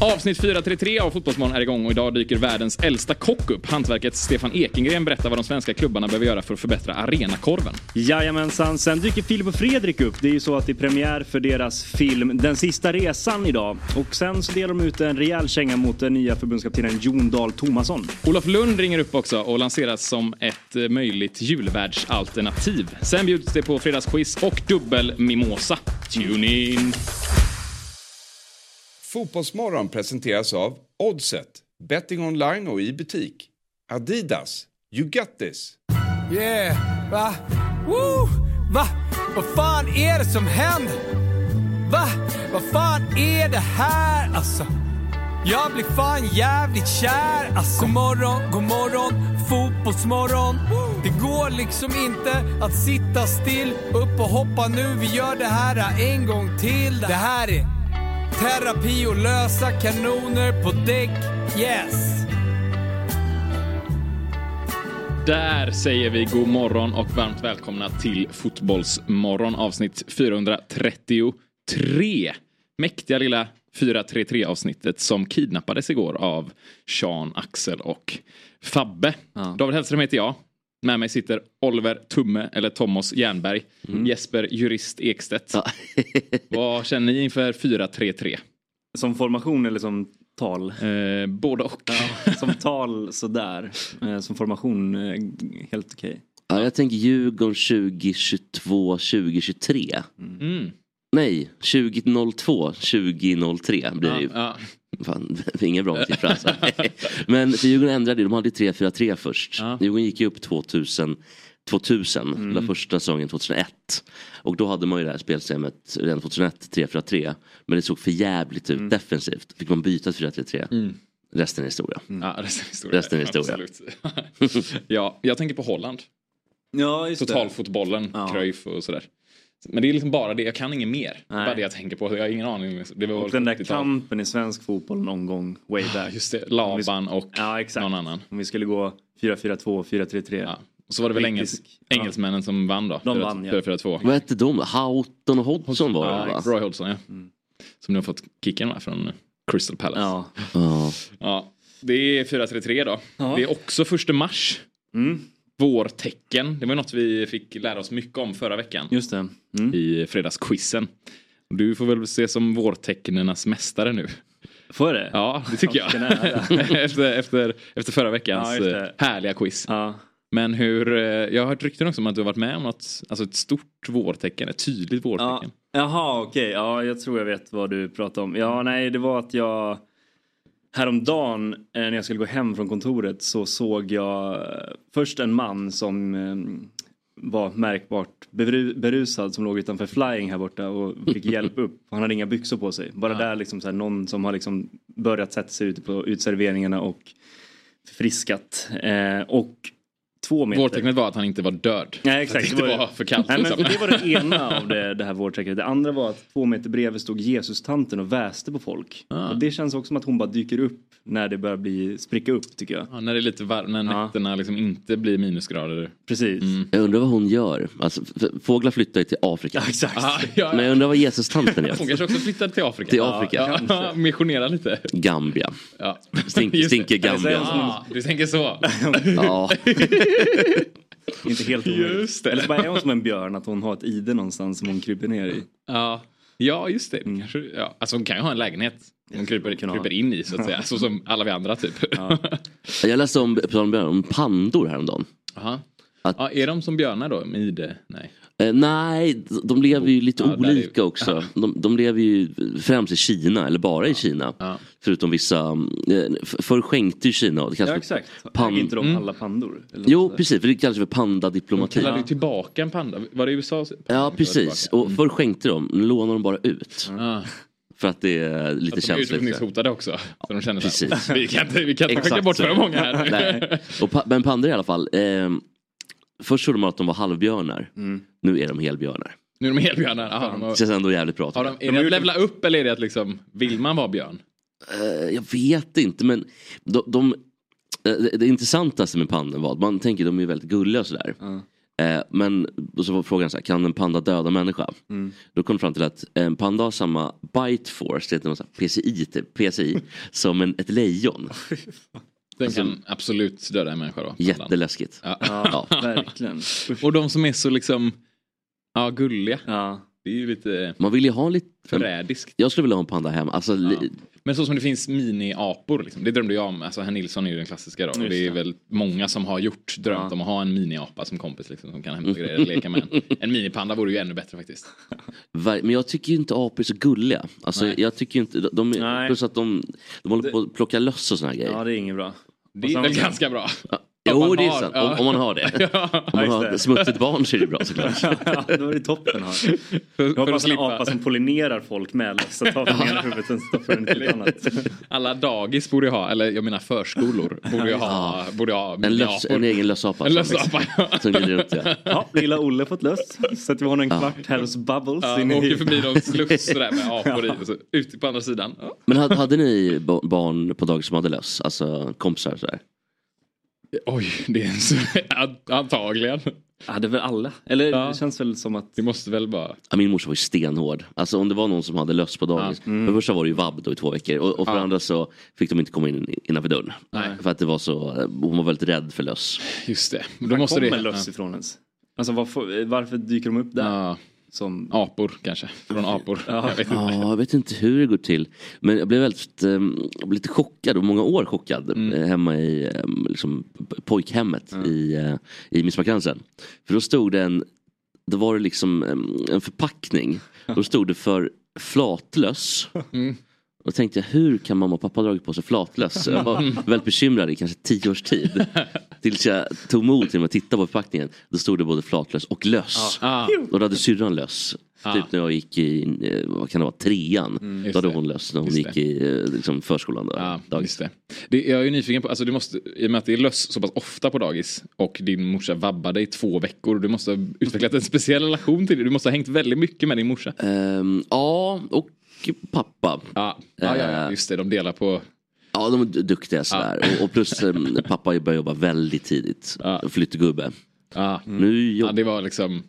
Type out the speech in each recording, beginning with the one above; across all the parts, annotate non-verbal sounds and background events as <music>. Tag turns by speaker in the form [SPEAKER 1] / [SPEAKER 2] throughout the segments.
[SPEAKER 1] Avsnitt 433 av Fotbollsmorgon är igång och idag dyker världens äldsta kock upp. Hantverkets Stefan Ekengren berättar vad de svenska klubbarna behöver göra för att förbättra arenakorven.
[SPEAKER 2] Jajamensan, sen dyker Filip och Fredrik upp. Det är ju så att det är premiär för deras film Den sista resan idag. Och sen så delar de ut en rejäl känga mot den nya förbundskaptenen Jon Dahl Tomasson.
[SPEAKER 1] Olof Lund ringer upp också och lanseras som ett eh, möjligt julvärdsalternativ. Sen bjuds det på fredagsquiz och dubbel mimosa. Tune in!
[SPEAKER 3] Fotbollsmorgon presenteras av Oddset, betting online och i butik. Adidas, you got this.
[SPEAKER 4] Yeah, va? Woo! Va? Vad fan är det som händer? Va? Vad fan är det här alltså? Jag blir fan jävligt kär alltså. God morgon, god morgon, fotbollsmorgon. Det går liksom inte att sitta still. Upp och hoppa nu, vi gör det här en gång till. Det här är terapi och lösa kanoner på däck. Yes!
[SPEAKER 1] Där säger vi god morgon och varmt välkomna till Fotbollsmorgon avsnitt 433. Mäktiga lilla 433 avsnittet som kidnappades igår av Sean, Axel och Fabbe. David Hellström heter jag. Med mig sitter Oliver Tumme eller Thomas Jernberg. Jesper Jurist Ekstedt. Vad känner ni inför 433?
[SPEAKER 2] Som formation eller som tal?
[SPEAKER 1] Eh, både och.
[SPEAKER 2] Som tal sådär. Eh, Som formation eh, g- helt okej.
[SPEAKER 5] Ja, jag tänker Djurgården 2022, 2023.
[SPEAKER 1] Mm.
[SPEAKER 5] Nej, 2002, 2003 blir det ju.
[SPEAKER 1] Ja.
[SPEAKER 5] Fan, <laughs> det är inga bra siffror
[SPEAKER 1] <laughs>
[SPEAKER 5] alltså. Men för Djurgården ändrade ju, de hade ju 3-4-3 först.
[SPEAKER 1] Ja. Mm.
[SPEAKER 5] Djurgården gick ju upp 2000, 2000 den första säsongen 2001. Och då hade man ju det här spelsystemet redan 2001, 3-4-3. Men det såg för jävligt
[SPEAKER 1] Mm.
[SPEAKER 5] ut defensivt. Fick man byta till 4-3-3. Resten är historia.
[SPEAKER 1] Mm. Ja, <laughs> resten är historia.
[SPEAKER 5] Mm. Resten är historia.
[SPEAKER 1] Absolut. <laughs> ja, jag tänker på Holland.
[SPEAKER 2] Ja, just
[SPEAKER 1] Totalfotbollen,
[SPEAKER 2] Ja.
[SPEAKER 1] Cruyff och sådär. Men det är liksom bara det, jag kan inget mer. Det är
[SPEAKER 2] Nej.
[SPEAKER 1] bara det jag tänker på, jag har ingen aning. Det var
[SPEAKER 2] Och den där
[SPEAKER 1] 70-tal.
[SPEAKER 2] kampen i svensk fotboll någon gång way back.
[SPEAKER 1] Just det, Laban och
[SPEAKER 2] Ja, exakt.
[SPEAKER 1] någon annan.
[SPEAKER 2] Om vi skulle gå 4-4-2, 4-3-3.
[SPEAKER 1] Ja. Och så var det väl
[SPEAKER 2] Brittisk.
[SPEAKER 1] engels,
[SPEAKER 2] Ja.
[SPEAKER 1] engelsmännen som vann då.
[SPEAKER 2] De vann, ja.
[SPEAKER 1] 4-4-2.
[SPEAKER 5] Vad hette de? Houghton och Hodgson var det
[SPEAKER 1] Ja,
[SPEAKER 5] va?
[SPEAKER 1] Roy Hodgson ja.
[SPEAKER 2] Mm.
[SPEAKER 1] Som nu har fått kicken va, från Crystal Palace. Ja.
[SPEAKER 2] Ja.
[SPEAKER 5] Ja.
[SPEAKER 1] Det är 4-3-3 då.
[SPEAKER 2] Ja.
[SPEAKER 1] Det är också första mars.
[SPEAKER 2] Mm.
[SPEAKER 1] Vårtecken. Det var något vi fick lära oss mycket om förra veckan.
[SPEAKER 2] Just det. Mm.
[SPEAKER 1] i fredagsquizen. Du får väl se som vårtecknenas mästare nu.
[SPEAKER 2] Får jag det?
[SPEAKER 1] Ja, det tycker jag.
[SPEAKER 2] Vilken ära.
[SPEAKER 1] <laughs> efter, efter, efter förra veckans
[SPEAKER 2] Ja, just
[SPEAKER 1] eh,
[SPEAKER 2] det.
[SPEAKER 1] härliga quiz.
[SPEAKER 2] ja.
[SPEAKER 1] Men hur, eh, jag har hört rykten också om att du har varit med om något, alltså ett stort vårtecken, ett tydligt
[SPEAKER 2] Ja.
[SPEAKER 1] vårtecken.
[SPEAKER 2] Jaha, okej. Ja, jag tror jag vet vad du pratar om. Ja, nej, det var att jag häromdagen eh, när jag skulle gå hem från kontoret så såg jag eh, först en man som eh, var märkbart beru- berusad som låg utanför flying här borta och
[SPEAKER 1] <laughs>
[SPEAKER 2] fick hjälp upp. Han hade inga byxor på sig. Bara där liksom så här, någon som har liksom börjat sätta sig ute på utserveringarna och friskat. Eh, och två meter.
[SPEAKER 1] Vårtecknet var att han inte var död.
[SPEAKER 2] Nej
[SPEAKER 1] Att
[SPEAKER 2] exakt.
[SPEAKER 1] Det inte var för kallt.
[SPEAKER 2] Nej, men
[SPEAKER 1] liksom.
[SPEAKER 2] det var det ena av det, det här vårdtecknet. Det andra var att två meter bredvid stod Jesus-tanten och väste på folk.
[SPEAKER 1] Ah.
[SPEAKER 2] Och det känns också som att hon bara dyker upp när det börjar bli, spricka upp tycker
[SPEAKER 1] <laughs>
[SPEAKER 2] jag.
[SPEAKER 1] Ja, när det är lite varmt, när
[SPEAKER 2] Ja.
[SPEAKER 1] nätterna liksom inte blir minusgrader. Mm.
[SPEAKER 2] Precis.
[SPEAKER 5] Mm. Jag undrar vad hon gör. Alltså, f- f- fåglar flyttar ju till Afrika.
[SPEAKER 2] Ja, exakt.
[SPEAKER 1] Ah, <laughs> ja,
[SPEAKER 5] Men jag
[SPEAKER 1] ja.
[SPEAKER 5] undrar vad Jesus-tanten gör.
[SPEAKER 1] Hon kanske också flyttade till Afrika.
[SPEAKER 5] Till Afrika.
[SPEAKER 1] Ja, ja, missionera lite.
[SPEAKER 5] Gambia.
[SPEAKER 1] Ja. <laughs>
[SPEAKER 5] Stink,
[SPEAKER 1] Just det.
[SPEAKER 5] stinker Gambia.
[SPEAKER 1] Ah, du tänker så.
[SPEAKER 5] <laughs> Ja.
[SPEAKER 2] Inte helt omöjligt.
[SPEAKER 1] Just det.
[SPEAKER 2] Eller så bara är hon som en björn att hon har ett ide någonstans som hon kryper ner i.
[SPEAKER 1] Ja, ja just det.
[SPEAKER 5] Mm.
[SPEAKER 1] Kanske, ja. Alltså hon kan ju ha en lägenhet. Hon kryper,
[SPEAKER 2] kan ha.
[SPEAKER 1] kryper in i så att säga. Så som alla vi andra typ. <laughs> Ja.
[SPEAKER 5] Jag läste om, på tal om björnar, om pandor häromdagen. Att-
[SPEAKER 1] ja, är de som björnar då? Med ide? Nej.
[SPEAKER 5] Eh, nej, de lever ju lite
[SPEAKER 1] Ja, där är ju-
[SPEAKER 5] olika också. De, de lever ju främst i Kina, eller bara i Kina.
[SPEAKER 1] Ja.
[SPEAKER 5] Förutom vissa, eh, f- förr skänkte ju Kina. Det kallas
[SPEAKER 2] Ja
[SPEAKER 5] för-
[SPEAKER 2] exakt.
[SPEAKER 5] Pan-
[SPEAKER 2] Äger inte de alla pandor? Eller något
[SPEAKER 5] Jo,
[SPEAKER 2] sådär.
[SPEAKER 5] precis. För det kallas för
[SPEAKER 1] Mm. De
[SPEAKER 5] pandadiplomati.
[SPEAKER 1] kallade ju tillbaka en panda. Var det i USA?
[SPEAKER 5] Ja, precis. Och förr skänkte de, nu lånar de bara ut.
[SPEAKER 1] Ja.
[SPEAKER 5] För att det är
[SPEAKER 1] Att
[SPEAKER 5] lite
[SPEAKER 1] Ah. de är
[SPEAKER 5] känsligt.
[SPEAKER 1] utrotningshotade också. Så de känner så
[SPEAKER 5] precis.
[SPEAKER 1] här, <laughs> "Oh, vi kan inte, vi kan inte
[SPEAKER 5] Exakt
[SPEAKER 1] skänka bort
[SPEAKER 5] så.
[SPEAKER 1] för många här.
[SPEAKER 5] Nej. Och pa- men pandor i alla fall. ehm, först trodde man att de var halvbjörnar. Nu är de helbjörnar.
[SPEAKER 1] <laughs> Nu är de helbjörnar. Mm. Ja, de har,
[SPEAKER 5] Det känns ändå jävligt bra.
[SPEAKER 1] har de, är det att levla upp eller är det att liksom, vill man vara björn?
[SPEAKER 5] Eh, jag vet inte men de, de, eh, det, det intressantaste med pandor var att man tänker de är väldigt gulliga och sådär. Eh, men och så var frågan så här, kan en panda döda en människa?
[SPEAKER 1] Mm.
[SPEAKER 5] Då kom det fram till att eh, en panda har samma bite force, det heter någon så här PCI,
[SPEAKER 2] <laughs>
[SPEAKER 5] typ, PCI som en, ett lejon.
[SPEAKER 1] Den kan absolut döda en människa då.
[SPEAKER 5] Jätteläskigt.
[SPEAKER 1] Ja. <laughs>
[SPEAKER 2] Ja, verkligen.
[SPEAKER 1] Och de som är så liksom, ja gulliga.
[SPEAKER 2] Ja.
[SPEAKER 1] Det är ju lite
[SPEAKER 5] Man vill ju ha lite...
[SPEAKER 1] förrädiskt.
[SPEAKER 5] Jag skulle vilja ha en panda hem. Alltså, li-
[SPEAKER 1] Men så som det finns mini-apor, liksom. det drömde jag om. Alltså, herr Nilsson är ju den klassiska då. Och
[SPEAKER 2] Just
[SPEAKER 1] det är
[SPEAKER 2] det.
[SPEAKER 1] väl många som har gjort drömt
[SPEAKER 2] Ja.
[SPEAKER 1] om att ha en mini-apa som kompis liksom, som kan hämta grejer eller leka med en. En minipanda vore ju ännu
[SPEAKER 2] <laughs>
[SPEAKER 1] bättre faktiskt.
[SPEAKER 5] Ver- Men jag tycker ju inte apor är så gulliga. Alltså,
[SPEAKER 1] Nej.
[SPEAKER 5] jag tycker ju inte, de- de, är-
[SPEAKER 2] Nej.
[SPEAKER 5] plus att de, de håller på att plocka löss och såna här grejer.
[SPEAKER 2] ja, det är inget bra.
[SPEAKER 1] Det är
[SPEAKER 2] sen-
[SPEAKER 1] väl ganska bra. om
[SPEAKER 5] jo,
[SPEAKER 1] man
[SPEAKER 5] det är
[SPEAKER 1] har-
[SPEAKER 5] sant.
[SPEAKER 1] ja.
[SPEAKER 5] Om, om man
[SPEAKER 2] <laughs>
[SPEAKER 5] har det. Om man
[SPEAKER 2] just
[SPEAKER 5] har
[SPEAKER 2] det.
[SPEAKER 5] ett smutsigt barn så är det bra såklart.
[SPEAKER 2] <laughs> <laughs> Ja, då är det toppen här.
[SPEAKER 1] För,
[SPEAKER 2] Jag
[SPEAKER 1] för
[SPEAKER 2] hoppas
[SPEAKER 1] att
[SPEAKER 2] en
[SPEAKER 1] slippa.
[SPEAKER 2] apa som pollinerar folk med så tar från ena huvudet sen stoppar den till ett annat.
[SPEAKER 1] Alla dagis borde ju ha, eller jag menar förskolor, borde ju ha, borde ha
[SPEAKER 5] En, löss, en
[SPEAKER 1] mini-apor.
[SPEAKER 5] egen lössapa. liksom.
[SPEAKER 1] En
[SPEAKER 5] som-
[SPEAKER 1] lösapa.
[SPEAKER 5] Som glider runt ja.
[SPEAKER 2] Ja, lilla Olle fått löst. Sätter vi honom en kvart här hos Bubbles.
[SPEAKER 1] Ja,
[SPEAKER 2] inne i-
[SPEAKER 1] åker förbi någon sluss sådär med
[SPEAKER 2] <laughs>
[SPEAKER 1] apor i och så <laughs> ute på andra sidan. Ja.
[SPEAKER 5] Men hade, hade ni ba- barn på dagis som hade löss? Alltså kompisar och sådär?
[SPEAKER 1] Oj, det är en så... <laughs> Antagligen.
[SPEAKER 2] Ja, det är väl alla. Eller
[SPEAKER 1] Ja.
[SPEAKER 2] det känns väl som att...
[SPEAKER 1] Det måste väl vara...
[SPEAKER 5] Ja, min morsa var ju stenhård. Alltså om det var någon som hade löss på dagis.
[SPEAKER 1] Mm.
[SPEAKER 5] För det första var det ju vabb då i två veckor. Och, och för det andra så fick de inte komma in innanför dörren.
[SPEAKER 1] Nej.
[SPEAKER 5] För att det var så, hon var väldigt rädd för löss.
[SPEAKER 1] Just det. Då
[SPEAKER 2] Var
[SPEAKER 1] måste
[SPEAKER 2] kommer
[SPEAKER 1] det...
[SPEAKER 2] löss ifrån ens? Alltså varför, varför dyker de upp där?
[SPEAKER 1] Ja.
[SPEAKER 2] Som...
[SPEAKER 1] Ja, apor kanske. Från apor. Jag vet inte.
[SPEAKER 5] Ja, jag vet inte hur det går till. Men jag blev väldigt, ehm, jag blev lite chockad och många år chockad
[SPEAKER 1] Mm.
[SPEAKER 5] eh, hemma i ehm, liksom, p- pojkhemmet i, eh, i Midsommarkransen. För då stod det en, då var det liksom ehm, en förpackning. Då stod det för
[SPEAKER 1] <laughs>
[SPEAKER 5] flatlöss.
[SPEAKER 1] Mm.
[SPEAKER 5] Då tänkte jag hur kan mamma och pappa ha dragit på sig flatlöss?
[SPEAKER 1] <laughs>
[SPEAKER 5] Jag var väldigt bekymrad i kanske tio års tid. Tills jag tog mod till mig och tittade på förpackningen. Då stod det både flatlöss och löss.
[SPEAKER 1] Ah,
[SPEAKER 5] Och då hade syrran löss.
[SPEAKER 1] Ah. Mm,
[SPEAKER 5] Typ när jag gick i, eh, vad kan det vara, trean.
[SPEAKER 1] just
[SPEAKER 5] då hade
[SPEAKER 1] det.
[SPEAKER 5] hon löss när hon
[SPEAKER 1] Just
[SPEAKER 5] gick
[SPEAKER 1] det.
[SPEAKER 5] i eh, liksom, förskolan. Då,
[SPEAKER 1] ja,
[SPEAKER 5] dagis.
[SPEAKER 1] just det. det. Jag är ju nyfiken på, alltså du måste, i och med att det är löss så pass ofta på dagis och din morsa vabbade i två veckor. Du måste ha utvecklat en speciell relation till det. Du måste ha hängt väldigt mycket med din morsa.
[SPEAKER 5] Ehm, ja, och pappa.
[SPEAKER 1] Ja, ja, ja, ja
[SPEAKER 5] Eh.
[SPEAKER 1] just det. De delar på... Ah.
[SPEAKER 5] Ja, de är du- duktiga sådär. Och, och plus ehm, pappa började jobba väldigt tidigt.
[SPEAKER 1] Ja.
[SPEAKER 5] Flyttgubbe.
[SPEAKER 1] Ja.
[SPEAKER 5] Nu
[SPEAKER 1] Mm. Ja,
[SPEAKER 5] jobbar...
[SPEAKER 1] det var liksom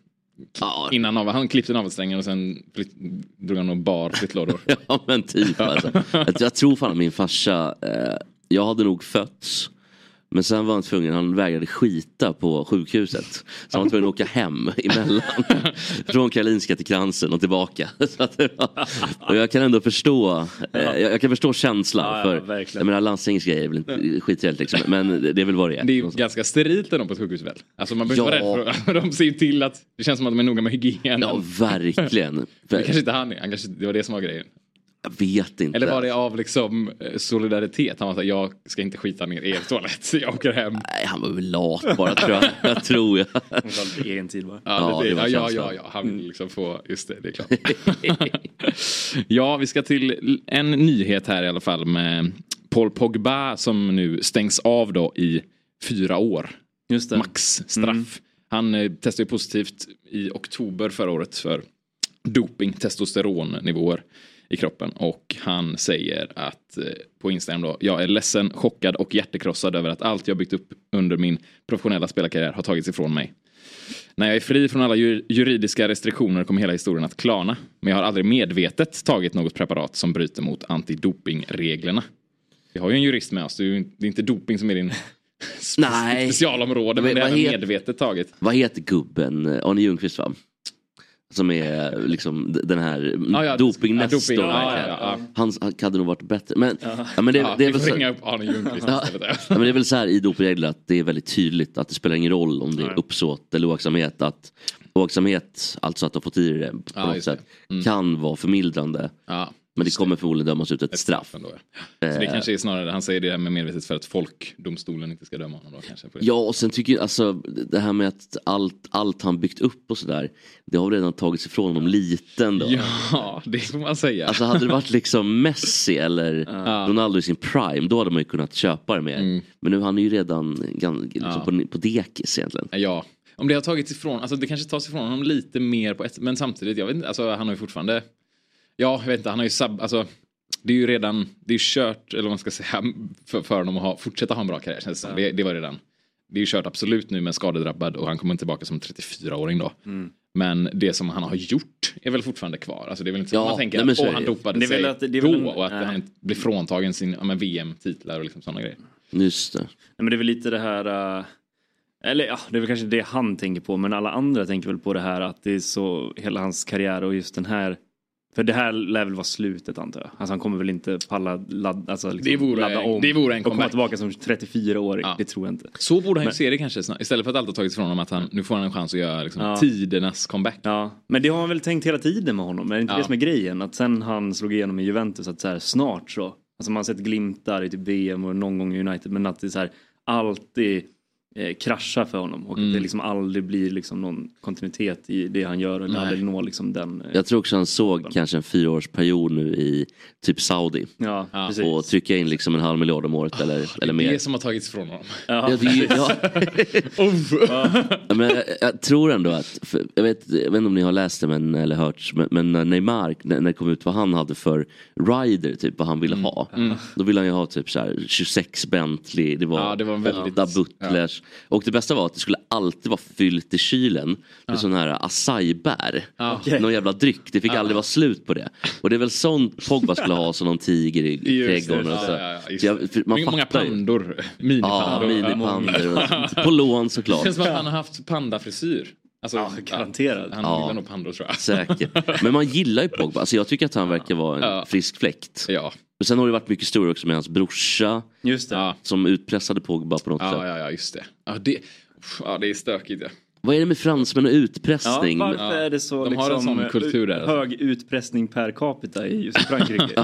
[SPEAKER 5] Ja,
[SPEAKER 1] innan av, han klippte navelsträngen och sen flytt, drog han och bar flyttlådor.
[SPEAKER 5] <laughs> Ja men typ alltså. jag, jag tror fan att min farsa, eh, jag hade nog fötts. Men sen var han tvungen, han vägrade skita på sjukhuset. Så han var tvungen att åka hem emellan. Från Karolinska till Kransen och tillbaka. <laughs> Så att det var, och jag kan ändå förstå, eh, jag, jag kan förstå känslan.
[SPEAKER 2] Ja, ja,
[SPEAKER 5] för,
[SPEAKER 2] verkligen.
[SPEAKER 5] jag menar landstingets grejer är väl inte skittrevligt liksom. Men det är väl vad det är.
[SPEAKER 1] Det är ju ganska sterilt ändå på ett sjukhus väl? Alltså man behöver inte
[SPEAKER 5] Ja.
[SPEAKER 1] vara rädd för <laughs> de ser ju till att det känns som att de är noga med hygienen.
[SPEAKER 5] Ja verkligen.
[SPEAKER 1] Det kanske inte han är, han kanske, det var det som var grejen.
[SPEAKER 5] Jag vet inte.
[SPEAKER 1] Eller var det av liksom eh, solidaritet? Han var såhär, jag ska inte skita ner er toalett, så jag åker hem.
[SPEAKER 5] Nej han var väl lat bara tror jag.
[SPEAKER 1] <laughs>
[SPEAKER 5] jag, tror jag.
[SPEAKER 2] Egen tid bara.
[SPEAKER 1] Ja,
[SPEAKER 5] Ja,
[SPEAKER 1] det,
[SPEAKER 5] det var
[SPEAKER 1] ja, ja, ja,
[SPEAKER 5] känslan.
[SPEAKER 1] ja,
[SPEAKER 6] Mm.
[SPEAKER 1] han vill liksom få, just det, det är klart. ja, vi ska till en nyhet här i alla fall med Paul Pogba som nu stängs av då i fyra år.
[SPEAKER 2] Just det. Mm.
[SPEAKER 1] Max straff. Han eh, testade ju positivt i oktober förra året för doping, testosteronnivåer i kroppen. Och han säger att eh, på Instagram då, jag är ledsen, chockad och hjärtekrossad över att allt jag byggt upp under min professionella spelarkarriär har tagits ifrån mig. När jag är fri från alla ju- juridiska restriktioner kommer hela historien att klarna. Men jag har aldrig medvetet tagit något preparat som bryter mot antidopingreglerna. Vi har ju en jurist med oss, det är, ju, det är inte doping som är din <laughs>
[SPEAKER 5] Nej.
[SPEAKER 1] specialområde, men
[SPEAKER 5] Men
[SPEAKER 1] det är
[SPEAKER 5] vad heter-
[SPEAKER 1] medvetet taget.
[SPEAKER 5] Vad heter gubben? eh, Arne Ljungqvist va? Som är liksom d- den här
[SPEAKER 1] Ja, ja,
[SPEAKER 5] dopingnästorn.
[SPEAKER 1] doping. Ja,
[SPEAKER 5] verkligen.
[SPEAKER 1] ja, ja, ja.
[SPEAKER 5] Han, han hade nog varit bättre. Men, ja, men, det,
[SPEAKER 1] Ja,
[SPEAKER 5] det är
[SPEAKER 1] vi
[SPEAKER 5] väl
[SPEAKER 1] får
[SPEAKER 5] så,
[SPEAKER 1] ringa
[SPEAKER 5] ja,
[SPEAKER 1] upp Arne Ljungqvist istället.
[SPEAKER 5] men det är väl så här i dopingregler att det är väldigt tydligt att det spelar ingen roll om det är uppsåt eller oaktsamhet. Att oaktsamhet, alltså att ha fått i det på
[SPEAKER 1] Ja,
[SPEAKER 5] något
[SPEAKER 1] just det. Mm.
[SPEAKER 5] sätt, kan vara förmildrande.
[SPEAKER 1] Ja,
[SPEAKER 5] Men det kommer förmodligen dömas ut ett straff. Eh,
[SPEAKER 1] ändå. Så det kanske är snarare, han säger det här med medvetet för att folkdomstolen inte ska döma honom då kanske. På det.
[SPEAKER 5] Ja och sen tycker jag alltså det här med att allt, allt han byggt upp och sådär. Det har redan tagits ifrån honom liten då.
[SPEAKER 1] ja, det får man säga.
[SPEAKER 5] Alltså hade det varit liksom Messi eller Ronaldo i sin prime då hade man ju kunnat köpa det mer.
[SPEAKER 1] Mm.
[SPEAKER 5] Men nu han är ju redan gan- liksom på, på dekis egentligen.
[SPEAKER 1] Ja, om det har tagits ifrån, alltså det kanske tas ifrån honom lite mer på ett, men samtidigt, jag vet inte, alltså han har ju fortfarande, ja jag vet inte, han har ju sab, alltså det är ju redan, det är ju kört, eller vad man ska säga, för, för honom att ha, fortsätta ha en bra karriär känns det, som. det Det var redan det är ju kört absolut nu med skadedrabbad och han kommer tillbaka som 34-åring då.
[SPEAKER 2] Mm.
[SPEAKER 1] Men det som han har gjort är väl fortfarande kvar. Alltså det är väl inte så
[SPEAKER 5] Ja,
[SPEAKER 1] att man tänker
[SPEAKER 5] nej, men
[SPEAKER 1] att
[SPEAKER 5] så
[SPEAKER 1] åh,
[SPEAKER 5] är
[SPEAKER 1] han
[SPEAKER 5] det.
[SPEAKER 1] dopade
[SPEAKER 2] Det är
[SPEAKER 1] sig
[SPEAKER 2] väl att- det är
[SPEAKER 1] då
[SPEAKER 2] väl en-
[SPEAKER 1] och att
[SPEAKER 2] nej.
[SPEAKER 1] han blir fråntagen sin ja, men VM-titlar och liksom sådana grejer.
[SPEAKER 5] Just det.
[SPEAKER 2] Nej, men det är väl lite det här... eh, eller ja, det är väl kanske det han tänker på. Men alla andra tänker väl på det här att det är så hela hans karriär och just den här. För det här lär väl vara slutet antar jag. Alltså han kommer väl inte palla ladda, alltså liksom,
[SPEAKER 1] Det vore-
[SPEAKER 2] ladda om.
[SPEAKER 1] det vore en
[SPEAKER 2] och komma
[SPEAKER 1] comeback.
[SPEAKER 2] tillbaka som 34-åring.
[SPEAKER 1] Ja.
[SPEAKER 2] Det tror jag inte.
[SPEAKER 1] Så borde han ju se det kanske snart. Istället för att allt har tagits ifrån honom att han, nu får han en chans att göra liksom,
[SPEAKER 2] Ja.
[SPEAKER 1] tidernas comeback.
[SPEAKER 2] Ja, men det har han väl tänkt hela tiden med honom. Är det inte
[SPEAKER 1] Ja.
[SPEAKER 2] det som är grejen? Att sen han slog igenom i Juventus att så här, snart så. Alltså man har sett glimtar i typ VM och någon gång i United men att det så här alltid eh, kraschar för honom och
[SPEAKER 1] Mm.
[SPEAKER 2] att det liksom aldrig blir liksom någon kontinuitet i det han gör eller
[SPEAKER 1] Nej.
[SPEAKER 2] aldrig når liksom den. Eh,
[SPEAKER 5] Jag tror också han såg kanske en fyraårsperiod nu i typ Saudi.
[SPEAKER 2] ja,
[SPEAKER 1] Ja. Ah,
[SPEAKER 2] precis.
[SPEAKER 5] Och trycka in liksom en halv miljard om året eller, eller
[SPEAKER 1] Det är
[SPEAKER 5] mer.
[SPEAKER 1] det som har tagits ifrån honom.
[SPEAKER 5] Ja, det är ju, ja,
[SPEAKER 1] <laughs>
[SPEAKER 5] Ja, men jag, jag tror ändå att, för, jag, vet, jag vet inte om ni har läst det men, eller hört, men, men när Neymar, när, när det kom ut vad han hade för rider, typ vad han ville
[SPEAKER 1] Mm.
[SPEAKER 5] ha. Då ville han ju ha typ så här 26 Bentley, det var,
[SPEAKER 1] Ja, det var en väldigt-
[SPEAKER 5] åtta butlers. Och det bästa var att det skulle alltid vara fyllt i kylen med sådana här acai-bär. Någon jävla dryck, det fick aldrig vara slut på det. Och det är väl sånt Pogba skulle ha som någon tiger
[SPEAKER 1] <laughs>
[SPEAKER 5] i
[SPEAKER 1] Just det,
[SPEAKER 5] trädgården. Och
[SPEAKER 1] ja,
[SPEAKER 5] så.
[SPEAKER 1] ja, ja, just
[SPEAKER 5] Så jag-
[SPEAKER 1] det.
[SPEAKER 5] för man
[SPEAKER 1] Många- Många
[SPEAKER 5] fattar ju.
[SPEAKER 1] pandor.
[SPEAKER 5] Ja,
[SPEAKER 1] Minipandor.
[SPEAKER 5] minipandor.
[SPEAKER 1] <laughs>
[SPEAKER 5] och sånt. På lån
[SPEAKER 1] Det
[SPEAKER 5] såklart.
[SPEAKER 1] känns som att han har haft pandafrisyr. Alltså,
[SPEAKER 2] Ja, garanterat.
[SPEAKER 1] Han
[SPEAKER 5] Ja.
[SPEAKER 1] gillar nog pandor tror jag.
[SPEAKER 5] Säkert. Men man gillar ju Pogba. Alltså jag tycker att han verkar vara en
[SPEAKER 1] Ja.
[SPEAKER 5] frisk fläkt.
[SPEAKER 1] Ja,
[SPEAKER 5] Men sen har det varit mycket stor också med hans brorsa
[SPEAKER 2] Just det.
[SPEAKER 1] ja,
[SPEAKER 5] som utpressade Pogba på något
[SPEAKER 1] ja,
[SPEAKER 5] sätt.
[SPEAKER 1] ja, ja just det. Ja, det, uff, ja, det är stökigt. Ja.
[SPEAKER 5] Vad är det med fransmän och
[SPEAKER 2] Ja,
[SPEAKER 5] utpressning? Ja,
[SPEAKER 2] varför är det så
[SPEAKER 1] De
[SPEAKER 2] liksom,
[SPEAKER 1] har en sån kultur där,
[SPEAKER 2] eh,
[SPEAKER 1] alltså.
[SPEAKER 2] hög utpressning per capita i
[SPEAKER 1] <laughs>
[SPEAKER 2] just Frankrike?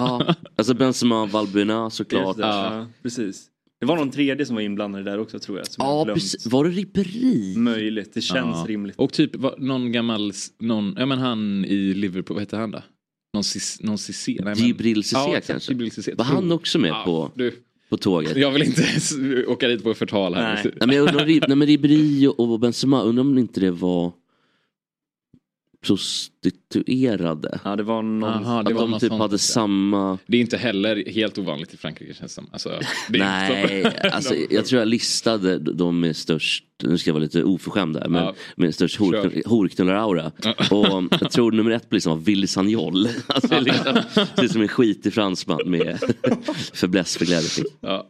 [SPEAKER 5] Alltså Benzema, Valbuena såklart.
[SPEAKER 2] Just det. Ja, precis. Det var någon tredje som var inblandad där också tror jag. Som jag har
[SPEAKER 5] Ja,
[SPEAKER 2] glömt.
[SPEAKER 5] precis. Var det Ribéry?
[SPEAKER 2] Möjligt, det känns
[SPEAKER 1] Ja.
[SPEAKER 2] rimligt.
[SPEAKER 1] Och typ va- någon gammal, s- någon, ja men han i Liverpool, vad heter han då? Någon, cis, någon Cissé? Nej, men-
[SPEAKER 5] Djibril Cissé
[SPEAKER 1] Ja, exakt,
[SPEAKER 5] kanske?
[SPEAKER 1] Djibril Cissé.
[SPEAKER 5] Var han också med
[SPEAKER 1] Ja,
[SPEAKER 5] på,
[SPEAKER 1] Du,
[SPEAKER 5] på tåget?
[SPEAKER 1] jag vill inte ens åka dit på förtal här.
[SPEAKER 2] Nej.
[SPEAKER 5] Nej men jag undrar, om Rib- nej, men Ribéry och och Benzema, undrar om inte det var prostituerade?
[SPEAKER 2] Ja, det var någon...
[SPEAKER 1] Aha, det,
[SPEAKER 5] Att
[SPEAKER 1] var
[SPEAKER 5] de
[SPEAKER 1] något
[SPEAKER 5] typ
[SPEAKER 1] sånt,
[SPEAKER 5] hade
[SPEAKER 1] ja.
[SPEAKER 5] samma...
[SPEAKER 1] det är inte heller helt ovanligt i Frankrike känns det som. Alltså, det är inte
[SPEAKER 5] Nej,
[SPEAKER 1] så- <laughs>
[SPEAKER 5] alltså,
[SPEAKER 1] De-
[SPEAKER 5] jag tror jag listade de med störst, nu ska jag vara lite oförskämd där, men
[SPEAKER 1] Ja.
[SPEAKER 5] med störst
[SPEAKER 1] Kör.
[SPEAKER 5] hor- horknullaraura. Och um, jag tror nummer ett på listan var Willy Sagnol. <laughs> Alltså, liksom, ser ut som en skitig fransman med <laughs> fäbless för glädje.
[SPEAKER 1] Ja.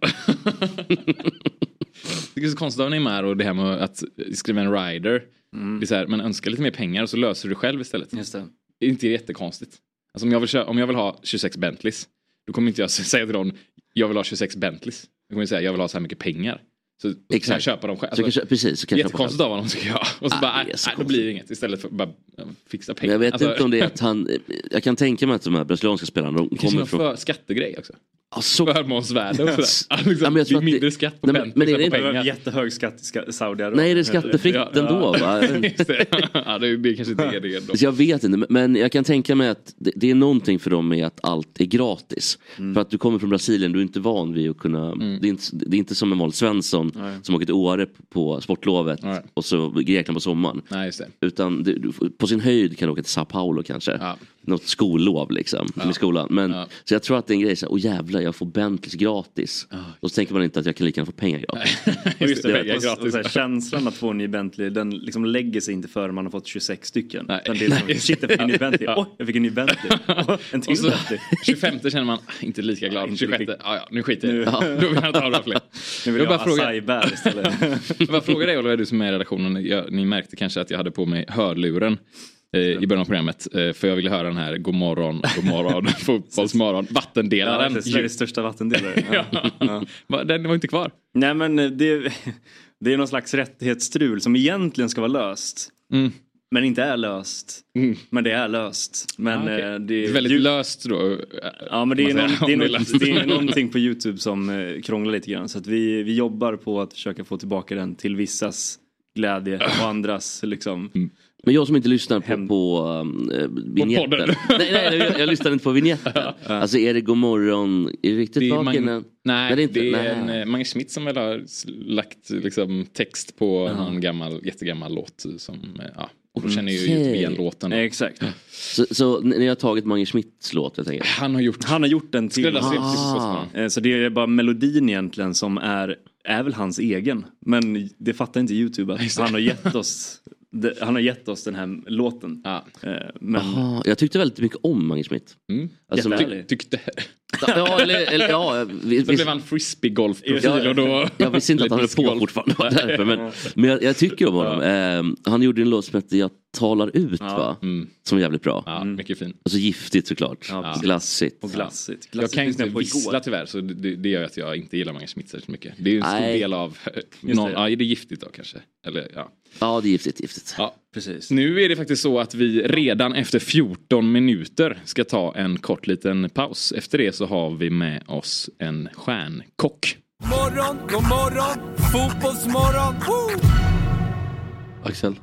[SPEAKER 1] det är så konstigt av Neymar och det här med att skriva en rider.
[SPEAKER 5] Mm.
[SPEAKER 1] Det är så här, men önska lite mer pengar och så löser du det själv istället.
[SPEAKER 2] Just det.
[SPEAKER 1] Det är inte jättekonstigt. Alltså om jag vill, köra, om jag vill ha 26 Bentleys, då kommer inte jag <laughs> säga till någon, jag vill ha 26 Bentleys. Jag kommer säga, jag vill ha så här mycket pengar. Så så kan jag
[SPEAKER 5] Exakt.
[SPEAKER 1] köpa dem själv.
[SPEAKER 5] Så jag
[SPEAKER 1] Alltså,
[SPEAKER 5] kan, kö- precis, så kan jag köpa
[SPEAKER 1] jättekonstigt
[SPEAKER 5] själv.
[SPEAKER 1] av honom tycker jag. Och så
[SPEAKER 5] Ah,
[SPEAKER 1] bara,
[SPEAKER 5] det är
[SPEAKER 1] nej,
[SPEAKER 5] så
[SPEAKER 1] nej, då
[SPEAKER 5] konstigt.
[SPEAKER 1] blir det inget. Istället för att bara eh, fixa
[SPEAKER 5] Men
[SPEAKER 1] pengar.
[SPEAKER 5] jag vet
[SPEAKER 1] Alltså,
[SPEAKER 5] inte
[SPEAKER 1] <laughs>
[SPEAKER 5] om det är att han, jag kan tänka mig att de här brasilianska spelarna, de
[SPEAKER 1] Kanske
[SPEAKER 5] kommer
[SPEAKER 1] någon
[SPEAKER 5] från...
[SPEAKER 1] för skattegrej
[SPEAKER 5] <laughs>
[SPEAKER 1] också.
[SPEAKER 5] Ja, så
[SPEAKER 1] Förmånsvärde och sådär.
[SPEAKER 5] Ja,
[SPEAKER 1] Liksom,
[SPEAKER 5] men jag
[SPEAKER 1] det
[SPEAKER 5] tror
[SPEAKER 1] är
[SPEAKER 5] att det-
[SPEAKER 1] mindre skatt <laughs> på
[SPEAKER 5] Nej, men- men
[SPEAKER 1] Bentleys
[SPEAKER 5] är det
[SPEAKER 1] än på
[SPEAKER 5] inte-
[SPEAKER 2] Det var
[SPEAKER 1] pengar.
[SPEAKER 2] jättehög skatt i Ska- Saudiarabien.
[SPEAKER 5] Nej, det är skattefritt
[SPEAKER 1] Ja.
[SPEAKER 5] ändå va?
[SPEAKER 1] <laughs> Just det. ja, det blir kanske inte det då.
[SPEAKER 5] Så jag vet inte, men- men jag kan tänka mig att det, det är någonting för dem med att allt är gratis.
[SPEAKER 1] Mm.
[SPEAKER 5] För att du kommer från Brasilien, du är inte van vid att kunna, det, är inte, det är inte som en vanlig Svensson som åker till Åre på- på sportlovet
[SPEAKER 1] Nej.
[SPEAKER 5] och så Grekland på sommaren.
[SPEAKER 1] Nej, just det.
[SPEAKER 5] Utan du, du, på sin höjd kan du åka till Sao Paulo kanske.
[SPEAKER 1] Ja.
[SPEAKER 5] Något skollov liksom, med skolan. Men,
[SPEAKER 1] Ja.
[SPEAKER 5] Så jag tror att det är en grej, så här, åh jävlar jag får Bentleys gratis. Och så tänker man inte att jag kan lika gärna få pengar gratis.
[SPEAKER 1] <laughs>
[SPEAKER 2] Och just det,
[SPEAKER 1] pengar
[SPEAKER 2] och, och,
[SPEAKER 1] gratis.
[SPEAKER 2] så här, känslan att få en ny Bentley, den liksom lägger sig inte förrän man har fått 26 stycken.
[SPEAKER 1] Nej.
[SPEAKER 2] Utan det är liksom,
[SPEAKER 1] Nej.
[SPEAKER 2] shit jag fick en ny Bentley, oj jag fick en ny Bentley, Åh, en till
[SPEAKER 1] Och så,
[SPEAKER 2] Bentley.
[SPEAKER 1] 25 känner man ah, inte lika glad.
[SPEAKER 2] inte
[SPEAKER 1] 26,
[SPEAKER 2] riktigt.
[SPEAKER 1] ja, ja, nu skiter jag i
[SPEAKER 2] Nu-
[SPEAKER 1] det. Då vill jag inte ha några fler.
[SPEAKER 2] Nu vill
[SPEAKER 1] Jag
[SPEAKER 2] jag,
[SPEAKER 1] bara
[SPEAKER 2] ha
[SPEAKER 1] frågar-
[SPEAKER 2] acai-bär istället.
[SPEAKER 1] <laughs> Jag bara frågar dig Oliver, du som är i redaktionen. Jag, ni märkte kanske att jag hade på mig hörluren eh, i början av programmet. Eh, för jag ville höra den här god morgon,
[SPEAKER 2] <laughs>
[SPEAKER 1] god morgon, fotbollsmorgon,
[SPEAKER 2] ja,
[SPEAKER 1] vattendelaren.
[SPEAKER 2] det är Sveriges största vattendelare. Ja.
[SPEAKER 1] <laughs> ja. Va, Den var inte kvar.
[SPEAKER 2] Nej men eh, det, det är någon slags rättighetsstrul som egentligen ska vara löst.
[SPEAKER 1] Mm.
[SPEAKER 2] Men inte är löst. Men det är löst. Men
[SPEAKER 1] Ah, okej.
[SPEAKER 2] eh,
[SPEAKER 1] Det
[SPEAKER 2] det
[SPEAKER 1] är väldigt
[SPEAKER 2] ju-
[SPEAKER 1] löst då.
[SPEAKER 2] Ja men det är,
[SPEAKER 1] kan man
[SPEAKER 2] någon,
[SPEAKER 1] säga,
[SPEAKER 2] det, är
[SPEAKER 1] om det är löst.
[SPEAKER 2] något, det är någonting på Youtube som eh, krånglar lite grann. Så att vi, vi jobbar på att försöka få tillbaka den till vissas glädje och
[SPEAKER 1] Ah.
[SPEAKER 2] andras liksom.
[SPEAKER 1] Mm.
[SPEAKER 5] Men jag som inte lyssnar på,
[SPEAKER 2] Hem.
[SPEAKER 5] på um, eh, vignetten.
[SPEAKER 1] podden.
[SPEAKER 5] <laughs> nej, nej, jag, jag lyssnar inte på vignetten. alltså är det god morgon, är det riktigt
[SPEAKER 1] Det är
[SPEAKER 5] vaken
[SPEAKER 1] Mag-
[SPEAKER 5] än?
[SPEAKER 1] Nej,
[SPEAKER 5] det
[SPEAKER 1] det
[SPEAKER 5] är
[SPEAKER 1] är,
[SPEAKER 5] inte- nej.
[SPEAKER 1] en, eh, Mange Schmidt som väl har s- lagt liksom, text på någon gammal, jättegammal låt som, eh, ja, Och
[SPEAKER 5] Mm,
[SPEAKER 1] då känner jag ju inte igen låten. <laughs>
[SPEAKER 2] Exakt.
[SPEAKER 5] Så, så ni ni har tagit Mange Schmidts låt helt enkelt?
[SPEAKER 1] Han har gjort...
[SPEAKER 2] Han har gjort den till.
[SPEAKER 1] Spelat sin
[SPEAKER 5] Ah.
[SPEAKER 2] Eh, Så det är bara melodin egentligen som är, är väl hans egen. Men det fattar inte Youtube att han har gett oss, de- han har gett oss den här låten.
[SPEAKER 1] Ja.
[SPEAKER 2] Eh, Men
[SPEAKER 5] Ah, jag tyckte väldigt mycket om Mange Schmidt.
[SPEAKER 1] Mm.
[SPEAKER 5] Alltså,
[SPEAKER 2] Jättehärlig.
[SPEAKER 1] Ty, tyckte... <laughs>
[SPEAKER 5] ja, eller, eller, ja, vi,
[SPEAKER 1] Sen
[SPEAKER 5] vi,
[SPEAKER 1] blev han frisbeegolfprofil
[SPEAKER 5] Ja.
[SPEAKER 1] och då...
[SPEAKER 5] jag visste inte att han höll på
[SPEAKER 1] Discgolf.
[SPEAKER 5] fortfarande. det var Därför, men men jag, jag tycker om honom. Ehm, han gjorde en låt som hette Jag talar ut va?
[SPEAKER 1] Mm.
[SPEAKER 5] Som är jävligt bra.
[SPEAKER 1] Ja, mycket fin.
[SPEAKER 5] Alltså giftigt såklart.
[SPEAKER 2] Ja, precis.
[SPEAKER 5] Glassigt.
[SPEAKER 2] och glassigt.
[SPEAKER 1] Jag
[SPEAKER 2] glassigt
[SPEAKER 1] kan inte
[SPEAKER 2] lyssnade jag på igår.
[SPEAKER 1] vissla tyvärr så det, det gör ju att jag inte gillar Mange Schmidt särskilt mycket. Det är ju en stor
[SPEAKER 5] Nej.
[SPEAKER 1] del av... eh,
[SPEAKER 2] det.
[SPEAKER 1] Någon, ja, är det giftigt då kanske? Eller, ja.
[SPEAKER 5] Ja det är giftigt, giftigt.
[SPEAKER 1] ja.
[SPEAKER 2] Precis.
[SPEAKER 1] Nu är det faktiskt så att vi redan efter 14 minuter ska ta en kort liten paus. Efter det så har vi med oss en stjärnkock.
[SPEAKER 4] Morgon, god morgon, fotbollsmorgon. Woo!
[SPEAKER 7] Axel,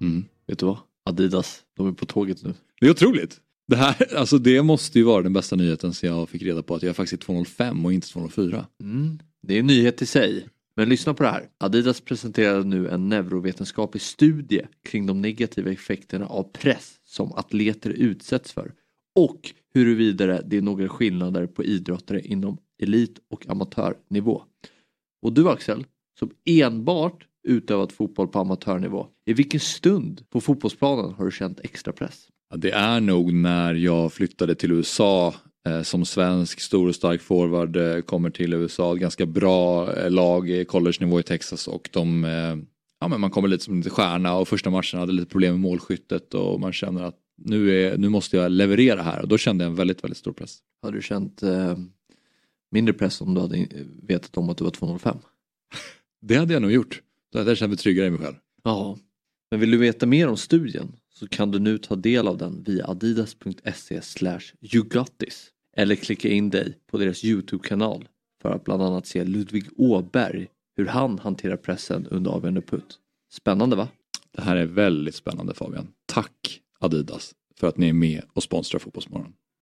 [SPEAKER 8] Mm.
[SPEAKER 7] vet du vad? Adidas, de är på tåget nu.
[SPEAKER 9] Det är otroligt.
[SPEAKER 7] Det
[SPEAKER 8] <laughs>
[SPEAKER 7] här, alltså det måste ju vara den bästa nyheten sen jag fick reda på att jag faktiskt är 205 och inte 204.
[SPEAKER 9] Mm. Det är en nyhet i sig. Men lyssna på det här. Adidas presenterar nu en neurovetenskaplig studie kring de negativa effekterna av press som atleter utsätts för och huruvida det är några skillnader på idrottare inom elit och amatörnivå. Och du Axel, som enbart utövat fotboll på amatörnivå, i vilken stund på fotbollsplanen har du känt extra press?
[SPEAKER 8] Ja, Det är nog när jag flyttade till USA eh, som svensk, stor och stark forward, eh, kommer till USA, ett ganska bra eh, lag i college-nivå i Texas och de, eh, ja men man kommer lite som en stjärna och första matchen hade lite problem med målskyttet och man känner att nu, är, nu måste jag leverera här och då kände jag en väldigt, väldigt stor press.
[SPEAKER 7] Hade du känt eh, mindre press om du hade eh, vetat om att du var 205?
[SPEAKER 8] Det hade jag nog gjort. Då hade jag känt mig tryggare i mig själv.
[SPEAKER 7] Ja, men vill du veta mer om studien så kan du nu ta del av den via adidas.se yougotis eller klicka in dig på deras Youtube-kanal för att bland annat se Ludvig Åberg hur han hanterar pressen under avgörande putt. Spännande va?
[SPEAKER 8] Det här är väldigt spännande Fabian. Tack Adidas för att ni är med och sponsrar Fotbollsmorgon.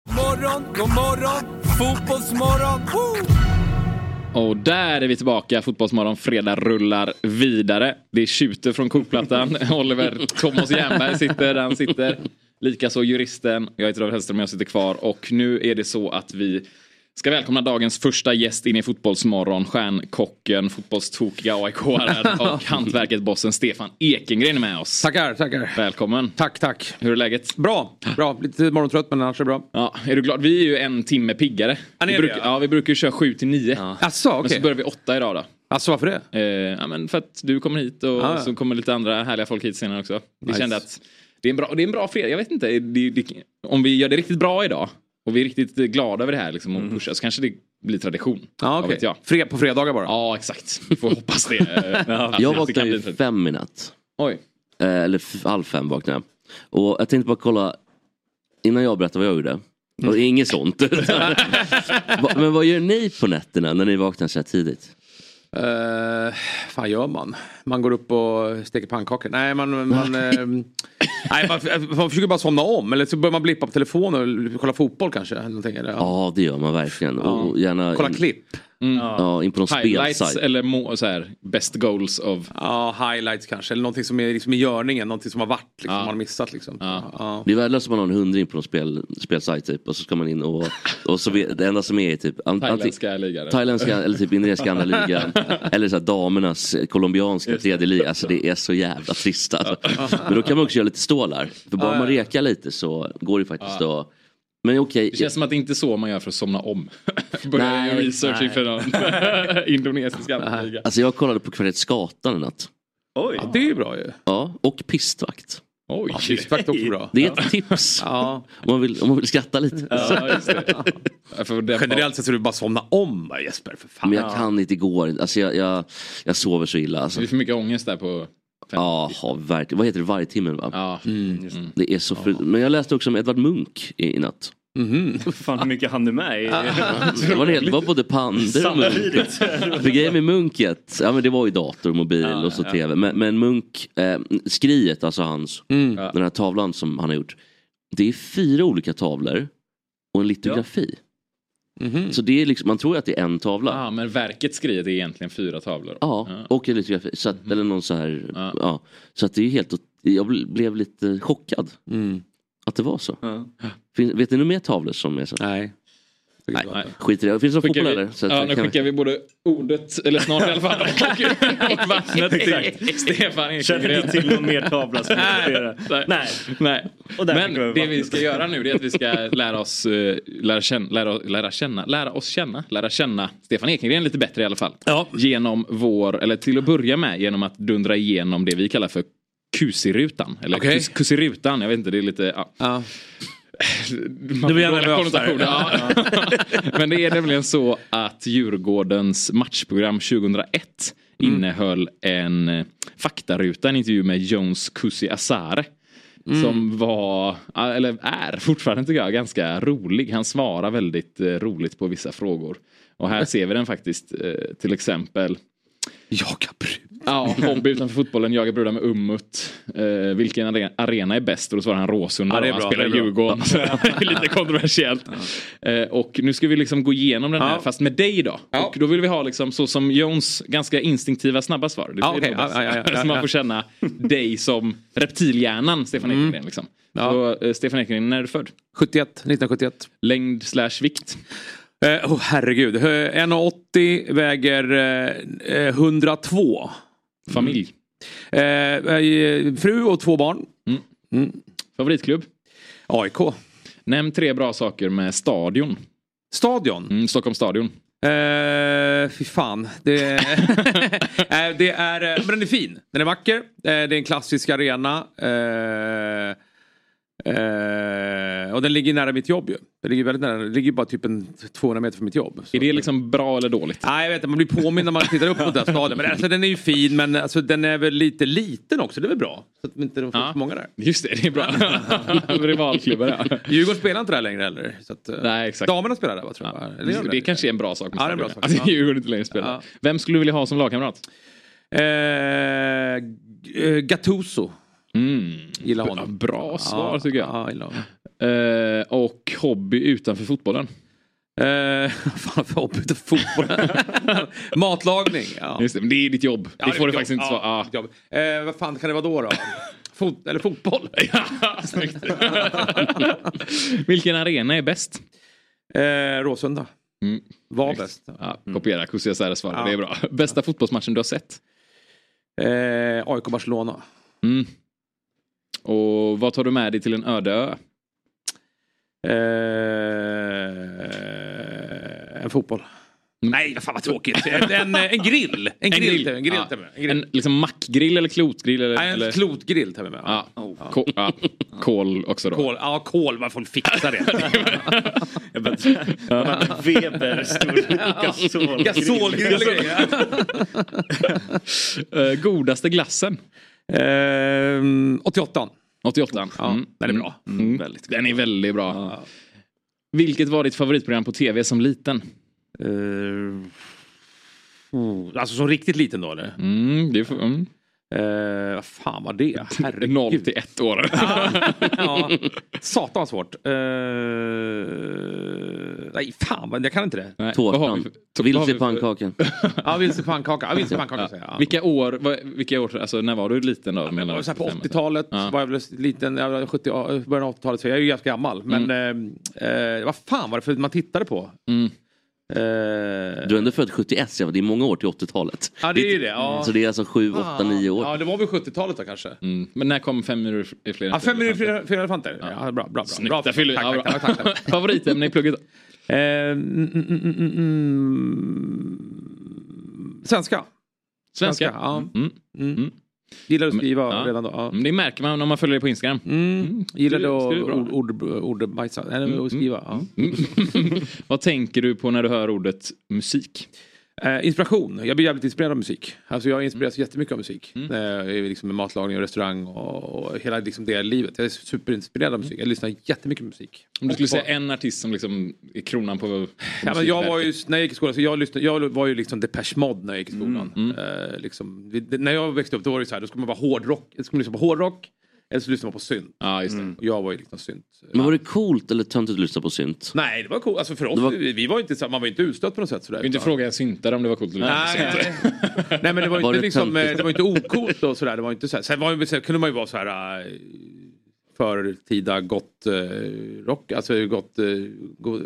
[SPEAKER 4] Morgon, god morgon, fotbollsmorgon. Woo!
[SPEAKER 1] Och där är vi tillbaka. Fotbollsmorgon fredag rullar vidare. Det är tjuter
[SPEAKER 6] <laughs>
[SPEAKER 1] från kokplattan. Oliver Thomas Jernberg sitter där han sitter. Likaså juristen. Jag heter David Hellström och jag sitter kvar. Och nu är det så att vi ska välkomna dagens första gäst in i Fotbollsmorgon. Stjärnkocken, fotbollstokiga aik
[SPEAKER 6] <laughs>
[SPEAKER 1] och hantverket bossen Stefan Ekengren är med oss.
[SPEAKER 6] Tackar, tackar.
[SPEAKER 1] Välkommen.
[SPEAKER 6] Tack, tack.
[SPEAKER 1] Hur är läget?
[SPEAKER 6] Bra, bra. Lite morgontrött men annars är det bra.
[SPEAKER 1] Ja, är du glad? Vi är ju en timme piggare.
[SPEAKER 6] Ja, ni
[SPEAKER 1] vi,
[SPEAKER 6] är det,
[SPEAKER 1] brukar-
[SPEAKER 6] ja.
[SPEAKER 1] ja, vi brukar ju köra 7 till 9.
[SPEAKER 6] Jaså,
[SPEAKER 1] Men
[SPEAKER 6] okej.
[SPEAKER 1] så börjar vi 8 idag då.
[SPEAKER 6] <laughs> Alltså varför det?
[SPEAKER 1] Eh, ja, men för att du kommer hit och
[SPEAKER 6] ja.
[SPEAKER 1] så kommer lite andra härliga folk hit senare också. Vi
[SPEAKER 6] Nice.
[SPEAKER 1] kände att det är en bra, det är en bra fredag. Jag vet inte, det, det, om vi gör det riktigt bra idag och vi är riktigt eh, glada över det här liksom, och pushar så kanske det blir tradition.
[SPEAKER 6] Mm. Ja,
[SPEAKER 1] Vad
[SPEAKER 6] okej.
[SPEAKER 1] vet jag.
[SPEAKER 6] Fre- på fredagar bara?
[SPEAKER 1] Ja, exakt. Vi får hoppas det.
[SPEAKER 6] <laughs>
[SPEAKER 1] eh, att
[SPEAKER 5] Jag
[SPEAKER 1] det
[SPEAKER 5] vaknade
[SPEAKER 1] kan
[SPEAKER 5] ju
[SPEAKER 1] bli-
[SPEAKER 5] fem i natt.
[SPEAKER 1] Oj.
[SPEAKER 5] Eh, eller f- halv fem vaknade jag. Och jag tänkte bara kolla, innan jag berättar vad jag gjorde. Och inget sånt. <laughs> Va- Men vad gör ni på nätterna när ni vaknar så här tidigt?
[SPEAKER 6] Eh, fan gör man? Man går upp och steker pannkakor. Nej, man... man eh, nej, man, man försöker bara somna om. Eller så börjar man blippa på telefonen och kolla fotboll kanske. Eller någonting, eller, ja.
[SPEAKER 5] Ja det gör man verkligen. Och och gärna
[SPEAKER 6] Kolla
[SPEAKER 5] in-
[SPEAKER 6] klipp.
[SPEAKER 5] Ja, in på någon
[SPEAKER 1] Mm. Highlights
[SPEAKER 5] spelsajt.
[SPEAKER 1] eller må, så här, best goals of...
[SPEAKER 6] Ja, highlights kanske. Eller någonting som är liksom i görningen. Någonting som har varit, liksom,
[SPEAKER 1] Ja.
[SPEAKER 6] man har missat. Liksom.
[SPEAKER 1] Ja.
[SPEAKER 6] Ja.
[SPEAKER 5] Det är värdelöst om man har en hundring på någon spel, spelsajt typ och så ska man in och, och så vet, det enda som är är typ an-
[SPEAKER 1] Thailändska ligan.
[SPEAKER 5] anti- thailändska eller typ indonesiska
[SPEAKER 1] <laughs>
[SPEAKER 5] andra ligan eller så här damernas eh, colombianska tredje liga. Alltså det är så jävla trist alltså. Men då kan man också göra lite stålar. För bara man rekar lite så går det faktiskt att... Men okej,
[SPEAKER 1] Det känns som att det är inte är så man gör för att somna om. <laughs> Börja
[SPEAKER 5] Nej,
[SPEAKER 1] göra research inför någon <laughs> indonesisk liga.
[SPEAKER 5] alltså jag kollade på kvarteret Skatan i natt.
[SPEAKER 2] Oj.
[SPEAKER 6] Ja, det är ju bra ju.
[SPEAKER 5] Ja, och pistvakt.
[SPEAKER 1] Oj.
[SPEAKER 6] Frisbakt också bra.
[SPEAKER 5] Det är ett tips
[SPEAKER 6] Ja.
[SPEAKER 5] om man vill, om man vill skratta lite.
[SPEAKER 1] Ja,
[SPEAKER 6] <laughs>
[SPEAKER 1] just det. Ja, för den-
[SPEAKER 6] Generellt sett så är det bara somna om bara, Jesper. För fan.
[SPEAKER 5] Men jag kan inte igår. Alltså jag, jag, jag sover så illa. Alltså.
[SPEAKER 1] Det är för mycket ångest där på...
[SPEAKER 5] Jaha, verkligen. Vad heter det? Varje timme va? Mm.
[SPEAKER 1] Ja. Mm.
[SPEAKER 5] Det är så fru... Men jag läste också om Edvard Munch i,
[SPEAKER 1] <laughs>
[SPEAKER 5] i natt.
[SPEAKER 2] Fan hur mycket han är med <laughs> i.
[SPEAKER 5] Det var, en hel... det var både pandor och Munch.
[SPEAKER 2] Samtidigt.
[SPEAKER 5] För grejen med Munket, ja men det var ju dator, mobil och så tv. Men, men Munk, eh, skriet, alltså hans,
[SPEAKER 1] Mm.
[SPEAKER 5] den här tavlan som han har gjort. Det är fyra olika tavlor och en litografi. Så det är liksom, man tror ju att det är en tavla.
[SPEAKER 1] Ah, Mhm. men verket skrivet är egentligen fyra tavlor. Mhm.
[SPEAKER 5] Ja, och en litografi. Så att, Eller någon så här, ja. Så att det är helt, ot- jag bl- blev lite chockad
[SPEAKER 6] Mm.
[SPEAKER 5] att det var så.
[SPEAKER 2] Ja.
[SPEAKER 5] Fin, vet ni några mer tavlor som är så?
[SPEAKER 6] Nej.
[SPEAKER 5] Nej, skit i det. Finns det någon
[SPEAKER 1] Skickar
[SPEAKER 5] fotboll
[SPEAKER 1] vi-
[SPEAKER 5] eller? Så att
[SPEAKER 1] ja,
[SPEAKER 5] jag
[SPEAKER 1] nu
[SPEAKER 5] kan-
[SPEAKER 1] skickar vi både ordet, eller snart i alla fall, <laughs> och- och vattnet. Exakt. <laughs> Stefan
[SPEAKER 2] Känner
[SPEAKER 1] Ekengren.
[SPEAKER 2] ni till någon mer tavla som existerar?
[SPEAKER 1] Nej.
[SPEAKER 2] Nej.
[SPEAKER 1] Nej.
[SPEAKER 2] Och där fick vi
[SPEAKER 1] Men
[SPEAKER 2] vattnet.
[SPEAKER 1] det vi ska göra nu det är att vi
[SPEAKER 2] <laughs>
[SPEAKER 1] ska lära oss, eh, lära, känna, lära, lära, känna, lära oss känna, lära känna Stefan Ekengren lite bättre i alla fall. Genom vår, eller till att börja med genom att dundra igenom det vi kallar för kusirutan. Eller
[SPEAKER 6] Okej.
[SPEAKER 1] kus, kusirutan, jag vet inte, det är lite... Ja.
[SPEAKER 6] Ja.
[SPEAKER 1] Man får
[SPEAKER 6] blir jag
[SPEAKER 1] dåliga
[SPEAKER 6] nervös där.
[SPEAKER 1] konnotationer. Ja. <laughs> Men det är nämligen så att Djurgårdens matchprogram 2001
[SPEAKER 2] Mm.
[SPEAKER 1] innehöll en eh, faktaruta, en intervju med Jones Kusi Asare.
[SPEAKER 6] Mm.
[SPEAKER 1] Som var, eller är fortfarande tycker jag, ganska rolig. Han svarar väldigt eh, roligt på vissa frågor. Och här ser vi den faktiskt, eh, till exempel.
[SPEAKER 6] Jaga brud.
[SPEAKER 1] Ja, hobby utanför fotbollen, jagar brudar med ummut. Eh, vilken are- arena är bäst? Och då svarar han Råsunda.
[SPEAKER 6] Ja, det är
[SPEAKER 1] och han
[SPEAKER 6] bra,
[SPEAKER 1] spelar
[SPEAKER 6] det är bra.
[SPEAKER 1] Djurgården. Så <laughs> det är lite kontroversiellt. Eh, och nu ska vi liksom gå igenom den här,
[SPEAKER 6] Ja.
[SPEAKER 1] fast med dig då.
[SPEAKER 6] Ja.
[SPEAKER 1] Och då vill vi ha liksom så som Jons ganska instinktiva snabba svar. Det
[SPEAKER 6] Ja,
[SPEAKER 1] är
[SPEAKER 6] okej.
[SPEAKER 1] nog bäst.
[SPEAKER 6] Ja, ja, ja, ja,
[SPEAKER 1] <laughs> så man
[SPEAKER 6] ja.
[SPEAKER 1] får känna dig som reptilhjärnan Stefan
[SPEAKER 6] Mm.
[SPEAKER 1] Ekengren. Liksom. Så, eh, Stefan Ekengren, när är du född?
[SPEAKER 6] 71, 1971.
[SPEAKER 1] Längd slash vikt?
[SPEAKER 6] Eh, Åh herregud. Eh, 1,80 väger eh, eh, 102.
[SPEAKER 1] Familj?
[SPEAKER 6] Eh, eh, fru och två barn.
[SPEAKER 1] Mm.
[SPEAKER 6] Mm.
[SPEAKER 1] Favoritklubb?
[SPEAKER 6] AIK.
[SPEAKER 1] Nämn tre bra saker med stadion.
[SPEAKER 6] Stadion.
[SPEAKER 1] Mm, Stockholms stadion.
[SPEAKER 6] Eh, fy fan. Det, <laughs> Eh, det är, eh, men den är fin. Den är vacker. Eh, det är en klassisk arena. Eh, eh, och den ligger nära mitt jobb ju. Den ligger väldigt nära. Den ligger bara typ en 200 meter från mitt jobb. Så.
[SPEAKER 1] Är det liksom bra eller dåligt?
[SPEAKER 6] Nej, jag vet inte. Man blir påmind när man tittar upp mot den här staden. Men alltså, den är ju fin, men alltså, den är väl lite liten också. Det är väl bra? Så att inte de får
[SPEAKER 1] Ja.
[SPEAKER 6] för många där.
[SPEAKER 1] Just
[SPEAKER 6] <laughs>
[SPEAKER 1] det, det är bra. Rivalklubbar ja.
[SPEAKER 6] Djurgården spelar inte där längre heller. Så att, eh,
[SPEAKER 1] Nej, exakt.
[SPEAKER 6] Damerna spelar där, va, tror jag. va? Eller gör
[SPEAKER 1] Ja.
[SPEAKER 6] de
[SPEAKER 1] Det kanske är en bra sak med
[SPEAKER 6] Ja,
[SPEAKER 1] Alltså,
[SPEAKER 6] det är en bra
[SPEAKER 1] stadion.
[SPEAKER 6] sak.
[SPEAKER 1] Att
[SPEAKER 6] Ja.
[SPEAKER 1] Djurgården inte längre spelar.
[SPEAKER 6] Ja.
[SPEAKER 1] Vem skulle du vilja ha som lagkamrat?
[SPEAKER 6] Eh, G- eh, Gattuso.
[SPEAKER 1] Mm.
[SPEAKER 6] Gillar
[SPEAKER 1] Ja,
[SPEAKER 6] honom.
[SPEAKER 1] Bra svar tycker jag.
[SPEAKER 6] Ja, gillar honom.
[SPEAKER 1] Eh, och hobby utanför fotbollen.
[SPEAKER 6] Eh, <laughs> vad fan för hobby utav
[SPEAKER 1] <laughs>
[SPEAKER 6] fotboll? <laughs> Matlagning. Ja.
[SPEAKER 1] Just det, men det är ditt jobb.
[SPEAKER 6] Ja,
[SPEAKER 1] det får du
[SPEAKER 6] mitt
[SPEAKER 1] faktiskt
[SPEAKER 6] jobb.
[SPEAKER 1] inte svara. Ah.
[SPEAKER 6] Ja,
[SPEAKER 1] Ja.
[SPEAKER 6] mitt jobb. Eh, vad fan kan det vara då?
[SPEAKER 1] <laughs>
[SPEAKER 6] då? Fot eller fotboll?
[SPEAKER 1] Snyggt. <laughs> Vilken arena är bäst?
[SPEAKER 6] Eh, Råsunda.
[SPEAKER 1] Mm.
[SPEAKER 6] Var
[SPEAKER 1] Snyggt.
[SPEAKER 6] bäst. Mm.
[SPEAKER 1] Ja, kopiera Kusi Asares svar.
[SPEAKER 6] Ja.
[SPEAKER 1] Det är bra. Bästa fotbollsmatchen du har sett?
[SPEAKER 6] Eh, AIK Barcelona.
[SPEAKER 1] Mm. Och vad tar du med dig till en öde ö?
[SPEAKER 6] Eh, en fotboll.
[SPEAKER 1] Mm.
[SPEAKER 6] Nej, fan vad tråkigt. En, en, en grill. En grill. En grill. En grill.
[SPEAKER 1] Ja.
[SPEAKER 6] tar jag med. En, grill.
[SPEAKER 1] En liksom mackgrill eller klotgrill? Eller,
[SPEAKER 6] Nej, en
[SPEAKER 1] eller...
[SPEAKER 6] klotgrill tar vi med.
[SPEAKER 1] Ja. Ko- ja. Kol också
[SPEAKER 6] <laughs>
[SPEAKER 1] då.
[SPEAKER 6] Kol. Ja, kol. Varför fixar
[SPEAKER 1] <laughs>
[SPEAKER 6] det? <laughs>
[SPEAKER 2] Jag bara, Weber,
[SPEAKER 1] <laughs>
[SPEAKER 2] stor
[SPEAKER 6] Gasolgrill. eller grejer.
[SPEAKER 1] Eh, godaste glassen?
[SPEAKER 6] Ehm, 88.
[SPEAKER 1] 88.
[SPEAKER 6] Ja, den är bra.
[SPEAKER 1] Mm. Mm. Den är väldigt bra. Vilket var ditt favoritprogram på tv som liten?
[SPEAKER 6] Uh, alltså som riktigt liten då eller?
[SPEAKER 1] Mm, det är för, mm.
[SPEAKER 6] Eh, vad fan var det? Herregud.
[SPEAKER 1] 0 till 1 år.
[SPEAKER 6] <laughs> ja. Satan vad svårt. Eh, nej fan, vad- jag kan inte det.
[SPEAKER 1] Nej, vad har vi för- vad
[SPEAKER 5] Tårtan.
[SPEAKER 1] har
[SPEAKER 5] Vilse
[SPEAKER 1] vi
[SPEAKER 5] i
[SPEAKER 1] för-
[SPEAKER 5] pannkakan.
[SPEAKER 6] Ja, vilse pannkaka. Ja, vilse pannkaka säger jag. Ja.
[SPEAKER 1] Vilka år, vad- vilka år, alltså när var du liten då?
[SPEAKER 6] Jag
[SPEAKER 1] menar
[SPEAKER 6] var så här på
[SPEAKER 1] bestämmer sig?
[SPEAKER 6] 80-talet
[SPEAKER 1] Ja.
[SPEAKER 6] var jag väl liten, jag var 70, ja, början av 80-talet så jag är ju ganska gammal. Men eh, eh, vad fan var det för man tittade på?
[SPEAKER 1] Mm.
[SPEAKER 6] Eh,
[SPEAKER 5] Du är ändå född 71, så det är många år till 80-talet.
[SPEAKER 6] Ja, det är ju det, ja.
[SPEAKER 5] Så det är alltså 7,
[SPEAKER 1] Ah.
[SPEAKER 5] 8, 9 år.
[SPEAKER 6] Ja, det var väl 70-talet då kanske.
[SPEAKER 1] Mm. Men när kom Fem minuter i fler
[SPEAKER 6] Ja, fem minuter för- för elefanter. Ja, bra, bra. bra.
[SPEAKER 1] Snyggt,
[SPEAKER 6] bra
[SPEAKER 1] där fyller
[SPEAKER 6] tack,
[SPEAKER 1] jag. Ja,
[SPEAKER 6] tack,
[SPEAKER 1] bra.
[SPEAKER 6] tack, tack, tack.
[SPEAKER 1] <laughs> Favoritämne i plugget?
[SPEAKER 6] Eh, mm, mm, mm, mm, mm. Svenska.
[SPEAKER 1] Svenska?
[SPEAKER 6] ja.
[SPEAKER 1] Mm.
[SPEAKER 6] Gillar att skriva
[SPEAKER 1] Ja.
[SPEAKER 6] redan då. Ja.
[SPEAKER 1] Men Det märker man om man följer dig på Instagram.
[SPEAKER 6] Mm. Gillar
[SPEAKER 1] Skriver- skriver
[SPEAKER 6] att
[SPEAKER 1] bra. Mm,
[SPEAKER 6] ord, ord, Eh, ordbajsa. Nej, men att skriva. Ja.
[SPEAKER 1] Vad tänker du på när du hör ordet musik?
[SPEAKER 6] Eh, inspiration. Jag blir jävligt inspirerad av musik. Alltså jag
[SPEAKER 1] Mm.
[SPEAKER 6] inspireras jättemycket av musik. Eh, i liksom med matlagning och restaurang och, och hela liksom det livet. Jag är superinspirerad av musik. Jag lyssnar jättemycket på musik.
[SPEAKER 1] Mm. Om du skulle
[SPEAKER 6] Och-
[SPEAKER 1] säga en artist som liksom är kronan på... på
[SPEAKER 6] Ja, men jag var ju, när jag gick i skolan, så jag, lyssnade, jag var ju liksom Depeche Mode när jag
[SPEAKER 1] Mm,
[SPEAKER 6] gick i skolan. Eh, liksom, vi, det- när jag växte upp då var det ju så här, då skulle man vara hårdrock, då skulle man lyssna på hårdrock, Eller så lyssnade man på synt.
[SPEAKER 1] Ja, just det. Mm.
[SPEAKER 6] Och jag var ju liksom synt.
[SPEAKER 5] Men var det coolt eller töntigt att lyssna på synt?
[SPEAKER 6] Nej, det var coolt. Alltså för oss,
[SPEAKER 5] Det var-
[SPEAKER 6] vi vi var ju inte, så- man var ju inte utstött på något sätt. Sådär,
[SPEAKER 1] Du kan inte
[SPEAKER 6] utan-
[SPEAKER 1] fråga en syntare om det var coolt eller
[SPEAKER 6] Nej,
[SPEAKER 1] inte.
[SPEAKER 6] nej, <laughs> nej. nej men det var, ju
[SPEAKER 5] Var
[SPEAKER 6] inte
[SPEAKER 5] det
[SPEAKER 6] liksom, eh,
[SPEAKER 5] töntigt?
[SPEAKER 6] det var ju inte ocoolt och sådär. Det var ju inte såhär. Sen, var, ju- sen kunde man ju vara så här eh, förtida gott eh, rock, alltså gott, eh, go-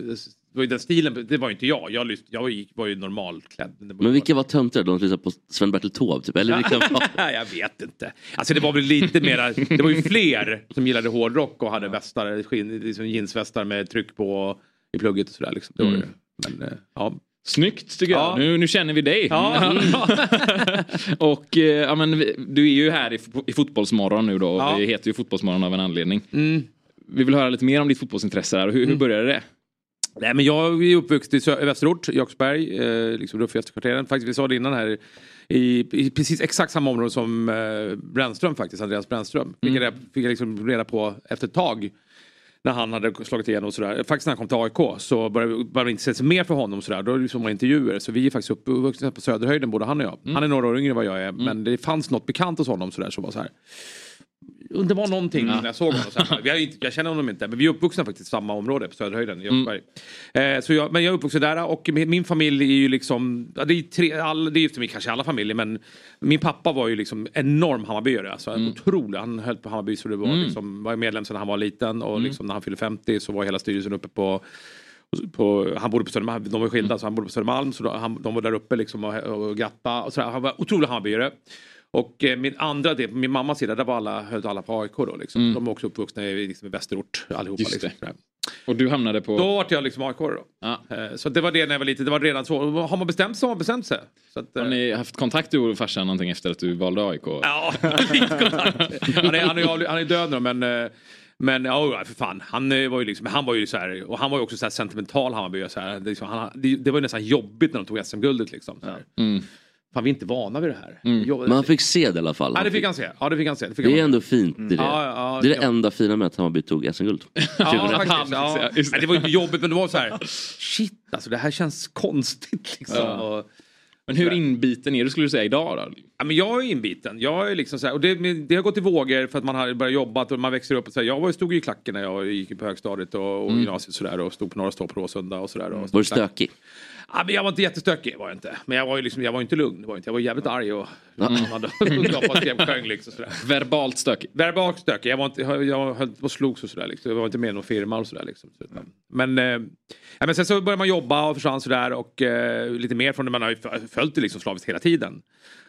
[SPEAKER 6] det var ju den stilen, det var ju inte jag. Jag, lyssn- jag gick, var ju normalklädd. Det var ju
[SPEAKER 5] Men vilka
[SPEAKER 6] bara-
[SPEAKER 5] var töntigare? De som lyssnade på Sven-Bertil Taube typ? Eller vilka
[SPEAKER 1] liksom-
[SPEAKER 5] var...
[SPEAKER 6] <laughs> Nej, jag vet inte. Alltså det var väl lite mera, det var ju fler som gillade hårdrock och hade västar, skinn, liksom jeansvästar med tryck på i plugget och sådär. Liksom. Det var det. Men, eh, ja.
[SPEAKER 1] Mm. Snyggt tycker jag.
[SPEAKER 6] Ja.
[SPEAKER 1] Nu, nu känner vi dig.
[SPEAKER 6] Ja.
[SPEAKER 1] <laughs> och eh, ja, men, vi- du är ju här i, fo- i Fotbollsmorgon nu då. och
[SPEAKER 6] Ja.
[SPEAKER 1] Vi heter ju Fotbollsmorgon av en anledning.
[SPEAKER 6] Mm.
[SPEAKER 1] Vi vill höra lite mer om ditt fotbollsintresse här. Hur, hur började det?
[SPEAKER 6] Nej, men jag är uppvuxen i Sö- Västerort, Jakobsberg, eh, liksom ruffigaste kvarteren. Faktiskt, vi sa det innan här, i, i precis exakt samma område som eh, Brännström faktiskt, Andreas Brännström. Fick jag, reda, fick jag liksom reda på efter ett tag när han hade slagit igenom och sådär. Faktiskt när han kom till AIK så började vi- började vi intressera sig mer för honom och sådär. Då liksom var det intervjuer. Så vi är faktiskt uppvuxna på Söderhöjden både han och jag. Han är några år yngre än vad jag är men det fanns något bekant hos honom sådär som var såhär. Det var någonting när jag såg honom. Så här. Vi har ju inte, jag känner honom inte men vi är uppvuxna faktiskt i samma område på Söderhöjden i Göteborg. Eh, så jag, men jag är uppvuxen där och min, min familj är ju liksom, ja, det är, tre, all, det är ju för mig kanske alla familjer men min pappa var ju liksom enorm Hammarbyare. Alltså, Otrolig, han höll på Hammarby så det var, liksom, var medlem sedan han var liten och liksom, när han fyllde 50 så var hela styrelsen uppe på på, han bodde på Södermalm, de var skilda så han bodde på Södermalm så då, han, de var där uppe liksom och, och grattade och sådär. Han var otrolig Hammarbyare. Och eh, min andra del, min mammas sida, där var alla, höll alla på AIK då liksom. De var också uppvuxna i, liksom, i västerort allihopa.
[SPEAKER 1] Just
[SPEAKER 6] liksom,
[SPEAKER 1] det.
[SPEAKER 6] sådär.
[SPEAKER 1] Och du hamnade på...
[SPEAKER 6] Då vart jag liksom AIK då.
[SPEAKER 1] Ja.
[SPEAKER 6] Eh, Så det var det när jag var liten, det var redan så. Har man bestämt sig har man bestämt <laughs> sig. Så att, eh,
[SPEAKER 1] Har ni haft kontakt du och farsan någonting efter att du valde AIK? <laughs>
[SPEAKER 6] Ja, <laughs> lite kontakt. Han är, han är, han är död nu men eh, men ja, ja, för fan. Han eh, var ju liksom, han var ju så här, och han var ju också så här sentimental Hammarby. Så här, Det liksom, han, det, det var ju nästan jobbigt när de tog SM-guldet liksom. Så här. Fan vi är inte vana vid det här. Jo,
[SPEAKER 5] Men han fick se det i alla fall.
[SPEAKER 6] ja, det fick han se. Ja, det fick han se. Det fick
[SPEAKER 5] Det är
[SPEAKER 6] han... Mm.
[SPEAKER 5] ändå fint i det.
[SPEAKER 6] Ja, ja, ja,
[SPEAKER 5] det är det
[SPEAKER 6] ja.
[SPEAKER 5] enda fina med att Hammarby tog SM-guld.
[SPEAKER 6] <laughs> Ja,
[SPEAKER 5] 2001.
[SPEAKER 6] faktiskt, ja.
[SPEAKER 1] Just det.
[SPEAKER 6] Nej, det var ju inte jobbigt men det var så här, shit alltså det här känns konstigt liksom. Och,
[SPEAKER 1] Men hur inbiten är du skulle du säga idag då?
[SPEAKER 6] Ja, men jag är inbiten. Jag är liksom så här, och det, men det har gått i vågor för att man har börjat jobba och man växer upp. Och så här, jag var, stod ju i klacken när jag gick på högstadiet och, och gymnasiet sådär, och stod på Norra Stå på Råsunda och sådär. Och
[SPEAKER 5] Mm. Var du stökig?
[SPEAKER 6] Ja, men jag var inte jättestökig var jag inte. Men jag var ju, liksom, jag var ju inte lugn. Det var jag, inte. jag var jävligt arg och <laughs>
[SPEAKER 5] <laughs>
[SPEAKER 6] gapade och sjöng liksom. Sådär.
[SPEAKER 1] Verbalt stökig.
[SPEAKER 6] Verbalt stökig. Jag, var inte, jag, jag höll på och slogs och sådär. Liksom. Jag var inte med i någon firma och sådär. Liksom. Så, utan- Men, eh, ja, men sen så började man jobba och försvann sådär och eh, lite mer från det. Man har ju f- följt det liksom slaviskt hela tiden.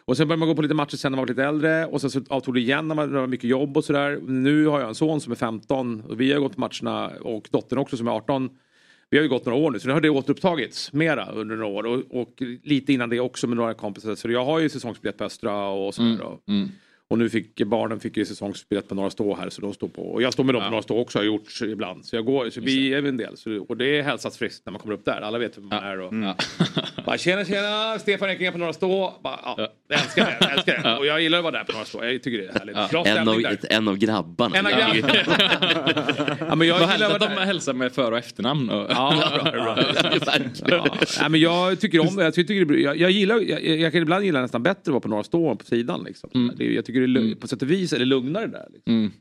[SPEAKER 6] Och sen började man gå på lite matcher sen när man var lite äldre och sen så avtog det igen när man när det var mycket jobb och sådär. Nu har jag en son som är 15 och vi har gått matcherna och dottern också som är 18. Vi har ju gått några år nu så nu har det återupptagits mera under några år och, och lite innan det också med några kompisar. Så jag har ju säsongsbiljett på Östra och
[SPEAKER 1] Mm,
[SPEAKER 6] sådär. Och, och nu fick barnen fick ju säsongsbiljett på Norra Stå här så de står på. Och jag står med dem på Norra Stå också har jag gjort så ibland. Så jag går, så vi är ju en del. Så, och det är hälsats friskt när man kommer upp där. Alla vet hur man är. Och,
[SPEAKER 1] Ja.
[SPEAKER 6] <laughs> Bara, tjena tjena, Stefan Ekinge på Norra Stå. Bara, ja, Jag älskar det, jag älskar det. Och jag gillar att vara där på Norra Stå. Jag tycker det är härligt. Bra
[SPEAKER 5] En av,
[SPEAKER 6] stämning
[SPEAKER 5] <laughs>
[SPEAKER 6] där.
[SPEAKER 5] ett, en av grabbarna.
[SPEAKER 6] En av grabbarna. ja, men jag
[SPEAKER 1] Vad
[SPEAKER 6] gillar
[SPEAKER 1] härligt
[SPEAKER 6] att
[SPEAKER 1] att
[SPEAKER 6] vara
[SPEAKER 1] de
[SPEAKER 6] där.
[SPEAKER 1] hälsar med för och efternamn. Och...
[SPEAKER 6] Ja, bra, bra.
[SPEAKER 1] <laughs>
[SPEAKER 5] Verkligen.
[SPEAKER 6] Nej, men jag tycker om det. Jag, tycker det är- jag, jag, gillar, jag, jag kan ibland gilla nästan bättre att vara på Norra Stå än på sidan. Liksom.
[SPEAKER 1] Mm.
[SPEAKER 6] Det, är- jag tycker det är, lugn- på sätt och vis är det lugnare där. Liksom.
[SPEAKER 1] Men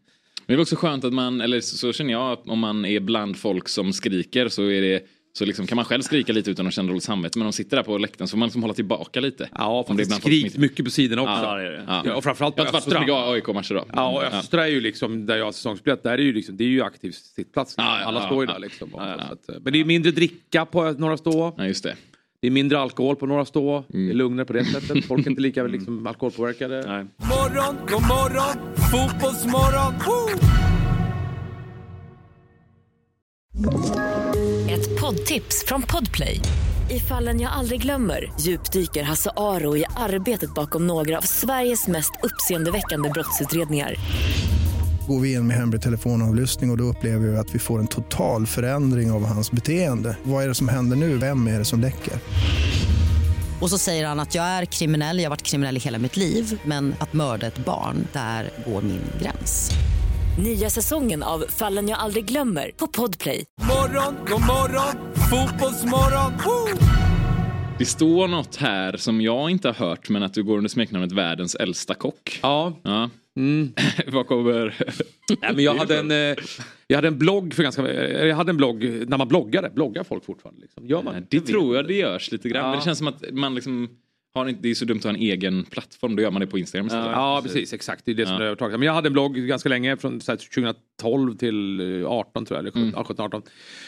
[SPEAKER 1] det är väl också skönt att man, eller så, så känner jag, att om man är bland folk som skriker så är det så liksom kan man själv skrika lite utan att känna dåligt samvete. Men om de sitter där på läktaren så får man liksom hålla tillbaka lite.
[SPEAKER 6] Ja,
[SPEAKER 1] om
[SPEAKER 6] fast det,
[SPEAKER 1] bland folk som
[SPEAKER 6] skriks
[SPEAKER 1] inte-
[SPEAKER 6] mycket på sidorna också.
[SPEAKER 2] Ja, det är det.
[SPEAKER 1] Ja.
[SPEAKER 6] Ja, och framförallt på
[SPEAKER 1] Jag har inte varit på så
[SPEAKER 6] Östra.
[SPEAKER 1] mycket AIK-matcher då.
[SPEAKER 6] Ja, och Östra är ju liksom där jag har säsongsbiljett. Där är ju liksom, det är ju aktiv sittplats.
[SPEAKER 1] Ja, ja,
[SPEAKER 6] Alla
[SPEAKER 1] ja,
[SPEAKER 6] står ju
[SPEAKER 1] ja.
[SPEAKER 6] där liksom.
[SPEAKER 1] Ja, ja.
[SPEAKER 6] Så att, eh, men det är mindre dricka på Norra Stå.
[SPEAKER 1] Ja, just det. Mm.
[SPEAKER 6] Det är mindre alkohol på Norra Stå. Det är lugnare på det
[SPEAKER 1] <laughs>
[SPEAKER 6] sättet. Folk är inte lika liksom, alkoholpåverkade.
[SPEAKER 2] Nej.
[SPEAKER 4] Morgon, god morgon, fotbollsmorgon. Woo!
[SPEAKER 10] Ett poddtips från Podplay. I fallen jag aldrig glömmer djupdyker Hasse Aro i arbetet bakom några av Sveriges mest uppseendeväckande brottsutredningar.
[SPEAKER 11] Går vi in med hemlig telefonavlyssning och, och då upplever vi att vi får en total förändring av hans beteende. Vad är det som händer nu? Vem är det som läcker?
[SPEAKER 12] Och så säger han att jag är kriminell, jag har varit kriminell i hela mitt liv men att mörda ett barn, där går min gräns.
[SPEAKER 10] Nya säsongen av Fallen jag aldrig glömmer på Podplay.
[SPEAKER 4] Morgon, god morgon, fotbollsmorgon. Woo!
[SPEAKER 1] Det står något här som jag inte har hört men att du går under smeknamnet världens äldsta kock.
[SPEAKER 6] Ja, Mm.
[SPEAKER 1] Ja. <laughs> Vad kommer...
[SPEAKER 6] Nej, men jag, hade
[SPEAKER 1] <laughs>
[SPEAKER 6] en, eh, jag hade en blogg för ganska... eh, Jag hade en blogg när man bloggade. Bloggar folk fortfarande? Liksom. Gör man?
[SPEAKER 1] Det tror jag det görs lite grann. Men det känns som att man liksom har inte, det är så dumt att ha en egen plattform. Då gör man det på Instagram istället.
[SPEAKER 6] Ja, precis. Exakt. Det är det som
[SPEAKER 1] Ja.
[SPEAKER 6] är övertaget. Men jag hade en blogg ganska länge, från så här 2012 till eh, 18 tror jag. Eller 17,
[SPEAKER 1] Mm.
[SPEAKER 6] ja, 17, 18.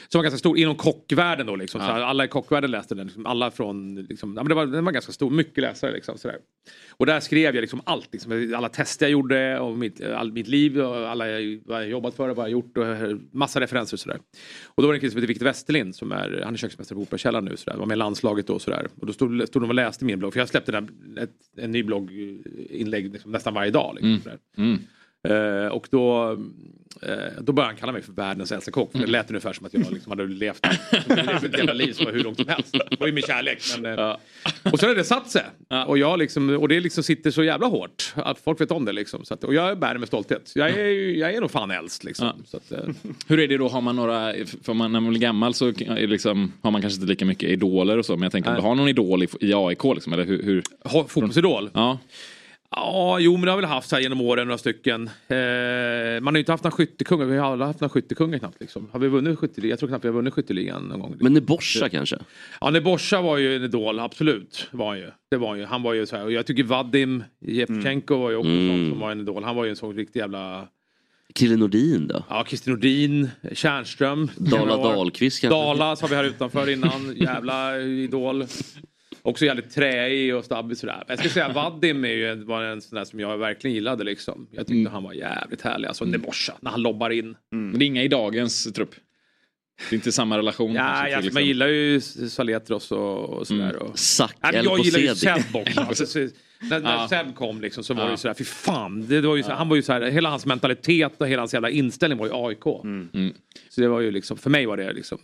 [SPEAKER 6] Som var ganska stor inom kockvärlden då. Liksom. Så
[SPEAKER 1] Ja.
[SPEAKER 6] här, alla i kockvärlden läste den. Liksom, alla från... Liksom, ja, men det var, den var ganska stor. Mycket läsare. Liksom, så där. Och där skrev jag liksom allt. Liksom, alla tester jag gjorde och mitt, all, mitt liv. Och alla jag, vad jag jobbat för och vad jag gjort. Och eh, massa referenser och sådär. Och då var det en kille som heter Victor Westerlind som är, han är köksmästare på Operakällaren nu. Sådär, var med i landslaget då och sådär. Och då stod, stod de och läste min blogg. För jag släppte den, ett, en ny blogginlägg liksom, nästan varje dag. Liksom,
[SPEAKER 1] Mm.
[SPEAKER 6] sådär.
[SPEAKER 1] Mm.
[SPEAKER 6] Eh, och då, eh, då började han kalla mig för världens äldsta kock. För det lät ungefär som att jag liksom hade levt ett jävla liv som var hur långt som helst. Det var ju min kärlek. Men, eh, Och sen har det satt sig. Och, jag liksom, och det liksom sitter så jävla hårt. Att folk vet om det liksom. Så att, och jag bär det med stolthet. Jag är, ju- jag är nog fan äldst liksom.
[SPEAKER 1] Ja.
[SPEAKER 6] Så att, eh,
[SPEAKER 1] Hur är det då, har man några, för man, när man blir gammal så är det liksom, har man kanske inte lika mycket idoler och så. Men jag tänker om
[SPEAKER 6] Nej.
[SPEAKER 1] du har någon idol i, i AIK liksom, eller hur? hur?
[SPEAKER 6] ho- fotbollsidol.
[SPEAKER 1] Ja.
[SPEAKER 6] Ja, jo men det har jag väl haft så här genom åren några stycken. Eh, man har ju inte haft några skyttekungar. Vi har alla haft några skyttekungar knappt liksom. Har vi vunnit skytteligan? Jag tror knappt vi har vunnit skytteligan någon gång.
[SPEAKER 5] Men Neboscha kanske?
[SPEAKER 6] Ja, Nebojsa var ju en idol, absolut. Var han, ju. Det var han ju. han var ju så här, och jag tycker Vadim Jevtjenko var ju också en sån
[SPEAKER 5] Mm.
[SPEAKER 6] som var en idol. Han var ju en sån riktig jävla...
[SPEAKER 5] Krille Nordin då?
[SPEAKER 6] Ja, Christer Nordin, Tjärnström.
[SPEAKER 5] Dala
[SPEAKER 6] Några år.
[SPEAKER 5] Dahlqvist kanske?
[SPEAKER 6] Dala sa vi här utanför
[SPEAKER 5] <laughs>
[SPEAKER 6] innan, jävla idol. Också jävligt träig och stabbig sådär. Men Jag ska säga Vadim är ju en, var en sån där som jag verkligen gillade liksom. Jag tyckte
[SPEAKER 5] Mm.
[SPEAKER 6] han var jävligt härlig. Alltså Nebojsa, när han lobbar in.
[SPEAKER 1] Men det är inga i dagens trupp. Det är inte samma relation. kanske
[SPEAKER 6] Ja,
[SPEAKER 1] till, Mm.
[SPEAKER 6] jag,
[SPEAKER 1] liksom.
[SPEAKER 6] man gillar ju Saletros och, och sådär. Och...
[SPEAKER 5] Zack
[SPEAKER 6] Nej, men jag gillar ju
[SPEAKER 5] Elkosedi?
[SPEAKER 6] Seb
[SPEAKER 1] <laughs>
[SPEAKER 5] <laughs>
[SPEAKER 6] också. Alltså, så- när när
[SPEAKER 1] Ja.
[SPEAKER 6] Seb kom liksom så var
[SPEAKER 1] Ja.
[SPEAKER 6] det ju sådär, fy fan. Det var ju så, Han var ju såhär, hela hans mentalitet och hela hans jävla inställning var ju AIK.
[SPEAKER 1] Mm.
[SPEAKER 6] Så det var ju liksom, för mig var det liksom,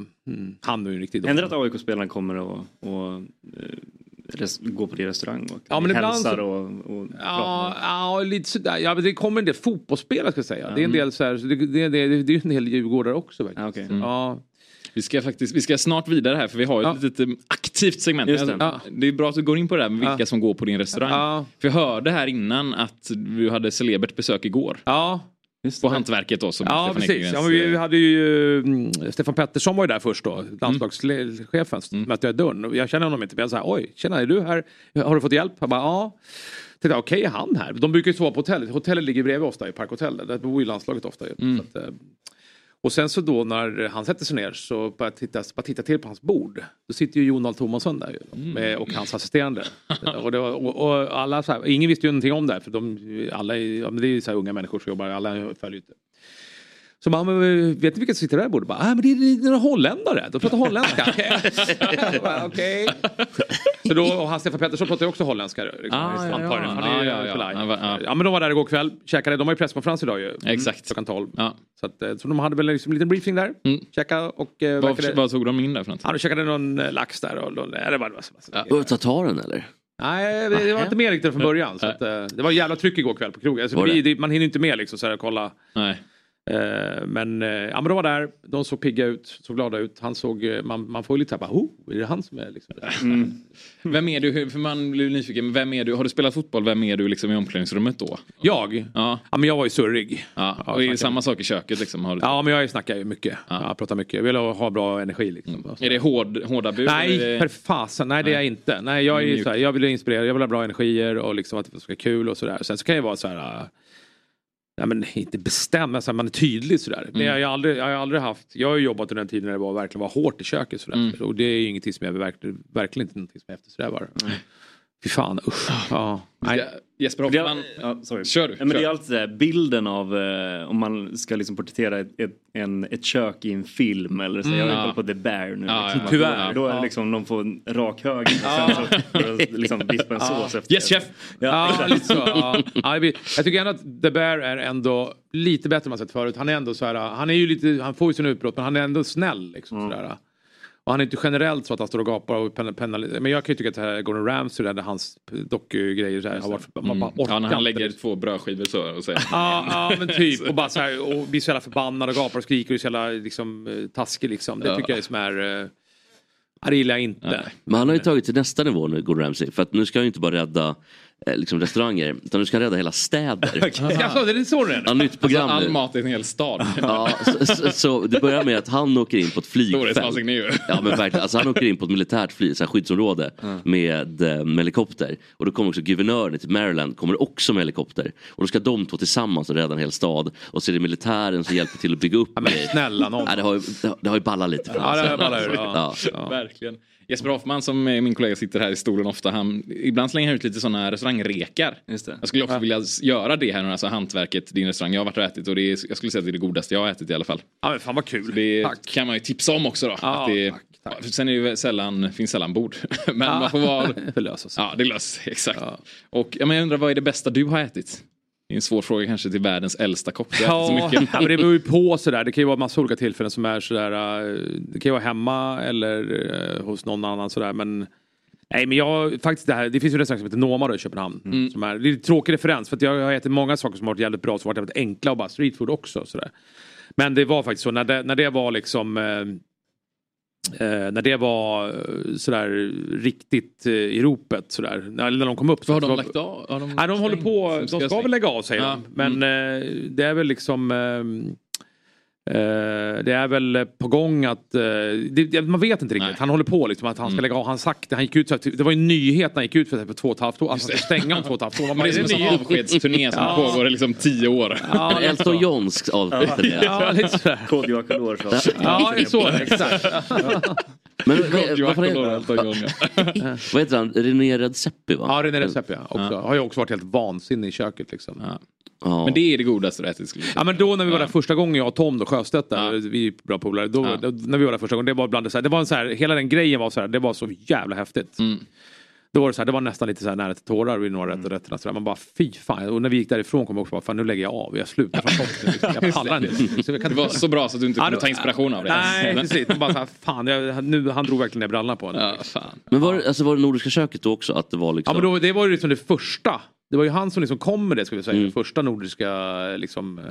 [SPEAKER 6] han var ju en riktig
[SPEAKER 2] Händer det
[SPEAKER 6] idol.
[SPEAKER 2] att AIK-spelarna kommer och, och eh, res, går på din restaurang och
[SPEAKER 6] Ja, men ibland
[SPEAKER 2] hälsar
[SPEAKER 6] så-
[SPEAKER 2] och, och pratar?
[SPEAKER 6] Ja, ja, lite sådär. Ja, men det kommer en del fotbollsspelare ska jag säga.
[SPEAKER 2] Mm.
[SPEAKER 1] Mm.
[SPEAKER 6] Det är en del så här, så det, det, det, det är ju en del djurgårdare också. Verkligen.
[SPEAKER 2] Ah, okej.
[SPEAKER 6] Ja.
[SPEAKER 1] Mm. Vi ska faktiskt, vi ska snart vidare här för vi har ju ett litet eh, aktivt segment.
[SPEAKER 2] Just det.
[SPEAKER 1] Ja. det är bra att du går in på det här med vilka som går på din restaurang.
[SPEAKER 6] Ja.
[SPEAKER 1] För jag hörde här innan att du hade celebert besök igår.
[SPEAKER 6] ja.
[SPEAKER 1] På Hantverket då som
[SPEAKER 6] Ja,
[SPEAKER 1] Stefan
[SPEAKER 6] precis.
[SPEAKER 1] Ekengrens,
[SPEAKER 6] Ja, men vi
[SPEAKER 1] eh,
[SPEAKER 6] vi hade ju, mm, Stefan Pettersson var ju där först då,
[SPEAKER 2] Mm.
[SPEAKER 6] landslagschefen. Mm. Mötte jag i dörren och jag känner honom inte. Men jag sa oj, tjena är du här? Har du fått hjälp? Han bara ja. Tänkte okej, är han här? De brukar ju sova på hotellet. Hotellet ligger bredvid oss där i Parkhotellet. Där bor ju landslaget ofta. ju.
[SPEAKER 2] Mm.
[SPEAKER 6] Så att, eh, och sen så då när han sätter sig ner så börjar jag titta, bara titta till på hans bord. Då sitter ju Jonald Thomasson där ju, med, och hans assisterande. och, det var, och, och alla så här, ingen visste ju någonting om det här för de, alla, är- ja, men det är ju så här unga människor som jobbar, alla följer ju inte. Så man, men, vet ni vilka som sitter där i bordet? Bara, ah, men det är några holländare, de pratar holländska. <laughs> Jag bara, Okej. Så då, och han Stefan Pettersson pratar ju också holländska. Liksom,
[SPEAKER 1] Ah, ja,
[SPEAKER 6] antagligen, för
[SPEAKER 1] ja.
[SPEAKER 6] Han är ju
[SPEAKER 1] Ah, ja, ja.
[SPEAKER 6] polack.
[SPEAKER 1] Han var- ja.
[SPEAKER 6] Ja men de var där igår kväll, käkade, de har ju presskonferens idag ju.
[SPEAKER 1] Exakt.
[SPEAKER 6] Klockan 12.
[SPEAKER 1] Ja.
[SPEAKER 6] Så, att, eh, så de hade väl liksom en liten briefing där.
[SPEAKER 1] Mm.
[SPEAKER 6] Käka och... Eh,
[SPEAKER 1] Vad,
[SPEAKER 6] verkade,
[SPEAKER 1] vad tog de in där för något?
[SPEAKER 6] ja, de käkade någon eh, lax där och... och nej, det var, det var, så- så-
[SPEAKER 5] Var det tataren eller?
[SPEAKER 6] Nej, det, det var inte med riktigt från början. Så att, eh, det var jävla tryck igår kväll på krogen. Alltså,
[SPEAKER 5] Var
[SPEAKER 6] det?
[SPEAKER 5] det?
[SPEAKER 6] blir- det, man hinner inte med liksom så här, kolla.
[SPEAKER 1] Nej.
[SPEAKER 6] Eh, men, eh, ja, men de var där, de såg pigga ut, såg glada ut. Han såg, eh, man, man får ju lite såhär, oh, är det han som är liksom där?
[SPEAKER 1] <laughs> Vem är du? Hur- För man blir nyfiken. men Vem är du? Har du spelat fotboll? Vem är du liksom i omklädningsrummet då?
[SPEAKER 6] Jag?
[SPEAKER 1] Ja.
[SPEAKER 6] Ja, men jag var ju surrig.
[SPEAKER 1] ja.
[SPEAKER 6] Ja,
[SPEAKER 1] Och är det
[SPEAKER 6] snackar.
[SPEAKER 1] samma sak i köket liksom? Har du...
[SPEAKER 6] Ja, men jag snackar ju mycket.
[SPEAKER 1] Ja.
[SPEAKER 6] Jag pratar mycket. Jag vill ha, ha bra energi liksom.
[SPEAKER 1] Mm. Är det hård, hårda bud? eller
[SPEAKER 6] Nej,
[SPEAKER 1] är
[SPEAKER 6] för
[SPEAKER 1] det...
[SPEAKER 6] fasen. Nej, det är jag inte. Nej, jag, är ju
[SPEAKER 1] Mjuk.
[SPEAKER 6] så här, jag vill inspirera, jag vill ha bra energier och liksom att det ska vara kul och sådär. Sen så kan jag vara så här... äh, Nej, men inte bestämd, men så här, alltså, man är tydlig sådär.
[SPEAKER 1] Mm.
[SPEAKER 6] Men
[SPEAKER 2] Mm.
[SPEAKER 6] jag, har ju aldrig, jag har ju aldrig haft... Jag har ju jobbat under den tiden när det var, verkligen var hårt i köket sådär.
[SPEAKER 2] Mm.
[SPEAKER 6] Och det är ju ingenting som jag verkligen, verkligen inte någonting som jag eftersträvar. Fy fan, usch. Ja. Nej.
[SPEAKER 1] Ja, Jesper
[SPEAKER 2] Det är,
[SPEAKER 1] Hoffman.
[SPEAKER 2] ja, sorry.
[SPEAKER 1] Kör du,
[SPEAKER 2] Ja, men
[SPEAKER 1] kör.
[SPEAKER 2] Det är alltid det här, bilden av eh, om man ska liksom porträttera ett, ett, en, ett kök i en film eller så. jag har ju
[SPEAKER 1] Mm. ja.
[SPEAKER 2] kollat på The Bear nu.
[SPEAKER 1] Ja,
[SPEAKER 2] liksom,
[SPEAKER 1] ja.
[SPEAKER 6] Tyvärr.
[SPEAKER 2] Då, då är det liksom någon får en rak höger och sen så får de liksom vispa en sås efter.
[SPEAKER 1] Yes chef!
[SPEAKER 2] Ja,
[SPEAKER 6] Ja, lite så. Ja. Ja, jag vet. jag tycker ändå att The Bear är ändå lite bättre än man sett förut. Han är ändå så här, han är ju lite, han får ju sina utbrott men han är ändå snäll liksom
[SPEAKER 2] Mm.
[SPEAKER 6] sådär. Och han är inte generellt så att han står och gapar och penna, penna, Men jag kan ju tycka att det här Gordon Ramsay där, där hans dokugrejer så här, har varit, man bara orkar
[SPEAKER 1] Mm. Ja, när han
[SPEAKER 6] inte,
[SPEAKER 1] lägger
[SPEAKER 6] liksom.
[SPEAKER 1] två brödskivor så och säger
[SPEAKER 6] Ja, <laughs> ja men typ. Och bara så här, och blir så jävla förbannad och gapar och skriker och är så jävla liksom, eh, taskig liksom. Det tycker jag är som är... eh, ja, Det gillar jag inte.
[SPEAKER 5] Men han har ju tagit till nästa nivå nu, Gordon Ramsay. För att nu ska han ju inte bara rädda eh, liksom restauranger. Utan du ska rädda
[SPEAKER 6] <laughs>
[SPEAKER 5] hela städer.
[SPEAKER 6] Jaså, det är så det är?
[SPEAKER 5] Ja, nytt program
[SPEAKER 1] alltså,
[SPEAKER 5] nu.
[SPEAKER 1] all mat i en hel stad.
[SPEAKER 5] Ja, så, så, så det börjar med att han åker in på ett flygfält.
[SPEAKER 1] Storhetsvansinne ju.
[SPEAKER 5] Ja men verkligen. Alltså han åker in på ett militärt flyg, så här skyddsområde
[SPEAKER 1] Ja.
[SPEAKER 5] med, eh, med helikopter. Och då kommer också guvernören till Maryland, kommer också med helikopter. Och då ska de två tillsammans och rädda en hel stad. Och så är det militären som hjälper till att bygga upp. Ja, men
[SPEAKER 6] snälla någon.
[SPEAKER 5] Ja, det, har ju, det, har, det har ju ballat lite. för
[SPEAKER 1] Ja, det har
[SPEAKER 5] honom.
[SPEAKER 6] <laughs>
[SPEAKER 1] ballat ur, ja. Verkligen. Jesper Hoffman som är min kollega sitter här i stolen ofta. Han, ibland slänger han ut lite sådana restaurangrekar. Jag skulle också
[SPEAKER 6] Ja.
[SPEAKER 1] vilja s- göra det här nu, alltså hantverket, din restaurang. Jag har varit och ätit och det är, jag skulle säga att det är det godaste jag har ätit i alla fall.
[SPEAKER 6] Ja, men fan vad kul.
[SPEAKER 1] Det kan man ju tipsa om också då.
[SPEAKER 6] Ja,
[SPEAKER 1] att det, för Sen är det ju sällan, finns sällan bord. <laughs> Men
[SPEAKER 6] Ja.
[SPEAKER 1] man får vara...
[SPEAKER 6] <laughs> Det löser sig.
[SPEAKER 1] Ja, det löser sig. Exakt. Och ja, men jag undrar, vad är det bästa du har ätit? Det är en svår fråga kanske till världens äldsta kock. Du har
[SPEAKER 6] Ja,
[SPEAKER 1] ätit så
[SPEAKER 6] <laughs> ja,
[SPEAKER 1] mycket.
[SPEAKER 6] men det beror ju på sådär. Det kan ju vara massa olika tillfällen som är sådär. eh, Det kan ju vara hemma eller eh, hos någon annan sådär. Men nej, men jag faktiskt det här. Det finns ju en restaurang som heter Noma då i Köpenhamn.
[SPEAKER 1] Mm.
[SPEAKER 6] Som är, det är en tråkig referens för att jag har ätit många saker som har varit jävligt bra som har varit jävligt enkla och bara streetfood också sådär. Men det var faktiskt så när det, när det var liksom eh, eh, när det var eh, sådär riktigt eh, i ropet sådär. När, när de kom upp. Så
[SPEAKER 1] Har
[SPEAKER 6] så
[SPEAKER 1] de
[SPEAKER 6] var-
[SPEAKER 1] lagt av? Har
[SPEAKER 6] Nej, de håller
[SPEAKER 1] stängt?
[SPEAKER 6] på.
[SPEAKER 1] Ska
[SPEAKER 6] De
[SPEAKER 1] jag
[SPEAKER 6] ska
[SPEAKER 1] säga?
[SPEAKER 6] väl lägga av säger
[SPEAKER 1] Ja, Mm.
[SPEAKER 6] de. Men eh, det är väl liksom... ehm, eh, det är väl på gång att... eh, det, det- man vet inte riktigt. Han håller på liksom att han
[SPEAKER 1] Mm.
[SPEAKER 6] ska lägga av. Han sagt, han gick ut, så här- typ, det var ju en nyhet när han gick ut för, typ två och ett halvt år. Alltså, han ska stänga om två och ett halvt år. Man
[SPEAKER 1] Men
[SPEAKER 6] bara,
[SPEAKER 1] det är som en
[SPEAKER 6] det
[SPEAKER 1] sån avskedsturné som
[SPEAKER 6] Ja.
[SPEAKER 1] pågår i liksom tio år.
[SPEAKER 6] Ja, En Elton nästan.
[SPEAKER 5] Johns <laughs>
[SPEAKER 6] Ja, lite sådär. Ja, så är det, exakt.
[SPEAKER 5] Men,
[SPEAKER 6] Gott,
[SPEAKER 5] vad,
[SPEAKER 6] Joakim
[SPEAKER 5] vad,
[SPEAKER 6] Lorentzon,
[SPEAKER 5] vad, <laughs> vad heter han? René Redzepi va?
[SPEAKER 6] Ja, René Redzepi ja. Också. Har ju också varit helt vansinnig i köket liksom.
[SPEAKER 5] Ja.
[SPEAKER 1] Men det är det godaste du ätit skulle jag säga.
[SPEAKER 6] Ja men då när vi var där första gången jag och Tom då, Sjöstedt där, vi är bra polare. Då, då, när vi var där första gången, det var bland det så här, det var en så här, hela den grejen var så här, det var så jävla häftigt.
[SPEAKER 1] Mm.
[SPEAKER 6] Då var det så här, det var nästan lite så här nära till tårar vid några rätt och rätterna. Så där. Man bara fy fan. Och när vi gick därifrån kom jag också bara, fan nu lägger jag av, jag slutar från toppen. Liksom. Jag pallar
[SPEAKER 1] <laughs>
[SPEAKER 6] inte. Så jag kan
[SPEAKER 1] Det
[SPEAKER 6] inte-
[SPEAKER 1] var så bra så att du inte kunde ta inspiration av det.
[SPEAKER 6] Nej precis, Man bara så här, fan jag, nu, han drog verkligen ner brallorna på en. Ja,
[SPEAKER 5] Men var, det- alltså, var det Nordiska köket då också? Att det var liksom...
[SPEAKER 6] men då, det var ju liksom det första. Det var ju han som liksom kom med det skulle jag säga,
[SPEAKER 5] Mm.
[SPEAKER 6] den första nordiska liksom eh,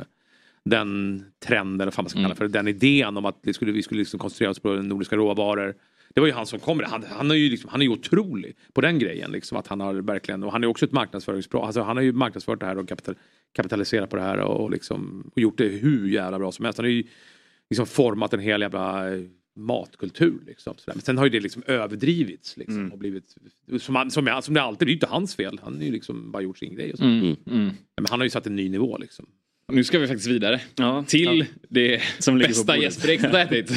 [SPEAKER 6] den trenden, eller vad fan man ska
[SPEAKER 5] Mm.
[SPEAKER 6] kalla det för, den idén om att vi skulle, vi skulle liksom koncentrera oss på nordiska råvaror. Det var ju han som kom med det. Han, han är ju liksom, han är ju otrolig på den grejen. Liksom, att han har verkligen, och han är också ett marknadsföringsbra. Alltså, han har ju marknadsfört det här och kapital, kapitaliserat på det här och, och, liksom, och gjort det hur jävla bra som helst. Han har ju liksom format en hel jävla eh, matkultur. Liksom, sådär. Men sen har ju det liksom överdrivits. Liksom,
[SPEAKER 1] Mm.
[SPEAKER 6] och blivit, som, han, som, jag- som det alltid, det är ju inte hans fel. Han har ju liksom bara gjort sin grej. Och så.
[SPEAKER 1] Mm, mm.
[SPEAKER 6] Men han har ju satt en ny nivå liksom.
[SPEAKER 1] Nu ska vi faktiskt vidare. Till det
[SPEAKER 6] Som ligger på
[SPEAKER 1] bästa
[SPEAKER 6] bordet.
[SPEAKER 1] Jesper Ekstedt har ätit.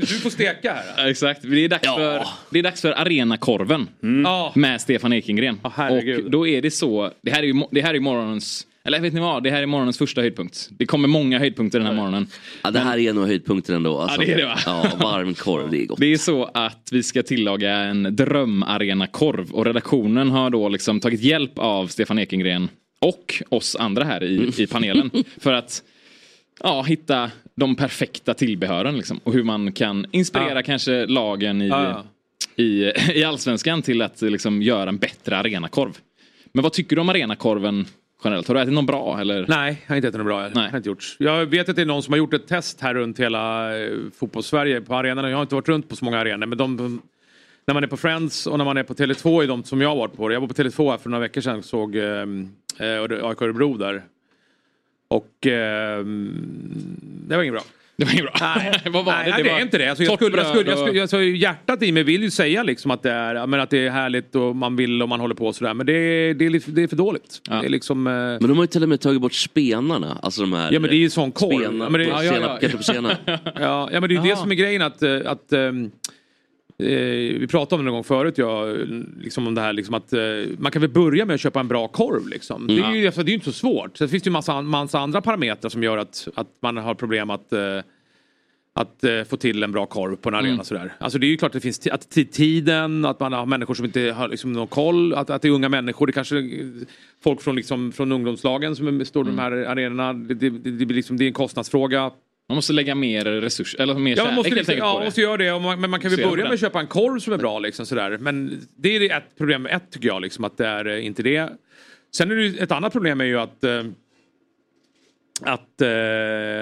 [SPEAKER 6] <laughs> du får steka här.
[SPEAKER 1] Ja, Exakt, det är dags för, det är dags för Arenakorven
[SPEAKER 6] Mm.
[SPEAKER 1] med Stefan Ekengren. och då är det så, det här är ju, mo- det här är ju morgonens, eller vet ni vad, det här är morgonens första höjdpunkt. Det kommer många höjdpunkter den här morgonen.
[SPEAKER 5] Ja, det här är nog höjdpunkten ändå. Alltså.
[SPEAKER 1] Ja, det är det, va?
[SPEAKER 5] Ja, varm korv, det är gott.
[SPEAKER 1] Det är så att vi ska tillaga en drömarenakorv och redaktionen har då liksom tagit hjälp av Stefan Ekengren och oss andra här i, i
[SPEAKER 5] <laughs>
[SPEAKER 1] panelen för att ja, hitta de perfekta tillbehören liksom, och hur man kan inspirera kanske lagen i,
[SPEAKER 6] Ja, ja.
[SPEAKER 1] i, i allsvenskan till att liksom, göra en bättre arenakorv. Men vad tycker du om arenakorven generellt? Har du ätit någon bra? Eller?
[SPEAKER 6] Nej, jag har inte ätit någon bra. Jag har inte
[SPEAKER 1] <laughs>
[SPEAKER 6] gjort. Jag vet att det är någon som har gjort ett test här runt hela eh, fotbollssverige på arenorna. Jag har inte varit runt på så många arenor men de, de, när man är på Friends och när man är på Tele2 är de som jag har varit på. Jag var på Tele2 här för några veckor sedan och såg eh, eh, Öre- AIK Örebro där. Och eh, det var inget bra.
[SPEAKER 1] Det var inget bra.
[SPEAKER 6] Nej,
[SPEAKER 1] Vad var
[SPEAKER 6] nej,
[SPEAKER 1] det?
[SPEAKER 6] nej,
[SPEAKER 1] Det
[SPEAKER 6] det,
[SPEAKER 1] var
[SPEAKER 6] är inte det. Alltså, jag
[SPEAKER 1] torrt
[SPEAKER 6] skulle, jag
[SPEAKER 1] bröd
[SPEAKER 6] skulle, jag
[SPEAKER 1] och-
[SPEAKER 6] skulle, alltså, hjärtat i mig vill ju säga liksom att, det är, ja, men att det är härligt och man vill och man håller på och sådär. Men det, är- det, är, lite- det är för dåligt. Det är liksom, eh,
[SPEAKER 5] Men de har ju till och med tagit bort spenarna. Alltså de här...
[SPEAKER 6] Ja men det är ju sån korv.
[SPEAKER 5] Spenap,
[SPEAKER 6] men det,
[SPEAKER 5] senap, ketchupsenap.
[SPEAKER 6] <laughs> ja, ja men det är ju det som är grejen att, eh, att ehm, eh, vi pratade om det någon gång förut, ja, liksom om det här liksom att eh, man kan väl börja med att köpa en bra korv liksom. Det, är ju, alltså, det är ju inte så svårt. Sen finns det ju massa, massa andra parametrar som gör att, att man har problem att eh, att eh, få till en bra korv på en arena
[SPEAKER 1] Mm.
[SPEAKER 6] sådär. Alltså det är ju klart att det finns ti- att ti- tiden, att man har människor som inte har liksom, någon koll, att, att det är unga människor, det kanske är folk från, liksom, från ungdomslagen som är- står i de här arenorna. Det, det, det, det, blir liksom, det är en kostnadsfråga.
[SPEAKER 1] Man måste lägga mer resurser, eller
[SPEAKER 6] Ja, man
[SPEAKER 1] mer kärlek
[SPEAKER 6] måste,
[SPEAKER 1] helt
[SPEAKER 6] liksom,
[SPEAKER 1] enkelt på
[SPEAKER 6] ja,
[SPEAKER 1] det.
[SPEAKER 6] måste göra det. Och man, men man kan väl
[SPEAKER 1] Ser på
[SPEAKER 6] börja med
[SPEAKER 1] den.
[SPEAKER 6] att köpa en korv som är bra. Liksom, sådär. Men det är det ett problem med ett tycker jag. Liksom, att det är eh, inte det. Sen är det ju, ett annat problem är ju att, eh, att eh,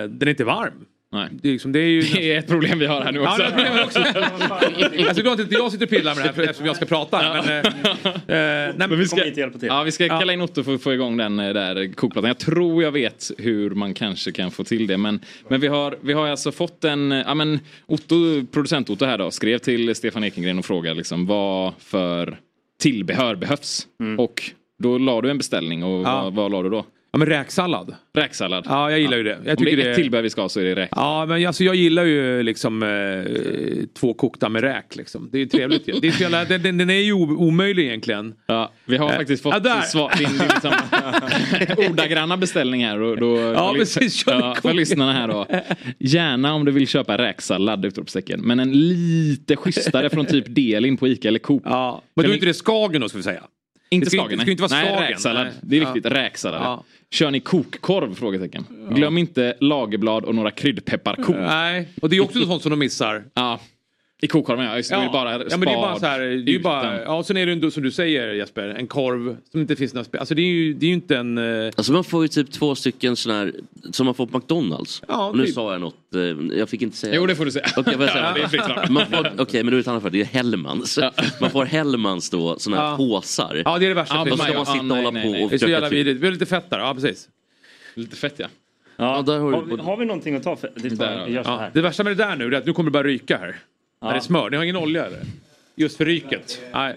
[SPEAKER 6] den är inte varm.
[SPEAKER 1] Nej.
[SPEAKER 6] Det, är liksom, det är ju...
[SPEAKER 1] <laughs> Det är ett problem vi har här nu också.
[SPEAKER 6] Ja, det är ett problem också. <laughs> alltså, jag är glad att inte jag sitter och pillar med det här för- eftersom jag ska prata. Men, eh, nej,
[SPEAKER 1] vi
[SPEAKER 6] kom hit och hjälpa till.
[SPEAKER 1] Ja, vi ska kalla in Otto för att få igång den eh, där kokplattan. Jag tror jag vet hur man kanske kan få till det. Men, men vi, har, vi har alltså fått en... eh, Ja, men Otto, producent Otto här då, skrev till Stefan Ekengren och frågade liksom, vad för tillbehör behövs? Och då la du en beställning och vad, vad la du då?
[SPEAKER 6] Mm. Ja, men räksallad.
[SPEAKER 1] Räksallad.
[SPEAKER 6] Ja, jag gillar ju det. Jag
[SPEAKER 1] Om det
[SPEAKER 6] tycker
[SPEAKER 1] är ett
[SPEAKER 6] det-
[SPEAKER 1] tillbehör vi ska ha så är det räk.
[SPEAKER 6] Ja, men alltså, jag gillar ju liksom eh, två kokta med räk. Liksom. Det är ju trevligt. ju. det är
[SPEAKER 1] <laughs>
[SPEAKER 6] så jävla, den, den, den är ju o- omöjlig egentligen.
[SPEAKER 1] Ja, vi har
[SPEAKER 6] Eh,
[SPEAKER 1] faktiskt fått
[SPEAKER 6] ja, där. <laughs>
[SPEAKER 1] svar, din, din liksom, ordagranna beställning här. Och då,
[SPEAKER 6] Ja,
[SPEAKER 1] för,
[SPEAKER 6] precis, kör
[SPEAKER 1] ja,
[SPEAKER 6] igång.
[SPEAKER 1] för lyssnarna här då. Gärna om du vill köpa räksallad, utropstecken. Men en lite schysstare från typ Delin på Ica eller Coop.
[SPEAKER 6] Ja, Men då är inte det Skagen då ska vi säga.
[SPEAKER 1] Inte
[SPEAKER 6] det ska
[SPEAKER 1] Skagen,
[SPEAKER 6] inte- det ska inte vara
[SPEAKER 1] nej. Nej,
[SPEAKER 6] Skagen,
[SPEAKER 1] räksallad.
[SPEAKER 6] nej.
[SPEAKER 1] Det är
[SPEAKER 6] Ja.
[SPEAKER 1] viktigt. Räksallad.
[SPEAKER 6] Ja.
[SPEAKER 1] Kör ni kokkorv? Frågetecken. Glöm inte lagerblad och några kryddpepparkorn.
[SPEAKER 6] Nej, och det är också sånt som de missar.
[SPEAKER 1] Ja. I kokkorven ja, just det. Då är det bara
[SPEAKER 6] ja, men det är bara
[SPEAKER 1] spad
[SPEAKER 6] så här, det är ju bara,
[SPEAKER 1] utan-
[SPEAKER 6] ja, sen är det ju ändå som du säger Jesper, en korv som inte finns några spel. Alltså det är ju, det är ju inte en... eh,
[SPEAKER 5] Alltså man får ju typ två stycken sådana här som man får på McDonalds.
[SPEAKER 6] Ja,
[SPEAKER 5] nu
[SPEAKER 6] typ.
[SPEAKER 5] sa jag något, eh, jag fick inte säga.
[SPEAKER 1] Jo, det får du säga.
[SPEAKER 5] Okej, får jag säga
[SPEAKER 1] Ja, det är fritt fram.
[SPEAKER 5] Man får- Okej, men då är det ett annat för det är Hellmans. Man får Hellmans då, sådana här
[SPEAKER 6] Ja.
[SPEAKER 5] påsar.
[SPEAKER 6] Ja, det är det värsta.
[SPEAKER 5] Ja,
[SPEAKER 6] för
[SPEAKER 5] då
[SPEAKER 6] mig.
[SPEAKER 5] ska man sitta
[SPEAKER 1] Ja,
[SPEAKER 5] och
[SPEAKER 1] nej,
[SPEAKER 5] hålla
[SPEAKER 1] nej,
[SPEAKER 5] på
[SPEAKER 1] nej.
[SPEAKER 5] och
[SPEAKER 6] det är så jävla
[SPEAKER 5] försöka... typ-
[SPEAKER 6] vidrigt. Vi har lite fett där, ja precis.
[SPEAKER 1] Lite fett ja.
[SPEAKER 5] Ja, där har
[SPEAKER 2] Har
[SPEAKER 5] du...
[SPEAKER 2] vi, har vi någonting att ta för? Det tar,
[SPEAKER 1] Där har
[SPEAKER 2] jag
[SPEAKER 1] vi.
[SPEAKER 2] gör så
[SPEAKER 6] Ja.
[SPEAKER 2] här.
[SPEAKER 6] Det värsta med det där nu det är att nu kommer det börja ryka här. När det är smör. Ni har ingen olja eller? Just för ryket? Nej.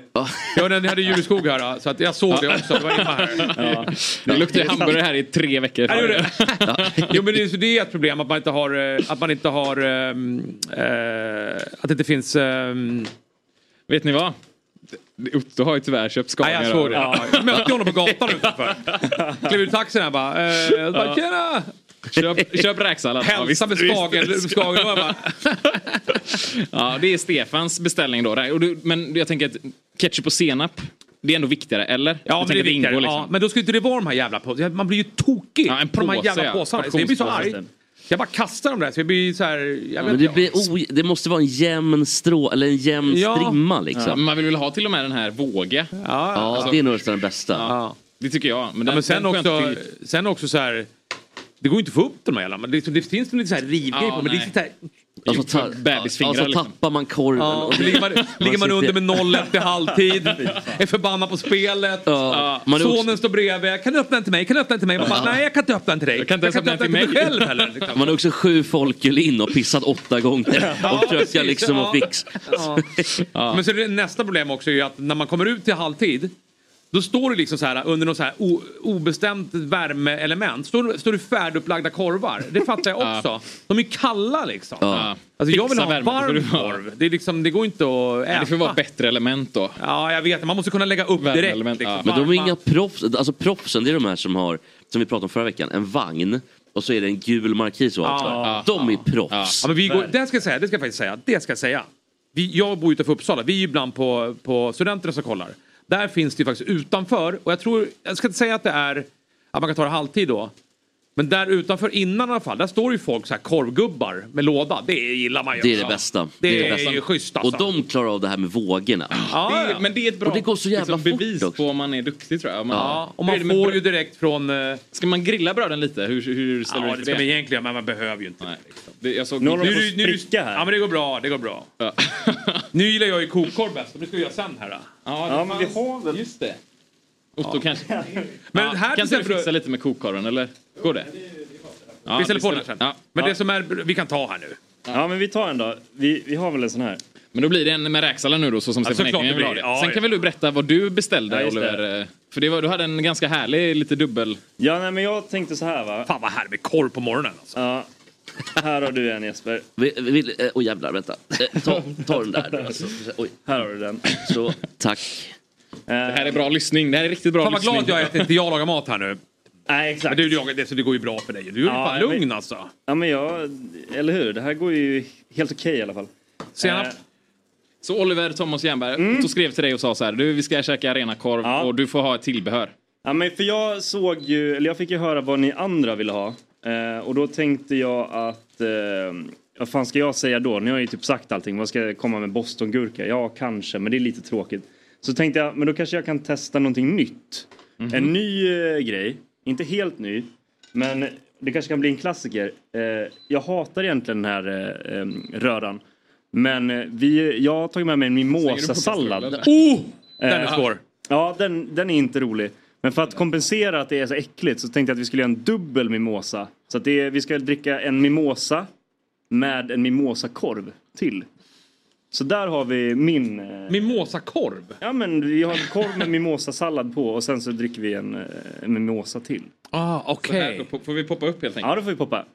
[SPEAKER 6] Jag vet, ni hade Juleskog här ja, så att jag såg det också. Det var imma här.
[SPEAKER 1] Det luktar ju hamburgare här i tre veckor.
[SPEAKER 6] Ja, det gjorde det. Jo men det, är- så det är ett problem att man inte har, eh, att man inte har, ehm, eh, att det inte finns, ehm,
[SPEAKER 1] Vet ni vad? Otto har ju tyvärr köpt
[SPEAKER 6] Nej,
[SPEAKER 1] Scania.
[SPEAKER 6] jag såg det.
[SPEAKER 1] då.
[SPEAKER 6] Ja. Jag mötte honom på gatan utanför. Klev ur taxin här bara. Eh, jag bara Tjena!
[SPEAKER 1] Köp, <laughs> köp räksallad. Ja, visst,
[SPEAKER 6] Hälsa med
[SPEAKER 1] visst.
[SPEAKER 6] Skagen. Skagen jag bara.
[SPEAKER 1] Ja, det är Stefans beställning då. Och du- Men jag tänker att ketchup och senap, det är ändå viktigare, eller? Jag
[SPEAKER 6] Ja men det
[SPEAKER 1] tänker
[SPEAKER 6] är
[SPEAKER 1] att ingår
[SPEAKER 6] viktigare. Ja,
[SPEAKER 1] Liksom.
[SPEAKER 6] men då skulle inte det vara de här jävla påsarna. Man blir ju tokig
[SPEAKER 1] Ja, en
[SPEAKER 6] på de här
[SPEAKER 1] påse,
[SPEAKER 6] jävla
[SPEAKER 1] ja.
[SPEAKER 6] påsarna. Så jag blir så arg.
[SPEAKER 2] Portionspåse.
[SPEAKER 6] Jag bara kastar dem där så jag blir så här. Jag vet
[SPEAKER 5] Men
[SPEAKER 6] inte.
[SPEAKER 5] det, blir oj... det måste vara en jämn strå, eller en jämn
[SPEAKER 6] Ja.
[SPEAKER 5] strimma
[SPEAKER 1] Ja,
[SPEAKER 5] liksom.
[SPEAKER 1] men man vill väl ha till och med den här våge. Alltså-
[SPEAKER 6] Ja,
[SPEAKER 5] Ja,
[SPEAKER 6] ja.
[SPEAKER 5] det är nog nästan den bästa.
[SPEAKER 6] ja.
[SPEAKER 1] Det tycker jag. Men, den,
[SPEAKER 6] ja men sen
[SPEAKER 1] den skönt
[SPEAKER 6] också,
[SPEAKER 1] till-
[SPEAKER 6] sen också så här. Det går ju inte att få upp de här jävla. Men det, det finns en lite så här rivgrej
[SPEAKER 1] Ja,
[SPEAKER 6] på. Men det är
[SPEAKER 1] nej.
[SPEAKER 6] så här,
[SPEAKER 5] Alltså, ta...
[SPEAKER 1] bebisfingrar,
[SPEAKER 5] alltså
[SPEAKER 1] liksom.
[SPEAKER 5] tappar man korven.
[SPEAKER 6] ja,
[SPEAKER 5] och-
[SPEAKER 6] så ligger man, ligger man
[SPEAKER 5] sitter-
[SPEAKER 6] under med 0-1 i
[SPEAKER 1] <laughs>
[SPEAKER 6] halvtid. Är förbannad på spelet.
[SPEAKER 5] Ja, man är också-
[SPEAKER 6] Sonen står bredvid. Kan du öppna den till mig? Kan du öppna den till mig? Man bara, Nej, jag kan inte öppna den till dig. Jag
[SPEAKER 1] kan inte ens öppna den till
[SPEAKER 6] själv heller. Liksom.
[SPEAKER 5] Man har också sju folköl in och pissat åtta gånger och försökt
[SPEAKER 6] precis,
[SPEAKER 5] liksom
[SPEAKER 6] ja.
[SPEAKER 5] att fixa.
[SPEAKER 6] Ja. Men så är det nästa problem också är ju att när man kommer ut till halvtid då står du liksom så här under något så här o- obestämt värmeelement. Står, står du färdupplagda korvar. Det fattar jag
[SPEAKER 1] <laughs>
[SPEAKER 6] också. De är ju kalla liksom.
[SPEAKER 5] Ja.
[SPEAKER 6] Alltså jag vill
[SPEAKER 1] Fixa
[SPEAKER 6] ha en
[SPEAKER 1] värme, det får du
[SPEAKER 6] varm
[SPEAKER 1] ha.
[SPEAKER 6] korv. Det, är liksom, det går inte att äta.
[SPEAKER 1] Det får vara bättre element då.
[SPEAKER 6] Ja, jag vet. Man måste kunna lägga upp direkt.
[SPEAKER 1] Värmeelement,
[SPEAKER 6] Liksom.
[SPEAKER 1] ja.
[SPEAKER 5] Men de är
[SPEAKER 6] Varma-
[SPEAKER 5] inga proffs. Alltså proffsen, det är de här som har, som vi pratade om förra veckan, en vagn och så är det en gul markis ovanför.
[SPEAKER 6] Ja.
[SPEAKER 5] de är proffs.
[SPEAKER 6] Ja, men vi går, det, ska jag säga, det ska jag faktiskt säga. Det ska jag säga. Vi, jag bor utanför Uppsala. Vi är ju ibland på, på studenterna som kollar. Där finns det ju faktiskt utanför. Och jag tror, jag ska inte säga att det är att man kan ta det halvtid då. Men där utanför innan i alla fall, där står ju folk så här korvgubbar med låda. Det gillar man ju.
[SPEAKER 5] Det är det
[SPEAKER 6] alltså.
[SPEAKER 5] bästa.
[SPEAKER 6] Det,
[SPEAKER 5] Det är det
[SPEAKER 6] är,
[SPEAKER 5] bästa.
[SPEAKER 6] ju schysst
[SPEAKER 5] Och
[SPEAKER 6] alltså.
[SPEAKER 5] de klarar av det här med vågorna.
[SPEAKER 6] ja,
[SPEAKER 1] Det
[SPEAKER 6] ja.
[SPEAKER 1] är, men det är ett bra
[SPEAKER 5] Och det går så jävla
[SPEAKER 6] liksom,
[SPEAKER 5] fort
[SPEAKER 1] bevis
[SPEAKER 5] också.
[SPEAKER 1] på om man är duktig tror jag. Om Man,
[SPEAKER 6] ja, och
[SPEAKER 1] Hur är det
[SPEAKER 6] man
[SPEAKER 1] med
[SPEAKER 6] får
[SPEAKER 1] bröd?
[SPEAKER 6] ju direkt från... eh,
[SPEAKER 1] Ska man grilla bröden lite? Hur, hur ställer
[SPEAKER 6] Ja,
[SPEAKER 1] du
[SPEAKER 6] det
[SPEAKER 1] dig
[SPEAKER 6] ska
[SPEAKER 1] till
[SPEAKER 6] man
[SPEAKER 1] det?
[SPEAKER 6] egentligen, men man behöver ju inte. liksom.
[SPEAKER 1] Nej. det? Jag såg...
[SPEAKER 2] Nu har de
[SPEAKER 6] Nu, är
[SPEAKER 2] fått
[SPEAKER 6] du- nu, är du-
[SPEAKER 2] spricka här.
[SPEAKER 6] Ja, men det går bra. Det går bra.
[SPEAKER 1] Ja.
[SPEAKER 6] <laughs> Nu gillar jag ju kokkorv bäst. Men det ska vi göra sen här. Då.
[SPEAKER 2] Ja, men vi har väl...
[SPEAKER 1] Just det. Otto kanske...
[SPEAKER 6] Men
[SPEAKER 1] Ja,
[SPEAKER 6] här
[SPEAKER 1] kan inte du
[SPEAKER 6] exempel-
[SPEAKER 1] fixa lite med kokkorven eller? Går det? Ja,
[SPEAKER 6] Vi ställer på den här sen.
[SPEAKER 1] Ja.
[SPEAKER 6] Men det som är, vi kan ta här nu.
[SPEAKER 2] Ja, men vi tar en då. Vi, vi har väl en sån här.
[SPEAKER 1] Men då blir det en med räksallad nu då så som Stefan
[SPEAKER 6] såklart
[SPEAKER 1] Ekengren
[SPEAKER 6] det
[SPEAKER 1] vill ha det.
[SPEAKER 6] blir det. Ja,
[SPEAKER 1] Sen
[SPEAKER 6] ja.
[SPEAKER 1] kan väl du berätta vad du beställde
[SPEAKER 2] Ja, just det.
[SPEAKER 1] Oliver? eh, För det var, du hade en ganska härlig lite dubbel...
[SPEAKER 2] Ja, nej, men jag tänkte så här va.
[SPEAKER 6] Fan vad här med korv på morgonen alltså.
[SPEAKER 2] Ja, här har du en Jesper.
[SPEAKER 5] Vi, vi, vill- eh, oj jävlar, vänta. Eh, Ta, ta
[SPEAKER 6] <laughs>
[SPEAKER 5] den där. Alltså. Oj,
[SPEAKER 2] Här har du den. eh,
[SPEAKER 5] så, tack.
[SPEAKER 1] Det här är bra lyssning. Det här är riktigt bra
[SPEAKER 6] Fan vad
[SPEAKER 1] lyssning.
[SPEAKER 6] glad jag är att inte jag lagar mat här nu.
[SPEAKER 2] Nej, exakt.
[SPEAKER 6] Men du, jag, det, så det går ju bra för dig. Du är
[SPEAKER 2] Ja,
[SPEAKER 6] fan
[SPEAKER 2] men-
[SPEAKER 6] lugn alltså.
[SPEAKER 2] Ja, men jag... Eller hur? Det här går ju helt okej i alla fall.
[SPEAKER 6] Senap. Mm.
[SPEAKER 2] Eh,
[SPEAKER 1] Så Oliver Thomas Jernberg, Otto skrev till dig och sa så här. Du, vi ska käka arenakorv
[SPEAKER 2] Ja.
[SPEAKER 1] och du får ha ett tillbehör.
[SPEAKER 2] Ja, men för jag såg ju, eller jag fick ju höra vad ni andra ville ha. Eh, och då tänkte jag att, eh, vad fan ska jag säga då? Ni har ju typ sagt allting. Vad ska jag komma med bostongurka? Ja, kanske, men det är lite tråkigt. Så tänkte jag, men då kanske jag kan
[SPEAKER 13] Mhm.
[SPEAKER 14] Mhm.
[SPEAKER 2] testa någonting nytt. En ny eh, grej, inte helt ny, men det kanske kan bli en klassiker. Eh, jag hatar egentligen den här eh, em, röran. Men eh, vi, jag har tagit med mig en mimosasallad.
[SPEAKER 6] Slänger du på pastilla, eller? Den är
[SPEAKER 2] Eh,
[SPEAKER 6] svår.
[SPEAKER 2] Ja, den, den är inte rolig. Men för att kompensera att det är så äckligt så tänkte jag att vi skulle göra en dubbel mimosa. Så att det är, vi ska dricka en mimosa med en mimosakorv till. Så där har vi min... eh,
[SPEAKER 6] Mimosakorv?
[SPEAKER 2] Ja men vi har en korv med mimosasallad på och sen så dricker vi en, eh, en mimosa till.
[SPEAKER 6] Ah,
[SPEAKER 2] okej.
[SPEAKER 6] okej. Får vi poppa upp helt enkelt?
[SPEAKER 2] Ja då får vi poppa.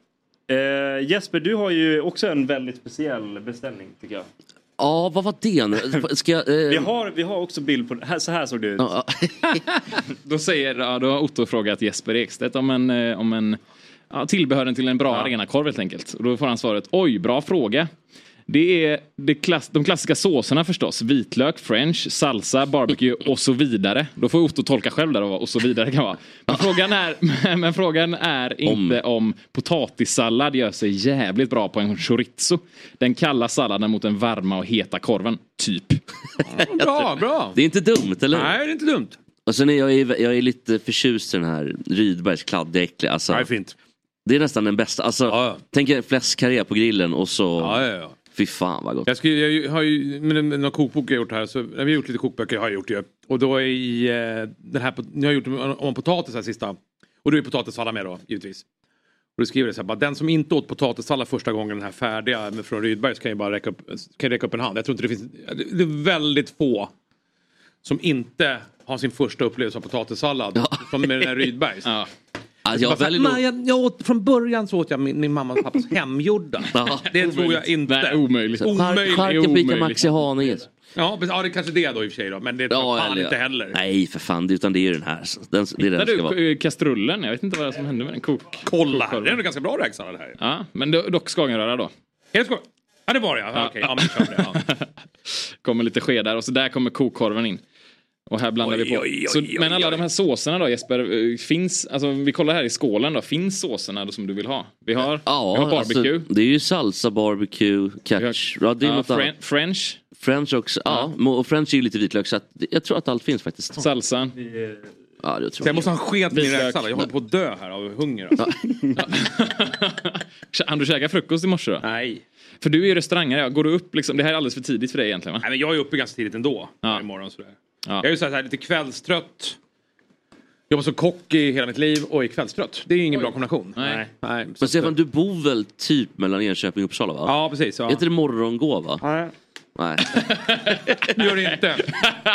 [SPEAKER 2] Eh, Jesper du har ju också en väldigt speciell beställning tycker jag.
[SPEAKER 5] Ja, vad var det nu? Ska jag... eh,
[SPEAKER 2] Vi har, vi har också bild på det. Här, så här såg det ut.
[SPEAKER 1] <laughs> Då, säger, ja, då har Otto frågat Jesper Ekstedt om en, eh, om en ja, tillbehören till en bra arenakorv helt enkelt. Och då får han svaret, oj, bra fråga. Det är det klass, de klassiska såserna förstås. Vitlök, french, salsa, barbecue och så vidare. Då får Otto tolka själv där och, och så vidare kan vara. Men frågan är, <laughs> men frågan är inte om. potatissallad gör sig jävligt bra på en chorizo. Den kalla salladen mot den varma och heta korven, typ.
[SPEAKER 5] <laughs>
[SPEAKER 6] Bra, bra.
[SPEAKER 5] Det är inte dumt, eller
[SPEAKER 6] Nej, det är inte dumt.
[SPEAKER 5] Och sen är jag, ju- jag är lite förtjust i den här Rydbergs kladdiga äckliga. Alltså, det är
[SPEAKER 6] fint.
[SPEAKER 5] Det är nästan den bästa. Alltså, Tänk er fläskkarré på grillen och så...
[SPEAKER 6] Ja, ja, ja.
[SPEAKER 5] Fy fan vad gott.
[SPEAKER 6] Jag, skulle, jag har ju, med en- med några kokbok jag gjort här, så, vi har gjort lite kokböcker, har jag gjort ju. Och då är i, eh, den här, pot- jag har gjort om, om potatis här sista. Och då är potatissallad med då, givetvis. Och då skriver det så här, bara, den som inte åt potatissallad första gången den här färdiga med- från Rydberg så kan ju bara räcka upp, kan ju räcka upp en hand. Jag tror inte det finns, det är väldigt få som inte har sin första upplevelse av potatissallad som med den här
[SPEAKER 5] <laughs>
[SPEAKER 6] Rydbergs.
[SPEAKER 5] Alltså, jag
[SPEAKER 6] Bara så här,
[SPEAKER 5] väljer nog-
[SPEAKER 6] "Nej, jag, jag åt, från början så åt jag min, min mammas och
[SPEAKER 1] <laughs>
[SPEAKER 6] pappas hemgjorda. Det tror jag inte.
[SPEAKER 1] Nej, omöjligt.
[SPEAKER 6] Omöjligt.
[SPEAKER 5] Charken
[SPEAKER 6] Omöjligt.
[SPEAKER 5] prickar Maxi Haninges.
[SPEAKER 6] Ja, precis. ja, det är kanske det då i och för sig då. Men det tror jag fan
[SPEAKER 5] eller-
[SPEAKER 6] inte heller.
[SPEAKER 5] Nej för fan, det- utan det är ju den här. Så Den, det är den
[SPEAKER 1] Där
[SPEAKER 5] som ska vara.
[SPEAKER 1] du, eh, kastrullen, jag vet inte vad det är som hände med den. Kok.
[SPEAKER 6] Kolla, det är ändå ganska bra räksallad här.
[SPEAKER 1] Ja, men do- dock skagenröra då.
[SPEAKER 6] Är det skoj? Ja, det var det ja. ja. Okej, ja, men kör det. Ja.
[SPEAKER 1] <laughs> kommer lite skedar och så där kommer kokkorven in. Och här blandar vi på.
[SPEAKER 6] oj, oj,
[SPEAKER 1] så,
[SPEAKER 6] oj,
[SPEAKER 1] men alla de här såserna då Jesper, eh, finns, alltså vi kollar här i skålen då, finns såserna då som du vill ha? Vi har, vi har barbecue,
[SPEAKER 5] alltså, det är ju salsa, barbecue, catch. Ja, det är
[SPEAKER 1] ja,
[SPEAKER 5] något
[SPEAKER 1] fren-
[SPEAKER 5] annat.
[SPEAKER 1] french,
[SPEAKER 5] French också. Ja, mo- och french är ju lite vitlök så att, jag tror att allt finns faktiskt.
[SPEAKER 1] salsan.
[SPEAKER 5] Ja, det tror
[SPEAKER 6] Sen måste han sket min
[SPEAKER 1] Vitlök.
[SPEAKER 6] räksallad. Jag håller på att dö här av hunger. Alltså.
[SPEAKER 1] Han du käka frukost i morse då?
[SPEAKER 6] Nej.
[SPEAKER 1] För du är ju restaurangare, ja. går du upp liksom, det här är alldeles för tidigt för dig egentligen va?
[SPEAKER 6] Nej, men jag är uppe ganska tidigt ändå. Varje morgon sådär. Jag är ju så här, så här lite kvällstrött. Jobbat som kock i hela mitt liv och är kvällstrött. Det är ju ingen bra kombination.
[SPEAKER 1] Nej.
[SPEAKER 6] Nej.
[SPEAKER 5] Men Stefan, du bor väl typ mellan Enköping och Uppsala va?
[SPEAKER 6] Ja, precis. Ja.
[SPEAKER 5] Heter det morgongåva? Nej. Nej.
[SPEAKER 6] Det gör det
[SPEAKER 1] <laughs>
[SPEAKER 6] inte.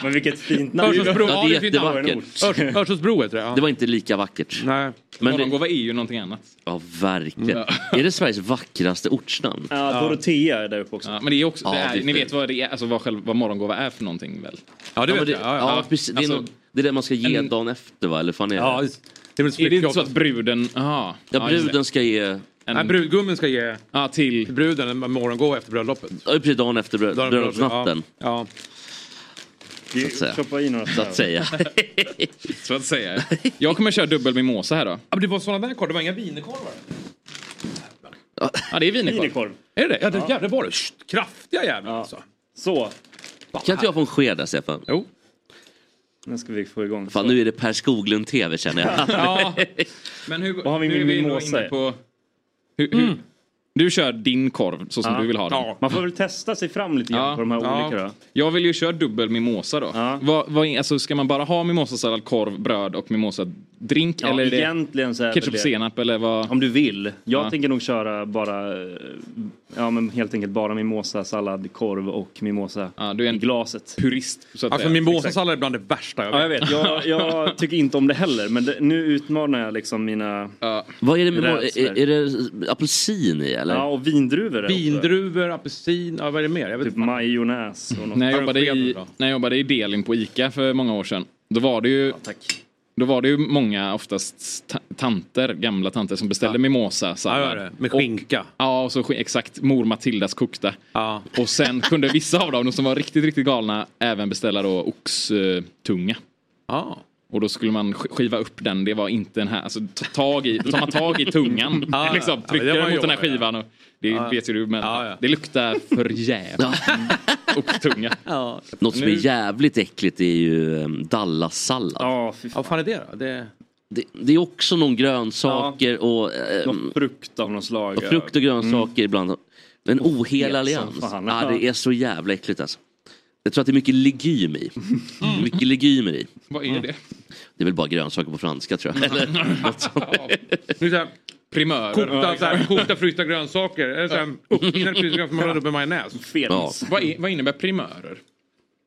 [SPEAKER 2] Men vilket fint namn.
[SPEAKER 6] Örsundsbro.
[SPEAKER 5] Ja,
[SPEAKER 6] Ja,
[SPEAKER 5] det
[SPEAKER 6] det
[SPEAKER 5] är
[SPEAKER 6] är fint namn.
[SPEAKER 5] jättevackert.
[SPEAKER 6] Örs- Örsundsbro heter det. Ja.
[SPEAKER 5] Det var inte lika vackert.
[SPEAKER 6] Nej.
[SPEAKER 5] Men det,
[SPEAKER 1] Morgongåva är ju E någonting annat.
[SPEAKER 5] ja, verkligen. Är det Sveriges vackraste ortsnamn?
[SPEAKER 2] Ja, Dorotea är där uppe också.
[SPEAKER 1] Ja, men det är också,
[SPEAKER 5] Ja,
[SPEAKER 1] det är,
[SPEAKER 5] det är
[SPEAKER 1] ni
[SPEAKER 5] fint.
[SPEAKER 1] vet vad det är, alltså vad, själv, vad morgongåva är för någonting väl?
[SPEAKER 6] Ja, det
[SPEAKER 5] Ja, men
[SPEAKER 6] vet
[SPEAKER 5] det,
[SPEAKER 6] jag. Ja, ja.
[SPEAKER 5] ja, precis. Det, är
[SPEAKER 1] Alltså,
[SPEAKER 5] någon, det är det man ska ge
[SPEAKER 1] en-
[SPEAKER 5] dagen efter va? Eller fan är det?
[SPEAKER 6] Ja,
[SPEAKER 5] Ja,
[SPEAKER 6] det är väl
[SPEAKER 1] Är det inte så
[SPEAKER 6] smycke-
[SPEAKER 1] att bruden, aha, ja, just det.
[SPEAKER 5] bruden ska ge...
[SPEAKER 1] en,
[SPEAKER 6] Nej, brudgummen ska ge
[SPEAKER 1] ja, till
[SPEAKER 6] bruden en morgongåva efter bröllopet.
[SPEAKER 5] Ja, precis. Dagen efter brö-
[SPEAKER 6] Dagen-
[SPEAKER 5] bröllopsnatten.
[SPEAKER 6] Ja.
[SPEAKER 5] Så att säga.
[SPEAKER 2] Stoppa i några
[SPEAKER 5] Så att säga.
[SPEAKER 1] Så att
[SPEAKER 5] <laughs>
[SPEAKER 1] säga. Jag kommer köra dubbel mimosa här
[SPEAKER 6] <laughs>
[SPEAKER 1] då.
[SPEAKER 6] Ja, men det var sådana där korvar, det var inga wienerkorvar.
[SPEAKER 1] Ja, det är wienerkorv.
[SPEAKER 2] Minikorv.
[SPEAKER 6] Är det det? Ja, det jävlar var det. Sht, kraftiga jävlar alltså.
[SPEAKER 2] Så,
[SPEAKER 5] kan inte jag få en sked där Stefan?
[SPEAKER 6] Jo.
[SPEAKER 2] nu ska vi få igång.
[SPEAKER 5] Fan, nu är det Per Skoglund-tv känner
[SPEAKER 6] <laughs>
[SPEAKER 5] jag.
[SPEAKER 1] Ja. Men hur,
[SPEAKER 2] har vi
[SPEAKER 1] nu
[SPEAKER 2] min
[SPEAKER 1] är vi nog
[SPEAKER 2] mimosa
[SPEAKER 1] inne
[SPEAKER 2] i?
[SPEAKER 1] på... Hur, hur,
[SPEAKER 5] Mm.
[SPEAKER 1] Du kör din korv så som du vill ha den.
[SPEAKER 2] Man får väl testa sig fram lite grann
[SPEAKER 1] Ja.
[SPEAKER 2] på de här olika då.
[SPEAKER 1] Jag vill ju köra dubbel mimosa då.
[SPEAKER 2] Ja.
[SPEAKER 1] Vad, vad, är- alltså, ska man bara ha mimosasallad, korv, bröd och mimosadrink?
[SPEAKER 2] Ja,
[SPEAKER 1] eller är det
[SPEAKER 2] egentligen så är väl
[SPEAKER 1] ketchup,
[SPEAKER 2] det-
[SPEAKER 1] senap eller vad?
[SPEAKER 2] Om du vill. Jag
[SPEAKER 1] Ja.
[SPEAKER 2] tänker nog köra bara, eh, ja men helt enkelt bara mimosa, sallad, korv och mimosa
[SPEAKER 1] Ja, du är en-
[SPEAKER 2] i glaset.
[SPEAKER 1] Purist så att
[SPEAKER 6] Alltså
[SPEAKER 1] säga.
[SPEAKER 6] mimosasallad är bland det värsta jag
[SPEAKER 2] Ja,
[SPEAKER 6] vet.
[SPEAKER 2] jag vet. Jag,
[SPEAKER 1] <laughs>
[SPEAKER 2] jag tycker inte om det heller, men det, nu utmanar jag liksom mina...
[SPEAKER 5] Vad är det med...
[SPEAKER 2] Rädslor.
[SPEAKER 5] Är, är det apelsin i eller?
[SPEAKER 2] Ja, och vindruvor. är också.
[SPEAKER 6] Vindruvor, apelsin, ja, vad är det mer? Jag vet
[SPEAKER 2] Typ
[SPEAKER 6] inte.
[SPEAKER 2] majonnäs och något.
[SPEAKER 1] När jag,
[SPEAKER 6] Har du
[SPEAKER 1] jobbade
[SPEAKER 6] skedar
[SPEAKER 1] i,
[SPEAKER 6] då?
[SPEAKER 1] när jag jobbade i Delin på Ica för många år sedan. Då var det ju,
[SPEAKER 2] Tack.
[SPEAKER 1] då var det ju många, oftast ta- tanter, gamla tanter som beställde
[SPEAKER 6] Ja,
[SPEAKER 1] mimosasallad.
[SPEAKER 6] det är det. Med
[SPEAKER 1] Och-
[SPEAKER 6] skinka.
[SPEAKER 1] Ja, och så sk- exakt. Mor Matildas kokta.
[SPEAKER 6] Ja.
[SPEAKER 1] Och sen kunde vissa av dem, de som var riktigt, riktigt galna, även beställa då oxtunga.
[SPEAKER 6] Ja.
[SPEAKER 1] Och då skulle man sk- skiva upp den, det var inte den här, alltså ta tag i, då tar man tag i tungan,
[SPEAKER 6] ja. Ja,
[SPEAKER 1] <laughs> liksom,
[SPEAKER 6] men
[SPEAKER 1] trycker
[SPEAKER 6] det var
[SPEAKER 1] mot den här
[SPEAKER 6] jobbigt, ja.
[SPEAKER 1] skivan. Och det vet ju du, men
[SPEAKER 6] Ja, ja.
[SPEAKER 1] det luktar för jävligt. <laughs> Oxtunga.
[SPEAKER 5] Något som
[SPEAKER 1] Nu-
[SPEAKER 5] är jävligt äckligt är ju eh, dallassallad.
[SPEAKER 2] Ja, fy fan.
[SPEAKER 6] Vad fan är det då? Det...
[SPEAKER 5] Det, det är också någon grönsaker och... Eh,
[SPEAKER 2] Någon frukt av något slag.
[SPEAKER 5] och frukt och grönsaker
[SPEAKER 6] Mm.
[SPEAKER 5] ibland. En ohel
[SPEAKER 2] fet
[SPEAKER 5] allians.
[SPEAKER 2] som fan.
[SPEAKER 5] Ja, det är så jävla äckligt alltså. Jag tror att det är mycket legym i.
[SPEAKER 6] Mm.
[SPEAKER 5] Mycket legymer i.
[SPEAKER 1] Vad är <laughs> det?
[SPEAKER 5] Det är väl bara grönsaker på franska tror
[SPEAKER 6] Mm. <laughs>
[SPEAKER 5] jag. Eller något sånt.
[SPEAKER 6] Nu så här,
[SPEAKER 1] Primörer.
[SPEAKER 6] Kokta, så här, <laughs> kokta frysta grönsaker. Eller så här, uppknäppt frysta grönsaker som man rör upp i majonnäs.
[SPEAKER 5] <laughs>
[SPEAKER 1] Ja. Vad, är, vad innebär primörer?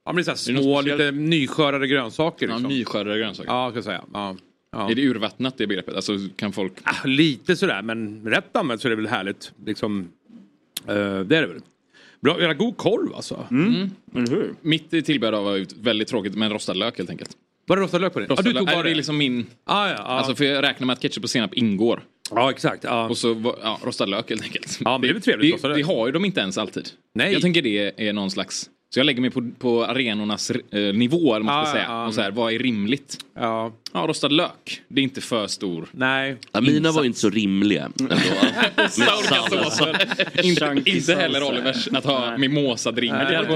[SPEAKER 6] Ja men det är
[SPEAKER 1] Är
[SPEAKER 6] så
[SPEAKER 1] det
[SPEAKER 6] här
[SPEAKER 1] något
[SPEAKER 6] små,
[SPEAKER 1] speciellt?
[SPEAKER 6] lite nyskördade grönsaker.
[SPEAKER 1] Ja,
[SPEAKER 6] Liksom.
[SPEAKER 1] nyskördade grönsaker.
[SPEAKER 6] Ja, ska jag säga. Ja. Ja.
[SPEAKER 1] Är det urvattnat det begreppet? Alltså kan folk...
[SPEAKER 6] Ah, lite sådär, men rätt använt så är det väl härligt. Liksom, eh, det är det väl. Bra, jävla god korv alltså.
[SPEAKER 1] Mm. Mitt i tillbehör var väldigt tråkigt med en rostad lök helt enkelt.
[SPEAKER 6] Var det rostad lök på det?
[SPEAKER 1] Rostad
[SPEAKER 6] ah, du
[SPEAKER 1] lök.
[SPEAKER 6] tog
[SPEAKER 1] Nej,
[SPEAKER 6] bara
[SPEAKER 1] det
[SPEAKER 6] det?
[SPEAKER 1] är liksom min...
[SPEAKER 6] Ah, ja, ah.
[SPEAKER 1] Alltså för jag räknar med att ketchup och senap ingår.
[SPEAKER 6] Ja exakt. Ja.
[SPEAKER 1] Och så var- ja, rostad lök helt enkelt.
[SPEAKER 6] Ja, men det är väl trevligt, rostad
[SPEAKER 1] Det,
[SPEAKER 6] lök.
[SPEAKER 1] det har ju de inte ens alltid.
[SPEAKER 6] Nej.
[SPEAKER 1] Jag tänker det är någon slags... Så jag lägger mig på, på arenornas eh, nivåer måste
[SPEAKER 6] Ja,
[SPEAKER 1] jag säga.
[SPEAKER 6] Ah, ja, ja.
[SPEAKER 1] Och så här, vad är rimligt?
[SPEAKER 6] Ja.
[SPEAKER 1] Ja, rostad lök. Det är inte för stor.
[SPEAKER 6] Nej.
[SPEAKER 5] Ja, mina var ju inte så rimliga.
[SPEAKER 6] Mm. <laughs>
[SPEAKER 5] Ändå. Med
[SPEAKER 1] Olika
[SPEAKER 2] <laughs>
[SPEAKER 5] sallad.
[SPEAKER 1] såser. inte, inte heller Olivers att ha mimosadrink. Det hade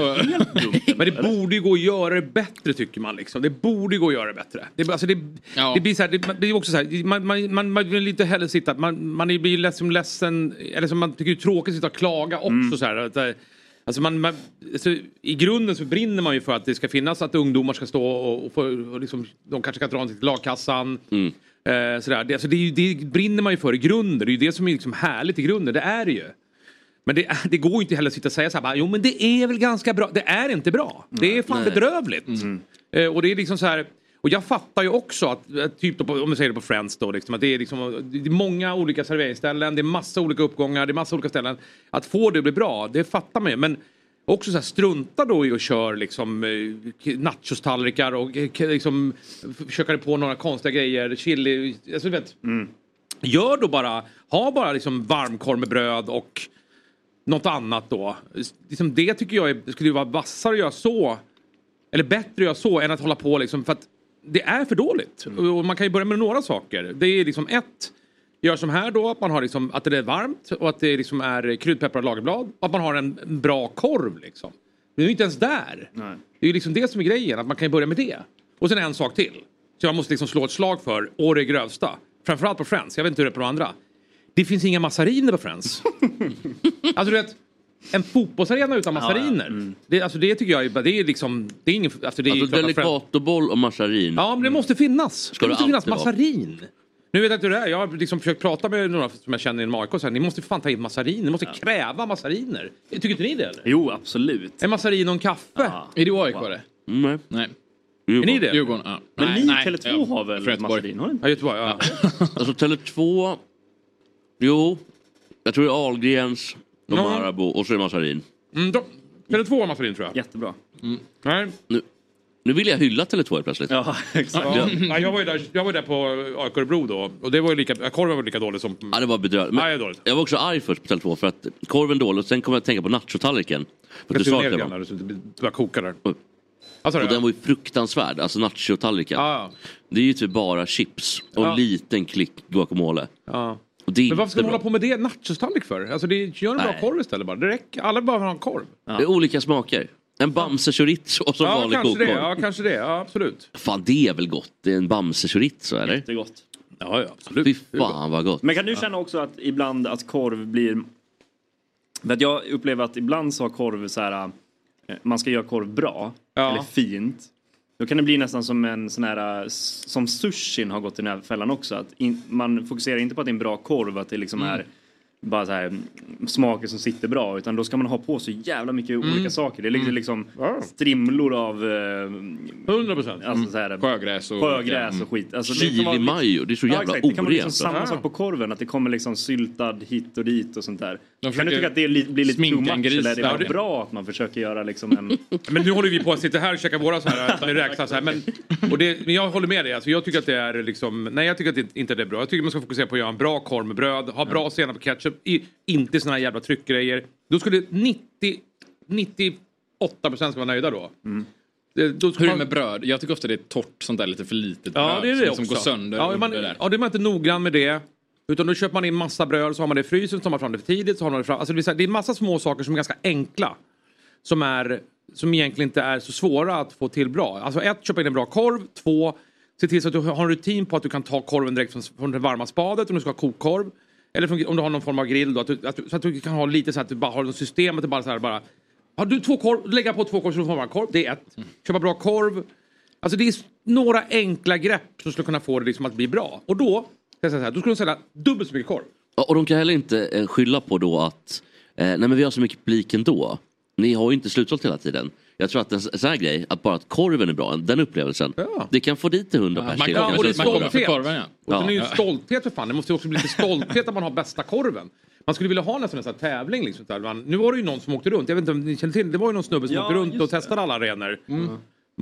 [SPEAKER 6] <laughs>
[SPEAKER 1] varit-
[SPEAKER 6] Men det borde ju gå att göra det bättre tycker man. Liksom. Det borde ju gå att göra det bättre. Det, alltså det,
[SPEAKER 1] Ja.
[SPEAKER 6] det blir så här, det, det är också så här, man, man, man, man vill inte heller sitta, man, man blir ju ledsen, ledsen, eller så man tycker det är tråkigt att sitta och klaga också.
[SPEAKER 1] Mm.
[SPEAKER 6] Så här, att, eh, alltså man, man, alltså, I grunden så brinner man ju för att det ska finnas att ungdomar ska stå och, och, få, och liksom, de kanske kan dra någonting till lagkassan.
[SPEAKER 1] Mm.
[SPEAKER 6] Eh, sådär. Det, alltså, det, är ju- det brinner man ju för i grunden, det är ju det som är liksom härligt i grunden, det är det ju. Men det, <laughs> det går ju inte heller att sitta och säga så här, bara, jo men det är väl ganska bra. Det är inte bra. Det är fan
[SPEAKER 5] Nej. Mm.
[SPEAKER 6] bedrövligt. Eh, och det är liksom så här, och jag fattar ju också att, att typ då, på- om vi säger det på Friends då, liksom, att det är, liksom, det är många olika serveringsställen, det är massa olika uppgångar, det är massa olika ställen. Att få det att bli bra, det fattar man ju. Men också så här, strunta då i och kör liksom eh, k- nachostallrikar och eh, k- liksom f- försöka på några konstiga grejer, chili, alltså du vet.
[SPEAKER 5] Mm.
[SPEAKER 6] Gör då bara, ha bara liksom varmkorv med bröd och något annat då. S- Liksom det tycker jag är, skulle ju vara vassare att göra så. Eller bättre att göra så än att hålla på liksom för att det är för dåligt. Och- Och man kan ju börja med några saker. Det är liksom ett, gör som här då, att man har liksom, att det är varmt och att det liksom är kryddpeppar och lagerblad. Och att man har en en bra korv liksom. Det är ju inte ens där. Det är ju liksom det som är grejen, att man kan ju börja med det. Och sen en sak till. Så jag måste liksom slå ett slag för, å det grövsta. Framförallt på Friends, jag vet inte hur det är på de andra. Det finns inga massariner på
[SPEAKER 5] <laughs>
[SPEAKER 6] Friends. Alltså du vet, en fotbollsarena utan massariner. Det, alltså, det tycker jag är, det är liksom, det är ingen, alltså det är
[SPEAKER 5] Mm. Alltså
[SPEAKER 6] klart att Friends-
[SPEAKER 5] delikatoboll och massarin.
[SPEAKER 6] Ja, men det måste finnas.
[SPEAKER 5] Ska
[SPEAKER 6] det
[SPEAKER 5] det
[SPEAKER 6] måste finnas
[SPEAKER 5] alltid vara?
[SPEAKER 6] massarin. Nu vet jag inte hur det är. Jag har liksom försökt prata med några som jag känner inom AIK. och så här, Ni måste fan ta in massarin. Ni måste kräva massariner. Tycker inte ni det eller?
[SPEAKER 2] Jo, absolut.
[SPEAKER 6] En massarin och en kaffe.
[SPEAKER 1] Är det AIK det?
[SPEAKER 5] Nej.
[SPEAKER 1] Nej.
[SPEAKER 6] Är ni det?
[SPEAKER 1] Djurgården? Ja.
[SPEAKER 2] Men
[SPEAKER 1] Nej,
[SPEAKER 2] ni
[SPEAKER 1] nej,
[SPEAKER 2] Tele2
[SPEAKER 1] jag-
[SPEAKER 2] har väl
[SPEAKER 1] från Göteborg.
[SPEAKER 2] massarin? Har ni inte?
[SPEAKER 6] Ja, Ehm, Göteborg. Ja.
[SPEAKER 5] Alltså Tele2. Jo. Jag tror det är Ahlgrens. De
[SPEAKER 6] Ja.
[SPEAKER 5] Marabou och så är det massarin.
[SPEAKER 6] Mm, då, eller två massarin tror jag. Mm.
[SPEAKER 2] Jättebra.
[SPEAKER 6] Nej.
[SPEAKER 5] Nu vill jag hylla Tele2 helt plötsligt.
[SPEAKER 2] Ja, <laughs> exakt.
[SPEAKER 6] Ja, nej, jag, var ju där, jag var där på AIK Örebro då. Och det var ju lika, korven var lika dålig som...
[SPEAKER 5] Ja, det var bedrövligt.
[SPEAKER 6] Ja, det är
[SPEAKER 5] Men
[SPEAKER 6] dåligt.
[SPEAKER 5] jag var också arg först på Tele2 för att korven dålig och sen kom jag att tänka på nachotallriken. För att du
[SPEAKER 6] Jag
[SPEAKER 5] sa
[SPEAKER 6] tog ner
[SPEAKER 5] att
[SPEAKER 6] lite
[SPEAKER 5] den
[SPEAKER 6] grann
[SPEAKER 5] var.
[SPEAKER 6] där så alltså, det började koka där.
[SPEAKER 5] Oj.
[SPEAKER 6] Alltså,
[SPEAKER 5] Och den var ju fruktansvärd, alltså nachotallriken.
[SPEAKER 6] ja,
[SPEAKER 5] Det är ju typ bara chips och
[SPEAKER 6] Ja.
[SPEAKER 5] en liten klick guacamole.
[SPEAKER 6] ja.
[SPEAKER 5] Och det är
[SPEAKER 6] Men varför ska
[SPEAKER 5] inte
[SPEAKER 6] man
[SPEAKER 5] bra.
[SPEAKER 6] hålla på med det? Nachostallrik för? Alltså det, gör en bra
[SPEAKER 5] Nej.
[SPEAKER 6] korv istället bara. Det räcker. Alla behöver ha en korv.
[SPEAKER 5] Det är olika smaker. En bamse chorizo och så
[SPEAKER 6] Ja,
[SPEAKER 5] vanlig
[SPEAKER 6] kanske det.
[SPEAKER 5] kokkorv.
[SPEAKER 6] Ja, kanske det. Ja, absolut.
[SPEAKER 5] Fan det är väl gott? Det är en bamse chorizo eller?
[SPEAKER 2] Det är gott.
[SPEAKER 6] Ja, ja, absolut.
[SPEAKER 5] Fy fan vad gott.
[SPEAKER 2] Men kan du känna också att ibland att korv blir... För att jag upplever att ibland så har korv så här... eh, Man ska göra korv bra,
[SPEAKER 6] Ja.
[SPEAKER 2] eller fint. Då kan det bli nästan som en sån här... eh, s- Som sushin har gått i den här fällan också. Att in, man fokuserar inte på att det är en bra korv, att det liksom
[SPEAKER 6] Mm.
[SPEAKER 2] är bara så här mm, smaker som sitter bra utan då ska man ha på så jävla mycket
[SPEAKER 6] Mm.
[SPEAKER 2] olika saker. Det ligger liksom strimlor av eh,
[SPEAKER 6] 100 procent. Mm.
[SPEAKER 2] alltså så här,
[SPEAKER 1] Sjögräs och...
[SPEAKER 2] sjögräs och skit. Alltså, det kan vara-
[SPEAKER 5] Chili mayo, det är så
[SPEAKER 2] Ja,
[SPEAKER 5] jävla
[SPEAKER 2] exakt. Det kan vara liksom
[SPEAKER 5] orent.
[SPEAKER 2] samma
[SPEAKER 1] Ah.
[SPEAKER 6] Ja.
[SPEAKER 2] sak på korven, att det kommer liksom syltad hit och dit och sånt där. Kan
[SPEAKER 1] försöker
[SPEAKER 2] du tycka att det är li- blir lite
[SPEAKER 1] sminka
[SPEAKER 2] too much
[SPEAKER 1] en gris
[SPEAKER 2] eller är det bara
[SPEAKER 1] där.
[SPEAKER 2] bra att man försöker göra liksom en...
[SPEAKER 6] Men nu håller vi på att sitta här och käka våra så
[SPEAKER 1] <laughs>
[SPEAKER 6] här, med räksa så här. Men, och det, men jag håller med dig. Alltså, jag tycker att det är liksom, nej jag tycker att det inte är bra. Jag tycker man ska fokusera på att göra en bra korv med bröd, ha bra senap och ketchup, i, inte såna här jävla tryckgrejer. Då skulle 90, 98 procent ska vara nöjda då.
[SPEAKER 2] Mm.
[SPEAKER 6] Det, då ska
[SPEAKER 1] Hur är det
[SPEAKER 6] man-
[SPEAKER 1] med bröd? Jag tycker ofta det är torrt sånt där lite för litet
[SPEAKER 6] Ja, det
[SPEAKER 1] bröd
[SPEAKER 6] är det
[SPEAKER 1] som, som
[SPEAKER 6] också.
[SPEAKER 1] går sönder.
[SPEAKER 6] Ja, är man,
[SPEAKER 1] och det där.
[SPEAKER 6] ja, då är man inte noggrann med det. Utan då köper man in massa bröd, så har man det i frysen, så tar man fram det för tidigt. Så har man det, fram, alltså det, vill säga, det är massa små saker som är ganska enkla. Som, är, som egentligen inte är så svåra att få till bra. Alltså ett, köpa in en bra korv. Två, Se till så att du har en rutin på att du kan ta korven direkt från, från det varma spadet om du ska ha kokkorv. Eller från, om du har någon form av grill då. Att du, att du, så att du kan ha lite så att du bara har något system att du bara så här bara. Har du två korv, lägga på två korv så du får bara korv. Det är ett. Köpa bra korv. Alltså det är s- några enkla grepp som skulle kunna få det liksom att bli bra. Och då, ska jag säga så här, då skulle de sälja dubbelt så mycket korv.
[SPEAKER 5] Ja, Och de kan heller inte eh, skylla på då att eh, nej men vi har så mycket publik ändå. Ni har ju inte slutsålt hela tiden. Jag tror att en sån här grej, att bara att korven är bra, den upplevelsen, det kan få dit till 100 pers till.
[SPEAKER 6] ja, och det är
[SPEAKER 5] kanske.
[SPEAKER 6] stolthet. Och sen är det ju stolthet för fan. Det måste ju också bli lite stolthet att man har bästa korven. Man skulle vilja ha nästan en sån här tävling. Liksom, där man, nu var det ju någon som åkte runt. Jag vet inte om ni känner till Det var ju någon snubbe som
[SPEAKER 2] Ja,
[SPEAKER 6] åkte runt
[SPEAKER 2] just
[SPEAKER 6] och testade alla arenor.
[SPEAKER 1] Mm.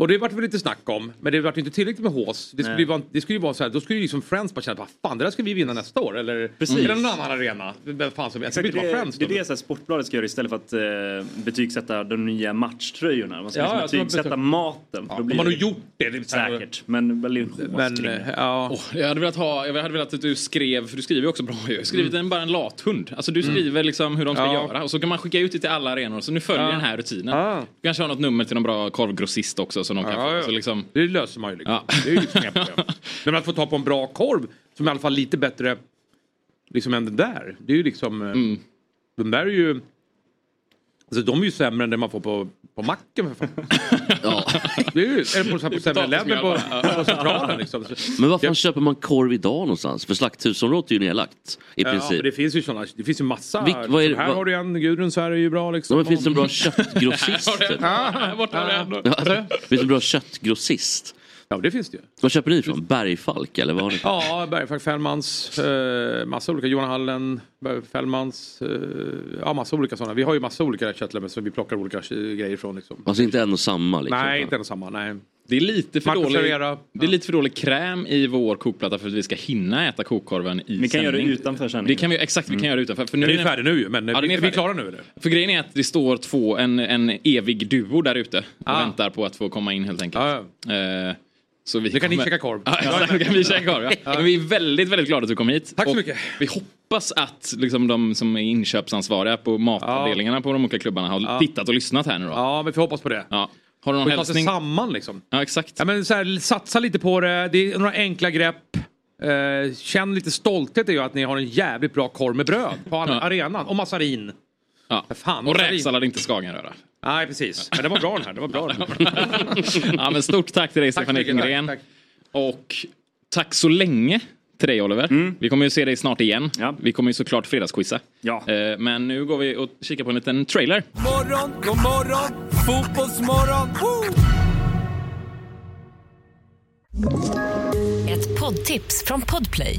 [SPEAKER 6] Och det vart väl lite snack om. Men det vart ju inte tillräckligt med hås. Det skulle,
[SPEAKER 2] Nej.
[SPEAKER 6] ju vara, det skulle ju vara så här. Då skulle ju liksom Friends bara känna bara, fan det där ska vi vinna nästa år. Eller,
[SPEAKER 2] Precis.
[SPEAKER 6] eller någon annan arena. Vem fan som helst. Det
[SPEAKER 2] Exakt, det,
[SPEAKER 6] vill inte vara Friends
[SPEAKER 2] det
[SPEAKER 6] då.
[SPEAKER 2] är det så här Sportbladet ska göra istället för att eh, betygsätta de nya matchtröjorna. Man ska
[SPEAKER 6] Ja,
[SPEAKER 2] liksom
[SPEAKER 6] jag tror
[SPEAKER 2] betygsätta
[SPEAKER 6] att-
[SPEAKER 2] maten.
[SPEAKER 6] Ja,
[SPEAKER 2] då
[SPEAKER 6] om
[SPEAKER 2] blir
[SPEAKER 6] man har
[SPEAKER 2] det-
[SPEAKER 6] gjort det. det är
[SPEAKER 2] Säkert, men väl en
[SPEAKER 6] Men,
[SPEAKER 2] hås kring
[SPEAKER 1] eh,
[SPEAKER 2] det.
[SPEAKER 6] ja.
[SPEAKER 1] Åh, jag, hade velat ha, jag hade velat att du skrev, för du skriver ju också bra ju. Skrivit
[SPEAKER 2] Mm.
[SPEAKER 1] en, bara en lathund. Alltså du skriver liksom hur de ska
[SPEAKER 6] Ja.
[SPEAKER 1] göra och så kan man skicka ut det till alla arenor. Så nu följer
[SPEAKER 6] Ja.
[SPEAKER 1] den här rutinen.
[SPEAKER 6] Ja.
[SPEAKER 1] Du kanske har något nummer till någon bra korvgrossist också som de kan
[SPEAKER 6] Ja,
[SPEAKER 1] få.
[SPEAKER 6] ja.
[SPEAKER 1] Så liksom,
[SPEAKER 6] Det löser man ju liksom.
[SPEAKER 1] Ja.
[SPEAKER 6] Det är ju liksom inga
[SPEAKER 5] <laughs>
[SPEAKER 6] problem. Men att få ta på en bra korv som i alla fall lite bättre liksom än den där. Det är ju liksom... eh,
[SPEAKER 5] Mm.
[SPEAKER 6] Den där är ju... Alltså de är ju sämre än det man får på, på macken för
[SPEAKER 5] <laughs>
[SPEAKER 6] fan. Det är ju... Eller på, så här, på sämre länder på, på centralen liksom. Så-
[SPEAKER 5] Men var fan köper man korv idag någonstans? För slakthusområdet är ju nedlagt i
[SPEAKER 6] Ja,
[SPEAKER 5] princip.
[SPEAKER 6] men det finns ju sådana, det finns ju massa.
[SPEAKER 5] Vilk- vad är det-
[SPEAKER 6] här
[SPEAKER 5] vad-
[SPEAKER 6] har du en, Gudrun så här är ju bra liksom.
[SPEAKER 5] Ja, men finns det
[SPEAKER 6] <laughs>
[SPEAKER 5] en bra köttgrossist? typ?
[SPEAKER 1] Här borta har du en.
[SPEAKER 5] Ja, alltså, Finns det en bra köttgrossist?
[SPEAKER 6] Ja det finns det ju.
[SPEAKER 5] Vad köper ni från? Bergfalk eller vad har ni?
[SPEAKER 6] Ja, Bergfalk, Fällmans, eh, massa olika. Johan Hallen, Berg- Fällmans, eh, ja massa olika sådana. Vi har ju massa olika köttlämmar som vi plockar olika eh, grejer från liksom.
[SPEAKER 5] Alltså inte en och samma liksom?
[SPEAKER 6] nej, inte en och samma. Nej.
[SPEAKER 1] Det är lite för
[SPEAKER 6] Marcus
[SPEAKER 1] dålig,
[SPEAKER 6] Ferreira.
[SPEAKER 1] det är lite för dålig kräm i vår kokplatta för att vi ska hinna äta kokkorven i
[SPEAKER 2] Vi kan göra det
[SPEAKER 1] sändning.
[SPEAKER 2] utanför
[SPEAKER 1] Det
[SPEAKER 2] sändningen. Mm.
[SPEAKER 1] kan vi, exakt, vi kan göra det utanför. För nu
[SPEAKER 6] Den är ju
[SPEAKER 1] det-
[SPEAKER 6] färdig nu ju, men
[SPEAKER 1] Ja, den
[SPEAKER 6] vi,
[SPEAKER 1] är
[SPEAKER 6] vi
[SPEAKER 1] färdig.
[SPEAKER 6] klarar nu eller?
[SPEAKER 1] För grejen är att det står två, en, en evig duo där ute och
[SPEAKER 6] Ah.
[SPEAKER 1] väntar på att få komma in helt enkelt.
[SPEAKER 6] Ja,
[SPEAKER 1] Eh, så vi
[SPEAKER 6] Nu kan ni
[SPEAKER 1] kommer-
[SPEAKER 6] käka korv.
[SPEAKER 1] <laughs> Ja, exakt, nu kan vi
[SPEAKER 6] <laughs>
[SPEAKER 1] käka korv. Ja. Men vi är väldigt, väldigt glada att du kom hit.
[SPEAKER 6] Tack så
[SPEAKER 1] Och
[SPEAKER 6] mycket.
[SPEAKER 1] Vi hoppas att liksom, de som är inköpsansvariga på matavdelningarna på de olika klubbarna har tittat och lyssnat här nu då. Ja.
[SPEAKER 6] Ja, men vi hoppas på det.
[SPEAKER 1] Har du någon
[SPEAKER 6] Och ta sig
[SPEAKER 1] hälsning?
[SPEAKER 6] samman liksom.
[SPEAKER 1] Ja, exakt.
[SPEAKER 6] Ja, men så här, satsa lite på det, det är några enkla grepp. Eh, känn lite stolthet i att ni har en jävligt bra korv med bröd på alla,
[SPEAKER 1] Ja.
[SPEAKER 6] arenan. Och massarin.
[SPEAKER 1] Ja.
[SPEAKER 6] Fan,
[SPEAKER 1] Och
[SPEAKER 6] massarin.
[SPEAKER 1] räksallad, inte skagenröra.
[SPEAKER 6] Nej, precis. Men det var bra den här. Det var bra den här.
[SPEAKER 1] <laughs> ja, men stort tack till dig, Stefan
[SPEAKER 6] så mycket, tack,
[SPEAKER 1] Ekengren.
[SPEAKER 6] tack.
[SPEAKER 1] Och tack så länge till dig, Oliver.
[SPEAKER 6] Mm.
[SPEAKER 1] Vi kommer ju se dig snart igen.
[SPEAKER 2] Ja.
[SPEAKER 1] Vi kommer ju såklart fredagsquizza.
[SPEAKER 2] Ja.
[SPEAKER 1] Eh, Men nu går vi och kikar på en liten trailer.
[SPEAKER 4] Morgon, god morgon, fotbollsmorgon. Woo!
[SPEAKER 10] Ett poddtips från Podplay.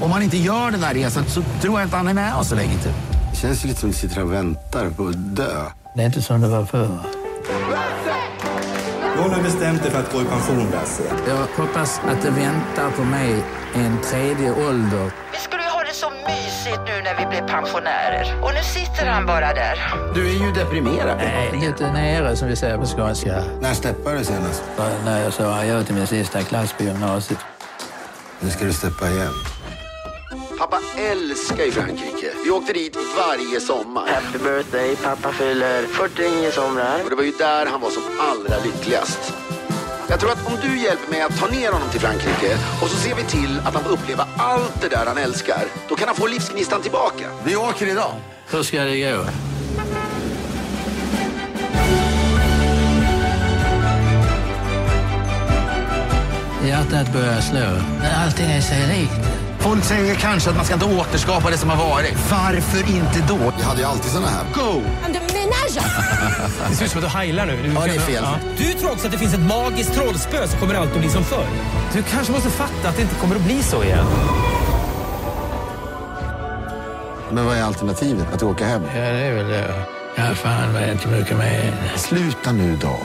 [SPEAKER 15] Om man inte gör den där resan så tror jag inte han är med oss så länge till.
[SPEAKER 16] Det känns lite som att vi sitter och väntar på att dö.
[SPEAKER 15] Det är inte som det var förr. va?
[SPEAKER 16] Du har nu bestämt dig för att gå i pension, Lasse.
[SPEAKER 15] Jag hoppas att det väntar på mig en tredje ålder.
[SPEAKER 13] Vi skulle ju ha det så mysigt nu när vi blev pensionärer. Och nu sitter han bara där.
[SPEAKER 16] Du är ju deprimerad.
[SPEAKER 15] Nej, lite nere som vi säger på skånska.
[SPEAKER 16] När steppade du senast?
[SPEAKER 15] Och När jag sa adjö till min sista klass på gymnasiet.
[SPEAKER 16] Nu ska du steppa igen. Pappa älskar ju Frankrike. Vi åkte dit varje sommar.
[SPEAKER 13] Happy birthday, pappa fyller 40 i somrar.
[SPEAKER 16] Och det var ju där han var som allra lyckligast. Jag tror att om du hjälper mig att ta ner honom till Frankrike och så ser vi till att han får uppleva allt det där han älskar. Då kan han få livsgnistan tillbaka. Vi åker idag.
[SPEAKER 15] Hur ska det gå? Hjärtat börjar slå. Men allting är sig likt.
[SPEAKER 16] Folk säger kanske att man ska inte återskapa det som har varit. Varför inte då? Vi hade ju alltid såna här.
[SPEAKER 15] <laughs>
[SPEAKER 16] Go!
[SPEAKER 15] Det ser ut som att du heilar nu.
[SPEAKER 16] Ja, det är fel.
[SPEAKER 13] Du tror också att det finns ett magiskt trollspö som kommer alltid att bli som förr. Du kanske måste fatta att det inte kommer att bli så igen.
[SPEAKER 16] Men vad är alternativet? Att åka hem?
[SPEAKER 15] Ja, det är väl det. Jag har fan mig inte mycket med.
[SPEAKER 16] Sluta nu då.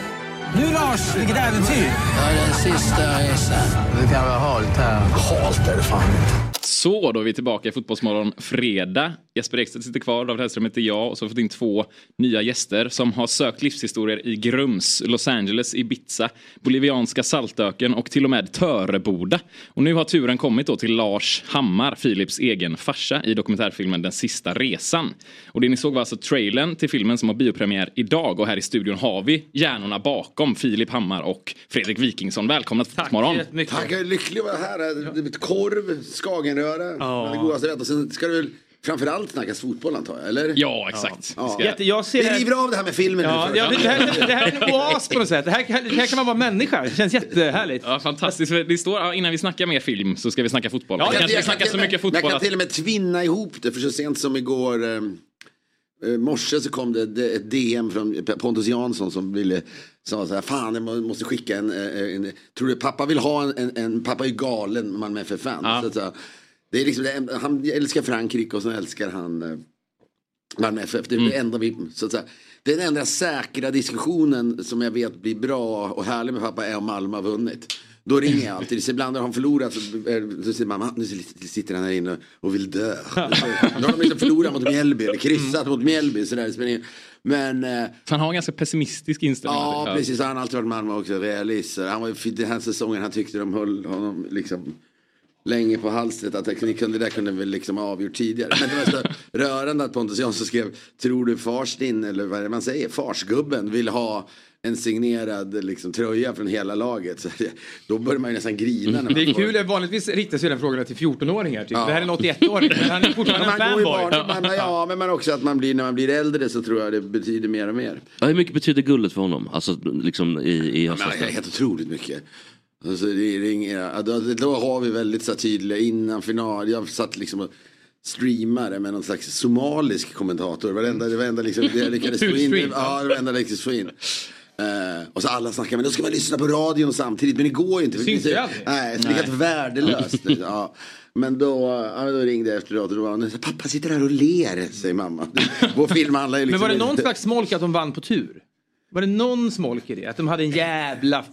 [SPEAKER 13] Nu Lars, vilket äventyr!
[SPEAKER 15] Ja, den sista resan. Det kan vara halt här. Halt är det fan inte.
[SPEAKER 1] Så, då är vi tillbaka i Fotbollsmorgon fredag. Jesper Ekstedt sitter kvar, David Hellström heter jag och så har vi fått in två nya gäster som har sökt livshistorier i Grums, Los Angeles, Ibiza, Bolivianska Saltöken och till och med Töreboda. Och nu har turen kommit då till Lars Hammar, Philips egen farsa, i dokumentärfilmen Den sista resan. Och det ni såg var alltså trailern till filmen som har biopremiär idag och här i studion har vi hjärnorna bakom Filip Hammar och Fredrik Wikingsson. Välkomna till Fotbollsmorgon!
[SPEAKER 16] Tack, jag är lycklig att vara här. Det blir korv, skagenröra,
[SPEAKER 1] Ja.
[SPEAKER 16] bland det godaste rätt. Och sen ska det väl framförallt snackas fotboll antar jag, eller?
[SPEAKER 1] Ja, exakt.
[SPEAKER 16] Ja.
[SPEAKER 1] Vi ska-
[SPEAKER 13] Jag ser-
[SPEAKER 16] Vi river av det här med filmen
[SPEAKER 13] Ja,
[SPEAKER 16] nu
[SPEAKER 13] ja, det, det, här, det här är en oas på något sätt. Det här, kan- här kan man vara människa. Det känns jättehärligt.
[SPEAKER 1] Ja, fantastiskt. För Det står, ja, innan vi snackar mer film så ska vi snacka fotboll.
[SPEAKER 16] Jag
[SPEAKER 1] vi
[SPEAKER 16] kan-
[SPEAKER 1] kanske
[SPEAKER 16] jag
[SPEAKER 1] inte
[SPEAKER 16] kan
[SPEAKER 1] snackar
[SPEAKER 16] till
[SPEAKER 1] så
[SPEAKER 16] och med-
[SPEAKER 1] mycket
[SPEAKER 16] Jag
[SPEAKER 1] fotboll.
[SPEAKER 16] kan
[SPEAKER 1] att-
[SPEAKER 16] till och med tvinna ihop det för så sent som igår eh, eh, morse så kom det d- ett DM från P- Pontus Jansson som ville sa så här, fan jag må- måste skicka en, eh, en tror du pappa vill ha en, en, en pappa är ju galen man med för fan. Så, att säga, det är liksom, det en- han älskar Frankrike och så älskar han eh, Malmö FF. Det är det enda vi, så att säga, den enda säkra diskussionen som jag vet blir bra och härlig med pappa är om Malmö har vunnit. Då ringer jag alltid. Så Ibland när han förlorat så, eh, så säger mamma, nu sitter han här inne och vill dö. Då har de liksom förlorat mot Mjällby eller kryssat mot Mjällby. Så där, det spelar ingen- men... eh,
[SPEAKER 1] Så han har en ganska pessimistisk inställning.
[SPEAKER 16] Ja,
[SPEAKER 1] Ja.
[SPEAKER 16] precis. Han har alltid varit Malmö också. Realist. Han var ju för den här säsongen han tyckte de höll honom liksom länge på halstret. Att ni kunde, det där kunde vi liksom ha avgjort tidigare. Men det var så rörande att Pontus Jansson skrev, tror du fars din, eller vad är det man säger, farsgubben vill ha en signerad liksom, tröja från hela laget. Så det, då börjar man ju nästan grina. När man
[SPEAKER 13] Det är
[SPEAKER 16] får-
[SPEAKER 13] kul, vanligtvis riktas ju den frågan till 14-åringar. Typ.
[SPEAKER 16] Ja.
[SPEAKER 13] Det här är en 81-åring, men han är
[SPEAKER 16] <laughs>
[SPEAKER 13] fortfarande en
[SPEAKER 16] man går ju
[SPEAKER 13] fanboy.
[SPEAKER 16] barn, man, ja, men man också att man blir, när man blir äldre så tror jag det betyder mer och mer.
[SPEAKER 5] Ja, hur mycket betyder guldet för honom? Alltså liksom i, i
[SPEAKER 13] alltså,
[SPEAKER 16] Ja, men, helt otroligt mycket. Alltså, det är inga, ja, då, då har vi väldigt så här, tydliga innan final. Jag satt liksom och streamade med någon slags somalisk kommentator. Varenda, det varenda liksom, det jag
[SPEAKER 13] <laughs>
[SPEAKER 16] lyckades få in.
[SPEAKER 13] Stream.
[SPEAKER 16] Ja, det varenda jag lyckades få in. Eh, och så alla snackar, men då ska man lyssna på radion samtidigt. Men det går ju inte. för-
[SPEAKER 13] Syns det aldrig?
[SPEAKER 16] Nej, det är helt
[SPEAKER 13] Nej. <laughs>
[SPEAKER 16] värdelöst. liksom. Ja. Men då, ja, då ringde jag efteråt och då var hon så här, pappa sitter här och ler, säger mamma. Vår film handlar ju
[SPEAKER 13] Men
[SPEAKER 16] liksom
[SPEAKER 13] var det
[SPEAKER 16] inte-
[SPEAKER 13] någon slags smolk att de vann på tur? Var det någon smolk i det? Att de hade en jävla plats?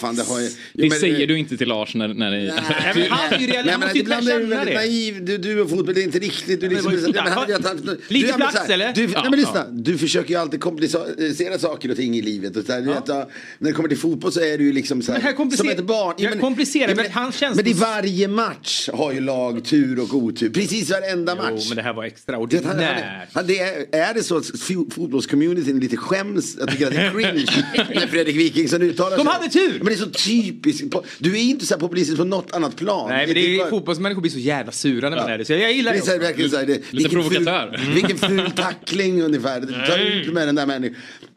[SPEAKER 16] Fan, det har ju-
[SPEAKER 1] Det säger du inte till Lars när, <laughs> när ni...
[SPEAKER 16] Nej,
[SPEAKER 13] men han är ju realist, han
[SPEAKER 16] men
[SPEAKER 13] måste ju
[SPEAKER 16] ibland
[SPEAKER 13] lära
[SPEAKER 16] är du
[SPEAKER 13] känna
[SPEAKER 16] väldigt
[SPEAKER 13] det.
[SPEAKER 16] naiv. Du, du och fotboll, det är inte riktigt. Du
[SPEAKER 13] Men
[SPEAKER 16] liksom,
[SPEAKER 13] det var ju-
[SPEAKER 16] ja, men hade jag tagit-
[SPEAKER 13] Lite
[SPEAKER 16] du, ja, men
[SPEAKER 13] plats,
[SPEAKER 16] så här,
[SPEAKER 13] eller?
[SPEAKER 16] Du,
[SPEAKER 13] Ja,
[SPEAKER 16] nej, men
[SPEAKER 13] ja.
[SPEAKER 16] lyssna, du försöker ju alltid komplicera saker och ting i livet. Och så här, du vet, ja, när det kommer till fotboll så är du ju liksom så här,
[SPEAKER 13] Men här komplicer-
[SPEAKER 16] som ett barn.
[SPEAKER 13] jag komplicerar, men hans känslor-
[SPEAKER 16] men i varje match har ju lag tur och otur. Precis varenda match.
[SPEAKER 13] Jo, men det här var
[SPEAKER 16] Det, han, han,
[SPEAKER 13] extraordinärt.
[SPEAKER 16] han, det är, är det så att fo- fotbollscommunityn lite skäms, jag tycker att det
[SPEAKER 13] <laughs>
[SPEAKER 16] är cringe när Fredrik Wikingsson uttalar
[SPEAKER 13] De
[SPEAKER 16] sig?
[SPEAKER 13] hade tur!
[SPEAKER 16] Men det är så typiskt. Po- Du är inte så här populistisk på något annat plan.
[SPEAKER 13] Nej, men det
[SPEAKER 16] är
[SPEAKER 13] är,
[SPEAKER 16] bara-
[SPEAKER 13] fotbollsmänniskor blir så jävla sura när man är det. Så jag gillar
[SPEAKER 16] det. Är så här,
[SPEAKER 13] också.
[SPEAKER 16] verkligen så här, det vilken Ful, <laughs> vilken ful tackling ungefär. Ta
[SPEAKER 13] Nej.
[SPEAKER 16] ut med den där människan.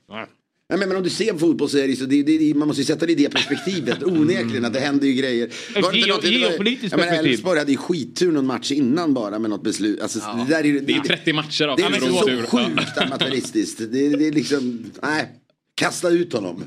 [SPEAKER 16] Nej, men men om du ser fotboll så är det ju så, det, det, man måste ju sätta det i det perspektivet. Onekligen att det händer ju grejer. det
[SPEAKER 13] Geo-
[SPEAKER 16] någonting-
[SPEAKER 13] geopolitiskt
[SPEAKER 16] Ja, men
[SPEAKER 13] perspektiv.
[SPEAKER 16] Elfsborg hade ju skittur någon match innan bara med något beslut. Alltså, det, där är, ju-
[SPEAKER 1] Det är 30 matcher av
[SPEAKER 16] det är
[SPEAKER 1] tur
[SPEAKER 16] liksom
[SPEAKER 1] och
[SPEAKER 16] så
[SPEAKER 1] tur.
[SPEAKER 16] sjukt amatöristiskt. Det, det är liksom, nej. Kasta ut honom.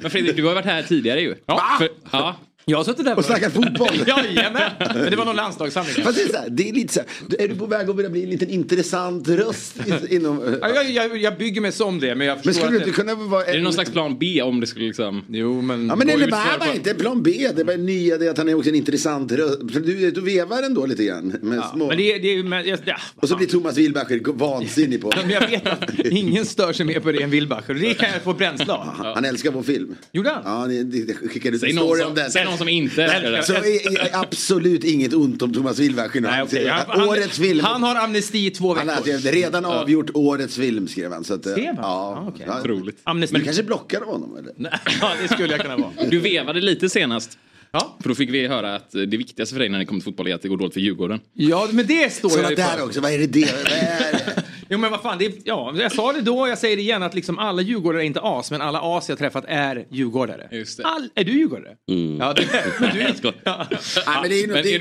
[SPEAKER 1] Men Fredrik, du har varit här tidigare ju. Ja. För, ja.
[SPEAKER 13] Jag har suttit där
[SPEAKER 16] Och
[SPEAKER 13] <laughs>
[SPEAKER 16] snackat fotboll.
[SPEAKER 13] Jajamän! Men det var någon landslagssamling.
[SPEAKER 16] Fast det är, så här, det är lite så här, är du på väg att börja bli en liten intressant röst i- inom...
[SPEAKER 13] Ja, jag, jag, jag bygger mig som det, men jag förstår
[SPEAKER 16] Men skulle du
[SPEAKER 13] att
[SPEAKER 16] inte kunna vara...
[SPEAKER 1] Är det någon slags plan B om det skulle liksom...
[SPEAKER 13] Jo men...
[SPEAKER 16] Ja men eller bara, bara inte plan B, det är bara nya det är att han är också en intressant röst. För du, du vevar ändå lite grann med
[SPEAKER 13] Ja,
[SPEAKER 16] små...
[SPEAKER 13] men det, är- det är ju... men jag- Ja,
[SPEAKER 16] Och så blir Thomas Wilbacher g- vansinnig på
[SPEAKER 13] <laughs> men jag vet att ingen stör sig mer på det än Wilbacher. och Det kan jag få bränsle av.
[SPEAKER 16] Han älskar vår film.
[SPEAKER 13] Gjorde han?
[SPEAKER 16] Ja, ni, ni, ni skickade ut en
[SPEAKER 13] Säg någon
[SPEAKER 16] story
[SPEAKER 13] som-
[SPEAKER 16] om den.
[SPEAKER 13] säg någon som inte älskar den.
[SPEAKER 16] Så är, är absolut inget ont om Thomas Wilbacher nu.
[SPEAKER 13] Nej,
[SPEAKER 16] Han
[SPEAKER 13] okej.
[SPEAKER 16] säger
[SPEAKER 13] Han-
[SPEAKER 16] att
[SPEAKER 13] han-
[SPEAKER 16] årets film.
[SPEAKER 13] Han har amnesti i två
[SPEAKER 16] Han har alltså
[SPEAKER 13] veckor.
[SPEAKER 16] redan
[SPEAKER 13] Ja.
[SPEAKER 16] avgjort årets film skrev han. Så att, eh,
[SPEAKER 13] Skrev han?
[SPEAKER 16] Ja,
[SPEAKER 13] okej.
[SPEAKER 16] ja.
[SPEAKER 1] Otroligt.
[SPEAKER 16] Men du kanske blockade honom eller?
[SPEAKER 13] <laughs> Ja, det skulle jag kunna vara.
[SPEAKER 1] Du vevade lite senast.
[SPEAKER 13] Ja.
[SPEAKER 1] För då fick vi höra att eh, det viktigaste för dig när det kommer till fotboll är att det går dåligt för Djurgården.
[SPEAKER 13] Ja, men det står
[SPEAKER 1] Såna
[SPEAKER 13] jag ju
[SPEAKER 1] där
[SPEAKER 13] för.
[SPEAKER 1] också,
[SPEAKER 16] vad är det det?
[SPEAKER 13] <laughs> jo, men vad fan, det är, ja, jag sa det då, jag säger det igen, att liksom alla djurgårdare är inte as, men alla as jag träffat är djurgårdare. Just det. Mm. All, är du djurgårdare? Ja, <laughs> det, men du är... Ja.
[SPEAKER 16] Nej, men det är, ju- det, Det,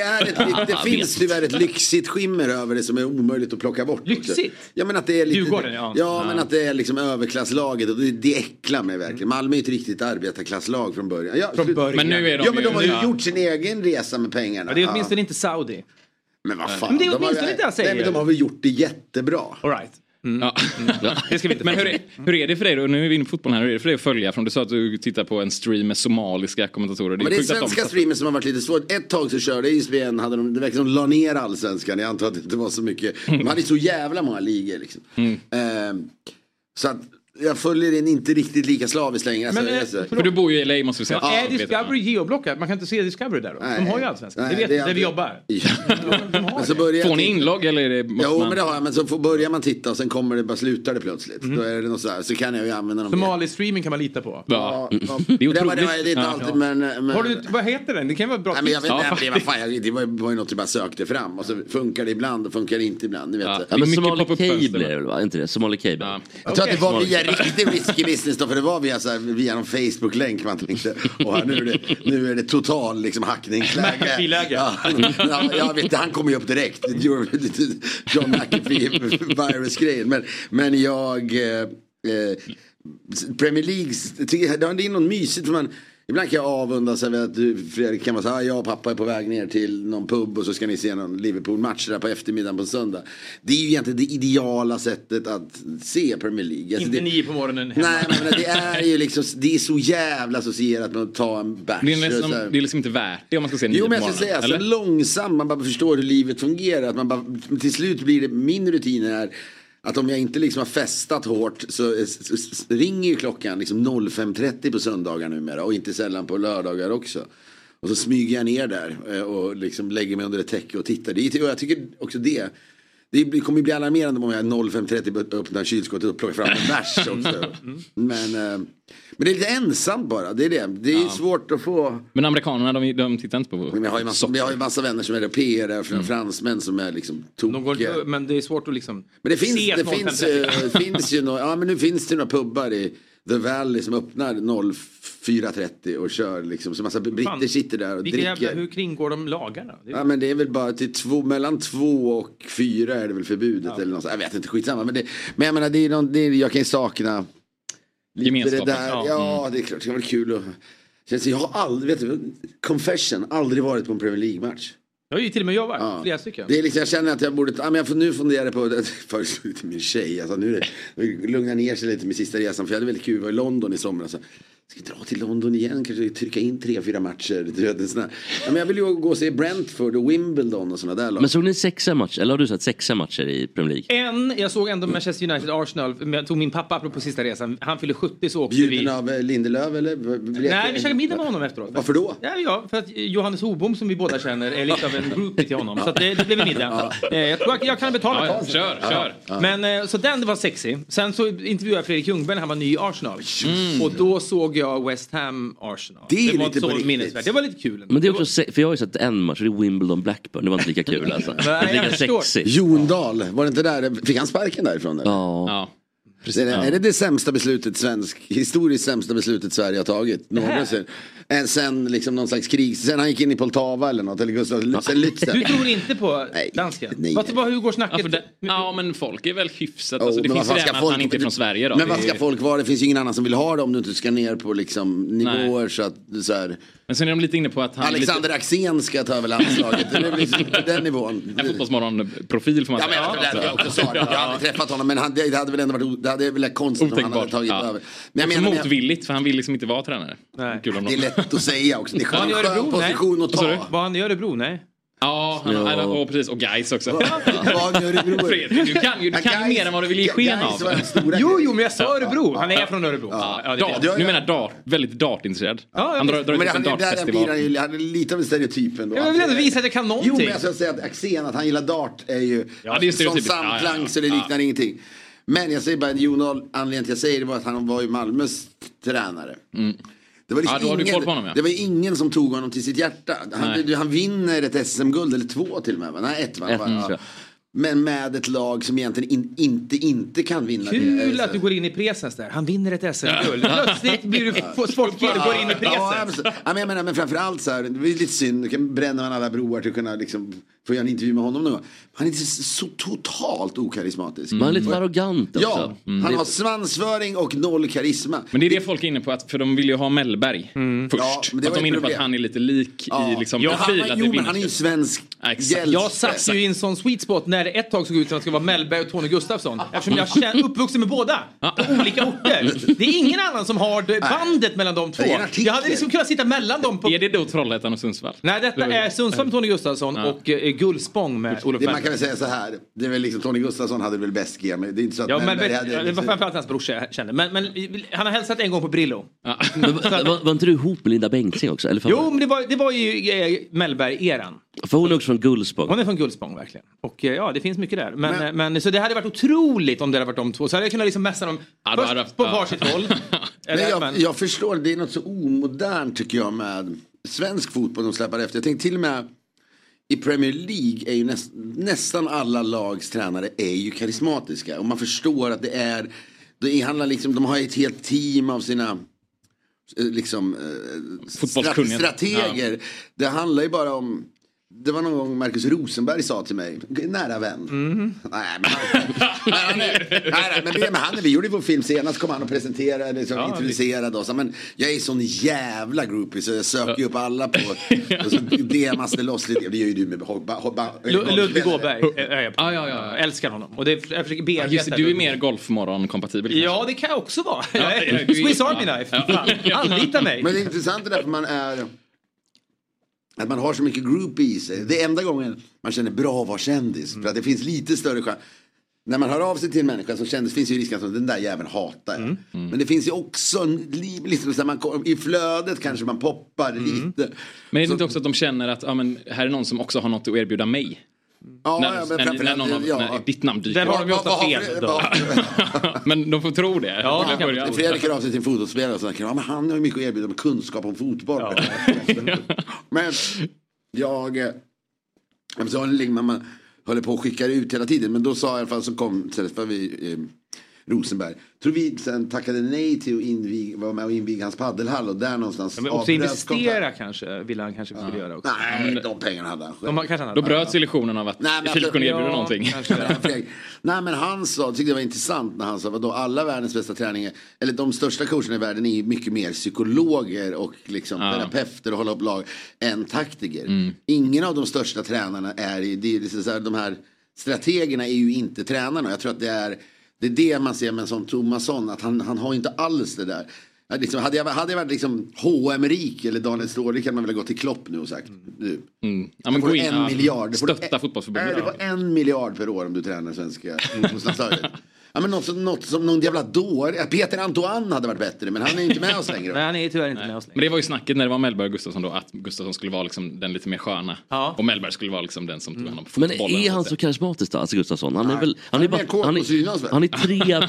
[SPEAKER 16] är
[SPEAKER 13] <laughs>
[SPEAKER 16] ett, det finns tyvärr ett lyxigt skimmer över det som är omöjligt att plocka bort. också.
[SPEAKER 13] Lyxigt?
[SPEAKER 16] Ja men att det är lite...
[SPEAKER 13] Djurgården, ja.
[SPEAKER 16] Ja men
[SPEAKER 13] Ja.
[SPEAKER 16] att det är liksom överklasslaget och det, det äcklar mig verkligen. Malmö är ju ett riktigt arbetarklasslag från början. Ja,
[SPEAKER 13] Från
[SPEAKER 16] slut-
[SPEAKER 13] början. Men nu är de
[SPEAKER 16] Ja men de
[SPEAKER 13] ju-
[SPEAKER 16] har ju
[SPEAKER 13] ja.
[SPEAKER 16] gjort sin egen resa med pengarna.
[SPEAKER 13] Ja, det är åtminstone inte Saudi.
[SPEAKER 16] Men vad fan.
[SPEAKER 13] Men det är
[SPEAKER 16] de har ju-
[SPEAKER 13] åtminstone inte jag säger.
[SPEAKER 16] Nej men de har väl gjort det jättebra.
[SPEAKER 13] All right.
[SPEAKER 1] Mm. Ja. Men hur är, hur är det för dig då? Nu är vi inne på fotbollen här. Hur är det för dig att följa? Från du sa att du tittar på en stream med somaliska kommentatorer.
[SPEAKER 16] Men det är
[SPEAKER 1] sjukt att de-
[SPEAKER 16] svenska streamers som har varit lite svårt. Ett tag så körde ISBN, hade de, det verkar som de la ner allsvenskan. Jag antar att det inte var så mycket. De hade ju så jävla många ligor liksom.
[SPEAKER 1] Mm.
[SPEAKER 16] Ehm, så att jag följer den inte riktigt lika slaviskt längre. Alltså,
[SPEAKER 13] Men, eh,
[SPEAKER 16] jag-
[SPEAKER 1] För du bor ju i LA måste vi säga.
[SPEAKER 13] Ja, är Discovery geoblockat? Man kan inte se Discovery där då?
[SPEAKER 16] Nej.
[SPEAKER 13] de har ju allsvenskan. Det
[SPEAKER 16] Nej,
[SPEAKER 13] vet
[SPEAKER 16] det
[SPEAKER 13] vi,
[SPEAKER 16] är
[SPEAKER 13] där vi
[SPEAKER 16] alltid-
[SPEAKER 13] jobbar.
[SPEAKER 16] Men så börjar
[SPEAKER 1] Får ni
[SPEAKER 16] jag titta-
[SPEAKER 1] inlogg eller är det... måste
[SPEAKER 16] Jo
[SPEAKER 1] man-
[SPEAKER 16] men det har jag, men så får, börjar man titta och sen kommer det bara slutar det plötsligt.
[SPEAKER 13] Mm.
[SPEAKER 16] Då är det något sådär, så kan jag ju använda dem.
[SPEAKER 13] Somalisk streaming kan man lita på.
[SPEAKER 16] Ja, ja. Det är Det var- det var- det är inte otroligt. alltid, men- men-
[SPEAKER 13] Har du, vad heter den? Det kan vara ett bra
[SPEAKER 16] Nej, men jag vet, nej, men det, var fan, jag, det var ju- var ju något jag bara sökte fram och så funkar det ibland och funkar det inte ibland. Ni vet.
[SPEAKER 5] Ja, men Somali Cable blir det väl, va? Inte det? Somali Cable.
[SPEAKER 16] Jag tror att det var
[SPEAKER 5] Somali-
[SPEAKER 16] via <laughs> riktig risky business då, för det var via, så här, via någon Facebook-länk man tänkte. Och här, nu, är det, nu är det total liksom, hackningsläge. Ja, ja, jag vet, han kommer ju upp direkt. John McAfee-virus-grejen. Men, men jag... Eh, eh, Premier League, tycker- det är något mysigt för man Ibland kan jag avundas över att du, Fredrik kan vara så här, "Ah, jag och pappa är på väg ner till någon pub och så ska ni se någon Liverpool-match där på eftermiddagen på en söndag. Det är ju egentligen det ideala sättet att se Premier League. Alltså,
[SPEAKER 13] Inte
[SPEAKER 16] det,
[SPEAKER 13] nio på morgonen hemma.
[SPEAKER 16] nej men det är ju liksom, det är så jävla associerat med att ta en bärs.
[SPEAKER 1] Det är,
[SPEAKER 16] och
[SPEAKER 1] nästan,
[SPEAKER 16] så här.
[SPEAKER 1] det är liksom inte värt det om man ska se nio
[SPEAKER 16] Jo
[SPEAKER 1] på
[SPEAKER 16] men jag ska
[SPEAKER 1] morgonen,
[SPEAKER 16] säga, så
[SPEAKER 1] eller?
[SPEAKER 16] långsamt, man bara förstår hur livet fungerar. Att man bara, till slut blir det, min rutin är att om jag inte liksom har festat hårt så, så, så ringer ju klockan liksom 05.30 på söndagar numera och inte sällan på lördagar också. Och så smyger jag ner där eh, och liksom lägger mig under ett täcke och tittar dit. Och jag tycker också det. Det blir- kommer ju bli alarmerande om jag 05.30 öppnar kylskåpet och plockar fram en bärs också. Men, eh, men det är lite ensamt bara, det är det. Det är svårt att få
[SPEAKER 1] Men amerikanerna de, de tittar inte på Men
[SPEAKER 16] jag har ju massa, vi har ju massa vänner som är europeer, där,
[SPEAKER 13] Mm.
[SPEAKER 16] fr- fransmän som är liksom tokiga.
[SPEAKER 13] Men det är svårt att liksom...
[SPEAKER 16] Men det finns,
[SPEAKER 13] ses
[SPEAKER 16] det finns, eh,
[SPEAKER 13] <laughs>
[SPEAKER 16] ju,
[SPEAKER 13] 05.30.
[SPEAKER 16] finns ju några, ja men nu finns det några pubbar i The Valley som öppnar 04.30 och kör liksom. Så massa britter sitter där och
[SPEAKER 13] Vilka jävla,
[SPEAKER 16] dricker.
[SPEAKER 13] hur kringgår de lagarna? Det är-
[SPEAKER 16] Ja men det är väl bara till två, mellan två och fyra är det väl förbudet eller något sånt. Jag vet inte, skitsamma. Men, det, men jag menar, det är någon, det är, jag kan ju sakna lite det
[SPEAKER 1] Gemenskapen.
[SPEAKER 16] där. Ja,
[SPEAKER 1] Ja.
[SPEAKER 13] Mm.
[SPEAKER 16] det är klart, det kan vara kul att... Känns- Jag har aldrig, vet du, confession, aldrig varit på en Premier League-match.
[SPEAKER 13] Jag har ju till och med jag varit,
[SPEAKER 16] Ja.
[SPEAKER 13] flera stycken.
[SPEAKER 16] Det är liksom, jag känner att jag borde, ja, men jag får nu fundera på, förut till min tjej, alltså nu är det, lugna ner sig lite med sista resan för jag hade väldigt kul, jag var i London i somras. så, Ska jag dra till London igen, kanske trycka in tre, fyra matcher. Du vet, en sån här. ja, men jag vill ju gå och se Brentford och Wimbledon och sådana där lag.
[SPEAKER 5] Men såg ni sexa matcher? Eller har du sett sexa matcher i Premier League?
[SPEAKER 13] En, jag såg ändå Manchester United-Arsenal, men jag tog min pappa apropå sista resan, han fyllde 70 så åkte vi.
[SPEAKER 16] Bjuden av eh, Lindelöf eller? B- b-
[SPEAKER 13] Nej, vi käkade middag med honom efteråt.
[SPEAKER 16] Varför då?
[SPEAKER 13] Ja, ja, för att Johannes Hobom som vi båda känner är lite av en groupie till honom. Så att det, det blev en middag. Eh, Jag tror att jag kan betala.
[SPEAKER 1] Ja, ja, kör, kör. Ja.
[SPEAKER 13] Men eh, så den var sexy. Sen så intervjuade jag Fredrik Ljungberg när han var ny i Arsenal. Och då såg jag West Ham Arsenal.
[SPEAKER 5] Mm. Det är
[SPEAKER 13] var
[SPEAKER 5] lite
[SPEAKER 13] inte
[SPEAKER 5] på
[SPEAKER 13] så
[SPEAKER 5] riktigt.
[SPEAKER 13] minnesvärt. Det var lite kul.
[SPEAKER 5] Men det är också, se- för jag har ju sett en match, det är Wimbledon Blackburn, det var inte lika kul alltså. Det var
[SPEAKER 16] Nej,
[SPEAKER 5] inte
[SPEAKER 16] jag
[SPEAKER 5] lika
[SPEAKER 16] förstår.
[SPEAKER 5] sexigt.
[SPEAKER 16] Jondal, var det inte där? Fick han sparken därifrån? Eller?
[SPEAKER 5] Ja.
[SPEAKER 16] Är, det, är det det sämsta beslutet svensk, historiskt sämsta beslutet Sverige har tagit någonsin? Än sen liksom någon slags krig, sen han gick in i Poltava eller något, eller Gustav, sen Lützen.
[SPEAKER 13] Du tror inte på dansken? Nej. Vad, vad, hur går snacket?
[SPEAKER 1] Ja, för det, ja men folk är väl hyfsat.
[SPEAKER 16] Jo,
[SPEAKER 1] alltså, det
[SPEAKER 16] Oh, men
[SPEAKER 1] finns ju
[SPEAKER 16] vad
[SPEAKER 1] det här
[SPEAKER 16] fan ska
[SPEAKER 1] med att
[SPEAKER 16] folk-
[SPEAKER 1] han inte är från Sverige då.
[SPEAKER 16] Men
[SPEAKER 1] Det
[SPEAKER 16] vad
[SPEAKER 1] är-
[SPEAKER 16] ska folk vara? Det finns ju ingen annan som vill ha det om du inte ska ner på liksom nivåer så att så här.
[SPEAKER 1] Men sen är de lite inne på att han... är
[SPEAKER 16] Alexander
[SPEAKER 1] lite...
[SPEAKER 16] Axén ska ta över landslaget. Det
[SPEAKER 1] <laughs>
[SPEAKER 16] blir liksom på den nivån.
[SPEAKER 1] En fotbollsmorgon-profil får man
[SPEAKER 16] Ja, men
[SPEAKER 1] säga.
[SPEAKER 16] jag, det var därför jag också sa det. Jag
[SPEAKER 1] Ja.
[SPEAKER 16] hade träffat honom men han, det hade väl ändå varit, det hade väl varit konstigt om han hade
[SPEAKER 1] Otänkbart.
[SPEAKER 16] tagit
[SPEAKER 1] Ja.
[SPEAKER 16] över.
[SPEAKER 1] Men
[SPEAKER 16] jag menar-
[SPEAKER 1] motvilligt för han vill liksom inte vara tränare. Kul om
[SPEAKER 16] Det är
[SPEAKER 1] någon-
[SPEAKER 16] lätt att säga
[SPEAKER 1] <laughs>
[SPEAKER 16] också. Det är
[SPEAKER 1] Var han
[SPEAKER 16] en
[SPEAKER 1] i
[SPEAKER 16] skön
[SPEAKER 1] Örebro? Nej.
[SPEAKER 16] position att
[SPEAKER 1] Vad sa
[SPEAKER 16] ta.
[SPEAKER 1] du?
[SPEAKER 13] Var han i Örebro? Nej.
[SPEAKER 1] Ja, han,
[SPEAKER 16] Ja.
[SPEAKER 1] ja. Och precis. Och guys också. <laughs>
[SPEAKER 13] Fredrik,
[SPEAKER 1] du kan ju- du kan ju mer än vad du vill ge sken av.
[SPEAKER 13] Jo, jo, men jag sa Örebro. Han är från Örebro. Ja, ja, det vet
[SPEAKER 1] Dart,
[SPEAKER 13] jag.
[SPEAKER 1] du menar dart, väldigt dartintresserad. han drar, drar
[SPEAKER 16] men
[SPEAKER 1] ut
[SPEAKER 16] han,
[SPEAKER 1] en
[SPEAKER 16] där blir han,
[SPEAKER 1] dartfestival.
[SPEAKER 16] ju, han är lite av en stereotyp ändå.
[SPEAKER 13] Ja, men jag vill ändå visa att jag kan
[SPEAKER 16] Jo, men alltså,
[SPEAKER 13] någonting.
[SPEAKER 16] jag ska säga att Axén, att han gillar dart är ju alltså,
[SPEAKER 1] Ja, det är ju
[SPEAKER 16] som
[SPEAKER 1] stereotypiskt.
[SPEAKER 16] samklang
[SPEAKER 1] Ja, ja, ja.
[SPEAKER 16] så det
[SPEAKER 1] Ja.
[SPEAKER 16] liknar ingenting. Men jag säger bara att Jon Dahl, anledningen till att jag säger det var att han var ju Malmös tränare. Det var, liksom
[SPEAKER 1] Mm. Ja, då har du
[SPEAKER 16] ingen,
[SPEAKER 1] koll på honom, ja.
[SPEAKER 16] det var ju ingen som tog honom till sitt hjärta. Han,
[SPEAKER 1] Nej.
[SPEAKER 16] du- han vinner ett SM-guld, eller två till och med. va? Nej, ett va?
[SPEAKER 1] Ett, mm,
[SPEAKER 16] va?
[SPEAKER 1] tror
[SPEAKER 16] ja.
[SPEAKER 1] jag.
[SPEAKER 16] Men med ett lag som egentligen in, inte, inte kan vinna.
[SPEAKER 13] Kul
[SPEAKER 16] det.
[SPEAKER 5] alltså.
[SPEAKER 13] att du går in i presens där. Han vinner ett SM-guld.
[SPEAKER 16] Ja.
[SPEAKER 13] Plötsligt blir du f- folklig och går in i
[SPEAKER 16] Ja,
[SPEAKER 13] presens.
[SPEAKER 16] absolut. ja, men jag menar, men framförallt så här, det är lite synd, nu kan- bränner man alla broar till att kunna liksom, få göra en intervju med honom någon gång. Han är så, så totalt okarismatisk.
[SPEAKER 5] Men han Mm. är lite
[SPEAKER 16] Och-
[SPEAKER 5] för arrogant också.
[SPEAKER 16] Mm.
[SPEAKER 5] Mm.
[SPEAKER 16] Ja, han har svansföring och noll karisma. Mm.
[SPEAKER 1] Men det är det folk är inne på, att, för de vill ju ha Mellberg först.
[SPEAKER 16] Ja, men det
[SPEAKER 1] att
[SPEAKER 16] var
[SPEAKER 1] de är
[SPEAKER 16] ju
[SPEAKER 1] inne på att
[SPEAKER 16] problem.
[SPEAKER 1] han är lite lik i liksom,
[SPEAKER 16] Ja, han,
[SPEAKER 1] profil. att det
[SPEAKER 16] jo,
[SPEAKER 1] blir
[SPEAKER 16] men han är ju
[SPEAKER 1] mycket-
[SPEAKER 16] svensk
[SPEAKER 1] Ja, exakt.
[SPEAKER 16] hjälte.
[SPEAKER 13] Jag satt ju i en sån sweet spot när där det ett tag såg ut som att det skulle vara Mellberg och Tony
[SPEAKER 16] Ah.
[SPEAKER 13] Gustafsson. Eftersom jag
[SPEAKER 16] <laughs>
[SPEAKER 13] är uppvuxen med båda. På olika orter. Det är ingen annan som har det bandet mellan de två.
[SPEAKER 1] Det är en artikel.
[SPEAKER 13] Jag hade liksom kunnat sitta mellan dem. På...
[SPEAKER 1] Är det då Trollhättan och Sundsvall?
[SPEAKER 13] Nej, detta är Sundsvall med Tony Gustafsson och eh, Gullspång med Olof
[SPEAKER 16] Det, man kan
[SPEAKER 13] Mellberg.
[SPEAKER 16] väl säga så här, det är väl liksom, Tony Gustafsson hade väl bäst GM. Det är inte så att
[SPEAKER 13] Ja,
[SPEAKER 16] Mellberg
[SPEAKER 13] Mellberg,
[SPEAKER 16] hade- liksom-
[SPEAKER 13] ja, det var framförallt hans brorsa jag kände. Men, men han har hälsat en gång på Brillo.
[SPEAKER 5] Men, var, var, var inte du ihop med Linda Bengtzing också? Eller fan,
[SPEAKER 13] Jo, men det var, det var ju eh, Mellberg-eran.
[SPEAKER 5] För hon är också från Gullspång.
[SPEAKER 13] Hon är från Gullspång verkligen. Och eh, ja, det finns mycket där. Men, eh, men, så det hade varit otroligt om det hade varit de två. Så hade jag kunnat liksom mässa dem först på varsitt
[SPEAKER 16] <laughs>
[SPEAKER 13] håll.
[SPEAKER 16] Men
[SPEAKER 13] Eller,
[SPEAKER 16] jag, jag förstår, det är något så omodernt tycker jag med svensk fotboll de släpar efter. Jag tänkte till och med i Premier League är ju näst, nästan alla lags tränare är ju karismatiska. Och man förstår att det är, det handlar liksom, de har ett helt team av sina eh, liksom, eh,
[SPEAKER 1] Fotbollskunniga.
[SPEAKER 16] stra- strateger. Det handlar ju bara om det var någon gång Marcus Rosenberg sa till mig, nära vän. Nej, men han,
[SPEAKER 13] <laughs>
[SPEAKER 16] men han är, nej, nej, men det, men han, är- vi gjorde ju vår film senast, kom han och presenterade, liksom,
[SPEAKER 1] Ja,
[SPEAKER 16] introducerade oss. Men jag är sån jävla groupie så jag söker ju upp alla på,
[SPEAKER 13] <laughs>
[SPEAKER 16] och så DMas det loss lite. Det gör ju du med hobba, hobba,
[SPEAKER 13] Lu- Ludvig Åberg.
[SPEAKER 16] Hubba.
[SPEAKER 13] eh, är jag på. Jag älskar honom. Och det, jag försöker bearbeta
[SPEAKER 1] Just det, du är
[SPEAKER 13] Ludvig.
[SPEAKER 1] mer golfmorgon-kompatibel.
[SPEAKER 13] Ja, det kan jag också vara. Jag är-
[SPEAKER 1] ja, du är-
[SPEAKER 13] Swiss Army
[SPEAKER 1] ja.
[SPEAKER 13] Knife.
[SPEAKER 1] Ja.
[SPEAKER 13] Fan, <laughs> Anlita mig.
[SPEAKER 16] Men det är intressant det där för man är att man har så mycket groupie i sig. Det är enda gången man känner bra att vara kändis. För att det finns lite större chans. När man hör av sig till en människa som kändis finns ju risken att den där jäveln hatar
[SPEAKER 13] Mm.
[SPEAKER 16] jag. Men det finns ju också en, li- liksom, så här, man, kom- i flödet kanske man poppar
[SPEAKER 13] Mm.
[SPEAKER 16] lite.
[SPEAKER 1] Men är det inte också att de känner att ja, men, här är någon som också har något att erbjuda mig?
[SPEAKER 16] Ja,
[SPEAKER 1] när,
[SPEAKER 16] ja, men
[SPEAKER 1] när, när
[SPEAKER 16] framförallt,
[SPEAKER 1] någon av,
[SPEAKER 16] ja.
[SPEAKER 1] när ditt namn dyker
[SPEAKER 16] Där har de ju Vad- ofta vad har fel Fre- då.
[SPEAKER 1] <laughs> men de får tro det.
[SPEAKER 16] Ja,
[SPEAKER 1] Till en början.
[SPEAKER 16] Fredrik hör av sig till en fotbollsspelare och säger ja, men han har ju mycket att erbjuda med kunskap om fotboll. <laughs> men jag, eh, jag sa, liksom, man- man håller på och skickar ut hela tiden. Men då sa jag i alla fall så kom så träffade vi eh, Rosenberg. Tror vi sen tackade nej till att inviga, vara med och inviga hans paddelhall och där någonstans
[SPEAKER 13] Men också
[SPEAKER 16] avbröts
[SPEAKER 13] investera kanske, ville han kanske skulle göra också.
[SPEAKER 16] Nej, de pengarna hade han själv.
[SPEAKER 13] De har- kanske han hade.
[SPEAKER 1] Då bröts illusionen av att
[SPEAKER 16] Nej, men
[SPEAKER 1] Filip
[SPEAKER 16] alltså-
[SPEAKER 1] kunde erbjuda
[SPEAKER 16] Ja,
[SPEAKER 1] någonting.
[SPEAKER 16] Fredrik. Nej men han sa, tyckte det var intressant när han sa vadå alla världens bästa träningar, eller de största coacherna i världen är ju mycket mer psykologer och liksom
[SPEAKER 1] Ja. Mm.
[SPEAKER 16] terapeuter och hålla upp lag än taktiker. Ingen av de största tränarna är ju, det är liksom så här, de här strategerna är ju inte tränarna. Jag tror att det är, det är det man ser med en sån Tomasson, att han, han har inte alls det där. Ja, Liksom, hade, jag, hade jag varit liksom H&M rik eller Daniel Stråhle kan man väl ha gått till Klopp nu och sagt. Du,
[SPEAKER 1] Mm. Ja,
[SPEAKER 16] Där
[SPEAKER 1] men
[SPEAKER 16] får
[SPEAKER 1] gå
[SPEAKER 16] du
[SPEAKER 1] in
[SPEAKER 16] en
[SPEAKER 1] och
[SPEAKER 16] miljard. Där får du
[SPEAKER 1] Stötta
[SPEAKER 16] Nej,
[SPEAKER 1] fotbollsförbundet.
[SPEAKER 16] det var en miljard per år om du tränar svenska landslaget. Ja, men något, som- något som någon jävla dåre. Peter Antoine hade varit bättre men han är inte med oss längre.
[SPEAKER 13] Nej, han är tyvärr inte med oss längre.
[SPEAKER 1] Men det var ju snacket när det var Mellberg och Gustafsson då att Gustafsson skulle vara liksom den lite mer sköna. Och Mellberg skulle vara liksom den som
[SPEAKER 16] Mm.
[SPEAKER 1] tog hand om
[SPEAKER 5] Men
[SPEAKER 1] fotbollen.
[SPEAKER 5] är han så karismatisk då, alltså Gustafsson? Han är väl... Han är,
[SPEAKER 1] mer kåt
[SPEAKER 5] bara, han,
[SPEAKER 1] på synas,
[SPEAKER 5] är,
[SPEAKER 1] väl?
[SPEAKER 5] han är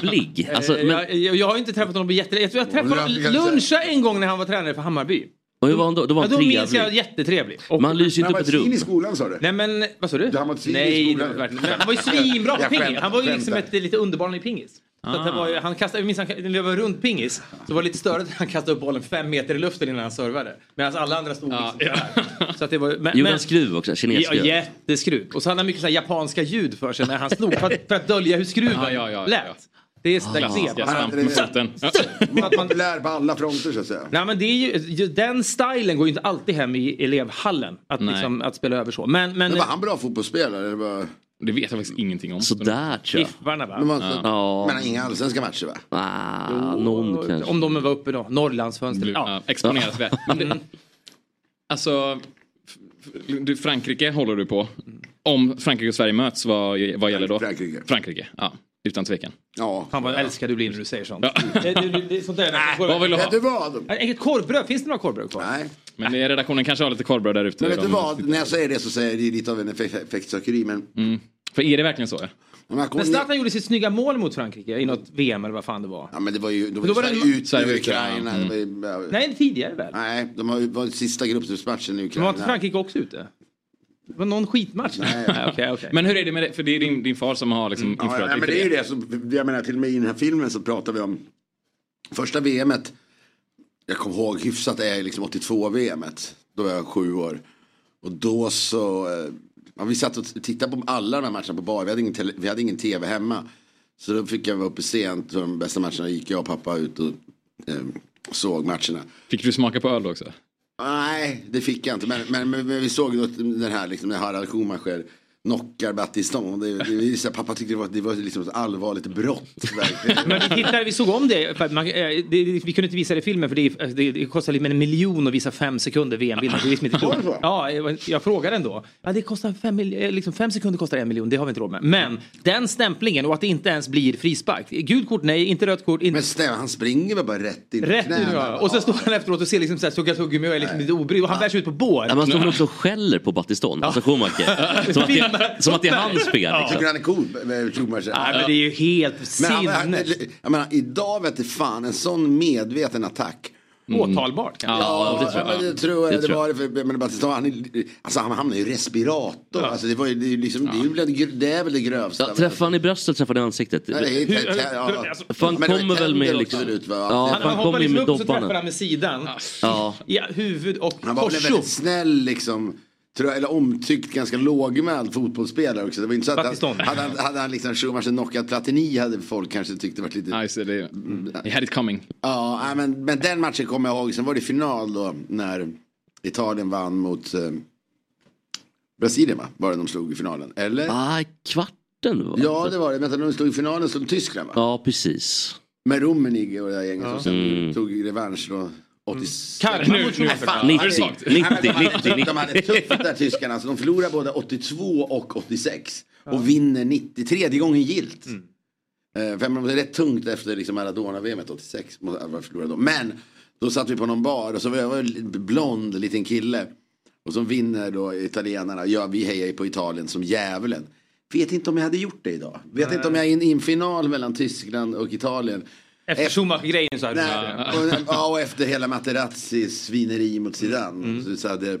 [SPEAKER 13] <laughs>
[SPEAKER 5] trevlig. Alltså,
[SPEAKER 13] Eh,
[SPEAKER 5] men,
[SPEAKER 13] jag, jag, jag har ju inte träffat honom på jättelänge. Jag tror jag träffade honom
[SPEAKER 5] kan säga-
[SPEAKER 13] luncha en gång när han var tränare för Hammarby.
[SPEAKER 5] och hur var han då? Då var
[SPEAKER 13] Ja,
[SPEAKER 5] han
[SPEAKER 13] då
[SPEAKER 5] trevlig.
[SPEAKER 13] minns jag jättetrevlig. Och-
[SPEAKER 5] Man lyser ju inte upp ett rum.
[SPEAKER 16] skolan sa du?
[SPEAKER 13] Nej men, vad sa du? Han var Nej, det var verkligen- men han
[SPEAKER 16] <laughs>
[SPEAKER 13] var ju svinbra på
[SPEAKER 5] Jag
[SPEAKER 13] pingis.
[SPEAKER 5] skämtar,
[SPEAKER 13] Han var ju liksom
[SPEAKER 5] skämtar.
[SPEAKER 13] ett eh, lite underbarn i pingis. Så att det var ju, han kastade, jag minns han levde runt pingis. Så var det lite störigt att han kastade upp bollen fem meter i luften innan han servade. Medan alla andra stod liksom sådär. Så att det var, men,
[SPEAKER 5] Gjorde
[SPEAKER 13] men-
[SPEAKER 5] han skruv också?
[SPEAKER 13] Ja,
[SPEAKER 5] Kinesskruv?
[SPEAKER 13] jätteskruv. Och så hade han mycket så här japanska ljud för sig när han slog för att, för att dölja hur skruven
[SPEAKER 1] Ja, ja, ja,
[SPEAKER 13] lät.
[SPEAKER 1] ja.
[SPEAKER 13] Det är sådär
[SPEAKER 1] Klassiska
[SPEAKER 13] ah,
[SPEAKER 1] svamp med foten.
[SPEAKER 16] Man är populär på alla fronter så att säga.
[SPEAKER 13] Nej men det är ju, ju- den stilen går ju inte alltid hem i elevhallen. Att,
[SPEAKER 16] Nej.
[SPEAKER 13] liksom, att spela över så. Men, men,
[SPEAKER 16] Men var han bra fotbollsspelare? Det, var...
[SPEAKER 1] det vet jag faktiskt ingenting om.
[SPEAKER 5] Sådär tror jag.
[SPEAKER 13] Giffarna va?
[SPEAKER 16] Men man- Men han har inga allsvenska matcher va?
[SPEAKER 5] Ah, någon kanske.
[SPEAKER 13] Om de var uppe då. Mm. Norrlandsfönstret.
[SPEAKER 1] Du, ja. exponeras
[SPEAKER 13] <laughs>
[SPEAKER 1] väl. Men det, alltså, f- f- du, Frankrike håller du på. Om Frankrike och Sverige möts, vad, vad gäller då?
[SPEAKER 16] Frankrike.
[SPEAKER 1] Frankrike, ja. Utan tvekan.
[SPEAKER 16] Ja.
[SPEAKER 13] Fan vad älskad du blir när du säger
[SPEAKER 16] <laughs>
[SPEAKER 13] sånt.
[SPEAKER 1] Ja. <laughs>
[SPEAKER 13] Det, det, det, sånt där.
[SPEAKER 1] Vad vill du ha?
[SPEAKER 16] Vet du vad?
[SPEAKER 13] Inget korvbröd, finns det några korvbröd kvar?
[SPEAKER 16] Nej.
[SPEAKER 1] Men eh, redaktionen kanske har lite korvbröd där ute.
[SPEAKER 16] Men vet du
[SPEAKER 1] De- <laughs>
[SPEAKER 16] vad? När jag säger det så säger jag det lite av en effekt- effektsökeri men...
[SPEAKER 1] Mm. För är det verkligen så?
[SPEAKER 16] Men,
[SPEAKER 13] Men Zlatan gjorde sitt snygga mål mot Frankrike i något VM eller vad fan det var.
[SPEAKER 16] Ja men det var ju, de var
[SPEAKER 13] Då
[SPEAKER 16] ju
[SPEAKER 13] var det
[SPEAKER 16] Sverige
[SPEAKER 13] en-
[SPEAKER 16] ut
[SPEAKER 13] Sverige
[SPEAKER 16] ur
[SPEAKER 13] ut, ja.
[SPEAKER 16] Ukraina.
[SPEAKER 13] Mm.
[SPEAKER 16] Det var ju-
[SPEAKER 13] Nej, tidigare väl?
[SPEAKER 16] Nej, de har ju varit sista gruppspelsmatchen i
[SPEAKER 13] Men
[SPEAKER 16] Ukraina.
[SPEAKER 13] var inte Frankrike också ute? Det var någon skitmatch. Nej, <laughs> okej, okej.
[SPEAKER 1] Men hur är det med det? För det är din, din far som har liksom
[SPEAKER 16] Mm. Ja,
[SPEAKER 1] influerat
[SPEAKER 16] ja, men
[SPEAKER 1] lite
[SPEAKER 16] det är ju det som, jag menar till och med i den här filmen så pratar vi om första VMet. Jag kommer ihåg hyfsat är liksom 82 VMet. Då var jag sju år. Och då så, eh, ja, vi satt och t- tittade på alla de här matcherna på bar. Vi hade ingen, tele, vi hade ingen tv hemma. Så då fick jag vara uppe sent och de bästa matcherna gick jag och pappa ut och eh, såg matcherna.
[SPEAKER 1] Fick du smaka på öl då också?
[SPEAKER 16] Nej, det fick jag inte. Men, men, men, vi såg då den här, liksom, när Harald Schumacher knockar Battiston. Det, det, det, så här, pappa tyckte det var, det var liksom ett allvarligt brott.
[SPEAKER 13] Men vi, tittade, vi såg om det, för att man, eh, det, det- vi kunde inte visa det i filmen för det, är- det, det kostar liksom en miljon att visa fem sekunder VM-bilden. Det är liksom inte
[SPEAKER 16] Var det
[SPEAKER 13] klokt.
[SPEAKER 16] så?
[SPEAKER 13] Ja, jag, jag frågade ändå. Ja, det kostar fem, mil- eh, liksom fem sekunder kostar en miljon, det har vi inte råd med. Men den stämplingen och att det inte ens blir frispark. Gult kort, nej, inte rött kort. Inte... Men
[SPEAKER 16] stäm, han springer väl bara rätt in i
[SPEAKER 13] Rätt in,
[SPEAKER 16] knäna.
[SPEAKER 13] ja. Och så står han efteråt och ser liksom så här, tugga tuggummi och är liksom lite obry och han bärs ut på bår.
[SPEAKER 5] Ja, man står väl också och skäller på Battiston, alltså Schumacher. Som att det, som att det är hans fel.
[SPEAKER 16] Jag tycker
[SPEAKER 5] Liksom.
[SPEAKER 16] han är cool med Schumacher.
[SPEAKER 5] Nej, men det är
[SPEAKER 13] ju helt
[SPEAKER 16] Men han, han, jag menar, idag vet du fan, en sån medveten attack.
[SPEAKER 13] Mm. Åtalbart kanske?
[SPEAKER 16] Ja,
[SPEAKER 13] Ja, det tror jag.
[SPEAKER 16] men det tror jag.
[SPEAKER 13] Det
[SPEAKER 16] Det,
[SPEAKER 13] tror
[SPEAKER 16] var det för, men Battiston, han, är- alltså, han hamnade ju i respirator. Alltså, det, var, ju- det, är ju liksom, det, är väl det, gr- det är väl det grövsta.
[SPEAKER 5] Ja, Träffade han i bröstet, träffade han i ansiktet.
[SPEAKER 16] Nej, det är inte- Hur- ja.
[SPEAKER 13] alltså,
[SPEAKER 5] För han
[SPEAKER 16] Men det var
[SPEAKER 5] kommer väl
[SPEAKER 16] tänder
[SPEAKER 5] med
[SPEAKER 16] åkte
[SPEAKER 5] liksom...
[SPEAKER 16] väl ut, va?
[SPEAKER 5] Ja, för
[SPEAKER 13] han
[SPEAKER 5] han
[SPEAKER 13] hoppar
[SPEAKER 5] kommer ju
[SPEAKER 13] liksom
[SPEAKER 5] med
[SPEAKER 13] upp och så träffar
[SPEAKER 5] dobbarna.
[SPEAKER 13] han med sidan.
[SPEAKER 5] Ja.
[SPEAKER 13] Ja, huvud och
[SPEAKER 16] Han var väl en
[SPEAKER 13] korstjo.
[SPEAKER 16] väldigt snäll liksom. Tror jag, eller omtyckt, ganska lågmäld fotbollsspelare också. Det var inte så att han,
[SPEAKER 1] Battiston.
[SPEAKER 16] hade, han, hade han liksom Schumacher knockat Platini hade folk kanske tyckt det varit lite... Mm.
[SPEAKER 1] I see, det, he had it coming.
[SPEAKER 16] Ja, nej, men, men den matchen kommer jag ihåg. Sen var det final då när Italien vann mot eh, Brasilien va? Var det de slog i finalen? Eller?
[SPEAKER 5] Ah, kvarten va?
[SPEAKER 16] Ja, det var det. Vänta, de slog i finalen som Tyskland va?
[SPEAKER 5] Ja, precis.
[SPEAKER 16] Med Rummenigge och det där gänget som sen
[SPEAKER 5] Mm.
[SPEAKER 16] tog revansch då. 86.
[SPEAKER 5] Karl, nu- nu-
[SPEAKER 16] Nej, fan,
[SPEAKER 5] 90,
[SPEAKER 16] det är svagt.
[SPEAKER 5] 90,
[SPEAKER 16] Nej, men de hade
[SPEAKER 5] 90,
[SPEAKER 16] tufft- De hade tufft där tyskarna. Så de förlorade både 82 och 86. Och vinner 90, tredje gången gillt. Eh, För jag menar, det är rätt tungt efter liksom Maradona-VM 86. må- att man förlorade då. Men då satt vi på någon bar och så var jag var jag en blond liten kille. Och som vinner då italienarna. Ja, vi hejar ju på Italien som djävulen. Vet inte om jag hade gjort det idag. Vet
[SPEAKER 13] Nej.
[SPEAKER 16] inte om jag i en, i en final mellan Tyskland och Italien.
[SPEAKER 13] Efter Schumacher-grejen så hade
[SPEAKER 16] Nej,
[SPEAKER 13] du
[SPEAKER 16] och, ja, och efter hela Materazzis svineri mot Zidane. Så, så hade,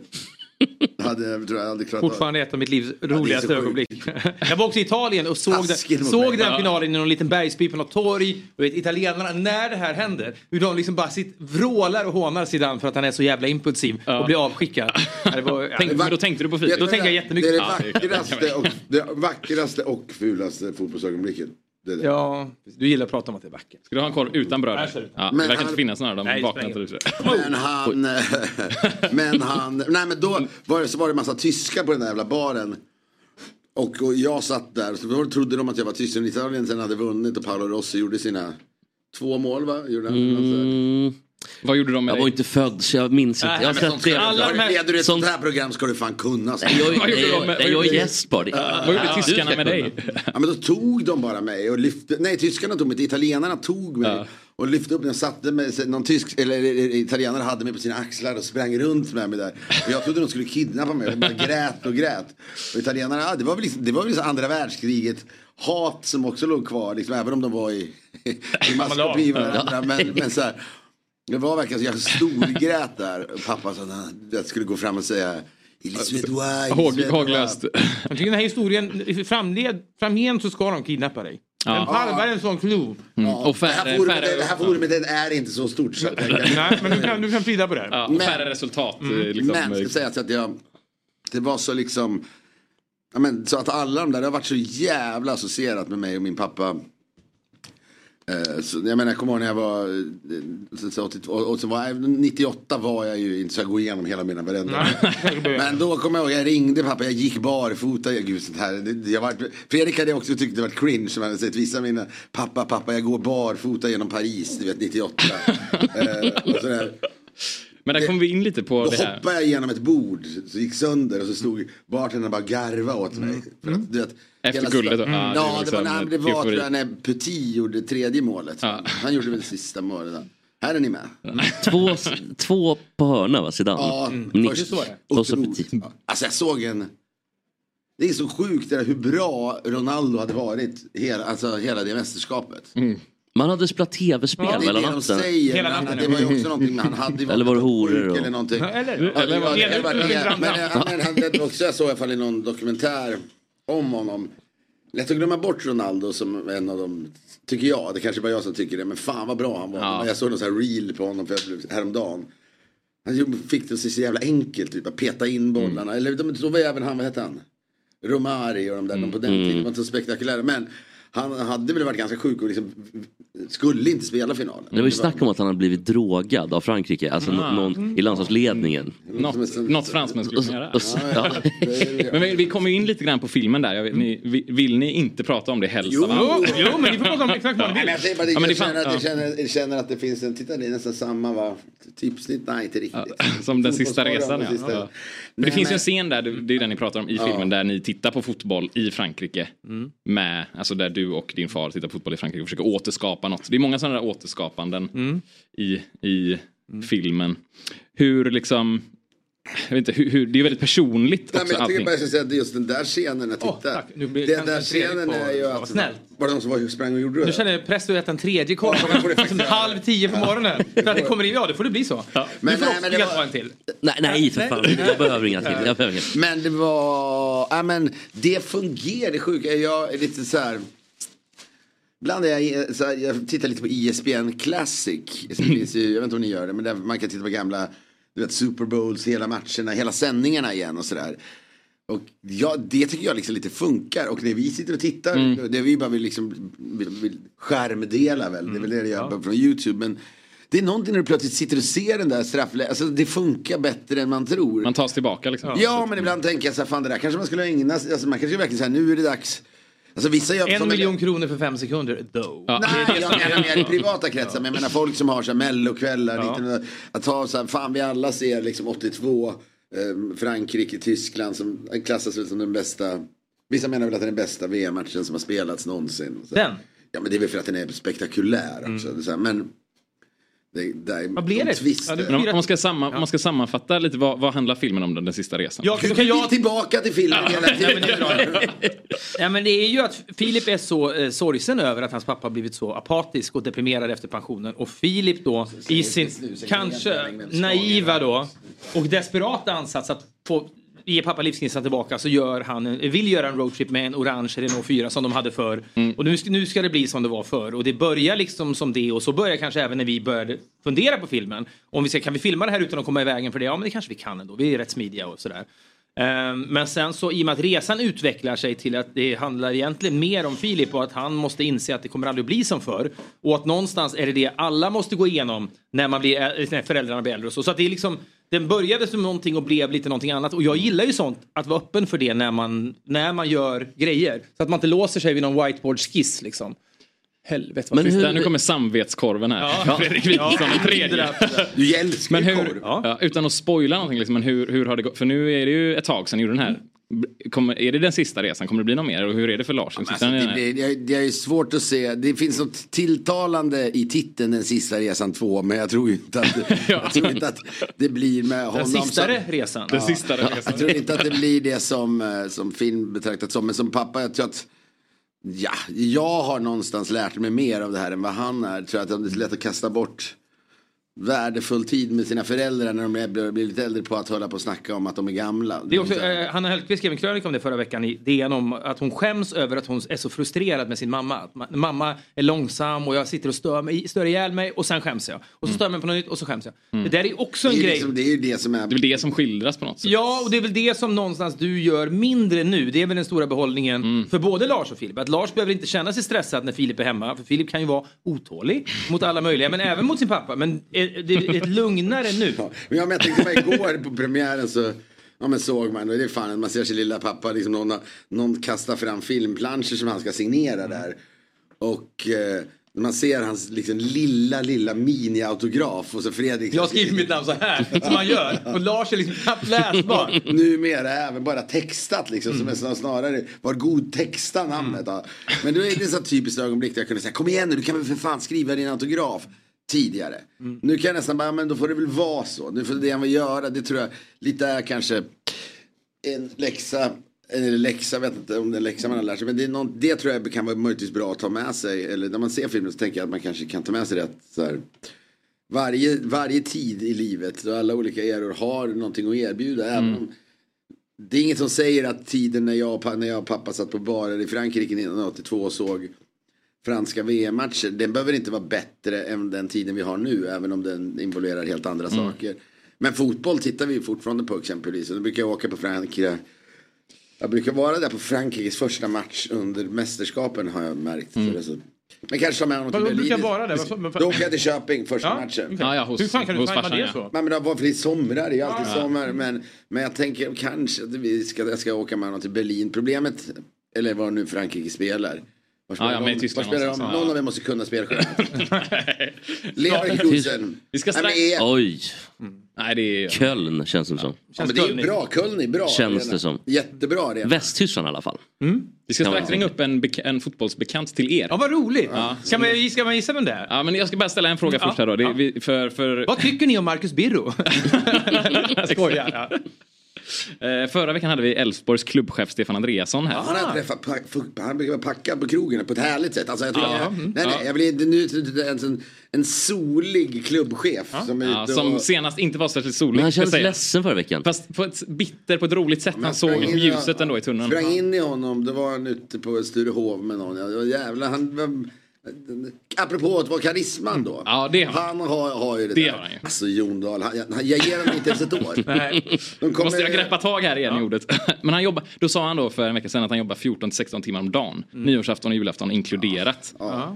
[SPEAKER 16] hade, tror jag aldrig klarat av-
[SPEAKER 13] Mm. Fortfarande ett av mitt livs
[SPEAKER 16] så
[SPEAKER 13] roligaste
[SPEAKER 16] sjukt.
[SPEAKER 13] ögonblick. <laughs> Jag var också i Italien och såg, den,
[SPEAKER 16] mot
[SPEAKER 13] såg
[SPEAKER 16] mig.
[SPEAKER 13] den
[SPEAKER 16] Ja.
[SPEAKER 13] finalen i någon liten bergsby på något torg. Och vet, italienarna, när det här händer, hur de liksom bara sitt, vrålar och hånar Zidane för att han är så jävla impulsiv och blir avskickad. Ja, Det var, ja,
[SPEAKER 1] Tänk- men då tänkte du på Filip?
[SPEAKER 13] Då tänkte jag jättemycket.
[SPEAKER 16] Det
[SPEAKER 13] <laughs> Ja,
[SPEAKER 16] är det vackraste och, det vackraste och fulaste fotbollsögonblicket. Det är det.
[SPEAKER 13] Ja, du gillar att prata om att det är vackert.
[SPEAKER 1] Ska du ha en korv utan bröd?
[SPEAKER 16] Nej,
[SPEAKER 1] Ja, det
[SPEAKER 16] Men
[SPEAKER 1] verkar
[SPEAKER 16] han-
[SPEAKER 1] inte finnas några.
[SPEAKER 16] Nej,
[SPEAKER 1] De
[SPEAKER 16] det
[SPEAKER 1] vaknar
[SPEAKER 16] spelar
[SPEAKER 1] inte.
[SPEAKER 16] Men han, eh, men han, nej men då var det, så var det massa tyskar på den där jävla baren. Och, och jag satt där, så då trodde de att jag var tysk. Men Italien sen hade vunnit och Paolo Rossi gjorde sina två mål va? Gjorde han,
[SPEAKER 5] Mm.
[SPEAKER 1] Vad gjorde de med
[SPEAKER 5] Jag var inte född så jag minns inte.
[SPEAKER 16] Nej,
[SPEAKER 5] Jag har
[SPEAKER 16] men
[SPEAKER 5] sett
[SPEAKER 16] sånt ska-
[SPEAKER 5] det.
[SPEAKER 16] alla de här- Leder du ett
[SPEAKER 5] Sånt-
[SPEAKER 16] sånt här program ska du fan kunna.
[SPEAKER 5] Nej, jag- Vad gjorde de med- jag- vad jag gjorde- är gäst på det.
[SPEAKER 16] Ja.
[SPEAKER 5] Vad gjorde Ja, tyskarna du ska med kunna.
[SPEAKER 16] Ja, men då tog de bara mig och lyfte. Nej, tyskarna tog mig. inte, Italienarna tog mig. Och lyfte upp mig och satte mig. så Någon tysk, eller eh, eh, italienare hade mig på sina axlar och sprang runt med mig där. Och jag trodde de skulle kidnappa mig. Jag bara grät och grät. Och italienarna, ja, det var väl liksom, det var väl liksom andra världskriget. Hat som också låg kvar, liksom, även om de var i, i maskopi med varandra. Men, men så här, det var verkligen så jag storgrät där. Pappa sa att jag skulle gå fram och säga "Ils Suédois, ils
[SPEAKER 13] Håg-
[SPEAKER 16] Suédois."
[SPEAKER 1] håglöst.
[SPEAKER 13] Jag tycker den här historien, framled, framgent så ska de kidnappa dig.
[SPEAKER 1] Ja.
[SPEAKER 13] En parva är en sån klo.
[SPEAKER 16] Ja, det här forumet, det här forumet det är inte så stort. Så jag tänker-
[SPEAKER 13] Nej, men du kan, du kan frida på det här.
[SPEAKER 1] Ja, och färre resultat. eh, Liksom,
[SPEAKER 16] Mm. men ska säga att jag, det var så liksom, ja, men, så att alla de där, det har varit så jävla associerat med mig och min pappa. Eh, Så, jag menar, jag kommer ihåg när jag var, eh, så- så 82, och och så var jag, 98 var jag ju inte så jag går igenom hela mina varenda. Men då kommer jag ihåg, jag ringde pappa, jag gick barfota. Jag, gud, sånt här, det- det, jag var, Fredrik hade också tyckt det var cringe, som hade sett vissa av mina, pappa, pappa, jag går barfota genom Paris, du vet 98.
[SPEAKER 1] <laughs>
[SPEAKER 16] eh, och sådär.
[SPEAKER 1] Men där kommer vi in lite på
[SPEAKER 16] Då
[SPEAKER 1] det här.
[SPEAKER 16] hoppade jag genom ett bord, så gick sönder och så stod bartendern och bara garva åt mig. För att, du vet,
[SPEAKER 1] Mm. Efter
[SPEAKER 16] hela-
[SPEAKER 1] guldet då? Ja,
[SPEAKER 16] Mm.
[SPEAKER 1] det var
[SPEAKER 16] Ja, det var,
[SPEAKER 1] liksom
[SPEAKER 16] nej, men det var
[SPEAKER 1] eufori.
[SPEAKER 16] tror jag, när Petit gjorde tredje målet. Han gjorde väl sista målet. där. Här är ni med.
[SPEAKER 5] Två, två på hörna va, Zidane?
[SPEAKER 16] Ja,
[SPEAKER 5] Mm.
[SPEAKER 16] först så var det.
[SPEAKER 5] Och så Petit.
[SPEAKER 16] Alltså jag såg en... Det är så sjukt det där, hur bra Ronaldo hade varit hela, alltså, hela det mästerskapet.
[SPEAKER 5] Man hade spelat tv-spel
[SPEAKER 16] Ja, det är
[SPEAKER 5] hela
[SPEAKER 16] det de
[SPEAKER 5] natten.
[SPEAKER 16] säger. Hela natten, Det var ju också någonting med han hade ju
[SPEAKER 5] Eller var det horor?
[SPEAKER 16] sjuk
[SPEAKER 5] och-
[SPEAKER 16] eller någonting.
[SPEAKER 5] Ja,
[SPEAKER 16] Ja,
[SPEAKER 5] eller
[SPEAKER 16] ja,
[SPEAKER 5] var det-
[SPEAKER 16] det var
[SPEAKER 5] eller
[SPEAKER 16] det.
[SPEAKER 5] vandra.
[SPEAKER 16] Men, eh, men han, det också, jag såg i alla fall i någon dokumentär om honom. Lätt att glömma bort Ronaldo som en av dem, tycker jag, det kanske bara jag som tycker det, men fan vad bra han var.
[SPEAKER 1] Ja.
[SPEAKER 16] Jag såg någon sån här reel på honom för jag blev, häromdagen. Han gjorde- fick det att se så jävla enkelt ut, bara peta
[SPEAKER 5] Mm.
[SPEAKER 16] in bollarna. Eller de- då var ju även han, vad hette han? Romari och de där, de på den
[SPEAKER 5] Mm.
[SPEAKER 16] tiden, de var inte så spektakulära. Men han hade väl varit ganska sjuk och liksom, skulle inte spela finalen.
[SPEAKER 5] Det var ju snack om att han hade blivit drogad av Frankrike, alltså
[SPEAKER 1] Ah.
[SPEAKER 5] nå- någon i landslagsledningen.
[SPEAKER 1] Något, något fransmän skulle kunna göra.
[SPEAKER 5] Och så- ja.
[SPEAKER 1] <laughs> Men vi, vi kommer in lite grann på filmen där. Jag vet, ni, vi- vill ni inte prata om det helst? av allt?
[SPEAKER 16] Ja, men jag säger bara det,
[SPEAKER 1] Ja, men
[SPEAKER 16] jag,
[SPEAKER 1] det fan-
[SPEAKER 16] känner att, jag,
[SPEAKER 1] ja.
[SPEAKER 16] känner, jag känner att det finns en, titta det är nästan samma va? Typsnitt, nej inte riktigt.
[SPEAKER 1] <laughs> Som den sista resan
[SPEAKER 16] Fotbollsfrågan,
[SPEAKER 1] ja.
[SPEAKER 16] sista-
[SPEAKER 1] ja. Men det
[SPEAKER 16] Nej,
[SPEAKER 1] finns ju
[SPEAKER 16] men-
[SPEAKER 1] en scen där, det det är den ni pratar om i
[SPEAKER 16] Ja.
[SPEAKER 1] filmen, där ni tittar på fotboll i Frankrike.
[SPEAKER 13] Mm.
[SPEAKER 1] Med, alltså där du och din far tittar på fotboll i Frankrike och försöker återskapa något. Det är många sådana där återskapanden
[SPEAKER 16] Mm.
[SPEAKER 13] Mm.
[SPEAKER 1] i, i filmen. Hur liksom, jag vet inte, hur, hur, det är ju väldigt personligt
[SPEAKER 16] Nej,
[SPEAKER 1] också
[SPEAKER 16] men jag tycker
[SPEAKER 1] allting.
[SPEAKER 16] bara jag ska säga att just den där scenen, jag tittar. den där scenen är ju att...
[SPEAKER 13] snällt.
[SPEAKER 16] Var det någon som var, sprang och gjorde det?
[SPEAKER 13] Nu känner jag press att äta en tredje korv klockan halv tio på morgonen. För att det kommer in, ja det får det bli så. Men, du får också vilja ta en till.
[SPEAKER 5] Nej, nej för fan. Jag behöver inga till. Jag behöver inga.
[SPEAKER 16] Men det var... Ja, men det fungerar, det sjuka. Jag är lite så här... Ibland är jag, i- så här, jag tittar lite på E ESPN Classic. Det finns ju, jag vet inte om ni gör det, men där man kan titta på gamla du vet, Super Bowls, hela matcherna, hela sändningarna igen och sådär. Och ja, det tycker jag liksom lite funkar. Och när vi sitter och tittar, det är vi bara vill, liksom, vill, vill skärmdela väl. Det är väl det jag gör från YouTube. Men det är någonting när du plötsligt sitter och ser den där straffläggningen. Alltså det funkar bättre än man tror.
[SPEAKER 1] Man tas tillbaka liksom.
[SPEAKER 16] Ja, men ibland tänker jag så här, fan det där kanske man skulle ägna sig, alltså man kanske verkligen säger nu är det dags. Alltså vissa gör
[SPEAKER 13] En
[SPEAKER 16] som-
[SPEAKER 13] miljon kronor för fem sekunder, though.
[SPEAKER 16] Nej, jag menar mer i privata kretsar, men jag menar folk som har så här mellokvällar,
[SPEAKER 13] Ja.
[SPEAKER 16] 1900 att ha så här, fan vi alla ser liksom 82, eh, Frankrike, Tyskland som klassas väl som den bästa, vissa menar väl att det är den bästa VM-matchen som har spelats någonsin. Så här.
[SPEAKER 13] Den? Mm.
[SPEAKER 16] Ja men det är väl för att den är spektakulär också, så här, men det, där, Vad
[SPEAKER 13] blir det? Ja, det
[SPEAKER 1] Men om, om, man ska samma, om man ska sammanfatta lite, vad, vad handlar filmen om, den, den sista resan?
[SPEAKER 13] Ja, så kan jag...
[SPEAKER 16] tillbaka till filmen hela tiden.
[SPEAKER 13] Ja, men det är ju att Filip är så eh, sorgsen över att hans pappa har blivit så apatisk och deprimerad efter pensionen. Och Filip då i sin kanske naiva då och desperata ansats att få ge pappa livsgnistan tillbaka så gör han, en- vill göra en roadtrip med en orange Renault 4 som de hade förr. Och nu, ska- nu ska det bli som det var förr. Och det börjar liksom som det och så börjar kanske även när vi började fundera på filmen. Om vi ska, kan vi filma det här utan att komma i vägen för det? Ja men det kanske vi kan ändå. Vi är rätt smidiga och sådär. Ehm, Men sen så i och med att resan utvecklar sig till att det handlar egentligen mer om Filip och att han måste inse att det kommer aldrig bli som förr. Och att någonstans är det det alla måste gå igenom när, man blir, ä- när föräldrarna blir äldre och så. Så att det är liksom, den började som någonting och blev lite någonting annat. Och jag gillar ju sånt, att vara öppen för det när man, när man gör grejer. Så att man inte låser sig vid någon whiteboard-skiss liksom. Helvete vad
[SPEAKER 1] Men
[SPEAKER 13] trist.
[SPEAKER 1] hur... Nu kommer samvetskorven här.
[SPEAKER 13] Ja.
[SPEAKER 1] Fredrik Wikingsson, den tredje.
[SPEAKER 16] Du älskar
[SPEAKER 1] men hur, ja, Utan att spoila någonting, liksom, men hur, hur har det gått? För nu är det ju ett tag sedan ni gjorde den här. Kommer, är det den sista resan? Kommer det bli någon mer? Och hur är det för Lars? Sitter
[SPEAKER 16] Alltså,
[SPEAKER 1] han i
[SPEAKER 16] det,
[SPEAKER 1] den här?
[SPEAKER 16] blir- det, det är svårt att se. Det finns något tilltalande i titeln Den sista resan 2 men jag tror ju
[SPEAKER 13] <laughs>
[SPEAKER 16] inte att, jag tror inte att det blir med honom.
[SPEAKER 13] sistare
[SPEAKER 16] som,
[SPEAKER 13] resan. Den sistare resan.
[SPEAKER 16] Jag tror inte att det blir det som, eh, som film betraktat som. Men som pappa, jag tror att ja, jag har någonstans lärt mig mer av det här än vad han är. Jag tror att det är lätt att kasta bort värdefull tid med sina föräldrar när de är- blir blir lite äldre på att hålla på och snacka om att de är gamla.
[SPEAKER 13] Det är också, eh, Hanna Hellquist skrev en krönika om det förra veckan i DN om att hon skäms över att hon är så frustrerad med sin mamma. Att ma- mamma är långsam och jag sitter och stör, mig, stör ihjäl mig och sen skäms jag. Och så stör jag mig på något nytt och så skäms jag.
[SPEAKER 1] Mm.
[SPEAKER 13] Det där är också en
[SPEAKER 1] Det är
[SPEAKER 13] grej.
[SPEAKER 1] liksom
[SPEAKER 16] det är ju det som är...
[SPEAKER 1] Det är väl det som skildras på något sätt.
[SPEAKER 13] Ja, och det är väl det som någonstans du gör mindre nu. Det är väl den stora behållningen
[SPEAKER 1] Mm.
[SPEAKER 13] för både Lars och Filip. Att Lars behöver inte känna sig stressad när Filip är hemma. För Filip kan ju vara otålig mot alla möjliga, men även mot sin pappa. Men eh, det är ett lugnare nu.
[SPEAKER 16] Men jag, men jag tänkte bara igår på premiären så Ja men såg man, och det är fan, man ser sin lilla pappa, liksom någon, har- någon kastar fram filmplanscher som han ska signera där. Och eh, man ser hans liksom lilla, lilla mini-autograf och så Fredrik.
[SPEAKER 13] Jag skriver mitt namn så här, som man gör. Och Lars är liksom knappt läsbar.
[SPEAKER 16] Numera även bara textat liksom, som är snar- snarare, var god texta namnet. Ja. Men då är det så här typiskt ögonblick där jag kunde säga, kom igen nu, du kan väl för fan skriva din autograf tidigare. Mm. Nu kan jag nästan bara, men då får det väl vara så. Nu får det jag vill göra, det tror jag lite är kanske en läxa, eller läxa, jag vet inte om det är en läxa man har lärt sig. Men det, är någon, det tror jag kan vara möjligtvis bra att ta med sig. Eller när man ser filmen så tänker jag att man kanske kan ta med sig det att så här, varje, varje tid i livet och alla olika eror har någonting att erbjuda. Även om, det är inget som säger att tiden när jag, och pa- när jag och pappa satt på barer i Frankrike 1982 och såg franska VM-matcher. Den behöver inte vara bättre än den tiden vi har nu. Även om den involverar helt andra
[SPEAKER 17] Mm.
[SPEAKER 16] saker. Men fotboll tittar vi ju fortfarande på exempelvis. Och då brukar jag åka på Frankrike. Jag brukar vara där på Frankrikes första match under mästerskapen har jag märkt. Så det är så. Men kanske ta med honom till
[SPEAKER 6] Vadå,
[SPEAKER 16] Berlin.
[SPEAKER 6] brukar vara där? Mm. Vad fan- men fan-
[SPEAKER 16] Då åker jag till Köping första
[SPEAKER 6] Ja,
[SPEAKER 16] matchen.
[SPEAKER 6] okej. Ja, ja, hos- Hur fan kan du hos tajma farsan, det ja. så? Ah.
[SPEAKER 16] Nej, men det var för det är sommar, det är ju alltid
[SPEAKER 6] Ja, ja.
[SPEAKER 16] sommar. Men, men jag tänker kanske att vi ska, jag ska åka med honom till Berlin. Problemet, eller var nu Frankrike spelar. Var spelar
[SPEAKER 1] Ja, ja, men i
[SPEAKER 16] de?
[SPEAKER 1] Tyskland
[SPEAKER 16] Var spelar de?
[SPEAKER 1] någonstans.
[SPEAKER 16] Någon av er måste kunna spela själv. Leverkusen.
[SPEAKER 1] Vi ska strax...
[SPEAKER 16] Nej, men- E-
[SPEAKER 5] Oj.
[SPEAKER 1] Nej, det är...
[SPEAKER 5] Köln känns det som.
[SPEAKER 16] Ja, men det är ju bra, Köln är bra.
[SPEAKER 5] Känns
[SPEAKER 16] arena.
[SPEAKER 5] det som.
[SPEAKER 16] Jättebra arena.
[SPEAKER 5] Västtyskland i alla fall.
[SPEAKER 1] Mm. Vi ska
[SPEAKER 5] Kan man
[SPEAKER 1] strax ringa upp en, bek- en fotbollsbekant till er. Ja,
[SPEAKER 13] Mm. vad roligt.
[SPEAKER 1] Ja.
[SPEAKER 13] Ska, man, ska man gissa vem det är? Mm,
[SPEAKER 1] Ja, men jag ska bara ställa en fråga
[SPEAKER 13] Ja,
[SPEAKER 1] först här då. Det,
[SPEAKER 13] ja.
[SPEAKER 1] är vi, för, för...
[SPEAKER 13] Vad tycker ni om Marcus Birro?
[SPEAKER 1] <laughs>
[SPEAKER 13] Jag skojar. Ja.
[SPEAKER 1] Eh, förra veckan hade vi Elfsborgs klubbchef Stefan Andreasson här.
[SPEAKER 16] Han har
[SPEAKER 13] Ah.
[SPEAKER 16] jag träffat, pack- fuck, han brukar vara packad på krogen på ett härligt sätt. Alltså, jag tror
[SPEAKER 1] Ja.
[SPEAKER 16] jag,
[SPEAKER 1] Mm.
[SPEAKER 16] nej, nej, jag blir inte nu till- till- ens en, en solig klubbchef. Som, är
[SPEAKER 1] Ja,
[SPEAKER 16] ute
[SPEAKER 1] som
[SPEAKER 16] och,
[SPEAKER 1] senast inte var särskilt solig.
[SPEAKER 5] Men han kändes
[SPEAKER 1] ska jag säga.
[SPEAKER 5] ledsen förra veckan.
[SPEAKER 1] Fast på ett bitter på ett roligt sätt. Han såg
[SPEAKER 16] sprang in i-
[SPEAKER 1] ljuset ändå i tunneln.
[SPEAKER 16] sprang in i honom, då var han ute på Sturehov med någon. Ja, det var jävla, han, vem, apropå att vara karisman då.
[SPEAKER 1] Mm. Ja, det har
[SPEAKER 16] han. har, har ju det,
[SPEAKER 1] Det
[SPEAKER 16] där.
[SPEAKER 1] har han ju.
[SPEAKER 16] Alltså Jon Dahl, han, han, jag ger honom inte ens ett år.
[SPEAKER 1] <laughs> Nej.
[SPEAKER 16] De kommer-
[SPEAKER 1] Måste jag greppa tag här igen i ordet. <laughs> Men han jobbar, då sa han då för en vecka sedan att han jobbar 14 till 16 timmar om dagen.
[SPEAKER 13] Mm.
[SPEAKER 1] Nyårsafton och julafton inkluderat.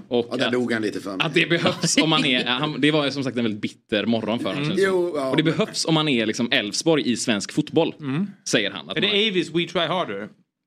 [SPEAKER 1] Och
[SPEAKER 16] Ja, där
[SPEAKER 1] att-
[SPEAKER 16] dog han lite för mig.
[SPEAKER 1] Att det behövs om man är, han, det var ju som sagt en väldigt bitter morgon för honom.
[SPEAKER 16] Mm.
[SPEAKER 1] känns det som.
[SPEAKER 16] Jo, ja, Mm.
[SPEAKER 1] och det behövs om man är liksom Elfsborg i svensk fotboll, säger han. Att
[SPEAKER 13] Är
[SPEAKER 1] man,
[SPEAKER 13] det Avis We Try Harder? Mm.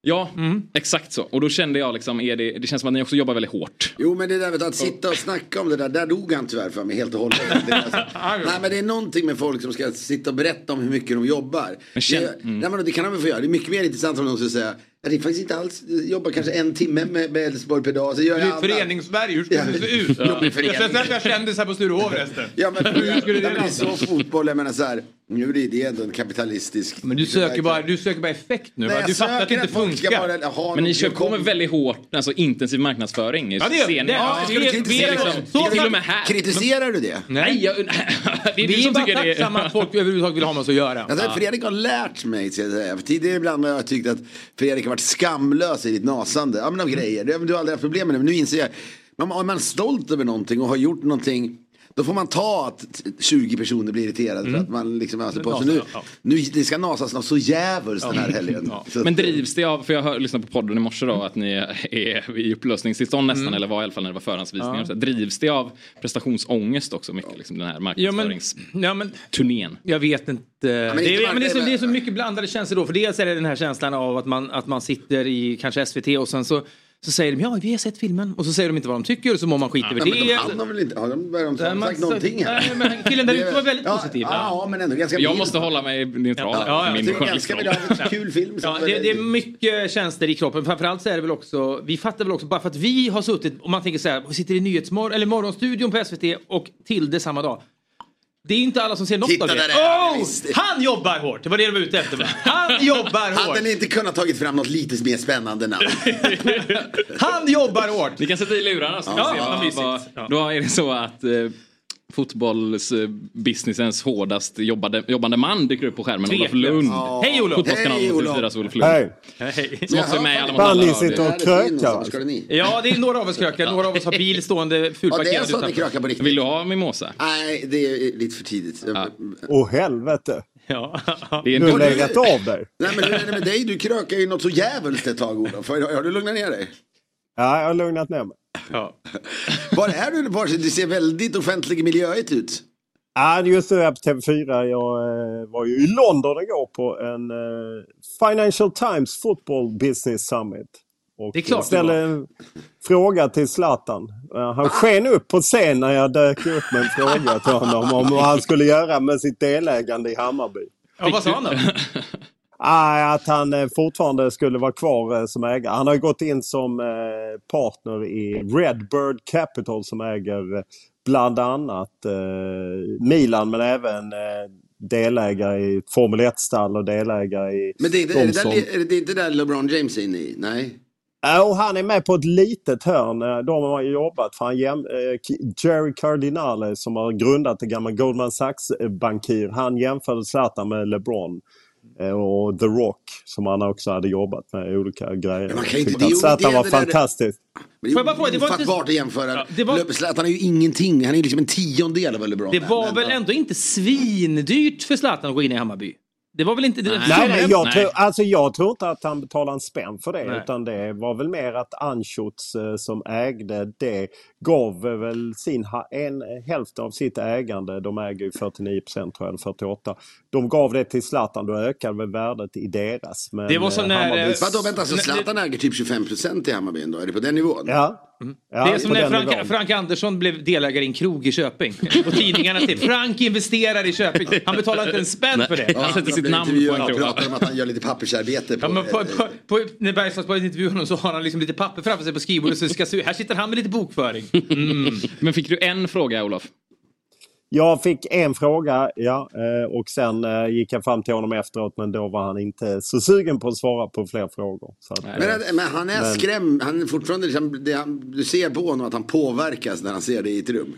[SPEAKER 1] ja, exakt så. Och då kände jag liksom, är det, det känns som att ni också jobbar väldigt hårt.
[SPEAKER 16] Jo men det där vet du, att sitta och snacka om det där, där dog han tyvärr för mig helt och hållet. Det
[SPEAKER 13] <laughs>
[SPEAKER 16] är alltså, nej men det är någonting med folk som ska sitta och berätta om hur mycket de jobbar.
[SPEAKER 1] Men känn-
[SPEAKER 16] det,
[SPEAKER 1] mm.
[SPEAKER 16] nej, men det kan de väl få göra, det är mycket mer intressant om de skulle säga jag det är faktiskt inte alls, jag jobbar kanske en timme med med Elfsborg per dag, så gör
[SPEAKER 13] Det
[SPEAKER 16] jag
[SPEAKER 13] är
[SPEAKER 16] annat.
[SPEAKER 13] Föreningssverige, hur skulle det se ut?
[SPEAKER 16] <laughs> Ja.
[SPEAKER 13] Jag ska träffa kändisar på Sturehof resten.
[SPEAKER 16] Ja, men,
[SPEAKER 13] hur skulle
[SPEAKER 16] nej,
[SPEAKER 13] det
[SPEAKER 16] men det är så fotboll, jag menar så här, nu är det- det är ändå en kapitalistisk...
[SPEAKER 13] Men du söker bara, du söker bara effekt nu.
[SPEAKER 16] Nej,
[SPEAKER 13] va?
[SPEAKER 16] jag
[SPEAKER 13] Du fattar att det
[SPEAKER 16] söker
[SPEAKER 13] inte
[SPEAKER 16] att folk ska
[SPEAKER 13] funkar.
[SPEAKER 16] bara ha
[SPEAKER 1] Men ni kör på med väldigt hårt, alltså intensiv marknadsföring.
[SPEAKER 13] Ja, det gör vi.
[SPEAKER 1] Ser ni-
[SPEAKER 13] Det- ja,
[SPEAKER 1] Ska du
[SPEAKER 13] vi-
[SPEAKER 1] kritisera
[SPEAKER 13] vi-
[SPEAKER 1] liksom?
[SPEAKER 13] så-
[SPEAKER 1] Till och med här.
[SPEAKER 16] Kritiserar du det?
[SPEAKER 1] Nej, jag, det är du
[SPEAKER 13] Vi är
[SPEAKER 1] som
[SPEAKER 13] bara
[SPEAKER 1] tycker det.
[SPEAKER 13] tacksamma att folk överhuvudtaget vill ha med oss att göra.
[SPEAKER 16] Alltså, Fredrik har lärt mig, ska jag säga. För tidigare ibland har jag tyckt att Fredrik har varit skamlös i ditt nasande. Ja, men av grejer. Du, du har aldrig haft problem med det, men nu inser jag. Man, om man är stolt över någonting och har gjort någonting. Då får man ta att 20 personer blir irriterade
[SPEAKER 13] Mm.
[SPEAKER 16] för att man liksom öser på. Så nu,
[SPEAKER 1] Nasar, ja.
[SPEAKER 16] nu, det ska nasas något så djävulskt den här
[SPEAKER 1] Ja.
[SPEAKER 16] helgen.
[SPEAKER 1] Ja.
[SPEAKER 16] Så att-
[SPEAKER 1] Men drivs det av, för jag hör, lyssnade på podden i morse då, att ni är i upplösningstillstånd nästan, eller var i alla fall när det var förhandsvisningar.
[SPEAKER 13] Mm. Ja.
[SPEAKER 1] och Så här, drivs det av prestationsångest också mycket, liksom den här
[SPEAKER 13] Ja, men-
[SPEAKER 1] marknadsföringsturnén?
[SPEAKER 13] Ja, men, jag vet inte.
[SPEAKER 1] men inte
[SPEAKER 13] det, är, ja, men det, är så,
[SPEAKER 1] marknaden.
[SPEAKER 13] det är så mycket blandade känslor då. För dels är det den här känslan av att man, att man sitter i kanske SVT och sen så, så säger de ja vi har sett filmen och så säger de inte vad de tycker och så mår man skit över
[SPEAKER 16] Nej,
[SPEAKER 13] det.
[SPEAKER 16] men de, han har väl inte, har de, har de
[SPEAKER 13] Nej,
[SPEAKER 16] sagt
[SPEAKER 13] men så-
[SPEAKER 16] någonting här?
[SPEAKER 13] Nej, men killen där
[SPEAKER 16] Det är-
[SPEAKER 13] ute var väldigt
[SPEAKER 16] ja,
[SPEAKER 13] positiv.
[SPEAKER 16] Ja, men ändå ganska
[SPEAKER 1] Jag
[SPEAKER 16] mild.
[SPEAKER 1] måste hålla mig neutral.
[SPEAKER 13] Ja, ja,
[SPEAKER 1] min liksom.
[SPEAKER 13] det är
[SPEAKER 16] ganska
[SPEAKER 1] skönhetsroll.
[SPEAKER 16] Kul film. som
[SPEAKER 13] Ja, det, det är mycket känslor i kroppen. Framförallt så är det väl också, vi fattar väl också, bara för att vi har suttit, om man tänker så här, och sitter i Nyhetsmorgon, eller Morgonstudion på SVT och Tilde samma dag. Det är inte alla som ser något
[SPEAKER 16] Titta
[SPEAKER 13] av
[SPEAKER 16] där
[SPEAKER 13] det.
[SPEAKER 16] är han,
[SPEAKER 13] Oh,
[SPEAKER 16] visst.
[SPEAKER 13] han jobbar hårt! Det var det de var ute efter. va?
[SPEAKER 16] <laughs>
[SPEAKER 13] Han jobbar hårt!
[SPEAKER 16] Hade ni inte kunnat tagit fram något lite mer spännande namn?
[SPEAKER 13] Han jobbar hårt!
[SPEAKER 1] Ni kan sätta i lurarna så
[SPEAKER 16] Ja,
[SPEAKER 1] ja,
[SPEAKER 16] ja,
[SPEAKER 1] vi se.
[SPEAKER 16] mysigt.
[SPEAKER 1] vad- vad- Då är det så att eh, fotbollsbusinessens hårdast jobbade, jobbande man dyker upp på skärmen, Olof
[SPEAKER 13] Tveklöst.
[SPEAKER 1] Lund.
[SPEAKER 13] Ja. Hej, Olof.
[SPEAKER 1] Fotbollskanalen
[SPEAKER 13] Hej,
[SPEAKER 1] på
[SPEAKER 13] Olof.
[SPEAKER 1] TV4s Olof Lund.
[SPEAKER 13] Hej.
[SPEAKER 1] Som också är med i Alla mot
[SPEAKER 13] Fan,
[SPEAKER 1] alla.
[SPEAKER 13] ni
[SPEAKER 1] radio.
[SPEAKER 13] sitter och krökar.
[SPEAKER 16] Ska det ni?
[SPEAKER 13] <laughs> Ja, det är några av oss krökar, några av oss har bil stående fulparkerad
[SPEAKER 16] Ja, det är så att ni
[SPEAKER 13] utanför.
[SPEAKER 16] krökar på riktigt.
[SPEAKER 1] Vill du ha mimosa?
[SPEAKER 16] Nej, det är lite för tidigt.
[SPEAKER 14] Åh helvete!
[SPEAKER 13] Ja.
[SPEAKER 14] Du har legat av dig.
[SPEAKER 16] Nej, men hur är det med dig? Du krökar ju något så djävulskt ett tag, Olof. Har, har du lugnat ner dig?
[SPEAKER 14] Ja, jag har lugnat ner mig.
[SPEAKER 16] Var är du? Var, det ser väldigt offentlig miljöigt ut.
[SPEAKER 14] Ja, Äh, det är just det där på TV4. Jag eh, var ju i London igår på en eh, Financial Times Football Business Summit. Och
[SPEAKER 13] Det är klart
[SPEAKER 14] jag ställde
[SPEAKER 13] det
[SPEAKER 14] en fråga till Zlatan. Eh, Han sken upp på scen när jag dök upp med en fråga till honom om vad han skulle göra med sitt delägande i Hammarby.
[SPEAKER 13] Ja, vad sa han då?
[SPEAKER 14] Ah, att han eh, fortfarande skulle vara kvar eh, som ägare. Han har ju gått in som eh, partner i Redbird Capital som äger eh, bland annat eh, Milan men även eh, delägare i ett Formel 1-stall och delägare i
[SPEAKER 16] Men det är, inte-
[SPEAKER 14] de
[SPEAKER 16] är, det där,
[SPEAKER 14] som...
[SPEAKER 16] är det- det är inte där LeBron James är inne i? Nej.
[SPEAKER 14] Ja, och han är med på ett litet hörn. Eh, De har ju jobbat för han jäm... eh, K- Jerry Cardinale som har grundat det gamla Goldman Sachs-bankir. Han jämförde Zlatan med LeBron eh, och The Rock som han också hade jobbat med i olika grejer.
[SPEAKER 16] man kan ju inte-
[SPEAKER 14] Tyckte
[SPEAKER 16] det är
[SPEAKER 14] att
[SPEAKER 16] ju-
[SPEAKER 14] Zlatan
[SPEAKER 16] det är
[SPEAKER 14] var
[SPEAKER 16] det där-
[SPEAKER 14] fantastisk.
[SPEAKER 16] Men det är ofattbart att jämföra. Löp- Zlatan är ju ingenting. Han är ju liksom en tiondel av vad LeBron
[SPEAKER 13] Det
[SPEAKER 16] är.
[SPEAKER 13] var
[SPEAKER 16] Men-
[SPEAKER 13] väl ändå inte svindyrt för Zlatan att gå in i Hammarby? Det var väl inte... det-
[SPEAKER 14] Nej, men jag,
[SPEAKER 13] Nej.
[SPEAKER 14] Tror, alltså jag tror inte att han betalar en spänn för det.
[SPEAKER 13] Nej.
[SPEAKER 14] Utan det var väl mer att Anschutz eh, som ägde det gav väl sin ha- en hälften av sitt ägande. De äger ju 49 procent tror jag, eller 48. De gav det till Zlatan. Då ökade väl värdet i deras. Men,
[SPEAKER 13] Det var som
[SPEAKER 14] eh,
[SPEAKER 13] när,
[SPEAKER 14] Hammarby-
[SPEAKER 13] eh,
[SPEAKER 16] Vadå vänta, så Zlatan äger typ 25 procent i Hammarby ändå? Är det på den nivån?
[SPEAKER 14] Ja.
[SPEAKER 13] det är som när Frank, Frank Andersson blev delägare i en krog i Köping. Och tidningarna till Frank investerar i Köping. <laughs> Han betalar inte en spänn för det.
[SPEAKER 16] Han sätter sitt namn på en krona. pratar om att han gör lite pappersarbete. På,
[SPEAKER 13] Ja, men på, på, på, när Bergslagsbladet intervjuar honom så har han liksom lite papper framför sig på skrivbordet. Så det ska se ut. Här sitter han med lite bokföring. Mm.
[SPEAKER 1] Men fick du en fråga Olof?
[SPEAKER 14] Jag fick en fråga ja, eh, och sen eh, gick jag fram till honom efteråt men då var han inte så sugen på att svara på fler frågor. Så att, eh,
[SPEAKER 16] Men, men han är
[SPEAKER 14] men-
[SPEAKER 16] skrämd. Han är fortfarande liksom, det, han, du ser på honom att han påverkas när han ser dig i ett rum.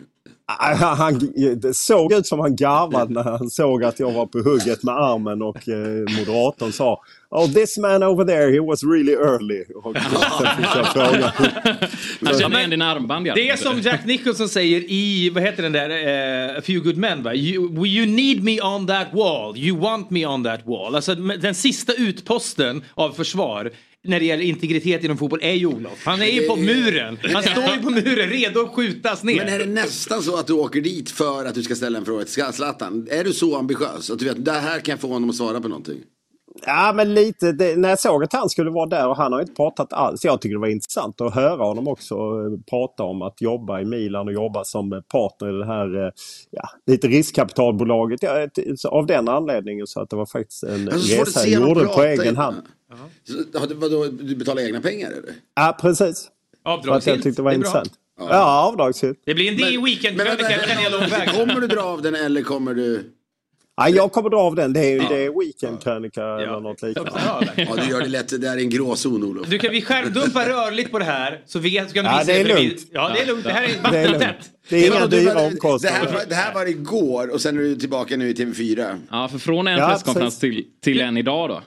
[SPEAKER 14] Ah, Han det såg ut som han garvade när han såg att jag var på hugget med armen och eh, moderatorn sa Oh this man over there, he was really early. Och sen fick jag frågan.
[SPEAKER 1] Han känner igen dina armband i alla
[SPEAKER 13] Alltså, Det är
[SPEAKER 1] fall.
[SPEAKER 13] som Jack Nicholson säger i, vad heter den där, eh, A Few Good Men va? You, you need me on that wall, you want me on that wall. Alltså den sista utposten av försvar när det gäller integritet inom fotboll är ju Olof. Han är ju på muren. Han står ju på muren redo att skjutas ner.
[SPEAKER 16] Men är det nästan så att du åker dit för att du ska ställa en fråga till Zlatan? Är du så ambitiös? Att du vet, det här kan jag få honom att svara på någonting.
[SPEAKER 14] Ja men lite, det, när jag såg att han skulle vara där och han har inte pratat alls. Jag tycker det var intressant att höra honom också eh, prata om att jobba i Milan och jobba som eh, partner i det här eh, ja, lite riskkapitalbolaget. Ja, ett- så av den anledningen så att det var faktiskt en
[SPEAKER 16] Alltså, så får du
[SPEAKER 14] resa
[SPEAKER 16] se
[SPEAKER 14] jag
[SPEAKER 16] honom
[SPEAKER 14] gjorde på
[SPEAKER 16] prata
[SPEAKER 14] egen
[SPEAKER 16] innan.
[SPEAKER 14] hand.
[SPEAKER 16] Så, ja, det- vadå, du betalar egna pengar eller?
[SPEAKER 14] Ja precis. För att
[SPEAKER 16] Avdragsgillt.
[SPEAKER 14] jag tyckte det var
[SPEAKER 16] Det är bra.
[SPEAKER 14] intressant.
[SPEAKER 16] Ja.
[SPEAKER 14] Ja, avdragsgillt.
[SPEAKER 13] Det blir en men, weekendkväll i Kenya långväga.
[SPEAKER 16] Kommer du dra av den eller kommer du...
[SPEAKER 14] Ja, jag kommer dra av den. Det är ju det är weekendkrönika eller något liknande.
[SPEAKER 16] Ja, du gör det lätt. Det där är en gråzon Olof.
[SPEAKER 13] Du kan vi skärmdumpa rörligt på det här så vet så kan du
[SPEAKER 16] Ja,
[SPEAKER 13] visa
[SPEAKER 16] det är
[SPEAKER 13] för
[SPEAKER 16] lugnt.
[SPEAKER 13] Ja det är lugnt, det här är
[SPEAKER 16] Det är lugnt.
[SPEAKER 13] vattentätt.
[SPEAKER 14] Det är inga
[SPEAKER 16] Vadå, du
[SPEAKER 14] dyra
[SPEAKER 16] bara-
[SPEAKER 14] omkostnader.
[SPEAKER 16] Det här, var- det här var igår och sen är du tillbaka nu i TV4.
[SPEAKER 1] Ja, för från en
[SPEAKER 14] Ja,
[SPEAKER 1] presskonferens till, till en idag då.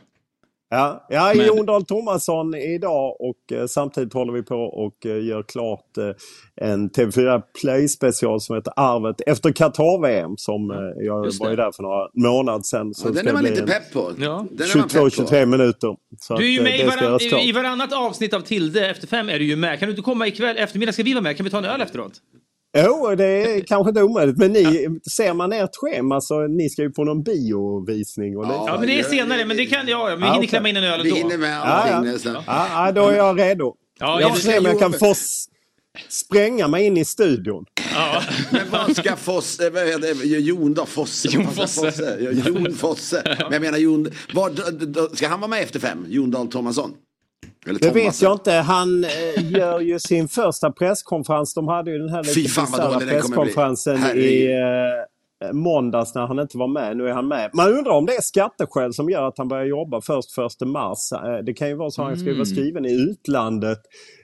[SPEAKER 14] Ja, ja i
[SPEAKER 1] Men-
[SPEAKER 14] Ondal Tomasson idag och eh, samtidigt håller vi på och eh, gör klart eh, en TV4 Play special som heter Arvet efter Qatar-VM som eh, jag
[SPEAKER 13] just
[SPEAKER 14] var ju
[SPEAKER 13] det.
[SPEAKER 14] där för några månader sedan. Så
[SPEAKER 13] Ja, den
[SPEAKER 14] ska
[SPEAKER 13] är man
[SPEAKER 14] bli
[SPEAKER 13] lite
[SPEAKER 14] en
[SPEAKER 13] pepp på. Ja. Den är man pepp på.
[SPEAKER 14] 22-23 minuter. Så
[SPEAKER 13] du är ju
[SPEAKER 14] att, eh,
[SPEAKER 13] med i,
[SPEAKER 14] det ska
[SPEAKER 13] varann,
[SPEAKER 14] göras klart.
[SPEAKER 13] i, i varannat avsnitt av Tilde efter fem är du ju med. Kan du inte komma ikväll eftermiddag ska vi vara med. Kan vi ta en öl efteråt?
[SPEAKER 14] Jo, det
[SPEAKER 13] <laughs>
[SPEAKER 14] är kanske inte omöjligt. Men ni, ser man ert schema så ni ska ju på någon biovisning. Och det,
[SPEAKER 13] Ja, men det är senare. Men det kan, ja, ja, men vi
[SPEAKER 14] Ja,
[SPEAKER 13] hinner
[SPEAKER 14] okej.
[SPEAKER 13] klämma in en öl
[SPEAKER 14] Vi
[SPEAKER 13] ändå.
[SPEAKER 14] hinner med allting, Ja, ja. nästan. Ja, ja, då är jag redo.
[SPEAKER 13] Ja,
[SPEAKER 14] jag
[SPEAKER 13] ja,
[SPEAKER 14] får se om
[SPEAKER 13] det-
[SPEAKER 14] jag kan
[SPEAKER 13] jo,
[SPEAKER 14] få s- spränga mig in i studion.
[SPEAKER 16] Men vad ska Fosse, eh, vad heter det? Jon då, Fosse.
[SPEAKER 14] Jon
[SPEAKER 16] Vad ska
[SPEAKER 14] Fosse.
[SPEAKER 16] Ja, Jon Fosse. Men jag menar Jon, var, d- d- ska han vara med efter fem? Jon Dahl Tomasson? Eller
[SPEAKER 14] Det
[SPEAKER 16] Thomas?
[SPEAKER 14] vet jag inte. Han eh, gör ju sin första presskonferens. De hade ju den här lite
[SPEAKER 16] Fy fan, vad
[SPEAKER 14] bisarra
[SPEAKER 16] dålig den kommer bli.
[SPEAKER 14] presskonferensen i eh, måndags när han inte var med. Nu är han med. Man undrar om det är skatteskäl som gör att han börjar jobba först första mars. Eh, Det kan ju vara så att han ska ju vara
[SPEAKER 13] Mm.
[SPEAKER 14] skriven i utlandet.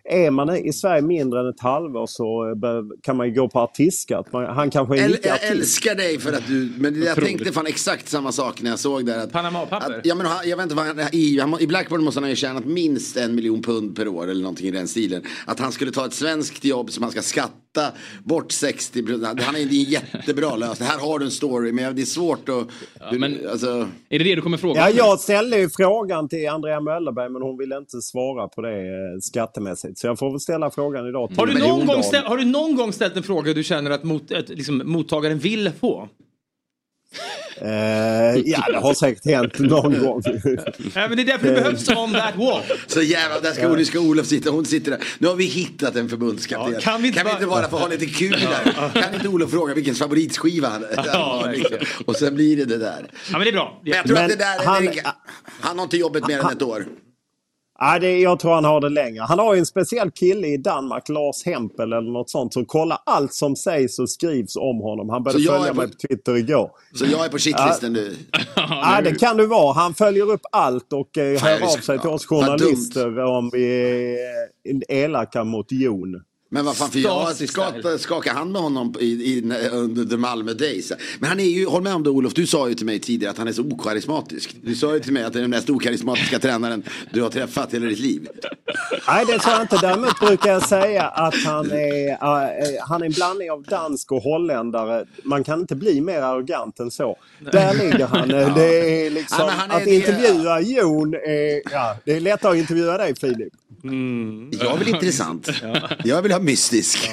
[SPEAKER 14] Är man i Sverige mindre än ett halvår så eh, bör- kan man ju gå på artistskatt. Man- Han kanske är
[SPEAKER 16] Äl,
[SPEAKER 14] icke
[SPEAKER 16] jag
[SPEAKER 14] artist.
[SPEAKER 16] älskar dig för att du, men jag
[SPEAKER 14] Otroligt.
[SPEAKER 16] tänkte fan exakt samma sak när jag såg där. Att,
[SPEAKER 13] Panama-papper?
[SPEAKER 16] Att, ja, men han, jag vet inte vad han, i, han, i Blackburn måste han ha tjänat minst en miljon pund per år eller någonting i den stilen. Att han skulle ta ett svenskt jobb som han ska skatta bort 60 procent. Han är, det är en jättebra lösning. Här har du en story men det är svårt att... men, alltså,
[SPEAKER 1] är det det du kommer fråga?
[SPEAKER 14] Ja, jag ställde ju frågan till Andrea Möllerberg men hon ville inte svara på det eh, skattemässigt. Så jag får väl ställa frågan idag till
[SPEAKER 13] Har du, någon gång
[SPEAKER 14] Jondal.
[SPEAKER 13] ställ, har du någon gång ställt en fråga du känner att, mot, att liksom, mottagaren vill få?
[SPEAKER 14] Eh, ja, det har säkert hänt
[SPEAKER 13] <laughs>
[SPEAKER 14] någon gång.
[SPEAKER 13] Nej, men det är därför det behövs on that wall.
[SPEAKER 16] Så jävla, där ska,
[SPEAKER 14] Ja.
[SPEAKER 16] nu ska Olof sitta, hon sitter där. Nu har vi hittat en förbundskapten.
[SPEAKER 13] Ja,
[SPEAKER 16] kan vi inte, bara få ha lite kul där? Kan inte Olof fråga vilken favoritskiva han han
[SPEAKER 13] Ja,
[SPEAKER 16] har? liksom? Och sen blir det det där.
[SPEAKER 13] Ja, men det är bra.
[SPEAKER 16] Men jag tror
[SPEAKER 14] Men
[SPEAKER 16] att det där,
[SPEAKER 14] han-
[SPEAKER 16] han, han har inte jobbet mer än ett år.
[SPEAKER 14] Nej, det, jag tror han har det längre. Han har ju en speciell kille i Danmark, Lars Hempel eller något sånt, som kollar allt som sägs och skrivs om honom. Han började
[SPEAKER 16] Så jag
[SPEAKER 14] följa
[SPEAKER 16] är på-
[SPEAKER 14] mig på Twitter igår.
[SPEAKER 16] Så jag är på shitlisten nu.
[SPEAKER 14] Ja, det kan du vara. Han följer upp allt och eh,
[SPEAKER 16] Fan,
[SPEAKER 14] hör
[SPEAKER 16] jag
[SPEAKER 14] av
[SPEAKER 16] visste-
[SPEAKER 14] sig till oss
[SPEAKER 16] vad
[SPEAKER 14] journalister om vi är elaka mot Jon.
[SPEAKER 16] Men vad fan, för jag skakade, skakade hand med honom i, i, under The Malmö Days. Men han är ju, håll med om det Olof, du sa ju till mig tidigare att han är så okarismatisk. Du sa ju till mig att det är den mest okarismatiska tränaren du har träffat i hela ditt liv.
[SPEAKER 14] Nej, det tror jag inte. Däremot brukar jag säga att han är, eh, han är en blandning av dansk och holländare. Man kan inte bli mer arrogant än så. Där ligger han. Eh,
[SPEAKER 16] <laughs> Ja.
[SPEAKER 14] Det är liksom,
[SPEAKER 16] Ja, men han är
[SPEAKER 14] att
[SPEAKER 16] det-
[SPEAKER 14] intervjua Jon, är, ja, det är lättare att intervjua dig Filip.
[SPEAKER 16] Mm. Jag är väl intressant. Jag vill ha mystisk.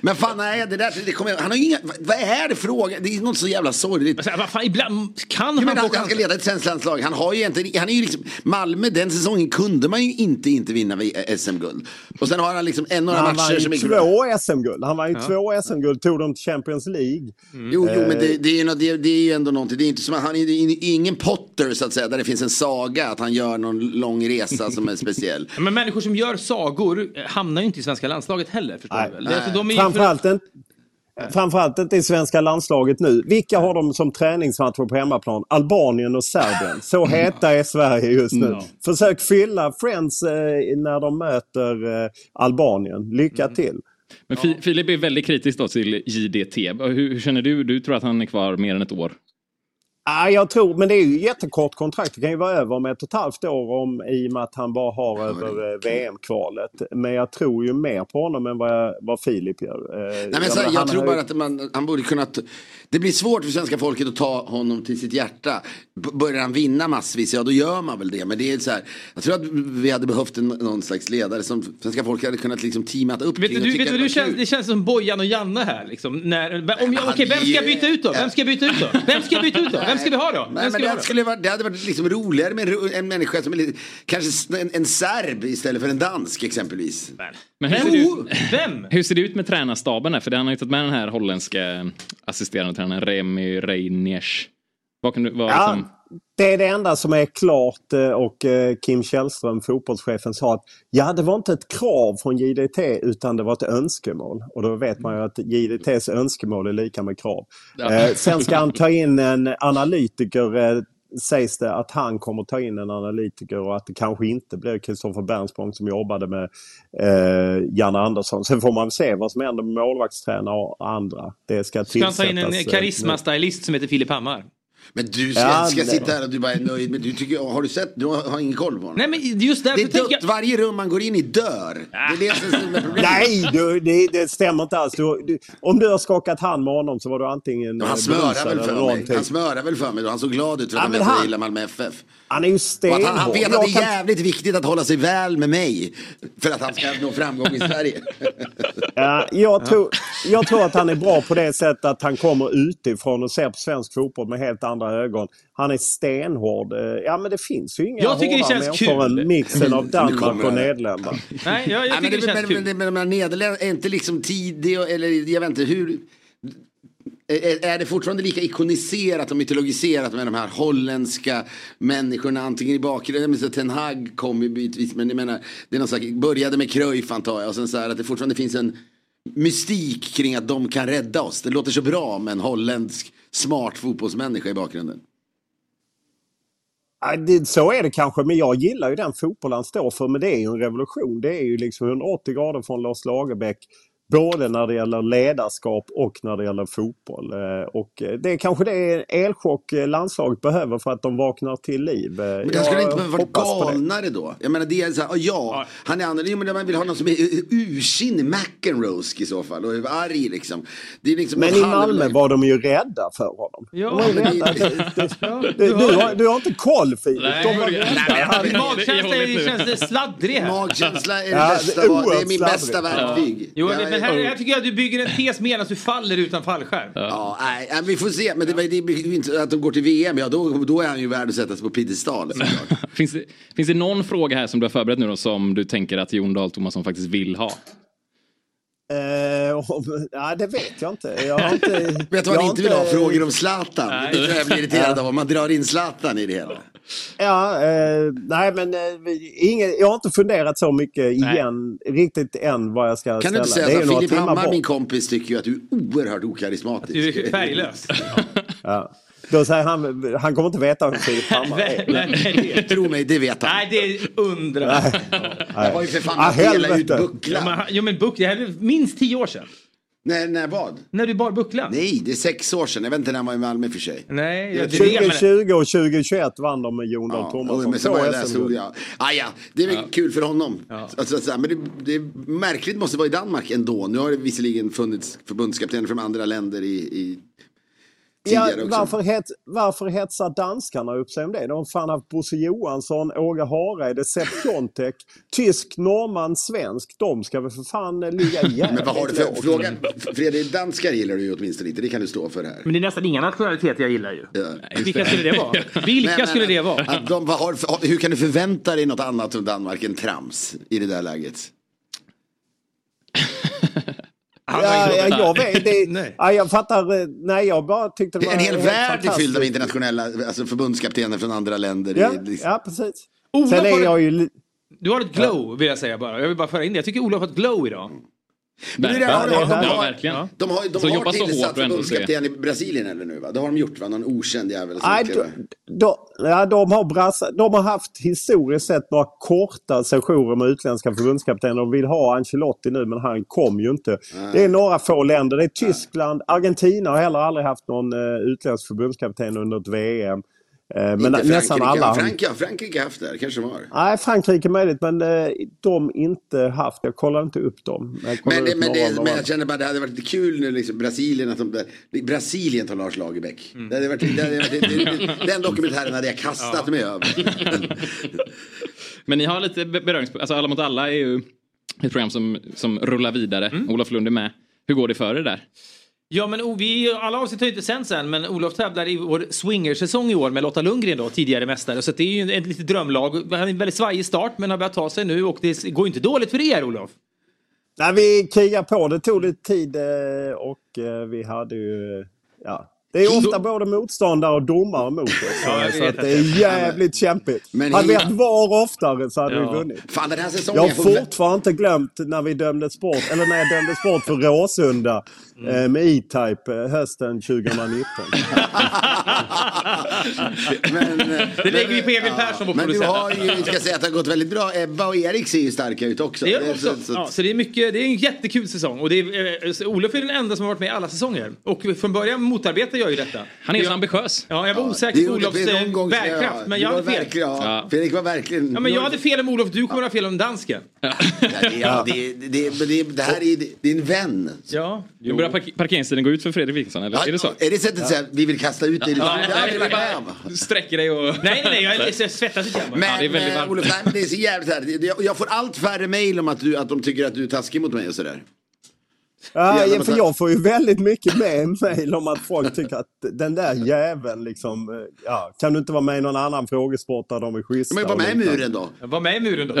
[SPEAKER 16] Men fan, nej, det där, det kommer, han har ju inga, vad är det frågan? Det är något så jävla sorgligt.
[SPEAKER 13] Men vad fan, ibland kan
[SPEAKER 16] han... Han, han ska leda ett svenskt landslag. Han har ju egentligen, han är ju liksom, Malmö den säsongen kunde man ju inte inte vinna vi- SM-guld. Och sen har han liksom en några
[SPEAKER 14] han
[SPEAKER 16] matcher som
[SPEAKER 14] vann ju
[SPEAKER 16] gick bra.
[SPEAKER 14] två SM-guld. Han vann ju
[SPEAKER 16] Ja.
[SPEAKER 14] två SM-guld, tog dem till Champions League.
[SPEAKER 16] Mm. Jo, jo, men det,
[SPEAKER 14] Eh,
[SPEAKER 16] det, är ju, nå- det, det är ju ändå någonting. Det är, inte som, han är, det är ingen Potter så att säga, där det finns en saga att han gör någon lång resa som
[SPEAKER 13] <laughs>
[SPEAKER 16] är speciell.
[SPEAKER 13] Men människor som gör sagor eh, hamnar ju inte i svenska landslaget heller. Förstår du väl? Det-
[SPEAKER 16] Nej.
[SPEAKER 13] De är ju
[SPEAKER 14] Eh,
[SPEAKER 13] för...
[SPEAKER 14] Framförallt, inte, framförallt inte i svenska landslaget nu. Vilka har de som träningsmatcher på hemmaplan? Albanien och Serbien. Så
[SPEAKER 16] Mm.
[SPEAKER 14] heta är Sverige just nu.
[SPEAKER 13] Ja.
[SPEAKER 14] Försök fylla Friends eh, när de möter eh, Albanien. Lycka
[SPEAKER 16] Mm.
[SPEAKER 14] till!
[SPEAKER 1] Men Fi- Filip är väldigt kritisk då till JDT. Hur, hur känner du? Du tror att han är kvar mer än ett år.
[SPEAKER 14] Ah, jag tror, men det är ju jättekort kontrakt. Det kan ju vara över om ett och ett halvt år om, i och med att han bara har över eh, VM-kvalet. Men jag tror ju mer på honom än vad, jag, vad Filip gör. Eh,
[SPEAKER 16] Nej, men
[SPEAKER 14] jag
[SPEAKER 16] så,
[SPEAKER 14] menar,
[SPEAKER 16] jag
[SPEAKER 14] han
[SPEAKER 16] tror
[SPEAKER 14] har ju-
[SPEAKER 16] bara att man, han borde kunna... t- Det blir svårt för svenska folket att ta honom till sitt hjärta. B- börjar han vinna massvis, ja då gör man väl det. Men det är så här, jag tror att vi hade behövt en, någon slags ledare som svenska folket hade kunnat liksom teamat upp
[SPEAKER 13] Vet du,
[SPEAKER 16] kring och
[SPEAKER 13] du,
[SPEAKER 16] tycka
[SPEAKER 13] vet
[SPEAKER 16] det
[SPEAKER 13] du, du
[SPEAKER 16] var
[SPEAKER 13] känns,
[SPEAKER 16] kul.
[SPEAKER 13] det känns som Bojan och Janne här. Liksom, när, om jag,
[SPEAKER 16] han
[SPEAKER 13] okej, vem
[SPEAKER 16] är
[SPEAKER 13] ska jag
[SPEAKER 16] ju-
[SPEAKER 13] byta ut då? Vem ska jag byta ut då? Vem ska jag byta ut då? Vem ska vi ha då?
[SPEAKER 16] Nej,
[SPEAKER 13] Vem
[SPEAKER 16] men
[SPEAKER 13] ska vi
[SPEAKER 16] det,
[SPEAKER 13] ha
[SPEAKER 16] hade-
[SPEAKER 13] då?
[SPEAKER 16] skulle vara, det hade varit liksom roligare med en, ro- en människa som är lite, kanske s- en, en serb istället för en dansk exempelvis.
[SPEAKER 1] Men hur,
[SPEAKER 16] Vem?
[SPEAKER 1] ser det ut,
[SPEAKER 13] Vem?
[SPEAKER 1] <laughs> hur ser det ut med tränarstaben? Här? För han har ju tagit med den här holländska assisterande tränaren Remy Reiniers. Vad kan du... Vad
[SPEAKER 14] Ja,
[SPEAKER 1] liksom,
[SPEAKER 14] det är det enda som är klart eh, och eh, Kim Källström, fotbollschefen, sa att ja, det var inte ett krav från JDT utan det var ett önskemål. Och då vet man ju att JDTs önskemål är lika med krav.
[SPEAKER 2] Ja.
[SPEAKER 14] Eh, sen ska han ta in en analytiker eh, sägs det att han kommer ta in en analytiker och att det kanske inte blir Kristoffer Bernsprong som jobbade med eh, Janne Andersson. Sen får man se vad som händer med målvaktstränare och andra. Det ska
[SPEAKER 13] Ska han ta in en
[SPEAKER 14] tillsättas, eh,
[SPEAKER 13] karismastylist som heter Filip Hammar?
[SPEAKER 16] Men du ska,
[SPEAKER 14] Ja,
[SPEAKER 16] ska
[SPEAKER 14] det-
[SPEAKER 16] sitta här och du bara är nöjd med, du tycker, har du sett, du har, har ingen koll på honom.
[SPEAKER 13] Nej, men just
[SPEAKER 16] det är dött, varje rum man går in i dör. Det är det som är problemet.
[SPEAKER 14] Nej, du, det, det stämmer inte alls. Du, du, om du har skakat hand med honom så var du antingen
[SPEAKER 16] Ja, Han
[SPEAKER 14] eh,
[SPEAKER 16] smörar
[SPEAKER 14] berusad
[SPEAKER 16] väl
[SPEAKER 14] eller
[SPEAKER 16] för mig.
[SPEAKER 14] någonting.
[SPEAKER 16] Han smörar väl för mig då. Han såg glad ut för
[SPEAKER 14] Ja,
[SPEAKER 16] att han
[SPEAKER 14] men
[SPEAKER 16] vet att jag
[SPEAKER 14] han-
[SPEAKER 16] gillar Malmö FF.
[SPEAKER 14] Han är ju
[SPEAKER 16] Och att
[SPEAKER 14] stenhård.
[SPEAKER 16] han, han vet att det
[SPEAKER 14] Jag
[SPEAKER 16] är
[SPEAKER 14] kan-
[SPEAKER 16] jävligt viktigt att hålla sig väl med mig. För att han ska nå framgång
[SPEAKER 14] <laughs>
[SPEAKER 16] i Sverige.
[SPEAKER 14] Ja, jag, tror, jag tror att han är bra på det sättet att han kommer utifrån och ser på svensk fotboll med helt andra ögon. Han är stenhård. Eh, Ja, men det finns ju inga
[SPEAKER 13] Jag tycker det
[SPEAKER 14] hårdare
[SPEAKER 13] känns
[SPEAKER 14] människor
[SPEAKER 13] kul.
[SPEAKER 14] än mixen av
[SPEAKER 16] Nu kommer
[SPEAKER 14] Danmark
[SPEAKER 16] det.
[SPEAKER 14] och Nederländerna.
[SPEAKER 13] Nej, jag, jag
[SPEAKER 16] men
[SPEAKER 13] tycker det känns
[SPEAKER 16] men,
[SPEAKER 13] kul.
[SPEAKER 16] Men, men, men Nederländerna, är inte liksom tidig och- eller jag vet inte hur. Är, är det fortfarande lika ikoniserat och mytologiserat med de här holländska människorna? Antingen i bakgrunden, men så Ten Hag kom ju bitvis. Men jag menar, det är någon slags, började med Cruyff antar jag. Och sen så här att det fortfarande finns en mystik kring att de kan rädda oss. Det låter så bra med en holländsk smart fotbollsmänniska i bakgrunden.
[SPEAKER 14] Ja, Äh, det- Så är det kanske, men jag gillar ju den fotboll han står för. Men det är ju en revolution. Det är ju liksom 180 grader från Lars Lagerbäck. Både när det gäller ledarskap och när det gäller fotboll. Eh, Och eh, det är kanske det är elchock eh, landslaget behöver för att de vaknar till liv. Eh,
[SPEAKER 16] Men
[SPEAKER 14] jag
[SPEAKER 16] han skulle inte behöva varit
[SPEAKER 14] hoppas på det.
[SPEAKER 16] galnare då. Jag menar det är så här, ja, ja, han är annorlunda. Jo, men man vill ha någon som är ursinnig, McEnroe i så fall. Och är arg liksom. Det är liksom
[SPEAKER 14] Men
[SPEAKER 16] någon
[SPEAKER 14] i
[SPEAKER 16] halv-
[SPEAKER 14] Malmö var de ju rädda för honom.
[SPEAKER 13] Ja,
[SPEAKER 14] de var ju
[SPEAKER 16] men
[SPEAKER 14] rädda. <laughs>
[SPEAKER 16] det-
[SPEAKER 14] Du, du, du, har, du har inte koll Filip. De var rädda. Han-
[SPEAKER 13] <laughs> Magkänsla är- känns sladdrig här.
[SPEAKER 16] Magkänsla är det
[SPEAKER 14] Ja,
[SPEAKER 16] bästa,
[SPEAKER 14] det är
[SPEAKER 16] va- det är min
[SPEAKER 14] oerhört
[SPEAKER 16] bästa
[SPEAKER 14] sladdrigt.
[SPEAKER 16] verktyg.
[SPEAKER 13] Jo,
[SPEAKER 16] Jag
[SPEAKER 13] men men
[SPEAKER 16] är-
[SPEAKER 13] här, här tycker jag att du bygger en tes medan du faller utan fallskärm.
[SPEAKER 16] Ja, nej, nej, vi får se. Men det, var- det blir ju inte att de går till VM, ja då, då är han ju värd att sättas
[SPEAKER 14] <laughs>
[SPEAKER 16] på piedestal. såklart.
[SPEAKER 1] <laughs> finns, det, finns det någon fråga här som du har förberett nu då som du tänker att Jon Dahl Tomasson faktiskt vill ha?
[SPEAKER 14] Eh, om- Nej, det vet jag inte. Jag har inte
[SPEAKER 16] <laughs> Vet du
[SPEAKER 14] jag
[SPEAKER 16] vad
[SPEAKER 14] har
[SPEAKER 16] han inte vill ha? Frågor om Zlatan. Det är det jag blir irriterad
[SPEAKER 14] Ja.
[SPEAKER 16] av, om man drar in Zlatan i det hela.
[SPEAKER 14] Ja, eh, nej men eh, vi- ingen, jag har inte funderat så mycket igen riktigt än vad jag ska
[SPEAKER 16] Kan
[SPEAKER 14] ställa.
[SPEAKER 16] du inte säga
[SPEAKER 14] Det är
[SPEAKER 16] så
[SPEAKER 14] ju
[SPEAKER 16] att
[SPEAKER 14] några
[SPEAKER 16] Filip
[SPEAKER 14] timmar
[SPEAKER 16] Hammar,
[SPEAKER 14] bort.
[SPEAKER 16] min kompis, tycker ju att du är oerhört okarismatisk.
[SPEAKER 13] Du är
[SPEAKER 16] <laughs>
[SPEAKER 13] färglös.
[SPEAKER 14] Ja. Då säger han, han kommer inte veta vem Filip Hammar är.
[SPEAKER 16] Tro mig, det vet han.
[SPEAKER 13] Nej, det undrar
[SPEAKER 14] Nej.
[SPEAKER 13] jag.
[SPEAKER 14] Det var ju för fan att Ah, dela helvete. ut bucklan.
[SPEAKER 13] Ja, men, han- jo, men bucklan, det här är minst tio år sedan.
[SPEAKER 16] När, när vad?
[SPEAKER 13] När du bar bucklan?
[SPEAKER 16] Nej, det är sex år sedan. Jag vet inte när han var i Malmö för sig.
[SPEAKER 13] Nej,
[SPEAKER 14] 2020 och 2021 vann de med Jon Dahl Tomasson.
[SPEAKER 16] Jo, men så
[SPEAKER 14] Två
[SPEAKER 16] var jag där
[SPEAKER 14] SM-guld.
[SPEAKER 16] stod jag. Ah, ja, det är väl
[SPEAKER 14] Ja.
[SPEAKER 16] kul för honom. Alltså, så här, men det, det är märkligt måste vara i Danmark ändå. Nu har det visserligen funnits förbundskaptener från andra länder i, i
[SPEAKER 14] Ja,
[SPEAKER 16] tidigare också.
[SPEAKER 14] varför, het, varför hetsar danskarna upp sig om det? De har fan haft Bosse Johansson, Åge Hareide, Sepp Jontek, tysk, norrman, svensk. De ska väl för fan eh,
[SPEAKER 16] <laughs>
[SPEAKER 14] ligga jävligt
[SPEAKER 16] Men vad har du för
[SPEAKER 14] lågt.
[SPEAKER 16] fråga? Fredrik, danskar gillar du ju åtminstone inte. Det kan du stå för här.
[SPEAKER 13] Men det är nästan inga nationaliteter jag gillar ju. Vilka skulle
[SPEAKER 16] <laughs>
[SPEAKER 13] <laughs> det vara? Vilka
[SPEAKER 16] Men, men,
[SPEAKER 13] skulle det vara?
[SPEAKER 16] att De, vad har, för- hur kan du förvänta dig något annat än Danmark än trams i det där läget?
[SPEAKER 14] Ja, ja, jag vet.
[SPEAKER 16] <laughs>
[SPEAKER 14] Det, ja, jag fattar. eh, Nej, jag bara tyckte det
[SPEAKER 16] Det
[SPEAKER 14] var
[SPEAKER 16] är en hel
[SPEAKER 14] helt
[SPEAKER 16] värld är fylld av
[SPEAKER 14] fantastiskt.
[SPEAKER 16] internationella alltså förbundskaptener från andra länder.
[SPEAKER 14] Ja,
[SPEAKER 16] Det är liksom-
[SPEAKER 14] ja precis.
[SPEAKER 13] Ola,
[SPEAKER 14] Sen
[SPEAKER 13] var
[SPEAKER 14] är
[SPEAKER 13] det-
[SPEAKER 14] jag ju... li-
[SPEAKER 13] Du har ett glow vill jag säga bara. Jag vill bara föra in det. Jag tycker Ola har ett glow idag.
[SPEAKER 16] Men det är det här, de, de, har,
[SPEAKER 13] Ja.
[SPEAKER 16] de har, de har tillsatt förbundskapten i Brasilien eller nu va? Det har de gjort va? Någon okänd jävel. som
[SPEAKER 14] Nej,
[SPEAKER 16] klev-
[SPEAKER 14] de, de, ja, de, har brassa, de har haft historiskt sett några korta sessioner med utländska förbundskaptener. De vill ha Ancelotti nu men han kom ju inte.
[SPEAKER 16] Nej.
[SPEAKER 14] Det är några få länder. Det är Tyskland, Argentina har heller aldrig haft någon eh, utländsk förbundskapten under ett VM. Eh, men
[SPEAKER 16] Inte Frankrike.
[SPEAKER 14] nästan alla. har-
[SPEAKER 16] Frankrike, Frankrike har haft det här, kanske de har.
[SPEAKER 14] Nej, Frankrike är möjligt men eh, de inte haft. Jag kollar inte upp dem. Jag kollar
[SPEAKER 16] Men, det,
[SPEAKER 14] upp
[SPEAKER 16] men,
[SPEAKER 14] några av
[SPEAKER 16] det,
[SPEAKER 14] dem.
[SPEAKER 16] men jag känner bara det hade varit lite kul nu liksom Brasilien att de där, Brasilien tar Lars Lagerbäck.
[SPEAKER 13] Mm.
[SPEAKER 16] Det hade varit, det hade varit, det,
[SPEAKER 13] <laughs>
[SPEAKER 16] det, den dokumentären hade jag kastat mig över.
[SPEAKER 1] Men ni har lite be- beröringspunkter. Alltså Alla mot alla är ju ett program som, som rullar vidare. Olof Lund är med. Hur går det för er där?
[SPEAKER 13] Ja men o- vi, alla avsnitt har ju inte sänts än men Olof tävlar i vår swingersäsong i år med Lotta Lundgren då, tidigare mästare. Så att det är ju ett litet drömlag. Han är en väldigt svajig start men har börjat ta sig nu och det går ju inte dåligt för er Olof.
[SPEAKER 14] Nej, vi krigar på. Det tog lite tid eh, och eh, vi hade ju... eh, Ja. Det är ofta både motståndare och domare mot oss.
[SPEAKER 16] Ja, jag
[SPEAKER 14] så
[SPEAKER 16] vet
[SPEAKER 14] att det är
[SPEAKER 16] det.
[SPEAKER 14] jävligt kämpigt.
[SPEAKER 16] Men
[SPEAKER 14] hade vi
[SPEAKER 16] hela-
[SPEAKER 14] haft VAR oftare så hade
[SPEAKER 16] Ja.
[SPEAKER 14] vi vunnit.
[SPEAKER 16] Fan, den här säsongen
[SPEAKER 14] jag har
[SPEAKER 16] jag får-
[SPEAKER 14] fortfarande inte glömt när vi dömdes bort, eller när jag dömdes bort för Råsunda
[SPEAKER 16] Mm.
[SPEAKER 14] eh, med E-Type eh, hösten 2019.
[SPEAKER 16] Men,
[SPEAKER 13] <laughs> Det lägger vi på Emil Persson, vår
[SPEAKER 16] Men du
[SPEAKER 13] producent.
[SPEAKER 16] har ju, jag ska säga att det har gått väldigt bra. Ebba och Erik ser ju starka ut också.
[SPEAKER 13] Det gör de
[SPEAKER 16] Det är
[SPEAKER 13] också.
[SPEAKER 16] så-
[SPEAKER 13] Så,
[SPEAKER 16] så-
[SPEAKER 13] ja, så det, är mycket, det är en jättekul säsong. Och det är, eh, så Olof är den enda som har varit med i alla säsonger. Och från början motarbetar jag ju detta.
[SPEAKER 1] Han är så
[SPEAKER 13] Jag-
[SPEAKER 1] ambitiös.
[SPEAKER 13] Ja, jag var osäker
[SPEAKER 16] Det
[SPEAKER 13] på
[SPEAKER 16] gjorde
[SPEAKER 13] Olofs
[SPEAKER 16] vi någon
[SPEAKER 13] eh,
[SPEAKER 16] gång, ska jag-
[SPEAKER 13] bärkraft, men
[SPEAKER 16] du
[SPEAKER 13] jag
[SPEAKER 16] var
[SPEAKER 13] hade fel.
[SPEAKER 16] verkligen- ja, Fredrik var verkligen...
[SPEAKER 13] Ja, men jag hade fel om Olof, du kommer att ha fel om dansken.
[SPEAKER 16] <laughs> Ja, det, ja, det, det, men det, det här är ju din vän.
[SPEAKER 13] Ja.
[SPEAKER 1] Nu börjar park- parkeringstiden gå ut för Fredrik Wikingsson, eller? är det så?
[SPEAKER 16] Är det sättet att säga vi vill kasta ut dig? Det har
[SPEAKER 1] Ja.
[SPEAKER 16] vi aldrig varit med om.
[SPEAKER 1] Du sträcker dig och...
[SPEAKER 13] Nej, nej, nej, jag, jag svettas lite grann bara.
[SPEAKER 16] Men eh, Olof, nej, men det är så jävligt här. Det- det- Jag, jag får allt färre mejl om att, du, att de tycker att du är taskig mot mig och sådär.
[SPEAKER 14] Ja,
[SPEAKER 16] Jävlar,
[SPEAKER 14] för
[SPEAKER 16] vad-
[SPEAKER 14] jag får ju väldigt mycket med mejl om att folk tycker att den där jäveln liksom, eh, ja, kan du inte vara med i någon annan frågesport där de är schyssta?
[SPEAKER 16] Men var med i
[SPEAKER 14] och liknande?
[SPEAKER 16] muren då.
[SPEAKER 13] Var med i muren då.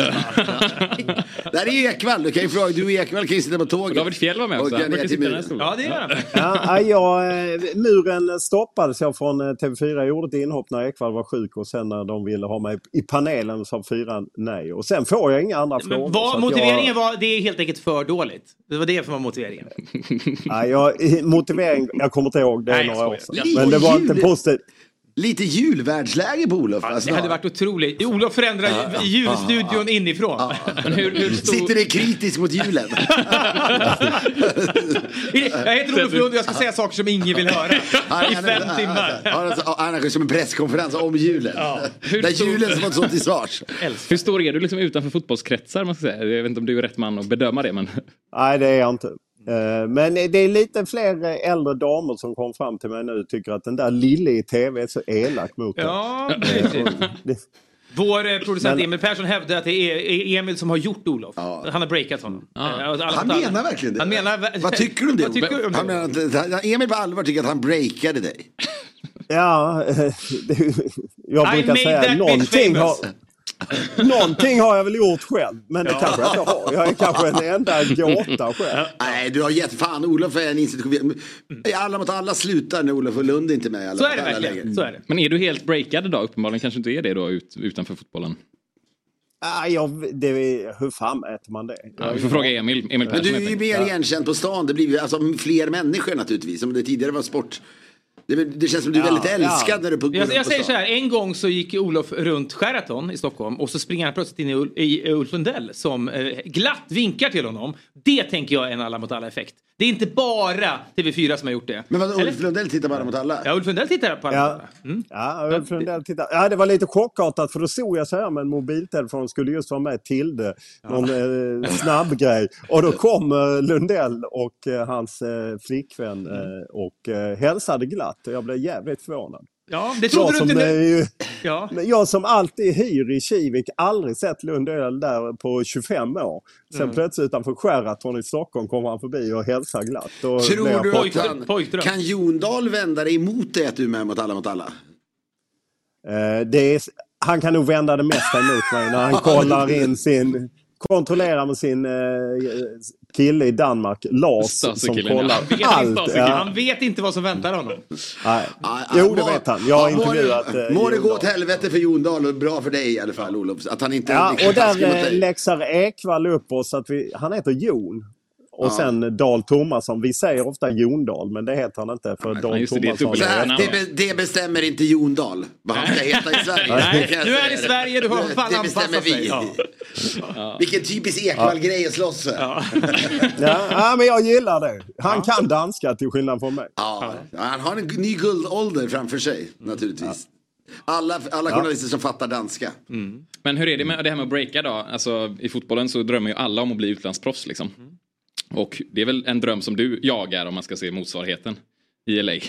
[SPEAKER 16] Där är ju Ekwall. Du kan ju fråga. Du och Ekwall kan ju sitta på tåget. David
[SPEAKER 1] Fjäll var med
[SPEAKER 16] också. Och kan ner till muren.
[SPEAKER 13] Ja, det gör han.
[SPEAKER 14] Ja, jag, eh, muren stoppades jag från eh, TV4. Jag gjorde ett inhopp när Ekwall var sjuk och sen när de ville ha mig i panelen sa fyran nej. Och sen får jag inga andra frågor. så
[SPEAKER 13] Var,
[SPEAKER 14] att
[SPEAKER 13] motiveringen
[SPEAKER 14] jag,
[SPEAKER 13] var, det är helt enkelt för dåligt. Det var det som var motiveringen.
[SPEAKER 14] Nej, jag, i- motivering, jag kommer inte ihåg. Det är
[SPEAKER 13] Nej, jag
[SPEAKER 14] några år
[SPEAKER 13] skojar.
[SPEAKER 14] sedan.
[SPEAKER 13] Jag
[SPEAKER 14] Men det var
[SPEAKER 13] skojar.
[SPEAKER 14] inte positivt.
[SPEAKER 16] Lite julvärldsläge på Olof. alltså.
[SPEAKER 13] Det hade varit otroligt. Olof förändrar
[SPEAKER 16] Ja.
[SPEAKER 13] ljudstudion inifrån.
[SPEAKER 16] Sitter du kritisk mot julen?
[SPEAKER 13] Jag heter Olof Lund och jag ska säga saker som ingen vill
[SPEAKER 16] <laughs>
[SPEAKER 13] höra. I fem timmar.
[SPEAKER 16] alltså, Han arrangerar som en presskonferens om julen. Där julen som har stått till svars.
[SPEAKER 1] Hur stor är du liksom utanför fotbollskretsar? Man ska säga? Jag vet inte om du är rätt man att bedöma det, men...
[SPEAKER 14] Nej, det är jag inte.
[SPEAKER 16] Mm.
[SPEAKER 14] Eh, Men det är lite fler eh, äldre damer som kom fram till mig nu och tycker att den där lille i TV är så elak mot mig.
[SPEAKER 13] Ja, precis. Vår eh, producent Emil Persson hävdar att det är- är Emil som har gjort Olof. Han har breakat honom. Eh, alltså, alla-
[SPEAKER 16] Han menar verkligen det.
[SPEAKER 13] Han menar, ver-
[SPEAKER 16] Vad tycker du om det?
[SPEAKER 13] Vad tycker du om
[SPEAKER 16] han
[SPEAKER 13] det?
[SPEAKER 16] menar att, han- Emil på allvar tycker att han breakade dig.
[SPEAKER 14] Ja, <laughs> eh, det, jag
[SPEAKER 16] I
[SPEAKER 14] brukar
[SPEAKER 16] made that
[SPEAKER 14] säga
[SPEAKER 16] bitch
[SPEAKER 14] någonting har,
[SPEAKER 16] famous.
[SPEAKER 14] <laughs> någonting har jag väl gjort själv. Men det
[SPEAKER 16] Ja.
[SPEAKER 14] kanske jag inte har. Jag är kanske en enda gåta själv.
[SPEAKER 16] <laughs> Nej, du har gett fan. Olof är en institution. Alla mot alla slutar när Olof och Lund är inte är med. i Alla mot alla längre.
[SPEAKER 1] Men är du helt breakad idag? Uppenbarligen kanske inte är det då ut, utanför fotbollen.
[SPEAKER 14] Ah, jag, det, är- hur fan mäter man det?
[SPEAKER 1] Ja, vi får fråga Emil. Emil
[SPEAKER 16] Men
[SPEAKER 1] Persson,
[SPEAKER 16] du är
[SPEAKER 1] helt
[SPEAKER 16] ju
[SPEAKER 1] enkelt.
[SPEAKER 16] mer
[SPEAKER 1] Ja.
[SPEAKER 16] igenkänd på stan. Det blir ju alltså fler människor naturligtvis. Om det tidigare var sport. Det, det känns som du är väldigt älskad när du är på, går
[SPEAKER 13] jag,
[SPEAKER 16] runt
[SPEAKER 13] jag
[SPEAKER 16] på
[SPEAKER 13] säger
[SPEAKER 16] stan.
[SPEAKER 13] så här, en gång så gick Olof runt Sheraton i Stockholm och så springer han plötsligt in i, Ul- i Ulf Lundell som eh, glatt vinkar till honom. Det tänker jag är en alla mot alla effekt. Det är inte bara TV4 som har gjort det.
[SPEAKER 16] Men vadå,
[SPEAKER 13] Eller?
[SPEAKER 16] Ulf Lundell tittar bara mot alla?
[SPEAKER 13] Ja, Mm. Ulf Lundell tittar på alla.
[SPEAKER 16] Ja.
[SPEAKER 14] Ja, Ulf Lundell tittar. ja, det var lite chockartat för då såg jag så här med en mobiltelefon skulle just vara med till det. Någon eh, snabb grej. Och då kom eh, Lundell och eh, hans eh, flickvän
[SPEAKER 13] Mm.
[SPEAKER 14] eh, och eh, hälsade glatt. Och jag blev jävligt förvånad.
[SPEAKER 13] Ja, det
[SPEAKER 14] jag
[SPEAKER 13] trodde du
[SPEAKER 14] som, eh,
[SPEAKER 13] inte
[SPEAKER 14] är
[SPEAKER 13] nu.
[SPEAKER 14] ju,
[SPEAKER 13] Ja.
[SPEAKER 14] men jag som alltid hyr i Kivik, aldrig sett Lundell där på 25 år. Sen
[SPEAKER 13] Mm.
[SPEAKER 14] plötsligt utanför Sheraton i Stockholm kommer han förbi och hälsar glatt. Då blev
[SPEAKER 16] Tror
[SPEAKER 14] jag
[SPEAKER 16] du att
[SPEAKER 14] chockad.
[SPEAKER 16] han, kan Jondal vända dig emot dig att du är med mot alla mot alla?
[SPEAKER 14] Eh, det är, han kan nog vända det mesta emot mig
[SPEAKER 16] <laughs>
[SPEAKER 14] när han kollar in sin... Kontrollerar med sin eh, kille i Danmark, Lars, som
[SPEAKER 13] Stasi-killen,
[SPEAKER 14] kollar
[SPEAKER 13] Han vet inte
[SPEAKER 14] allt.
[SPEAKER 13] Stasi-killen.
[SPEAKER 14] Ja.
[SPEAKER 13] Han vet inte vad som väntar honom.
[SPEAKER 14] Nej. Jo, det vet han. Jag har
[SPEAKER 16] Ja, må det-
[SPEAKER 14] intervjuat... eh,
[SPEAKER 16] Må det
[SPEAKER 14] Jon
[SPEAKER 16] gå åt helvete för Jondal och bra för dig i alla fall Olof. Att han inte är
[SPEAKER 14] Ja,
[SPEAKER 16] liksom
[SPEAKER 14] och
[SPEAKER 16] taskig mot
[SPEAKER 14] där eh,
[SPEAKER 16] dig.
[SPEAKER 14] läxar Ekvall upp oss att vi, han heter Jon. Och
[SPEAKER 16] Ja.
[SPEAKER 14] sen Dahl Tomasson. Vi säger ofta Jondal, men det heter han inte. För Dahl Tomasson
[SPEAKER 16] Så här,
[SPEAKER 14] är-
[SPEAKER 16] det, be- det bestämmer inte Jondal vad han ska heta
[SPEAKER 13] <laughs>
[SPEAKER 16] i Sverige.
[SPEAKER 14] Nej,
[SPEAKER 16] Det kan jag
[SPEAKER 13] nu är
[SPEAKER 16] säga
[SPEAKER 13] det
[SPEAKER 16] dig.
[SPEAKER 13] Sverige, du har
[SPEAKER 16] Det-
[SPEAKER 13] fan
[SPEAKER 16] Det bestämmer
[SPEAKER 13] anpassat
[SPEAKER 16] vi.
[SPEAKER 13] dig. Ja.
[SPEAKER 16] Vilken typisk Ekwall-grej att slåss för.
[SPEAKER 14] ja, ja, men jag gillar det. Han kan danska till skillnad från mig.
[SPEAKER 16] Ja, han har en ny guldålder framför sig naturligtvis. Alla, alla
[SPEAKER 1] Ja.
[SPEAKER 16] journalister som fattar danska.
[SPEAKER 13] Mm.
[SPEAKER 1] Men hur är det med det här med att breaka då? Alltså, I fotbollen så drömmer ju alla om att bli utlandsproffs liksom. Och det är väl en dröm som du jagar om man ska se motsvarigheten i LA.
[SPEAKER 16] Nej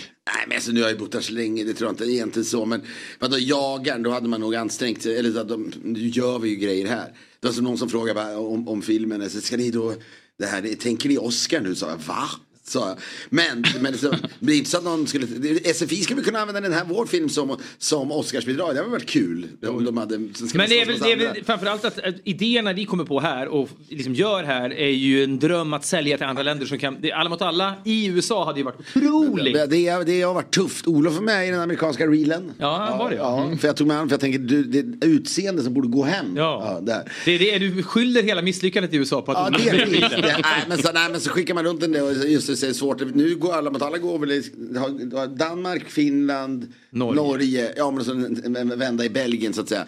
[SPEAKER 16] men alltså nu har jag ju bott här så länge, det tror jag inte egentligen så. Men vadå jagar, då hade man nog ansträngt sig. Eller så att de, nu gör vi ju grejer här. Det var som någon som frågade bara om, om filmen. Så ska ni då, det här, tänker ni Oscar nu? Sa jag, va? Sa jag. Men, men så, det är inte så att någon skulle, det- SFI skulle kunna använda den här, vår film som, som Oscarsbidrag. Det hade varit kul. Om de hade, så ska
[SPEAKER 13] Men
[SPEAKER 16] vi
[SPEAKER 13] det är, väl,
[SPEAKER 16] slåss
[SPEAKER 13] det är
[SPEAKER 16] mot andra.
[SPEAKER 13] väl framförallt att, att idéerna vi kommer på här och liksom gör här är ju en dröm att sälja till andra länder som kan... Det, alla mot alla i USA hade ju varit otroligt.
[SPEAKER 16] Det, det, det har varit tufft. Olof var med i den amerikanska reelen.
[SPEAKER 13] Ja, han var det, ja. Mm.
[SPEAKER 16] ja. För jag tog med honom för jag tänker du, det är utseende som borde gå hem. Ja. där.
[SPEAKER 13] Det är det du skyller hela misslyckandet i USA på
[SPEAKER 16] Ja,
[SPEAKER 13] att
[SPEAKER 16] det är skit.
[SPEAKER 13] <laughs>
[SPEAKER 16] nej, men så, nej, men så skickar man runt den där och just det, så är det svårt. Nu går alla mot alla går väl i, har- har Danmark, Finland, Norge. ja, men så en, en vända i Belgien så att säga.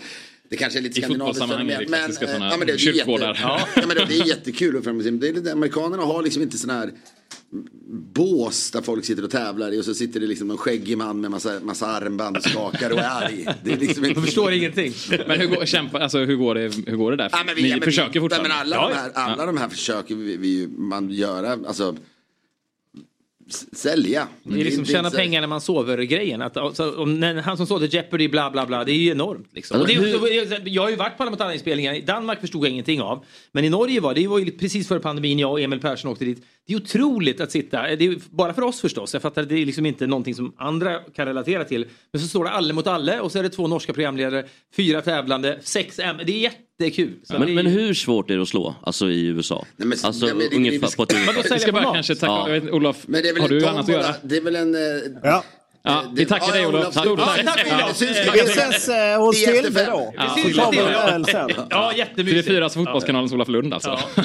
[SPEAKER 16] Det kanske är lite
[SPEAKER 1] I fotbollssammanhang liksom, är det
[SPEAKER 16] fenomen,
[SPEAKER 1] klassiska
[SPEAKER 16] eh,
[SPEAKER 1] sådana
[SPEAKER 16] ja, men det, är jätte,
[SPEAKER 1] kyrkogårdar.
[SPEAKER 16] ja, men det, det är jättekul. att framföra sin- Det är, det, amerikanerna har liksom inte sån här bås där folk sitter och tävlar i och så sitter det liksom en skäggig man med massa, massa armband och skakar och är arg. Det
[SPEAKER 1] <laughs>
[SPEAKER 16] är liksom inte...
[SPEAKER 13] ingenting.
[SPEAKER 1] Men hur går, kämpa, alltså, hur går, det, hur går det där?
[SPEAKER 16] Ja, men vi,
[SPEAKER 1] Ni
[SPEAKER 16] ja, men
[SPEAKER 1] försöker
[SPEAKER 16] vi,
[SPEAKER 1] fortfarande?
[SPEAKER 16] Ja, men alla
[SPEAKER 1] Ja,
[SPEAKER 16] de
[SPEAKER 1] ja.
[SPEAKER 16] här, alla
[SPEAKER 1] Ja.
[SPEAKER 16] de här försöker vi, vi, man göra, alltså s- sälja. Men
[SPEAKER 13] Det är liksom
[SPEAKER 16] inte-
[SPEAKER 13] tjäna
[SPEAKER 16] så-
[SPEAKER 13] pengar när man sover-grejen. Att, alltså, om, när, han som sålde Jeopardy, bla bla bla, det är ju enormt. Liksom.
[SPEAKER 16] Ja,
[SPEAKER 13] Och det,
[SPEAKER 16] men
[SPEAKER 13] är- jag har ju varit på alla mot alla inspelningar. I Danmark förstod jag ingenting av. Men i Norge var det var ju precis före pandemin, jag och Emil Persson åkte dit. Det är otroligt att sitta, det är, ju bara för oss förstås, jag fattar det är liksom inte någonting som andra kan relatera till. Men så står det alle mot alle och så är det två norska programledare, fyra tävlande, sex M. Det är jättekul. Så det är
[SPEAKER 5] Men, men hur svårt är det att slå? Alltså i USA? alltså
[SPEAKER 16] nej, men det-
[SPEAKER 5] ungefär
[SPEAKER 16] det-
[SPEAKER 5] på ett
[SPEAKER 1] Vadå, sälja Vi ska bara mat? kanske tacka- jag vet- Olof,
[SPEAKER 16] Men det är väl
[SPEAKER 1] har
[SPEAKER 16] en
[SPEAKER 1] du annat att
[SPEAKER 16] tombola,
[SPEAKER 1] göra?
[SPEAKER 16] Det är väl en... eh,
[SPEAKER 14] Ja.
[SPEAKER 1] Ja, vi tackar dig, Olof. Tack.
[SPEAKER 16] Stort
[SPEAKER 1] Ja, tack, Olof.
[SPEAKER 16] Det syns
[SPEAKER 1] Vi
[SPEAKER 16] klockan
[SPEAKER 1] ses,
[SPEAKER 14] eh, hos
[SPEAKER 16] tio efter
[SPEAKER 14] Silver
[SPEAKER 16] fem.
[SPEAKER 14] då.
[SPEAKER 1] Ja.
[SPEAKER 14] Vi kommer väl sen.
[SPEAKER 13] Ja, jättemysigt.
[SPEAKER 1] Det är fyra som fotbollskanalens Olof Lund alltså.
[SPEAKER 13] <laughs>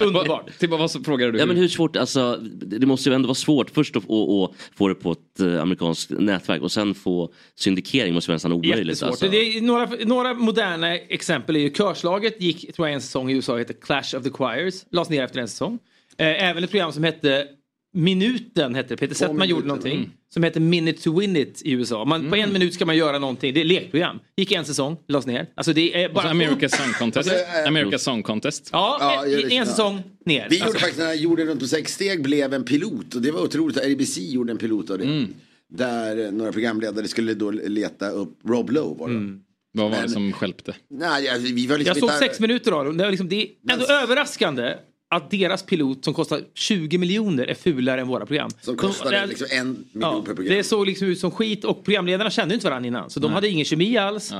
[SPEAKER 13] Underbart.
[SPEAKER 1] Typ, vad så frågade du?
[SPEAKER 5] Ja men hur svårt, alltså det det måste ju ändå vara svårt först att att- att få det på ett eh, amerikanskt nätverk och sen få syndikering måste vara nästan omöjligt.
[SPEAKER 13] Jättesvårt.
[SPEAKER 5] Alltså.
[SPEAKER 13] Det är, några, några moderna exempel är ju Körslaget gick tror jag en säsong i USA hette Clash of the Choirs. Lades ner efter en säsong. Eh, även ett program som hette Minuten hette det. Peter Settman gjorde någonting. Som hette Minute to Win It i USA. Man, På en minut ska man göra någonting. Det är lekprogram. Gick en säsong, lades ner. Alltså det är
[SPEAKER 1] Och så
[SPEAKER 13] bara...
[SPEAKER 1] America's Song Contest.
[SPEAKER 13] Alltså, eh,
[SPEAKER 1] America's Song Contest.
[SPEAKER 13] Ja,
[SPEAKER 16] Ja,
[SPEAKER 13] en-
[SPEAKER 16] jag vet
[SPEAKER 13] en
[SPEAKER 16] inte.
[SPEAKER 13] säsong ner. Alltså,
[SPEAKER 16] Vi gjorde faktiskt den här jorden runt på sex steg blev en pilot och det var otroligt. RBC gjorde en pilot av det.
[SPEAKER 1] Mm.
[SPEAKER 16] Där eh, några programledare skulle då leta upp Rob Lowe var det.
[SPEAKER 1] Mm. Vad var det
[SPEAKER 16] Men-
[SPEAKER 1] som stjälpte?
[SPEAKER 16] Nej, alltså, vi var liksom
[SPEAKER 13] jag såg
[SPEAKER 16] inte-
[SPEAKER 13] sex minuter av dem. Det, var liksom, det är ändå överraskande att deras pilot som kostar 20 miljoner är fulare än våra program.
[SPEAKER 16] Som kostade
[SPEAKER 13] det-
[SPEAKER 16] liksom en miljon
[SPEAKER 13] Ja,
[SPEAKER 16] per program.
[SPEAKER 13] Det såg liksom ut som skit och programledarna kände ju inte varandra innan. Så de
[SPEAKER 16] Nej.
[SPEAKER 13] hade ingen kemi alls.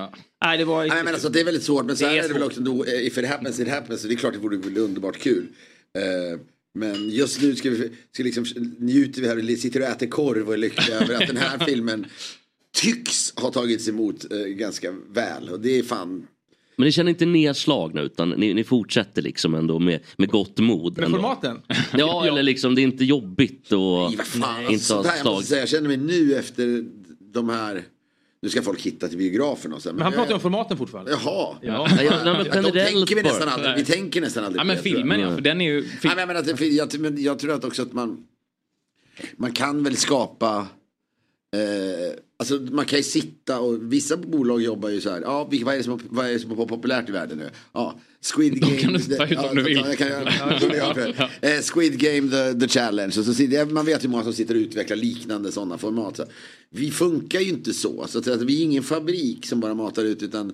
[SPEAKER 13] Nej, det var...
[SPEAKER 16] Nej, men alltså, det är väldigt svårt, men så
[SPEAKER 13] Det
[SPEAKER 16] här
[SPEAKER 13] är
[SPEAKER 16] är det väl
[SPEAKER 13] svårt.
[SPEAKER 16] också. Då, eh, if it happens, it happens. Så det är klart det vore väl underbart kul. Eh, men just nu ska vi, ska liksom, njuter vi här, vi sitter och äter korv och är lyckliga över att
[SPEAKER 13] <laughs>
[SPEAKER 16] den här filmen tycks ha tagits emot eh, ganska väl. Och det är fan...
[SPEAKER 5] Men ni känner inte nedslagna utan ni, ni fortsätter liksom ändå med, med gott mod.
[SPEAKER 13] Med
[SPEAKER 5] ändå.
[SPEAKER 13] formaten?
[SPEAKER 16] <laughs>
[SPEAKER 5] Ja eller liksom det är inte jobbigt och
[SPEAKER 16] Fan,
[SPEAKER 5] inte
[SPEAKER 16] alltså,
[SPEAKER 5] ha
[SPEAKER 16] sådär, jag,
[SPEAKER 5] stag.
[SPEAKER 16] måste säga, jag känner mig nu efter de här... nu ska folk hitta till biografen och så. här,
[SPEAKER 13] Men han
[SPEAKER 16] jag-
[SPEAKER 13] pratar ju om formaten fortfarande.
[SPEAKER 16] Jaha.
[SPEAKER 13] Ja.
[SPEAKER 16] De tänker vi nästan aldrig, vi tänker nästan aldrig
[SPEAKER 13] Ja,
[SPEAKER 16] på
[SPEAKER 13] men
[SPEAKER 16] det, tror
[SPEAKER 13] filmen,
[SPEAKER 16] jag.
[SPEAKER 13] ja, för den är ju...
[SPEAKER 16] Nej, men jag, menar att det, fin- jag, men jag tror att också att man, man kan väl skapa, eh, alltså man kan ju sitta och vissa bolag jobbar ju så här, ja vilka- vad är det som, vad är det som är populärt i världen nu? Ja, Squid Game.
[SPEAKER 1] kan du ta ut
[SPEAKER 16] ja,
[SPEAKER 1] om du vill.
[SPEAKER 16] ja, Jag kan, göra- jag kan göra det. eh, Squid Game the, the Challenge. Och så, sitter- man vet hur många som sitter och utvecklar liknande sådana format. Så. Vi funkar ju inte så. så att, säga att vi är ingen fabrik som bara matar ut utan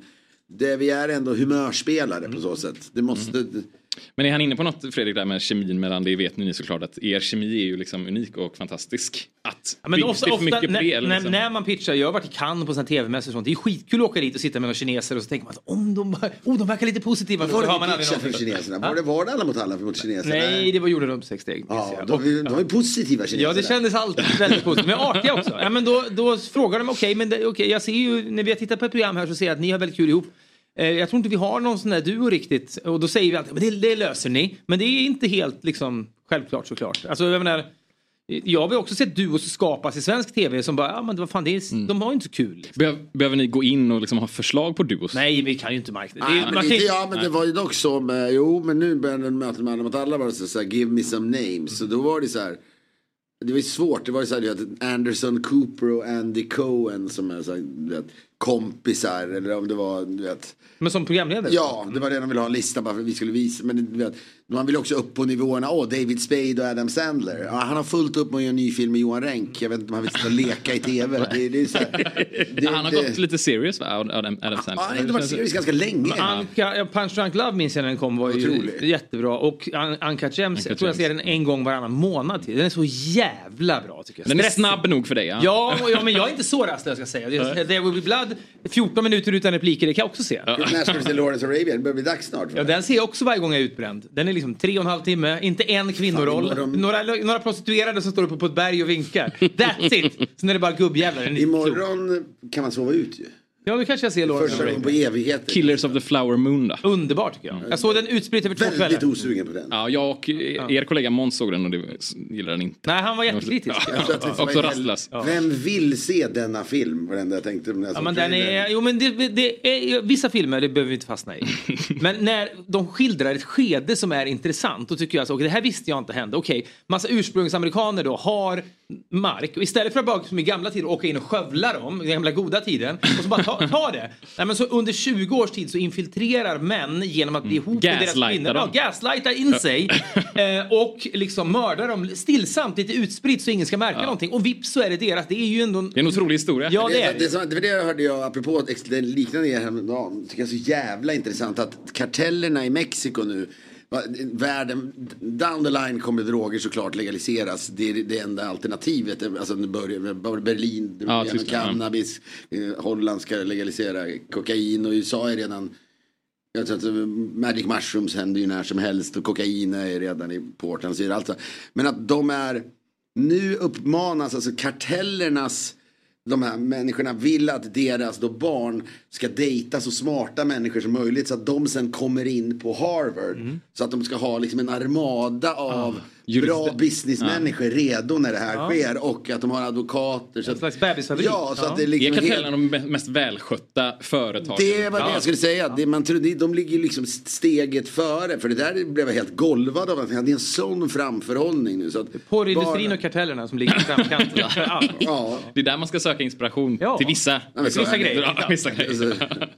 [SPEAKER 16] det, vi är ändå humörspelare på så sätt. Det måste...
[SPEAKER 1] <laughs> Mm. Men är han inne på något Fredrik där med kemin mellan, det vet ni såklart att er kemi är ju liksom unik och fantastisk. Att
[SPEAKER 13] Ja, men
[SPEAKER 1] byggs
[SPEAKER 13] ofta,
[SPEAKER 1] det
[SPEAKER 13] ofta,
[SPEAKER 1] för mycket på
[SPEAKER 13] när,
[SPEAKER 1] el?
[SPEAKER 13] när,
[SPEAKER 1] Liksom?
[SPEAKER 13] när man pitchar, jag har varit i Cannes på såna tv-mässor och sånt, det är skitkul att åka dit och sitta med några kineser och så tänker man att om de, bara- oh, de verkar lite positiva.
[SPEAKER 16] Var
[SPEAKER 13] så
[SPEAKER 16] det
[SPEAKER 13] man
[SPEAKER 16] vi
[SPEAKER 13] aldrig
[SPEAKER 16] pitchade för
[SPEAKER 13] någonting.
[SPEAKER 16] kineserna?
[SPEAKER 13] Ja.
[SPEAKER 16] Var det, var det alla mot alla mot kineserna?
[SPEAKER 13] Nej, det var gjorde de sex steg.
[SPEAKER 16] Ja, de, de, de var ju positiva kineserna.
[SPEAKER 13] Ja, det kändes alltid väldigt positivt. Men artiga också. Ja, men då, då frågar de, okej, men det, okej, jag ser ju, när vi har tittat på ett program här så ser jag att ni har väldigt kul ihop. Eh, jag tror inte vi har någon sån där duo riktigt. Och då säger vi alltid, men det, det löser ni. Men det är inte helt liksom självklart såklart. Alltså, jag menar, jag har ju också sett duos skapas i svensk tv som bara, ja men vad fan, det är, de har ju inte så kul. liksom.
[SPEAKER 1] Behöv, Mm. behöver ni gå in och liksom ha förslag på duos?
[SPEAKER 13] Nej, vi kan ju inte marknaden.
[SPEAKER 16] Nej, men inte, ja, men det var ju dock så med, jo, men nu började mötet med alla mot alla var det så här, give me some names. Så då var det så här, det var ju svårt, det var ju så här, du vet, Anderson Cooper och Andy Cohen som är så här, du vet, kompisar eller om det var, du vet.
[SPEAKER 13] Men som programledare?
[SPEAKER 16] Ja, det var det de ville ha en lista bara för att vi skulle visa. Men du vet, man vill också upp på nivåerna, åh, David Spade och Adam Sandler. Ja, han har fullt upp med att göra en ny film med Johan Renck. Jag vet inte om han vill sitta och leka
[SPEAKER 13] <laughs>
[SPEAKER 16] i tv. Det, det är så här, det-
[SPEAKER 1] han har
[SPEAKER 16] det-
[SPEAKER 1] gått lite serious va? Adam, Adam Sandler.
[SPEAKER 16] han har inte varit serious ganska länge.
[SPEAKER 13] Anka, ja, Punch Drunk Love minns jag när den kom. var ju
[SPEAKER 16] Otrolig.
[SPEAKER 13] jättebra. Och An- Anka Gems, jag tror jag ser den en gång varannan månad till. Den är så jävla bra tycker jag.
[SPEAKER 1] Den är
[SPEAKER 13] Stressig.
[SPEAKER 1] snabb nog för dig ja.
[SPEAKER 13] Ja, och- ja, men jag är inte så rastlös ska jag säga. Det är- There will be blood, 14 minuter utan repliker, det kan jag också se.
[SPEAKER 16] När ska du se Lawrence Arabia? Det börjar bli dags snart.
[SPEAKER 13] Ja, den ser jag också varje gång jag är utbränd. Den är liksom tre och en halv timme, inte en kvinnoroll.
[SPEAKER 16] Fan, imorgon-
[SPEAKER 13] några, några prostituerade som står uppe på ett berg och vinkar. That's it! Sen är det bara gubbjävlar. Den är inte klok.
[SPEAKER 16] Imorgon kan man sova ut ju.
[SPEAKER 13] Ja, då kanske jag ser Lawrence
[SPEAKER 16] Första gången på
[SPEAKER 13] Arabia.
[SPEAKER 16] evigheter.
[SPEAKER 1] Killers of the Flower Moon då? Mm.
[SPEAKER 13] Underbart tycker jag. Jag såg den utspritt över två kvällar.
[SPEAKER 1] Väldigt
[SPEAKER 16] osugen på den.
[SPEAKER 1] Ja, jag och eh, er kollega Måns såg den och det gillade den inte.
[SPEAKER 13] Nej, han var jättekritisk.
[SPEAKER 1] Ja.
[SPEAKER 13] <laughs>
[SPEAKER 1] Också rastlös.
[SPEAKER 16] Vem vill se denna film? Var det enda jag tänkte när jag
[SPEAKER 13] Ja,
[SPEAKER 16] såg
[SPEAKER 13] men den
[SPEAKER 16] trailern.
[SPEAKER 13] är, jo, men det, det är, vissa filmer det behöver vi
[SPEAKER 1] <laughs>
[SPEAKER 13] inte fastna i. Men när de skildrar ett skede som är intressant då tycker jag att det här visste jag inte hände. Okej, massa ursprungsamerikaner då har mark och istället för att bara som i gamla tider åka in och skövla dem, den gamla goda tiden, och så bara ta, ta det. Nej, men så under 20 års tid så infiltrerar män genom att bli ihop med deras
[SPEAKER 1] Mm. Gaslightar
[SPEAKER 13] kvinnor. Ja,
[SPEAKER 1] dem.
[SPEAKER 13] gaslighta in sig eh, och liksom mördar dem stillsamt, lite utspritt så ingen ska märka
[SPEAKER 16] Ja.
[SPEAKER 13] någonting. Och vips så är det deras. Det är ju ändå en...
[SPEAKER 1] Det är en otrolig historia.
[SPEAKER 13] Ja, det är
[SPEAKER 16] det. som- Det var det jag hörde jag apropå ex- det liknande jag häromdagen. Tycker jag är så jävla intressant att kartellerna i Mexiko nu. va- Världen, down the line kommer droger såklart legaliseras. Det är det enda alternativet. Alltså nu börjar med Ber- Berlin,
[SPEAKER 1] Ja,
[SPEAKER 16] drogerna,
[SPEAKER 1] Tyskland, ja.
[SPEAKER 16] cannabis. eh, Holland ska legalisera kokain och USA är redan jag tror att eh, Magic Mushrooms händer ju när som helst och kokain är redan i Portland. Så är det allt så. Men att de är, nu uppmanas alltså kartellernas, de här människorna vill att deras då barn ska dejta så smarta människor som möjligt så att de sen kommer in på Harvard. Så att de ska ha liksom en armada av bra
[SPEAKER 1] jurister.
[SPEAKER 16] businessmänniskor redo när det här
[SPEAKER 1] Ja.
[SPEAKER 16] sker och att de har advokater. Så Ah. en slags
[SPEAKER 13] bebisfabrik.
[SPEAKER 16] Ja, så att det är liksom
[SPEAKER 1] är
[SPEAKER 16] helt-
[SPEAKER 1] kartellen de me- mest välskötta företagen?
[SPEAKER 16] det var det jag skulle säga. Det, man trodde, de ligger liksom steget före. För det där blev jag helt golvad av. Det är en sån framförhållning nu. Så att
[SPEAKER 13] Porrindustrin och kartellerna som ligger i
[SPEAKER 16] <laughs>
[SPEAKER 13] framkant. Ja.
[SPEAKER 16] Ja.
[SPEAKER 1] Det är där man ska söka inspiration till vissa,
[SPEAKER 13] men så är Vissa det. grejer.
[SPEAKER 1] Ja, vissa <laughs> grejer.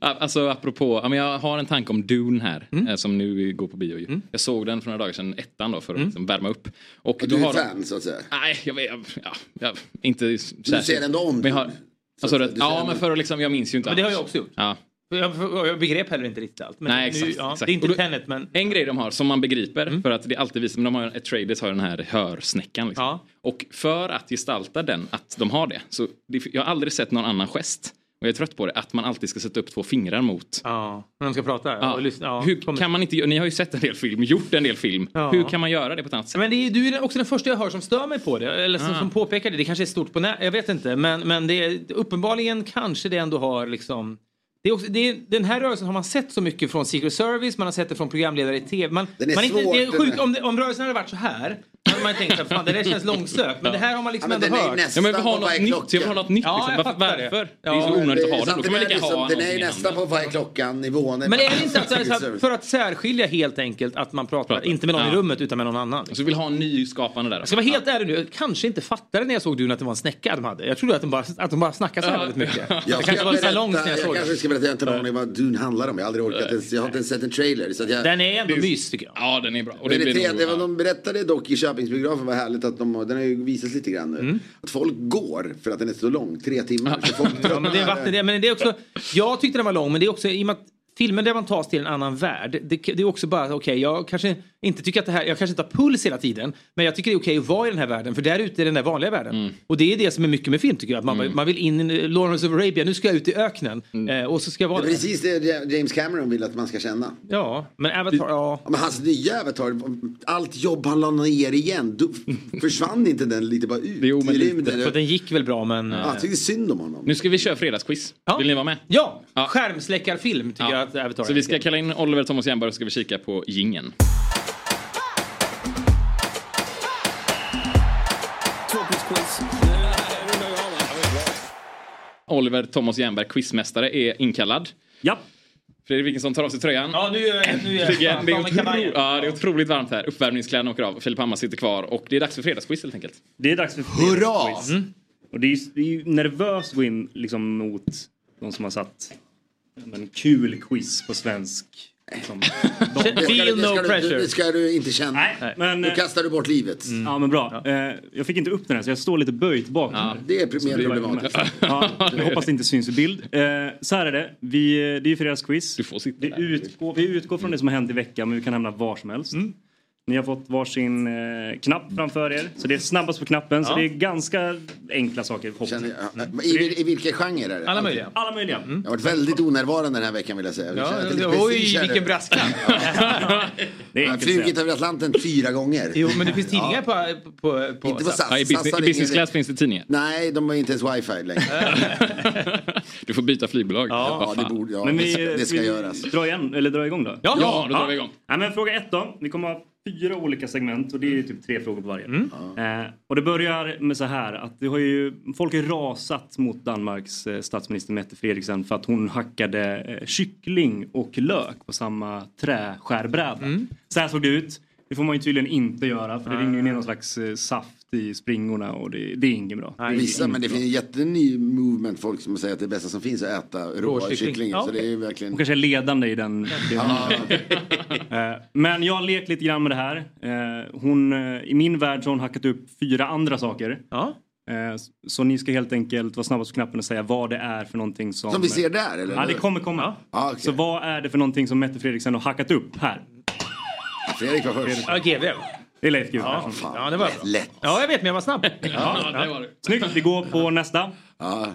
[SPEAKER 1] alltså apropå, ja, men jag har en tanke om Dune här
[SPEAKER 13] Mm.
[SPEAKER 1] eh, som nu går på bio. ju. Jag såg den för några dagar sedan, ettan då för att
[SPEAKER 13] Mm.
[SPEAKER 1] liksom värma upp. Och,
[SPEAKER 16] Och
[SPEAKER 1] då
[SPEAKER 16] du är
[SPEAKER 1] har de-
[SPEAKER 16] fan så att säga.
[SPEAKER 1] Nej, jag vet. jag- Ja, jag, inte särskilt.
[SPEAKER 16] ser ändå om
[SPEAKER 1] Men jag har,
[SPEAKER 16] Dune,
[SPEAKER 1] alltså,
[SPEAKER 16] att
[SPEAKER 1] det,
[SPEAKER 16] säga. Du ser
[SPEAKER 1] ja,
[SPEAKER 16] ändå-
[SPEAKER 1] men för att liksom, jag minns ju inte
[SPEAKER 13] Men det har
[SPEAKER 1] alls.
[SPEAKER 13] jag också gjort.
[SPEAKER 1] Ja.
[SPEAKER 13] Jag, jag begrep heller inte riktigt allt. Men
[SPEAKER 1] Nej, exakt,
[SPEAKER 13] nu, ja,
[SPEAKER 1] exakt.
[SPEAKER 13] Det är inte
[SPEAKER 1] Och då-
[SPEAKER 13] Tenet men... Mm.
[SPEAKER 1] En grej de har som man begriper för att det är alltid visar, men de har ett traders har ju den här hörsnäckan. Liksom. Och för att gestalta den, att de har det, så det, jag har aldrig sett någon annan gest. Och jag är trött på det, att man alltid ska sätta upp två fingrar mot.
[SPEAKER 13] Ja, när de ska prata.
[SPEAKER 1] Ja.
[SPEAKER 13] Och lyssna, ja.
[SPEAKER 1] Hur kan man inte, gö- ni har ju sett en del film, gjort en del film.
[SPEAKER 13] Ja.
[SPEAKER 1] Hur kan man göra det på ett annat sätt?
[SPEAKER 13] Men det är, du är också den första jag hör som stör mig på det. Eller som,
[SPEAKER 1] Ah.
[SPEAKER 13] som påpekar det. Det kanske är stort på nä- Jag vet inte. Men, men det är, uppenbarligen kanske det ändå har liksom... Det är också, det är, den här rörelsen har man sett så mycket från Secret Service, man har sett det från programledare i tv. Man,
[SPEAKER 16] Den är
[SPEAKER 13] man inte, det är
[SPEAKER 16] svår, den
[SPEAKER 13] sjukt
[SPEAKER 16] är-
[SPEAKER 13] om, det, om rörelsen hade varit så här. hade man ju tänkt att fan det där känns långsökt. Men det här har man liksom
[SPEAKER 16] Ja, men
[SPEAKER 13] ändå
[SPEAKER 16] den är ju
[SPEAKER 13] hört.
[SPEAKER 16] nästan Ja, men vi har på något varje nytt, klocka.
[SPEAKER 1] jag vill ha något nytt,
[SPEAKER 13] Ja,
[SPEAKER 1] liksom.
[SPEAKER 13] jag
[SPEAKER 1] Varför-
[SPEAKER 13] fattar
[SPEAKER 1] varför?
[SPEAKER 13] Det.
[SPEAKER 1] Det är ju så onödigt att ha den. Då
[SPEAKER 16] sant,
[SPEAKER 1] kan man lika ha
[SPEAKER 16] Den är ju
[SPEAKER 1] någonting
[SPEAKER 16] nästan på varje klockan nivån.
[SPEAKER 13] Men är det inte att, så här- så här, för att särskilja helt enkelt att man pratar, inte med någon i rummet utan med någon annan? Så
[SPEAKER 1] vi vill ha en ny skapande där.
[SPEAKER 13] Jag ska vara helt ärlig nu, jag kanske inte fattade när jag såg Dune att det var en snäcka de hade. Jag trodde att de bara, att de bara snackade så här
[SPEAKER 16] Ja.
[SPEAKER 13] väldigt mycket.
[SPEAKER 16] Jag
[SPEAKER 13] Det
[SPEAKER 16] ska
[SPEAKER 13] kanske var en
[SPEAKER 16] berätta-
[SPEAKER 13] salong när jag såg
[SPEAKER 16] Jag kanske ska berätta, jag har inte en
[SPEAKER 13] Ja.
[SPEAKER 16] aning om vad Dune handlar om. Jag har aldrig orkat ens, jag har inte ens sett en trailer. Så att jag,
[SPEAKER 13] Den är ändå
[SPEAKER 16] Det-
[SPEAKER 13] mys tycker jag.
[SPEAKER 1] Ja, den är bra.
[SPEAKER 16] Men det tre, det var, de berättade dock i Köpingsbiografen, vad härligt att de har, den har ju visats lite grann nu. Att folk går för att den är så lång, tre timmar. Så folk
[SPEAKER 13] Mm. Ja, men <laughs> det är vatten, det, men det är också, jag tyckte den var lång men det är också i och med att filmen där man tas till en annan värld. Det, det är också bara okej, jag kanske inte tycker att det här, jag kanske inte har puls hela tiden. Men jag tycker det är okej att vara i den här världen för där ute är den där vanliga världen.
[SPEAKER 1] Mm.
[SPEAKER 13] Och det är det som är mycket med film tycker jag. Att
[SPEAKER 16] Mm.
[SPEAKER 13] man, man vill in i Lawrence of Arabia, nu ska jag ut i öknen. Eh, och så ska jag
[SPEAKER 16] Det
[SPEAKER 13] vara
[SPEAKER 16] är precis det James Cameron vill att man ska känna.
[SPEAKER 13] Ja, men Avatar, ja.
[SPEAKER 16] Men hans nya Avatar, allt jobb han la ner
[SPEAKER 13] <laughs>
[SPEAKER 16] igen, då försvann inte den lite bara ut i rymden?
[SPEAKER 13] För den gick väl bra men...
[SPEAKER 16] Ja, jag tycker synd om honom.
[SPEAKER 1] Nu ska vi köra fredagsquiz. Vill ni vara med?
[SPEAKER 13] Ja, skärmsläckarfilm tycker jag att Avatar
[SPEAKER 1] Så vi ska kalla in Oliver Thomas Jernberg och ska vi kika på gingen.
[SPEAKER 18] Tråkigt-quiz.
[SPEAKER 1] Oliver Thomas Jernberg, quizmästare, är inkallad.
[SPEAKER 2] Ja.
[SPEAKER 1] Fredrik Wikingsson tar av sig tröjan.
[SPEAKER 13] Ja, nu är, nu är
[SPEAKER 1] Äntligen. Det är,
[SPEAKER 13] fan, fan,
[SPEAKER 1] otro... ja, det är otroligt varmt här. Uppvärmningskläderna åker av. Filip Hammar sitter kvar och det är dags för fredagsquiz helt enkelt.
[SPEAKER 2] Det är dags för
[SPEAKER 1] Hurra!
[SPEAKER 2] quiz. Mm. Och det är, ju, det är ju nervöst att gå in liksom, mot de som har satt en kul quiz på svensk. Liksom.
[SPEAKER 16] Det ska du- det ska du- Det ska du inte känna.
[SPEAKER 2] Nej, men, eh,
[SPEAKER 16] nu kastar du bort livet.
[SPEAKER 2] Ja men bra. Eh, Jag fick inte upp den här så jag står lite böjt bak. nu.
[SPEAKER 16] det är mer
[SPEAKER 2] Så det var-
[SPEAKER 16] problematiskt.
[SPEAKER 2] Ja, jag hoppas det inte syns i bild. Eh, Så här är det. Vi, eh, det är ju fredagsquiz. Du
[SPEAKER 1] får sitta
[SPEAKER 2] det utgår, Vi utgår från det som har hänt i veckan men vi kan hamna var som helst. Ni har fått varsin eh, knapp framför er. Så det är snabbast på knappen. Så
[SPEAKER 16] Ja.
[SPEAKER 2] det är ganska enkla saker. hoppas jag.
[SPEAKER 16] I, vil- I vilka genrer är det?
[SPEAKER 2] Alla möjliga. Alla möjliga.
[SPEAKER 16] Jag har varit väldigt onärvarande den här veckan vill jag säga. Jag
[SPEAKER 2] Ja,
[SPEAKER 16] känner att jag är lite
[SPEAKER 13] oj,
[SPEAKER 16] besviken.
[SPEAKER 13] vilken brasklapp.
[SPEAKER 16] Jag har flugit över Atlanten fyra gånger.
[SPEAKER 13] Jo, men det finns tidningar på, på, på...
[SPEAKER 16] Inte på SAS.
[SPEAKER 1] Ja, I
[SPEAKER 16] SAS
[SPEAKER 1] business,
[SPEAKER 16] har
[SPEAKER 1] i business
[SPEAKER 16] ingen-
[SPEAKER 1] class finns det tidningar.
[SPEAKER 16] Nej, de har inte ens wifi längre.
[SPEAKER 1] Du får byta flygbolag.
[SPEAKER 16] Ja,
[SPEAKER 1] Vad fan.
[SPEAKER 16] det borde- ja, Men vi- det- det ska
[SPEAKER 2] vi
[SPEAKER 16] göras.
[SPEAKER 2] Dra, igen, eller dra igång då?
[SPEAKER 1] Ja, Ja, då drar vi igång.
[SPEAKER 2] Ja, men fråga ett då. Vi kommer ha fyra olika segment och det är ju typ tre frågor på varje. Eh, och det börjar med så här att det har ju, folk har rasat mot Danmarks eh, statsminister Mette Frederiksen för att hon hackade eh, kyckling och lök på samma träskärbräda. Så här såg det ut. Det får man ju tydligen inte göra för det
[SPEAKER 16] Nej.
[SPEAKER 2] rinner ner någon slags eh, saft i springorna och det, det är inget bra. Det är
[SPEAKER 16] Vissa,
[SPEAKER 2] inget
[SPEAKER 16] men det
[SPEAKER 2] bra.
[SPEAKER 16] finns en jätteny movement folk som säger att det bästa som finns är att äta råa
[SPEAKER 2] Råkyckling.
[SPEAKER 16] kycklingar.
[SPEAKER 2] Ja,
[SPEAKER 16] Så det är verkligen...
[SPEAKER 2] Hon kanske är ledande i den. <laughs> Eh, Men jag har lekt lite grann med det här. Eh, Hon, eh, I min värld så har hon hackat upp fyra andra saker. Eh, s- Så ni ska helt enkelt vara snabbast på knappen och säga vad det är för någonting som...
[SPEAKER 16] Som vi ser där, eller?
[SPEAKER 2] Ja, det kommer komma. Så vad är det för någonting som Mette Fredriksen har hackat upp här?
[SPEAKER 16] Fredrik var först.
[SPEAKER 13] Ja, GW.
[SPEAKER 2] Det är Leif GW
[SPEAKER 13] Ja,
[SPEAKER 2] Persson.
[SPEAKER 13] fan. Ja, det var jag bra. Lätt. Ja, jag vet, men jag var snabb.
[SPEAKER 2] Ja, det var Snyggt, vi går på nästa.
[SPEAKER 16] Ja.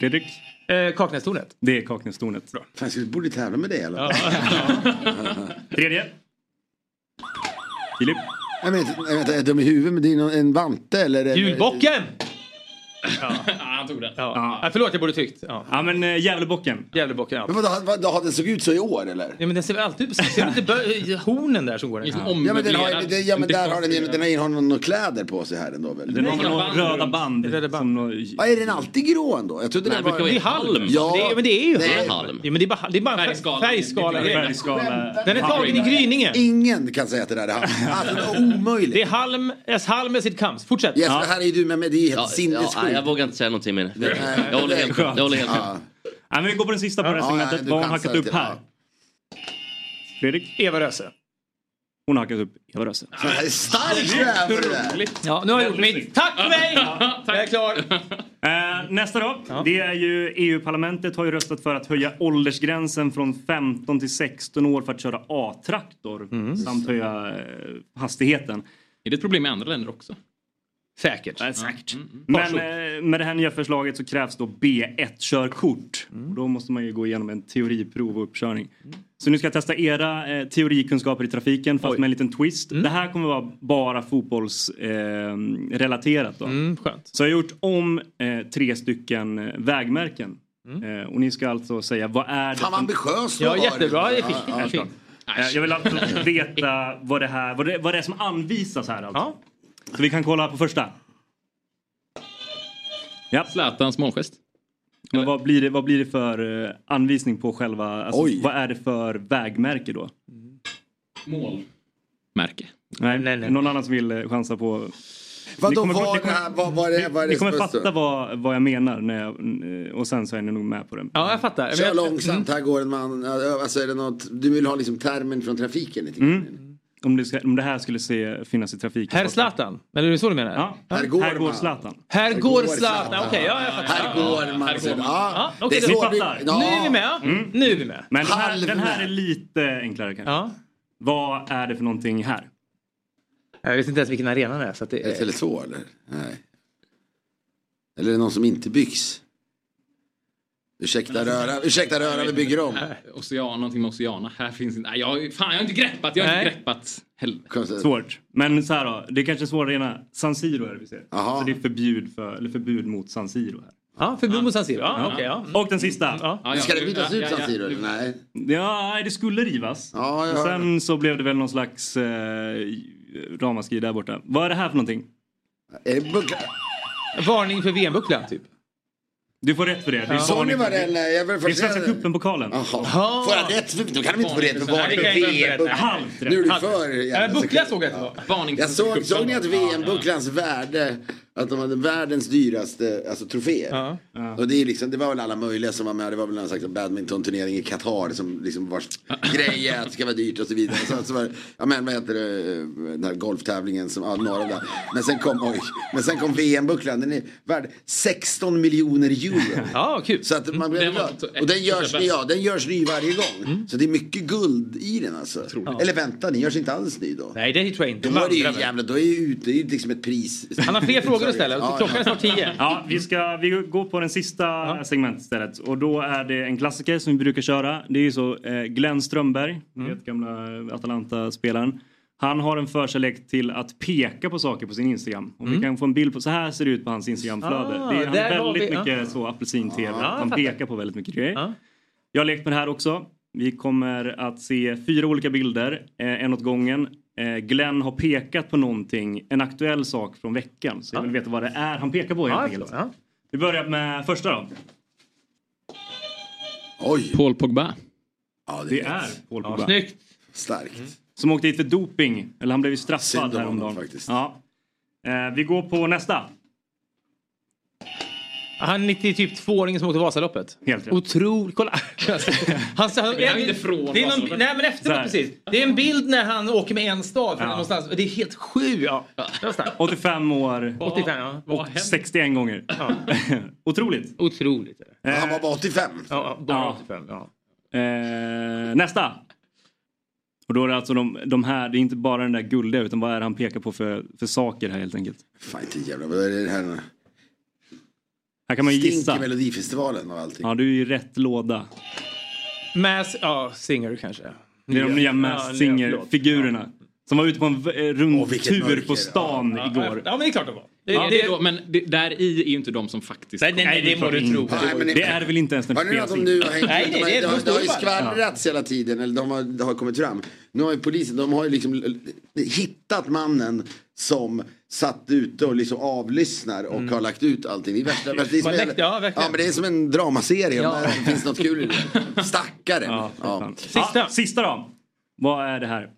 [SPEAKER 2] Fredrik?
[SPEAKER 13] Eh, Kaknästornet.
[SPEAKER 2] Det är Kaknästornet. Bra.
[SPEAKER 16] Fan, skulle borde tävla med det eller? <laughs>
[SPEAKER 2] Tredje. Filip?
[SPEAKER 16] Jag vet, jag vet, är de i huvudet? Men det är någon, en vante eller? en-
[SPEAKER 13] Julbocken! Ja.
[SPEAKER 1] han tog den.
[SPEAKER 13] Ja. Ja, förlåt, jag borde tyckt. Ja,
[SPEAKER 2] men äh, Gävlebocken.
[SPEAKER 13] Gävlebocken, ja.
[SPEAKER 16] Men vadå, vadå, har den såg ut så i år eller?
[SPEAKER 13] Ja, men den ser väl alltid ut precis. Ser du inte bö- hornen där som går? den?
[SPEAKER 16] Ja men, den har, det, ja, men där har den, den har, har någon, någon kläder på sig här ändå väl?
[SPEAKER 2] Den har några röda band. Röda band.
[SPEAKER 16] Ja, är den alltid grå ändå? Jag trodde
[SPEAKER 2] Nej,
[SPEAKER 16] den
[SPEAKER 2] det
[SPEAKER 16] var...
[SPEAKER 2] brukar vara halm.
[SPEAKER 16] Ja,
[SPEAKER 13] Det är, men det är ju
[SPEAKER 16] Nej.
[SPEAKER 13] halm. Ja, men det är bara, det är bara en färgskala. färgskala.
[SPEAKER 2] Färgskala.
[SPEAKER 13] Den är tagen i Gryninge.
[SPEAKER 16] Ingen kan säga att det där är halm. Alltså, det är omöjligt.
[SPEAKER 13] Det är halm, as halm as it comes. Fortsätt.
[SPEAKER 16] Yes, det här är ju du med, men det är helt
[SPEAKER 5] Ja,
[SPEAKER 16] sinnessjukt.
[SPEAKER 5] ja, nej, jag vågar inte säga någonting mer. Jag håller helt med. Jag håller helt med.
[SPEAKER 2] Nej, men vi går på den sista på det här
[SPEAKER 5] Ja,
[SPEAKER 2] segmentet.
[SPEAKER 5] nej, du
[SPEAKER 2] Vad har hon
[SPEAKER 5] chansar
[SPEAKER 2] hackat upp
[SPEAKER 5] lite,
[SPEAKER 2] här? Fredrik?
[SPEAKER 13] Eva Röse.
[SPEAKER 2] Hon har hackat upp Eva Röse.
[SPEAKER 16] Stark jävel det där.
[SPEAKER 13] Ja, nu har jag gjort mitt. Tack
[SPEAKER 2] <laughs>
[SPEAKER 13] för mig! Jag är klar.
[SPEAKER 2] Eh, nästa då. Det är ju EU-parlamentet har ju röstat för att höja åldersgränsen från 15 till 16 år för att köra A-traktor samt höja eh, hastigheten.
[SPEAKER 1] Är det ett problem i andra länder också?
[SPEAKER 13] Säkert.
[SPEAKER 2] Ja, säkert.
[SPEAKER 1] Mm,
[SPEAKER 2] Men eh, med det här nya förslaget så krävs då B1-körkort. Och Då måste man ju gå igenom en teoriprov och uppkörning. Så nu ska jag testa era eh, teorikunskaper i trafiken fast med en liten twist. Det här kommer vara bara fotbollsrelaterat. Eh, relaterat då. Så jag har gjort om eh, tre stycken eh, vägmärken. Eh, och ni ska alltså säga vad är det
[SPEAKER 16] Fan vad ambitiöst
[SPEAKER 13] Ja, jättebra. Det är fint. Det är fint.
[SPEAKER 2] Eh, Jag vill alltså veta vad det, här, vad, det, vad det är som anvisas här. Alltså. Så vi kan kolla på första. Ja.
[SPEAKER 1] Zlatans målgest.
[SPEAKER 2] Men vad blir, det, vad blir det för eh, anvisning på själva... Alltså,
[SPEAKER 1] Oj.
[SPEAKER 2] vad är det för vägmärke då?
[SPEAKER 1] Mål. Märke.
[SPEAKER 2] Nej, Någon annan som vill eh, chansa på...
[SPEAKER 16] Vadå,
[SPEAKER 2] Ni kommer-
[SPEAKER 16] vad-
[SPEAKER 2] ni kommer-
[SPEAKER 16] äh, vad- vad är det- vad är det
[SPEAKER 2] Ni kommer
[SPEAKER 16] som står?
[SPEAKER 2] fatta vad, vad jag menar när jag, och sen så är ni nog med på den.
[SPEAKER 13] Ja, jag fattar.
[SPEAKER 16] Kör långsamt, här går en man. Alltså, är det något, du vill ha liksom termen från trafiken? Lite.
[SPEAKER 2] Mm. Om, det ska, om det här skulle se, finnas i trafiken.
[SPEAKER 13] Herr Zlatan? Eller är det så du menar?
[SPEAKER 2] Ja.
[SPEAKER 16] Här
[SPEAKER 2] Här
[SPEAKER 16] går
[SPEAKER 2] går,
[SPEAKER 16] man.
[SPEAKER 2] Zlatan.
[SPEAKER 13] Här går går Zlatan. Zlatan. Okej, ja, jag fattar.
[SPEAKER 2] Här
[SPEAKER 16] går man.
[SPEAKER 2] Här går man.
[SPEAKER 16] Ja,
[SPEAKER 13] okej,
[SPEAKER 2] det är
[SPEAKER 13] då-
[SPEAKER 2] så vi fattar.
[SPEAKER 13] Nu är vi med.
[SPEAKER 2] Mm.
[SPEAKER 13] Nu är vi med.
[SPEAKER 2] Men den här, den här
[SPEAKER 13] Halvnär.
[SPEAKER 2] är lite enklare kanske.
[SPEAKER 13] Ja.
[SPEAKER 2] Vad är det för någonting här?
[SPEAKER 13] Jag vet inte ens vilken arena det är. Så att det
[SPEAKER 16] Är det Tele2 eller? Nej. Eller är det någon som inte byggs? Ursäkta röra, ursäkta röra, vi bygger om.
[SPEAKER 1] Äh, Oceana, någonting med Oceana. Här finns inte. Nej, jag, fan, jag har inte greppat. Jag har inte greppat. Helvete.
[SPEAKER 2] Svårt. Men så här då, det är kanske är svårare ena. San Siro är det vi ser. Så det är förbud, för, eller förbud mot San Siro. Här.
[SPEAKER 13] Ja, förbud mot San Siro. Ja, okej, ja.
[SPEAKER 2] Och den sista.
[SPEAKER 16] Men Ska det bytas ut San Siro? eller? Nej.
[SPEAKER 2] Ja, nej, det skulle rivas.
[SPEAKER 16] ja,
[SPEAKER 2] och
[SPEAKER 16] ja.
[SPEAKER 2] sen så blev det väl någon slags eh, ramaskri där borta. Vad är det här för någonting?
[SPEAKER 16] Är det buckla?
[SPEAKER 13] Varning för VM-bucklan typ.
[SPEAKER 2] Du får rätt för det. det. är
[SPEAKER 16] Såg ni
[SPEAKER 2] varning för-
[SPEAKER 16] vad den... eh, Jag vill
[SPEAKER 2] Det är
[SPEAKER 16] först
[SPEAKER 2] Svenska cupen-pokalen.
[SPEAKER 16] Jaha. Får jag rätt? för- Då kan de inte få rätt för
[SPEAKER 2] Nej, det kan jag inte få
[SPEAKER 16] VM.
[SPEAKER 2] rätt. Halvt rätt.
[SPEAKER 16] Nu är du
[SPEAKER 2] Halvt
[SPEAKER 16] för...
[SPEAKER 2] rätt.
[SPEAKER 16] jävla
[SPEAKER 2] Nej, buckla
[SPEAKER 16] sekund.
[SPEAKER 2] såg jag inte.
[SPEAKER 16] Ja.
[SPEAKER 2] Varning
[SPEAKER 16] Jag
[SPEAKER 2] för
[SPEAKER 16] såg,
[SPEAKER 2] cupen.
[SPEAKER 16] såg ni att VM-bucklans värde, att de hade världens dyraste alltså, troféer. Och det, är liksom, det var väl alla möjliga som var med. Det var väl någon slags badmintonturnering i Qatar som liksom vars grej är att det ska vara dyrt och så vidare. Så, så var, det- ja men vad heter det, den här golftävlingen som, ja några av dem. Men sen kom, oj, men sen kom VM-bucklan, den är värd 16 miljoner euro.
[SPEAKER 13] Ja, kul.
[SPEAKER 16] Så att man blir
[SPEAKER 1] Den var
[SPEAKER 16] glad.
[SPEAKER 1] inte-
[SPEAKER 16] Och den görs,
[SPEAKER 1] bäst.
[SPEAKER 16] ja, den görs ny varje gång. Så det är mycket guld i den alltså. Eller vänta, den görs inte alls ny då.
[SPEAKER 13] Nej, det tror jag inte.
[SPEAKER 16] Då är det ju jävla, då är ju ute, det är ju liksom ett pris.
[SPEAKER 2] Han har fler frågor att ställa.
[SPEAKER 16] Ja,
[SPEAKER 2] Klockan
[SPEAKER 16] ja.
[SPEAKER 2] är snart tio. Ja, vi, ska, vi går på den sista segmentet istället. Och då är det en klassiker som vi brukar köra. Det är ju så eh, Glenn Strömberg, ni vet gamla eh, Atalanta-spelaren. Han har en förkärlek till att peka på saker på sin Instagram. Om vi kan få en bild på, så här ser det ut på hans Instagramflöde.
[SPEAKER 13] Ah,
[SPEAKER 2] det är, han
[SPEAKER 13] där
[SPEAKER 2] är
[SPEAKER 13] har
[SPEAKER 2] väldigt
[SPEAKER 13] vi- ja.
[SPEAKER 2] mycket så apelsin-tv.
[SPEAKER 13] Ja, jag
[SPEAKER 2] han
[SPEAKER 13] fattar.
[SPEAKER 2] pekar på väldigt mycket grejer. Jag har lekt med det här också. Vi kommer att se fyra olika bilder, eh, en åt gången. Eh, Glenn har pekat på någonting, en aktuell sak från veckan. Så jag vill veta vad det är han pekar på helt
[SPEAKER 1] Ja, jag
[SPEAKER 2] enkelt. Vi börjar med första då.
[SPEAKER 16] Oj.
[SPEAKER 1] Paul Pogba.
[SPEAKER 2] det, är Paul Pogba.
[SPEAKER 1] snyggt.
[SPEAKER 16] Starkt.
[SPEAKER 13] Mm.
[SPEAKER 2] Som åkte dit för doping, eller han blev ju straffad
[SPEAKER 16] Synd om honom
[SPEAKER 2] häromdagen.
[SPEAKER 16] faktiskt.
[SPEAKER 2] Ja. Eh, vi går på nästa.
[SPEAKER 13] Han är 90 typ tvååringen som åkte Vasaloppet.
[SPEAKER 2] Helt rätt.
[SPEAKER 13] Otroligt. Kolla. <laughs> Han sa,
[SPEAKER 2] Det här är inte från
[SPEAKER 13] det är någon,
[SPEAKER 2] Vasaloppet.
[SPEAKER 13] Nej men
[SPEAKER 2] Så här.
[SPEAKER 13] efteråt precis. Det är en bild när han åker med en stav.
[SPEAKER 2] Ja.
[SPEAKER 13] Ja. Någonstans. Det är helt sju. Ja. Det var starkt.
[SPEAKER 2] 85 år
[SPEAKER 13] 85, ja. Vad har
[SPEAKER 2] och
[SPEAKER 13] hänt?
[SPEAKER 2] 61 gånger. <laughs> Otroligt.
[SPEAKER 13] Otroligt.
[SPEAKER 16] Han var bara 85.
[SPEAKER 13] Ja, bara 85. Ja.
[SPEAKER 2] Eh, nästa! Och då är det alltså de, de här, det är inte bara den där guldiga utan vad är det han pekar på för, för saker här helt enkelt.
[SPEAKER 16] Fan inte jävla, vad är det här?
[SPEAKER 2] Här kan man ju
[SPEAKER 16] Stink i
[SPEAKER 2] gissa.
[SPEAKER 16] Melodifestivalen och allting.
[SPEAKER 2] Ja, du är ju i rätt låda.
[SPEAKER 13] Mass, ja, singer kanske.
[SPEAKER 2] Det är de nya
[SPEAKER 13] Ja,
[SPEAKER 2] Masked
[SPEAKER 13] nya, förlåt.
[SPEAKER 2] Singer-figurerna. Som var ute på en v- eh, rundtur
[SPEAKER 1] mörker,
[SPEAKER 2] på stan
[SPEAKER 1] ja.
[SPEAKER 2] igår.
[SPEAKER 1] Ja, men
[SPEAKER 13] det är klart de var.
[SPEAKER 1] Det, ja, det, är då, men det, där i är ju inte de som faktiskt
[SPEAKER 2] nej, nej, det må du tro. Nej, men det- Det är väl inte ens när det
[SPEAKER 16] Har ni något
[SPEAKER 2] spelas
[SPEAKER 16] om
[SPEAKER 2] in.
[SPEAKER 16] nu har hängt
[SPEAKER 2] Nej,
[SPEAKER 16] ut?
[SPEAKER 2] nej, det
[SPEAKER 16] de, har-
[SPEAKER 2] är
[SPEAKER 16] det har,
[SPEAKER 2] ett
[SPEAKER 16] det har ju
[SPEAKER 2] stort fall.
[SPEAKER 16] skvallrats hela tiden, eller de har, det har kommit fram. Nu har ju polisen, de har ju liksom l- l- hittat mannen som satt ute och liksom avlyssnar och
[SPEAKER 2] Mm.
[SPEAKER 16] har lagt ut allting. Det är, värsta, värsta, det är, som,
[SPEAKER 13] Man
[SPEAKER 16] en-
[SPEAKER 13] läckte- ja, verkligen.
[SPEAKER 16] men det är som en dramaserie om
[SPEAKER 13] Ja.
[SPEAKER 16] det finns något kul i det. Stackaren. Ja,
[SPEAKER 2] Sista. Ah, sista då. Vad är det här?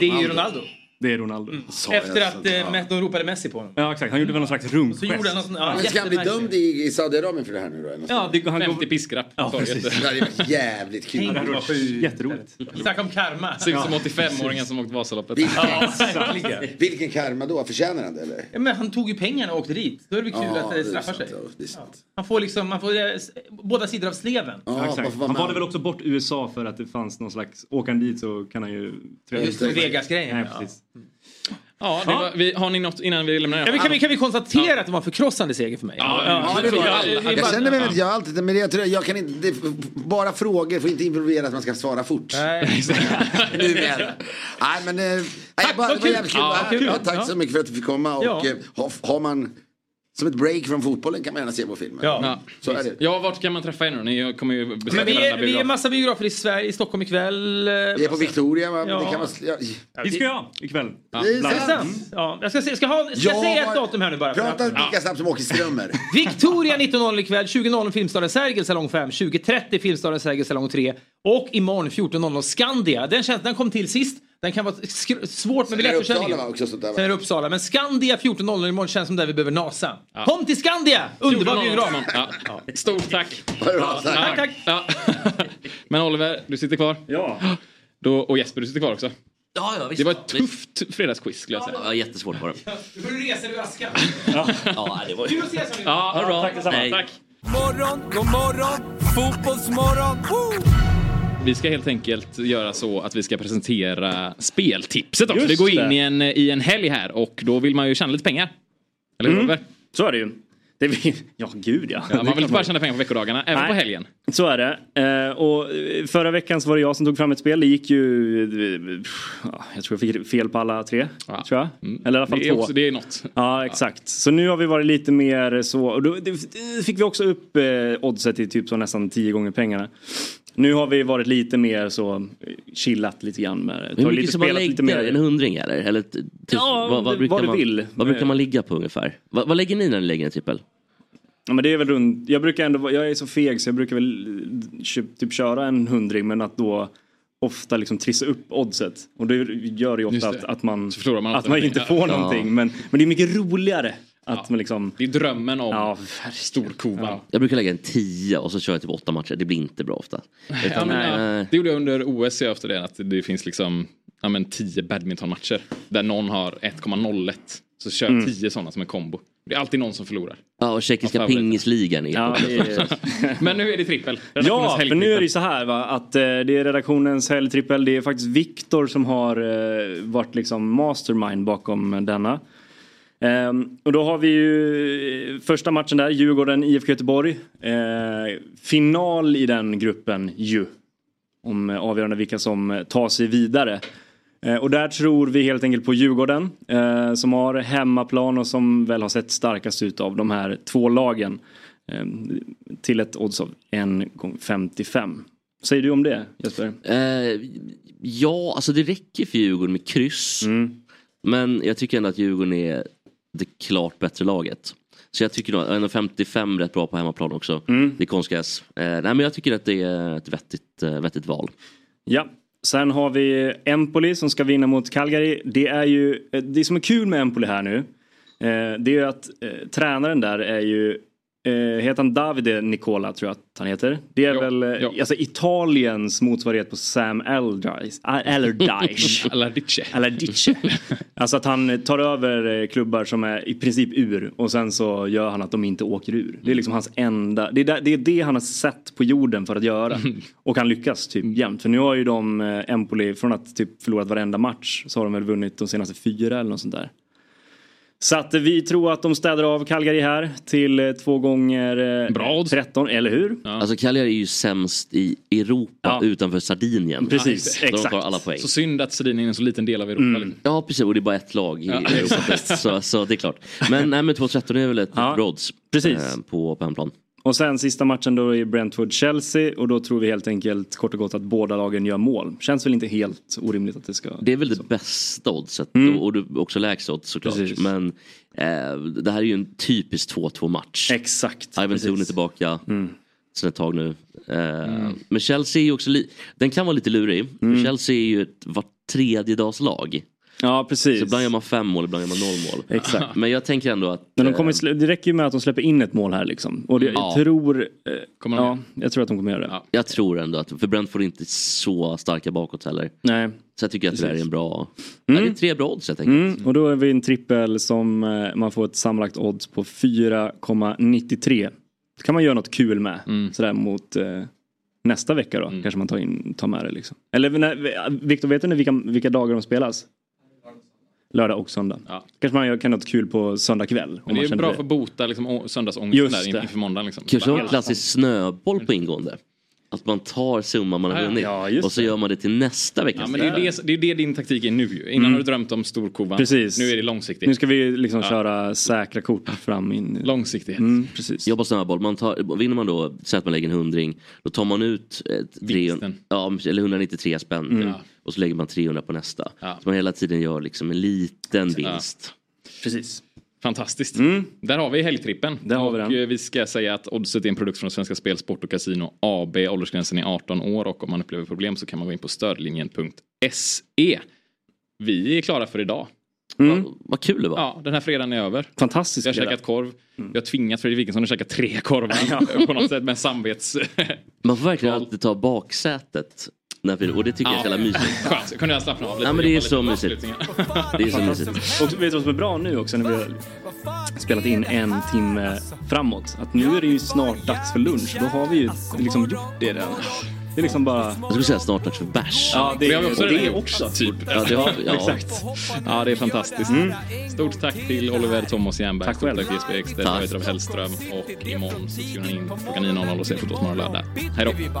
[SPEAKER 13] Det är ju Ronaldo. Mm.
[SPEAKER 2] Det är Ronaldo.
[SPEAKER 13] Efter att eh, Met- de ropade Messi på honom.
[SPEAKER 2] Ja exakt, han gjorde väl någon slags
[SPEAKER 13] Så gjorde han någon
[SPEAKER 2] rumpgest.
[SPEAKER 13] sån, ja,
[SPEAKER 16] men ska han bli
[SPEAKER 13] jättemärklig.
[SPEAKER 16] dömd i, i Saudiarabien för det här nu då? eller något
[SPEAKER 13] Ja,
[SPEAKER 16] sånt?
[SPEAKER 13] det, han
[SPEAKER 1] 50 piskrapp.
[SPEAKER 16] Ja, precis. Det hade varit jävligt kul.
[SPEAKER 13] Tänk, det hade varit
[SPEAKER 2] <laughs>
[SPEAKER 13] sjukt.
[SPEAKER 2] Jätteroligt.
[SPEAKER 13] Snacka om karma.
[SPEAKER 1] Ser ut som 85-åringen som åkte Vasaloppet.
[SPEAKER 13] Ja, verkligen.
[SPEAKER 16] Vilken karma då? Förtjänar han det eller?
[SPEAKER 13] Ja, men han tog ju pengarna och åkte dit. Då är det väl kul
[SPEAKER 16] Ja,
[SPEAKER 13] att
[SPEAKER 16] det är
[SPEAKER 13] det straffar
[SPEAKER 16] sant,
[SPEAKER 13] sig.
[SPEAKER 16] ja, det är sant.
[SPEAKER 13] Man får liksom, man får eh, s- båda sidor av sleven.
[SPEAKER 2] Ja, exakt. Han valde väl också bort USA för att det fanns någon slags, åker han dit så kan han ju...
[SPEAKER 13] Just det, Vegas-grejen,
[SPEAKER 2] Nej,
[SPEAKER 13] ja.
[SPEAKER 2] precis.
[SPEAKER 1] Ja, det var, vi, har ni något innan vi lämnar
[SPEAKER 13] Ja, men kan, vi, kan vi konstatera att det var en förkrossande seger för mig?
[SPEAKER 1] Ja,
[SPEAKER 16] Ja, det var jag, jag känner mig väldigt, jag har alltid, men jag, tror, jag kan inte, det, är f- bara frågor får inte involvera att man ska svara fort.
[SPEAKER 13] Nej,
[SPEAKER 16] <laughs> Numera. Nej men, eh, nej, jag bara, det var jävligt kul att vara här. Ja, Tack så mycket för att du fick komma och
[SPEAKER 13] Ja.
[SPEAKER 16] eh, har, har man Som ett break från fotbollen kan man gärna se på filmen.
[SPEAKER 1] Ja,
[SPEAKER 16] Så är det.
[SPEAKER 1] ja vart kan man träffa er nu? Ni kommer ju besöka
[SPEAKER 13] Men vi är,
[SPEAKER 1] varenda
[SPEAKER 13] vi är
[SPEAKER 1] biograf.
[SPEAKER 13] massa biografer i Sverige, i Stockholm ikväll. eh, Vi
[SPEAKER 1] är på Victoria, va?
[SPEAKER 16] Det kan man- ja.
[SPEAKER 2] Vi ska ha ikväll.
[SPEAKER 13] Ja, det är sant. Ja, jag ska, se, ska, ha, ska
[SPEAKER 16] Jag
[SPEAKER 13] säga ett
[SPEAKER 16] har-
[SPEAKER 13] datum här nu bara. för
[SPEAKER 16] Prata
[SPEAKER 13] att-
[SPEAKER 16] lika snabbt som Åke Strömmer.
[SPEAKER 13] Victoria 19.00 ikväll, 20.00 Filmstaden Sergel salong 5, 20.30 Filmstaden Sergel salong 3 och imorgon 14.00 Skandia. Den tjänsten kom till sist. Den kan vara skr- svårt med
[SPEAKER 16] Sen är det
[SPEAKER 13] biljettförsäljningen.
[SPEAKER 16] Uppsala, va, också sånt där, va?
[SPEAKER 13] Sen är det Uppsala. Men Skandia 14.00 imorgon känns som där vi behöver NASA. Kom till Skandia! Underbar
[SPEAKER 1] 14.00
[SPEAKER 13] biograf.
[SPEAKER 1] imorgon. Ja. Stort tack.
[SPEAKER 16] Ja,
[SPEAKER 13] tack, tack.
[SPEAKER 1] Ja. Men Oliver, du sitter kvar.
[SPEAKER 2] Ja.
[SPEAKER 1] Då, och Jesper, du sitter kvar också.
[SPEAKER 5] Ja, ja, visst.
[SPEAKER 1] Det var ett tufft fredagsquiz skulle jag säga.
[SPEAKER 5] Ja, jättesvårt var det.
[SPEAKER 13] Du får resa dig ur askan.
[SPEAKER 5] Ja, det var
[SPEAKER 13] Kul att ses hörni.
[SPEAKER 1] Ja, ha det bra.
[SPEAKER 5] Tack detsamma.
[SPEAKER 1] Nej.
[SPEAKER 5] Tack.
[SPEAKER 18] Morgon, god morgon, fotbollsmorgon. Woo!
[SPEAKER 1] Vi ska helt enkelt göra så att vi ska presentera speltipset också.
[SPEAKER 2] Just
[SPEAKER 1] Vi går in
[SPEAKER 2] det.
[SPEAKER 1] i en, i en helg här och då vill man ju tjäna lite pengar. Eller hur
[SPEAKER 2] Mm.
[SPEAKER 1] Oliver?
[SPEAKER 2] Så är det ju. Det vill... <laughs> Ja, gud ja.
[SPEAKER 1] Ja,
[SPEAKER 2] Det är
[SPEAKER 1] man vill
[SPEAKER 2] klart <laughs>
[SPEAKER 1] inte bara tjäna pengar på veckodagarna, även
[SPEAKER 2] Nej.
[SPEAKER 1] på helgen.
[SPEAKER 2] Så är det. Eh, Och eh, förra veckan så var det jag som tog fram ett spel. Det gick ju... eh, pff, ja, Jag tror jag fick fel på alla tre. Tror jag.
[SPEAKER 13] Mm.
[SPEAKER 2] Eller i alla fall
[SPEAKER 1] Det är
[SPEAKER 2] två.
[SPEAKER 1] också- det är något.
[SPEAKER 2] <laughs> Ja, exakt. Så nu har vi varit lite mer så. Och då det, det fick vi också upp eh, oddset till typ så nästan tio gånger pengarna. Nu har vi varit lite mer så eh, chillat lite grann med
[SPEAKER 5] Hur
[SPEAKER 2] tagit
[SPEAKER 5] mycket
[SPEAKER 2] lite,
[SPEAKER 5] ska man
[SPEAKER 2] spelat
[SPEAKER 5] lägga?
[SPEAKER 2] lite mer.
[SPEAKER 5] En hundring eller? eller t- tusen?
[SPEAKER 2] Ja, det- vad du
[SPEAKER 5] man,
[SPEAKER 2] vill.
[SPEAKER 5] Vad brukar man ligga på ungefär? Vad, vad lägger ni när ni lägger en trippel?
[SPEAKER 2] Ja, men det är väl runt, jag brukar ändå, vara- jag är så feg så jag brukar väl eh, köp- typ köra en hundring men att då ofta liksom trissa upp oddset. Och det gör ju
[SPEAKER 1] Just
[SPEAKER 2] ofta
[SPEAKER 1] det.
[SPEAKER 2] att, att man,
[SPEAKER 1] man
[SPEAKER 2] att
[SPEAKER 1] ofta
[SPEAKER 2] man
[SPEAKER 1] någonting.
[SPEAKER 2] inte
[SPEAKER 1] Ja.
[SPEAKER 2] får
[SPEAKER 1] Ja.
[SPEAKER 2] någonting. Men, men det är mycket roligare att man liksom...
[SPEAKER 1] Det är drömmen om
[SPEAKER 2] ja,
[SPEAKER 1] storkovan. Ja.
[SPEAKER 5] Jag brukar lägga en tia och så kör jag typ åtta matcher. Det blir inte bra ofta.
[SPEAKER 1] Ja,
[SPEAKER 5] Utan,
[SPEAKER 1] men,
[SPEAKER 5] eh,
[SPEAKER 1] ja, det gjorde jag under OS jag efter det, att det finns liksom ja, men, tio badmintonmatcher där någon har 1,01. Så kör jag
[SPEAKER 5] Mm.
[SPEAKER 1] tio sådana som en kombo. Det är alltid någon som förlorar.
[SPEAKER 5] ja, och tjeckiska
[SPEAKER 1] Vad fan vet jag.
[SPEAKER 5] pingisligan är
[SPEAKER 1] Ja, det
[SPEAKER 2] är-
[SPEAKER 1] <laughs> Men nu är det trippel. Redaktionens
[SPEAKER 2] Ja, för nu är det ju
[SPEAKER 1] helgtrippel.
[SPEAKER 2] så här va, att eh, det är redaktionens helgtrippel. Det är faktiskt Viktor som har eh, varit liksom mastermind bakom eh, denna. Ehm, och då har vi ju eh, första matchen där, Djurgården-IFK Göteborg. Eh, final i den gruppen ju. Om eh, avgörande vilka som eh, tar sig vidare. Eh, Och där tror vi helt enkelt på Djurgården eh, som har hemmaplan och som väl har sett starkast ut av de här två lagen. Eh, till ett odds av 1,55. Vad säger du om det Jesper?
[SPEAKER 5] Eh, ja, alltså det räcker för Djurgården med kryss.
[SPEAKER 1] Mm.
[SPEAKER 5] Men jag tycker ändå att Djurgården är det klart bättre laget. Så jag tycker nog att 1,55 är rätt bra på hemmaplan också.
[SPEAKER 1] Mm.
[SPEAKER 5] Det är konstgräs. Eh, nej men jag tycker att det är ett vettigt, eh, vettigt val.
[SPEAKER 2] Ja. Sen har vi Empoli som ska vinna mot Calgary. Det är ju eh, det som är kul med Empoli här nu. eh, Det är ju att eh, tränaren där är ju eh, Heter han Davide Nicola tror jag att han heter. Det är väl eh, Alltså, Italiens motsvarighet på Sam Allardyce. Ah, Allardyce.
[SPEAKER 1] Allardyce.
[SPEAKER 2] Allardyce. <laughs> Alltså att han tar över eh, klubbar som är i princip ur och sen så gör han att de inte åker ur. Det är liksom hans enda, det är där- det, är det han har sett på jorden för att göra. Och han lyckas typ jämt. För nu har ju de eh, Empoli, från att typ förlorat varenda match så har de väl vunnit de senaste fyra eller något sånt där. Så att eh, vi tror att de städar av Calgary här till eh, två gånger eh, 13, eller hur?
[SPEAKER 5] Alltså Cagliari är ju sämst i Europa utanför Sardinien.
[SPEAKER 1] Precis,
[SPEAKER 5] Så De
[SPEAKER 1] exakt.
[SPEAKER 5] tar alla poäng. Mm.
[SPEAKER 1] Så synd att Sardinien är en så liten del av Europa. liksom.
[SPEAKER 5] Ja precis och det är bara ett lag i
[SPEAKER 1] Ja, <laughs>
[SPEAKER 5] Europa.
[SPEAKER 1] exakt.
[SPEAKER 5] så, så det är klart. Men, nej, men 2.13 är väl ett ja. odds
[SPEAKER 2] precis.
[SPEAKER 5] eh, på, på hemmaplan.
[SPEAKER 2] Och sen sista matchen då är Brentford-Chelsea och då tror vi helt enkelt kort och gott att båda lagen gör mål. Känns väl inte helt orimligt att det ska...
[SPEAKER 5] Det är väl det bästa oddset och, och du- också lägsta odds såklart.
[SPEAKER 2] Mm. Precis.
[SPEAKER 5] Men eh, det här är ju en typisk 2-2 match.
[SPEAKER 2] Exakt.
[SPEAKER 5] Ivan
[SPEAKER 2] precis.
[SPEAKER 5] Tone är tillbaka
[SPEAKER 1] Mm.
[SPEAKER 5] sen ett tag nu. Eh,
[SPEAKER 2] Mm.
[SPEAKER 5] Men Chelsea är ju också, li- den kan vara lite lurig. För Chelsea är ju ett var tredje dags lag.
[SPEAKER 2] Ja precis.
[SPEAKER 5] Så ibland gör man fem mål, ibland gör man noll mål.
[SPEAKER 2] Exakt.
[SPEAKER 5] <laughs> Men jag tänker ändå att
[SPEAKER 2] Men de
[SPEAKER 1] Eh.
[SPEAKER 2] kommer, slä- det räcker ju med att de släpper in ett mål här liksom. Och det,
[SPEAKER 5] Ja.
[SPEAKER 2] jag tror... eh,
[SPEAKER 1] Kommer de
[SPEAKER 2] ja, jag tror att de kommer göra det.
[SPEAKER 5] Jag tror ändå att, för Brentford är inte så starka bakåt heller.
[SPEAKER 2] Nej.
[SPEAKER 5] Så jag tycker att det där är
[SPEAKER 2] Precis.
[SPEAKER 5] en bra, ja, det är tre bra odds helt enkelt.
[SPEAKER 2] Mm, och då är vi en trippel som eh, man får ett sammanlagt odds på 4,93. Det kan man göra något kul med.
[SPEAKER 1] Mm.
[SPEAKER 2] Sådär mot eh, nästa vecka då. Kanske man tar, in, tar med det liksom. Eller när- Viktor, vet du nu vilka, vilka dagar de spelas? Lördag och söndag. Kanske man gör, kan göra något kul på söndag kväll. om
[SPEAKER 1] Men det
[SPEAKER 2] man
[SPEAKER 1] är
[SPEAKER 2] känner
[SPEAKER 1] bra
[SPEAKER 2] det.
[SPEAKER 1] för att bota liksom, å- söndagsångesten
[SPEAKER 2] Just
[SPEAKER 1] där in-
[SPEAKER 2] det.
[SPEAKER 1] inför måndagen. Liksom.
[SPEAKER 5] Kanske ha en klassisk snöboll på ingående. Att man tar summan man har
[SPEAKER 1] Ja,
[SPEAKER 5] vunnit
[SPEAKER 1] ja, just
[SPEAKER 5] och så
[SPEAKER 1] det.
[SPEAKER 5] gör man det till nästa vecka.
[SPEAKER 1] Ja, men det, är ju det, det är ju det din taktik är nu ju. Innan
[SPEAKER 5] Mm.
[SPEAKER 1] har du drömt om storkovan.
[SPEAKER 5] Precis.
[SPEAKER 1] Nu är det långsiktigt.
[SPEAKER 5] Nu ska
[SPEAKER 1] vi
[SPEAKER 5] liksom
[SPEAKER 1] köra säkra kort fram in. Mm, Långsiktighet.
[SPEAKER 5] precis. Jobba snabb boll. Man tar, vinner man då, säg att man lägger en hundring, då tar man ut ett, tre, ja, eller 193 spänn
[SPEAKER 1] Mm.
[SPEAKER 5] typ. och så lägger man 300 på nästa. Så man hela tiden gör liksom en liten vinst.
[SPEAKER 1] Precis. Fantastiskt. Där har vi helgtrippen. och eh, vi ska säga att Oddset är en produkt från Svenska Spel, Sport och Casino AB. Åldersgränsen är 18 år och om man upplever problem så kan man gå in på stödlinjen.se. Vi är klara för idag. Mm.
[SPEAKER 5] Vad, vad kul det var.
[SPEAKER 1] Ja, den här fredagen är över.
[SPEAKER 5] Fantastiskt
[SPEAKER 1] Jag har
[SPEAKER 5] fredag.
[SPEAKER 1] käkat korv. Jag har tvingat Fredrik Wikingsson att käka tre korvar <laughs> på något sätt med samvets... <laughs>
[SPEAKER 5] Man får verkligen alltid ta baksätet. När vi, och det tycker jag är så jävla mysigt.
[SPEAKER 1] Skönt, kunde jag slappna av lite.
[SPEAKER 5] Ja, men det är
[SPEAKER 1] Jobba
[SPEAKER 5] så
[SPEAKER 1] lite på
[SPEAKER 5] mysigt.
[SPEAKER 1] avslutningen.
[SPEAKER 5] Det är så mysigt.
[SPEAKER 2] Och vet du vad som är bra nu också när vi har spelat in en timme framåt? Att nu är det ju snart dags för lunch. Då har vi ju liksom gjort det redan. Det är liksom bara...
[SPEAKER 5] Jag skulle säga snart dags för bärs.
[SPEAKER 2] Ja, det,
[SPEAKER 1] Vi har också
[SPEAKER 2] det,
[SPEAKER 1] redan
[SPEAKER 2] det
[SPEAKER 1] gjort,
[SPEAKER 2] också.
[SPEAKER 1] Typ.
[SPEAKER 5] Ja, det har
[SPEAKER 2] <laughs>
[SPEAKER 5] vi,
[SPEAKER 1] <laughs>
[SPEAKER 5] ja.
[SPEAKER 1] Exakt. Ja, det är fantastiskt. Stort tack till Oliver Thomas Jernberg. Tack själv. Tack Jesper Ekstedt.
[SPEAKER 5] Tack.
[SPEAKER 1] Jag heter David Hellström. Och imorgon så tunar ni in klockan 9.00 och ser Fotbollsmorgon lördag. Hej då.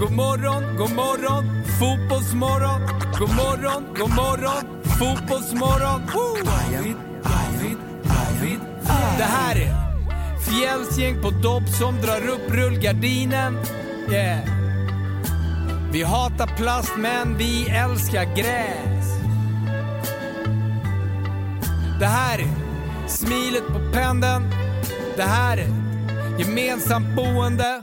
[SPEAKER 4] God morgon, god morgon, fotbollsmorgon. God morgon, god morgon, fotbollsmorgon. Woo! David, David, David. Det här är fjällsgäng på dobb som drar upp rullgardinen. Yeah. Vi hatar plast men vi älskar gräs. Det här är smilet på pendeln. Det här är gemensamt boende.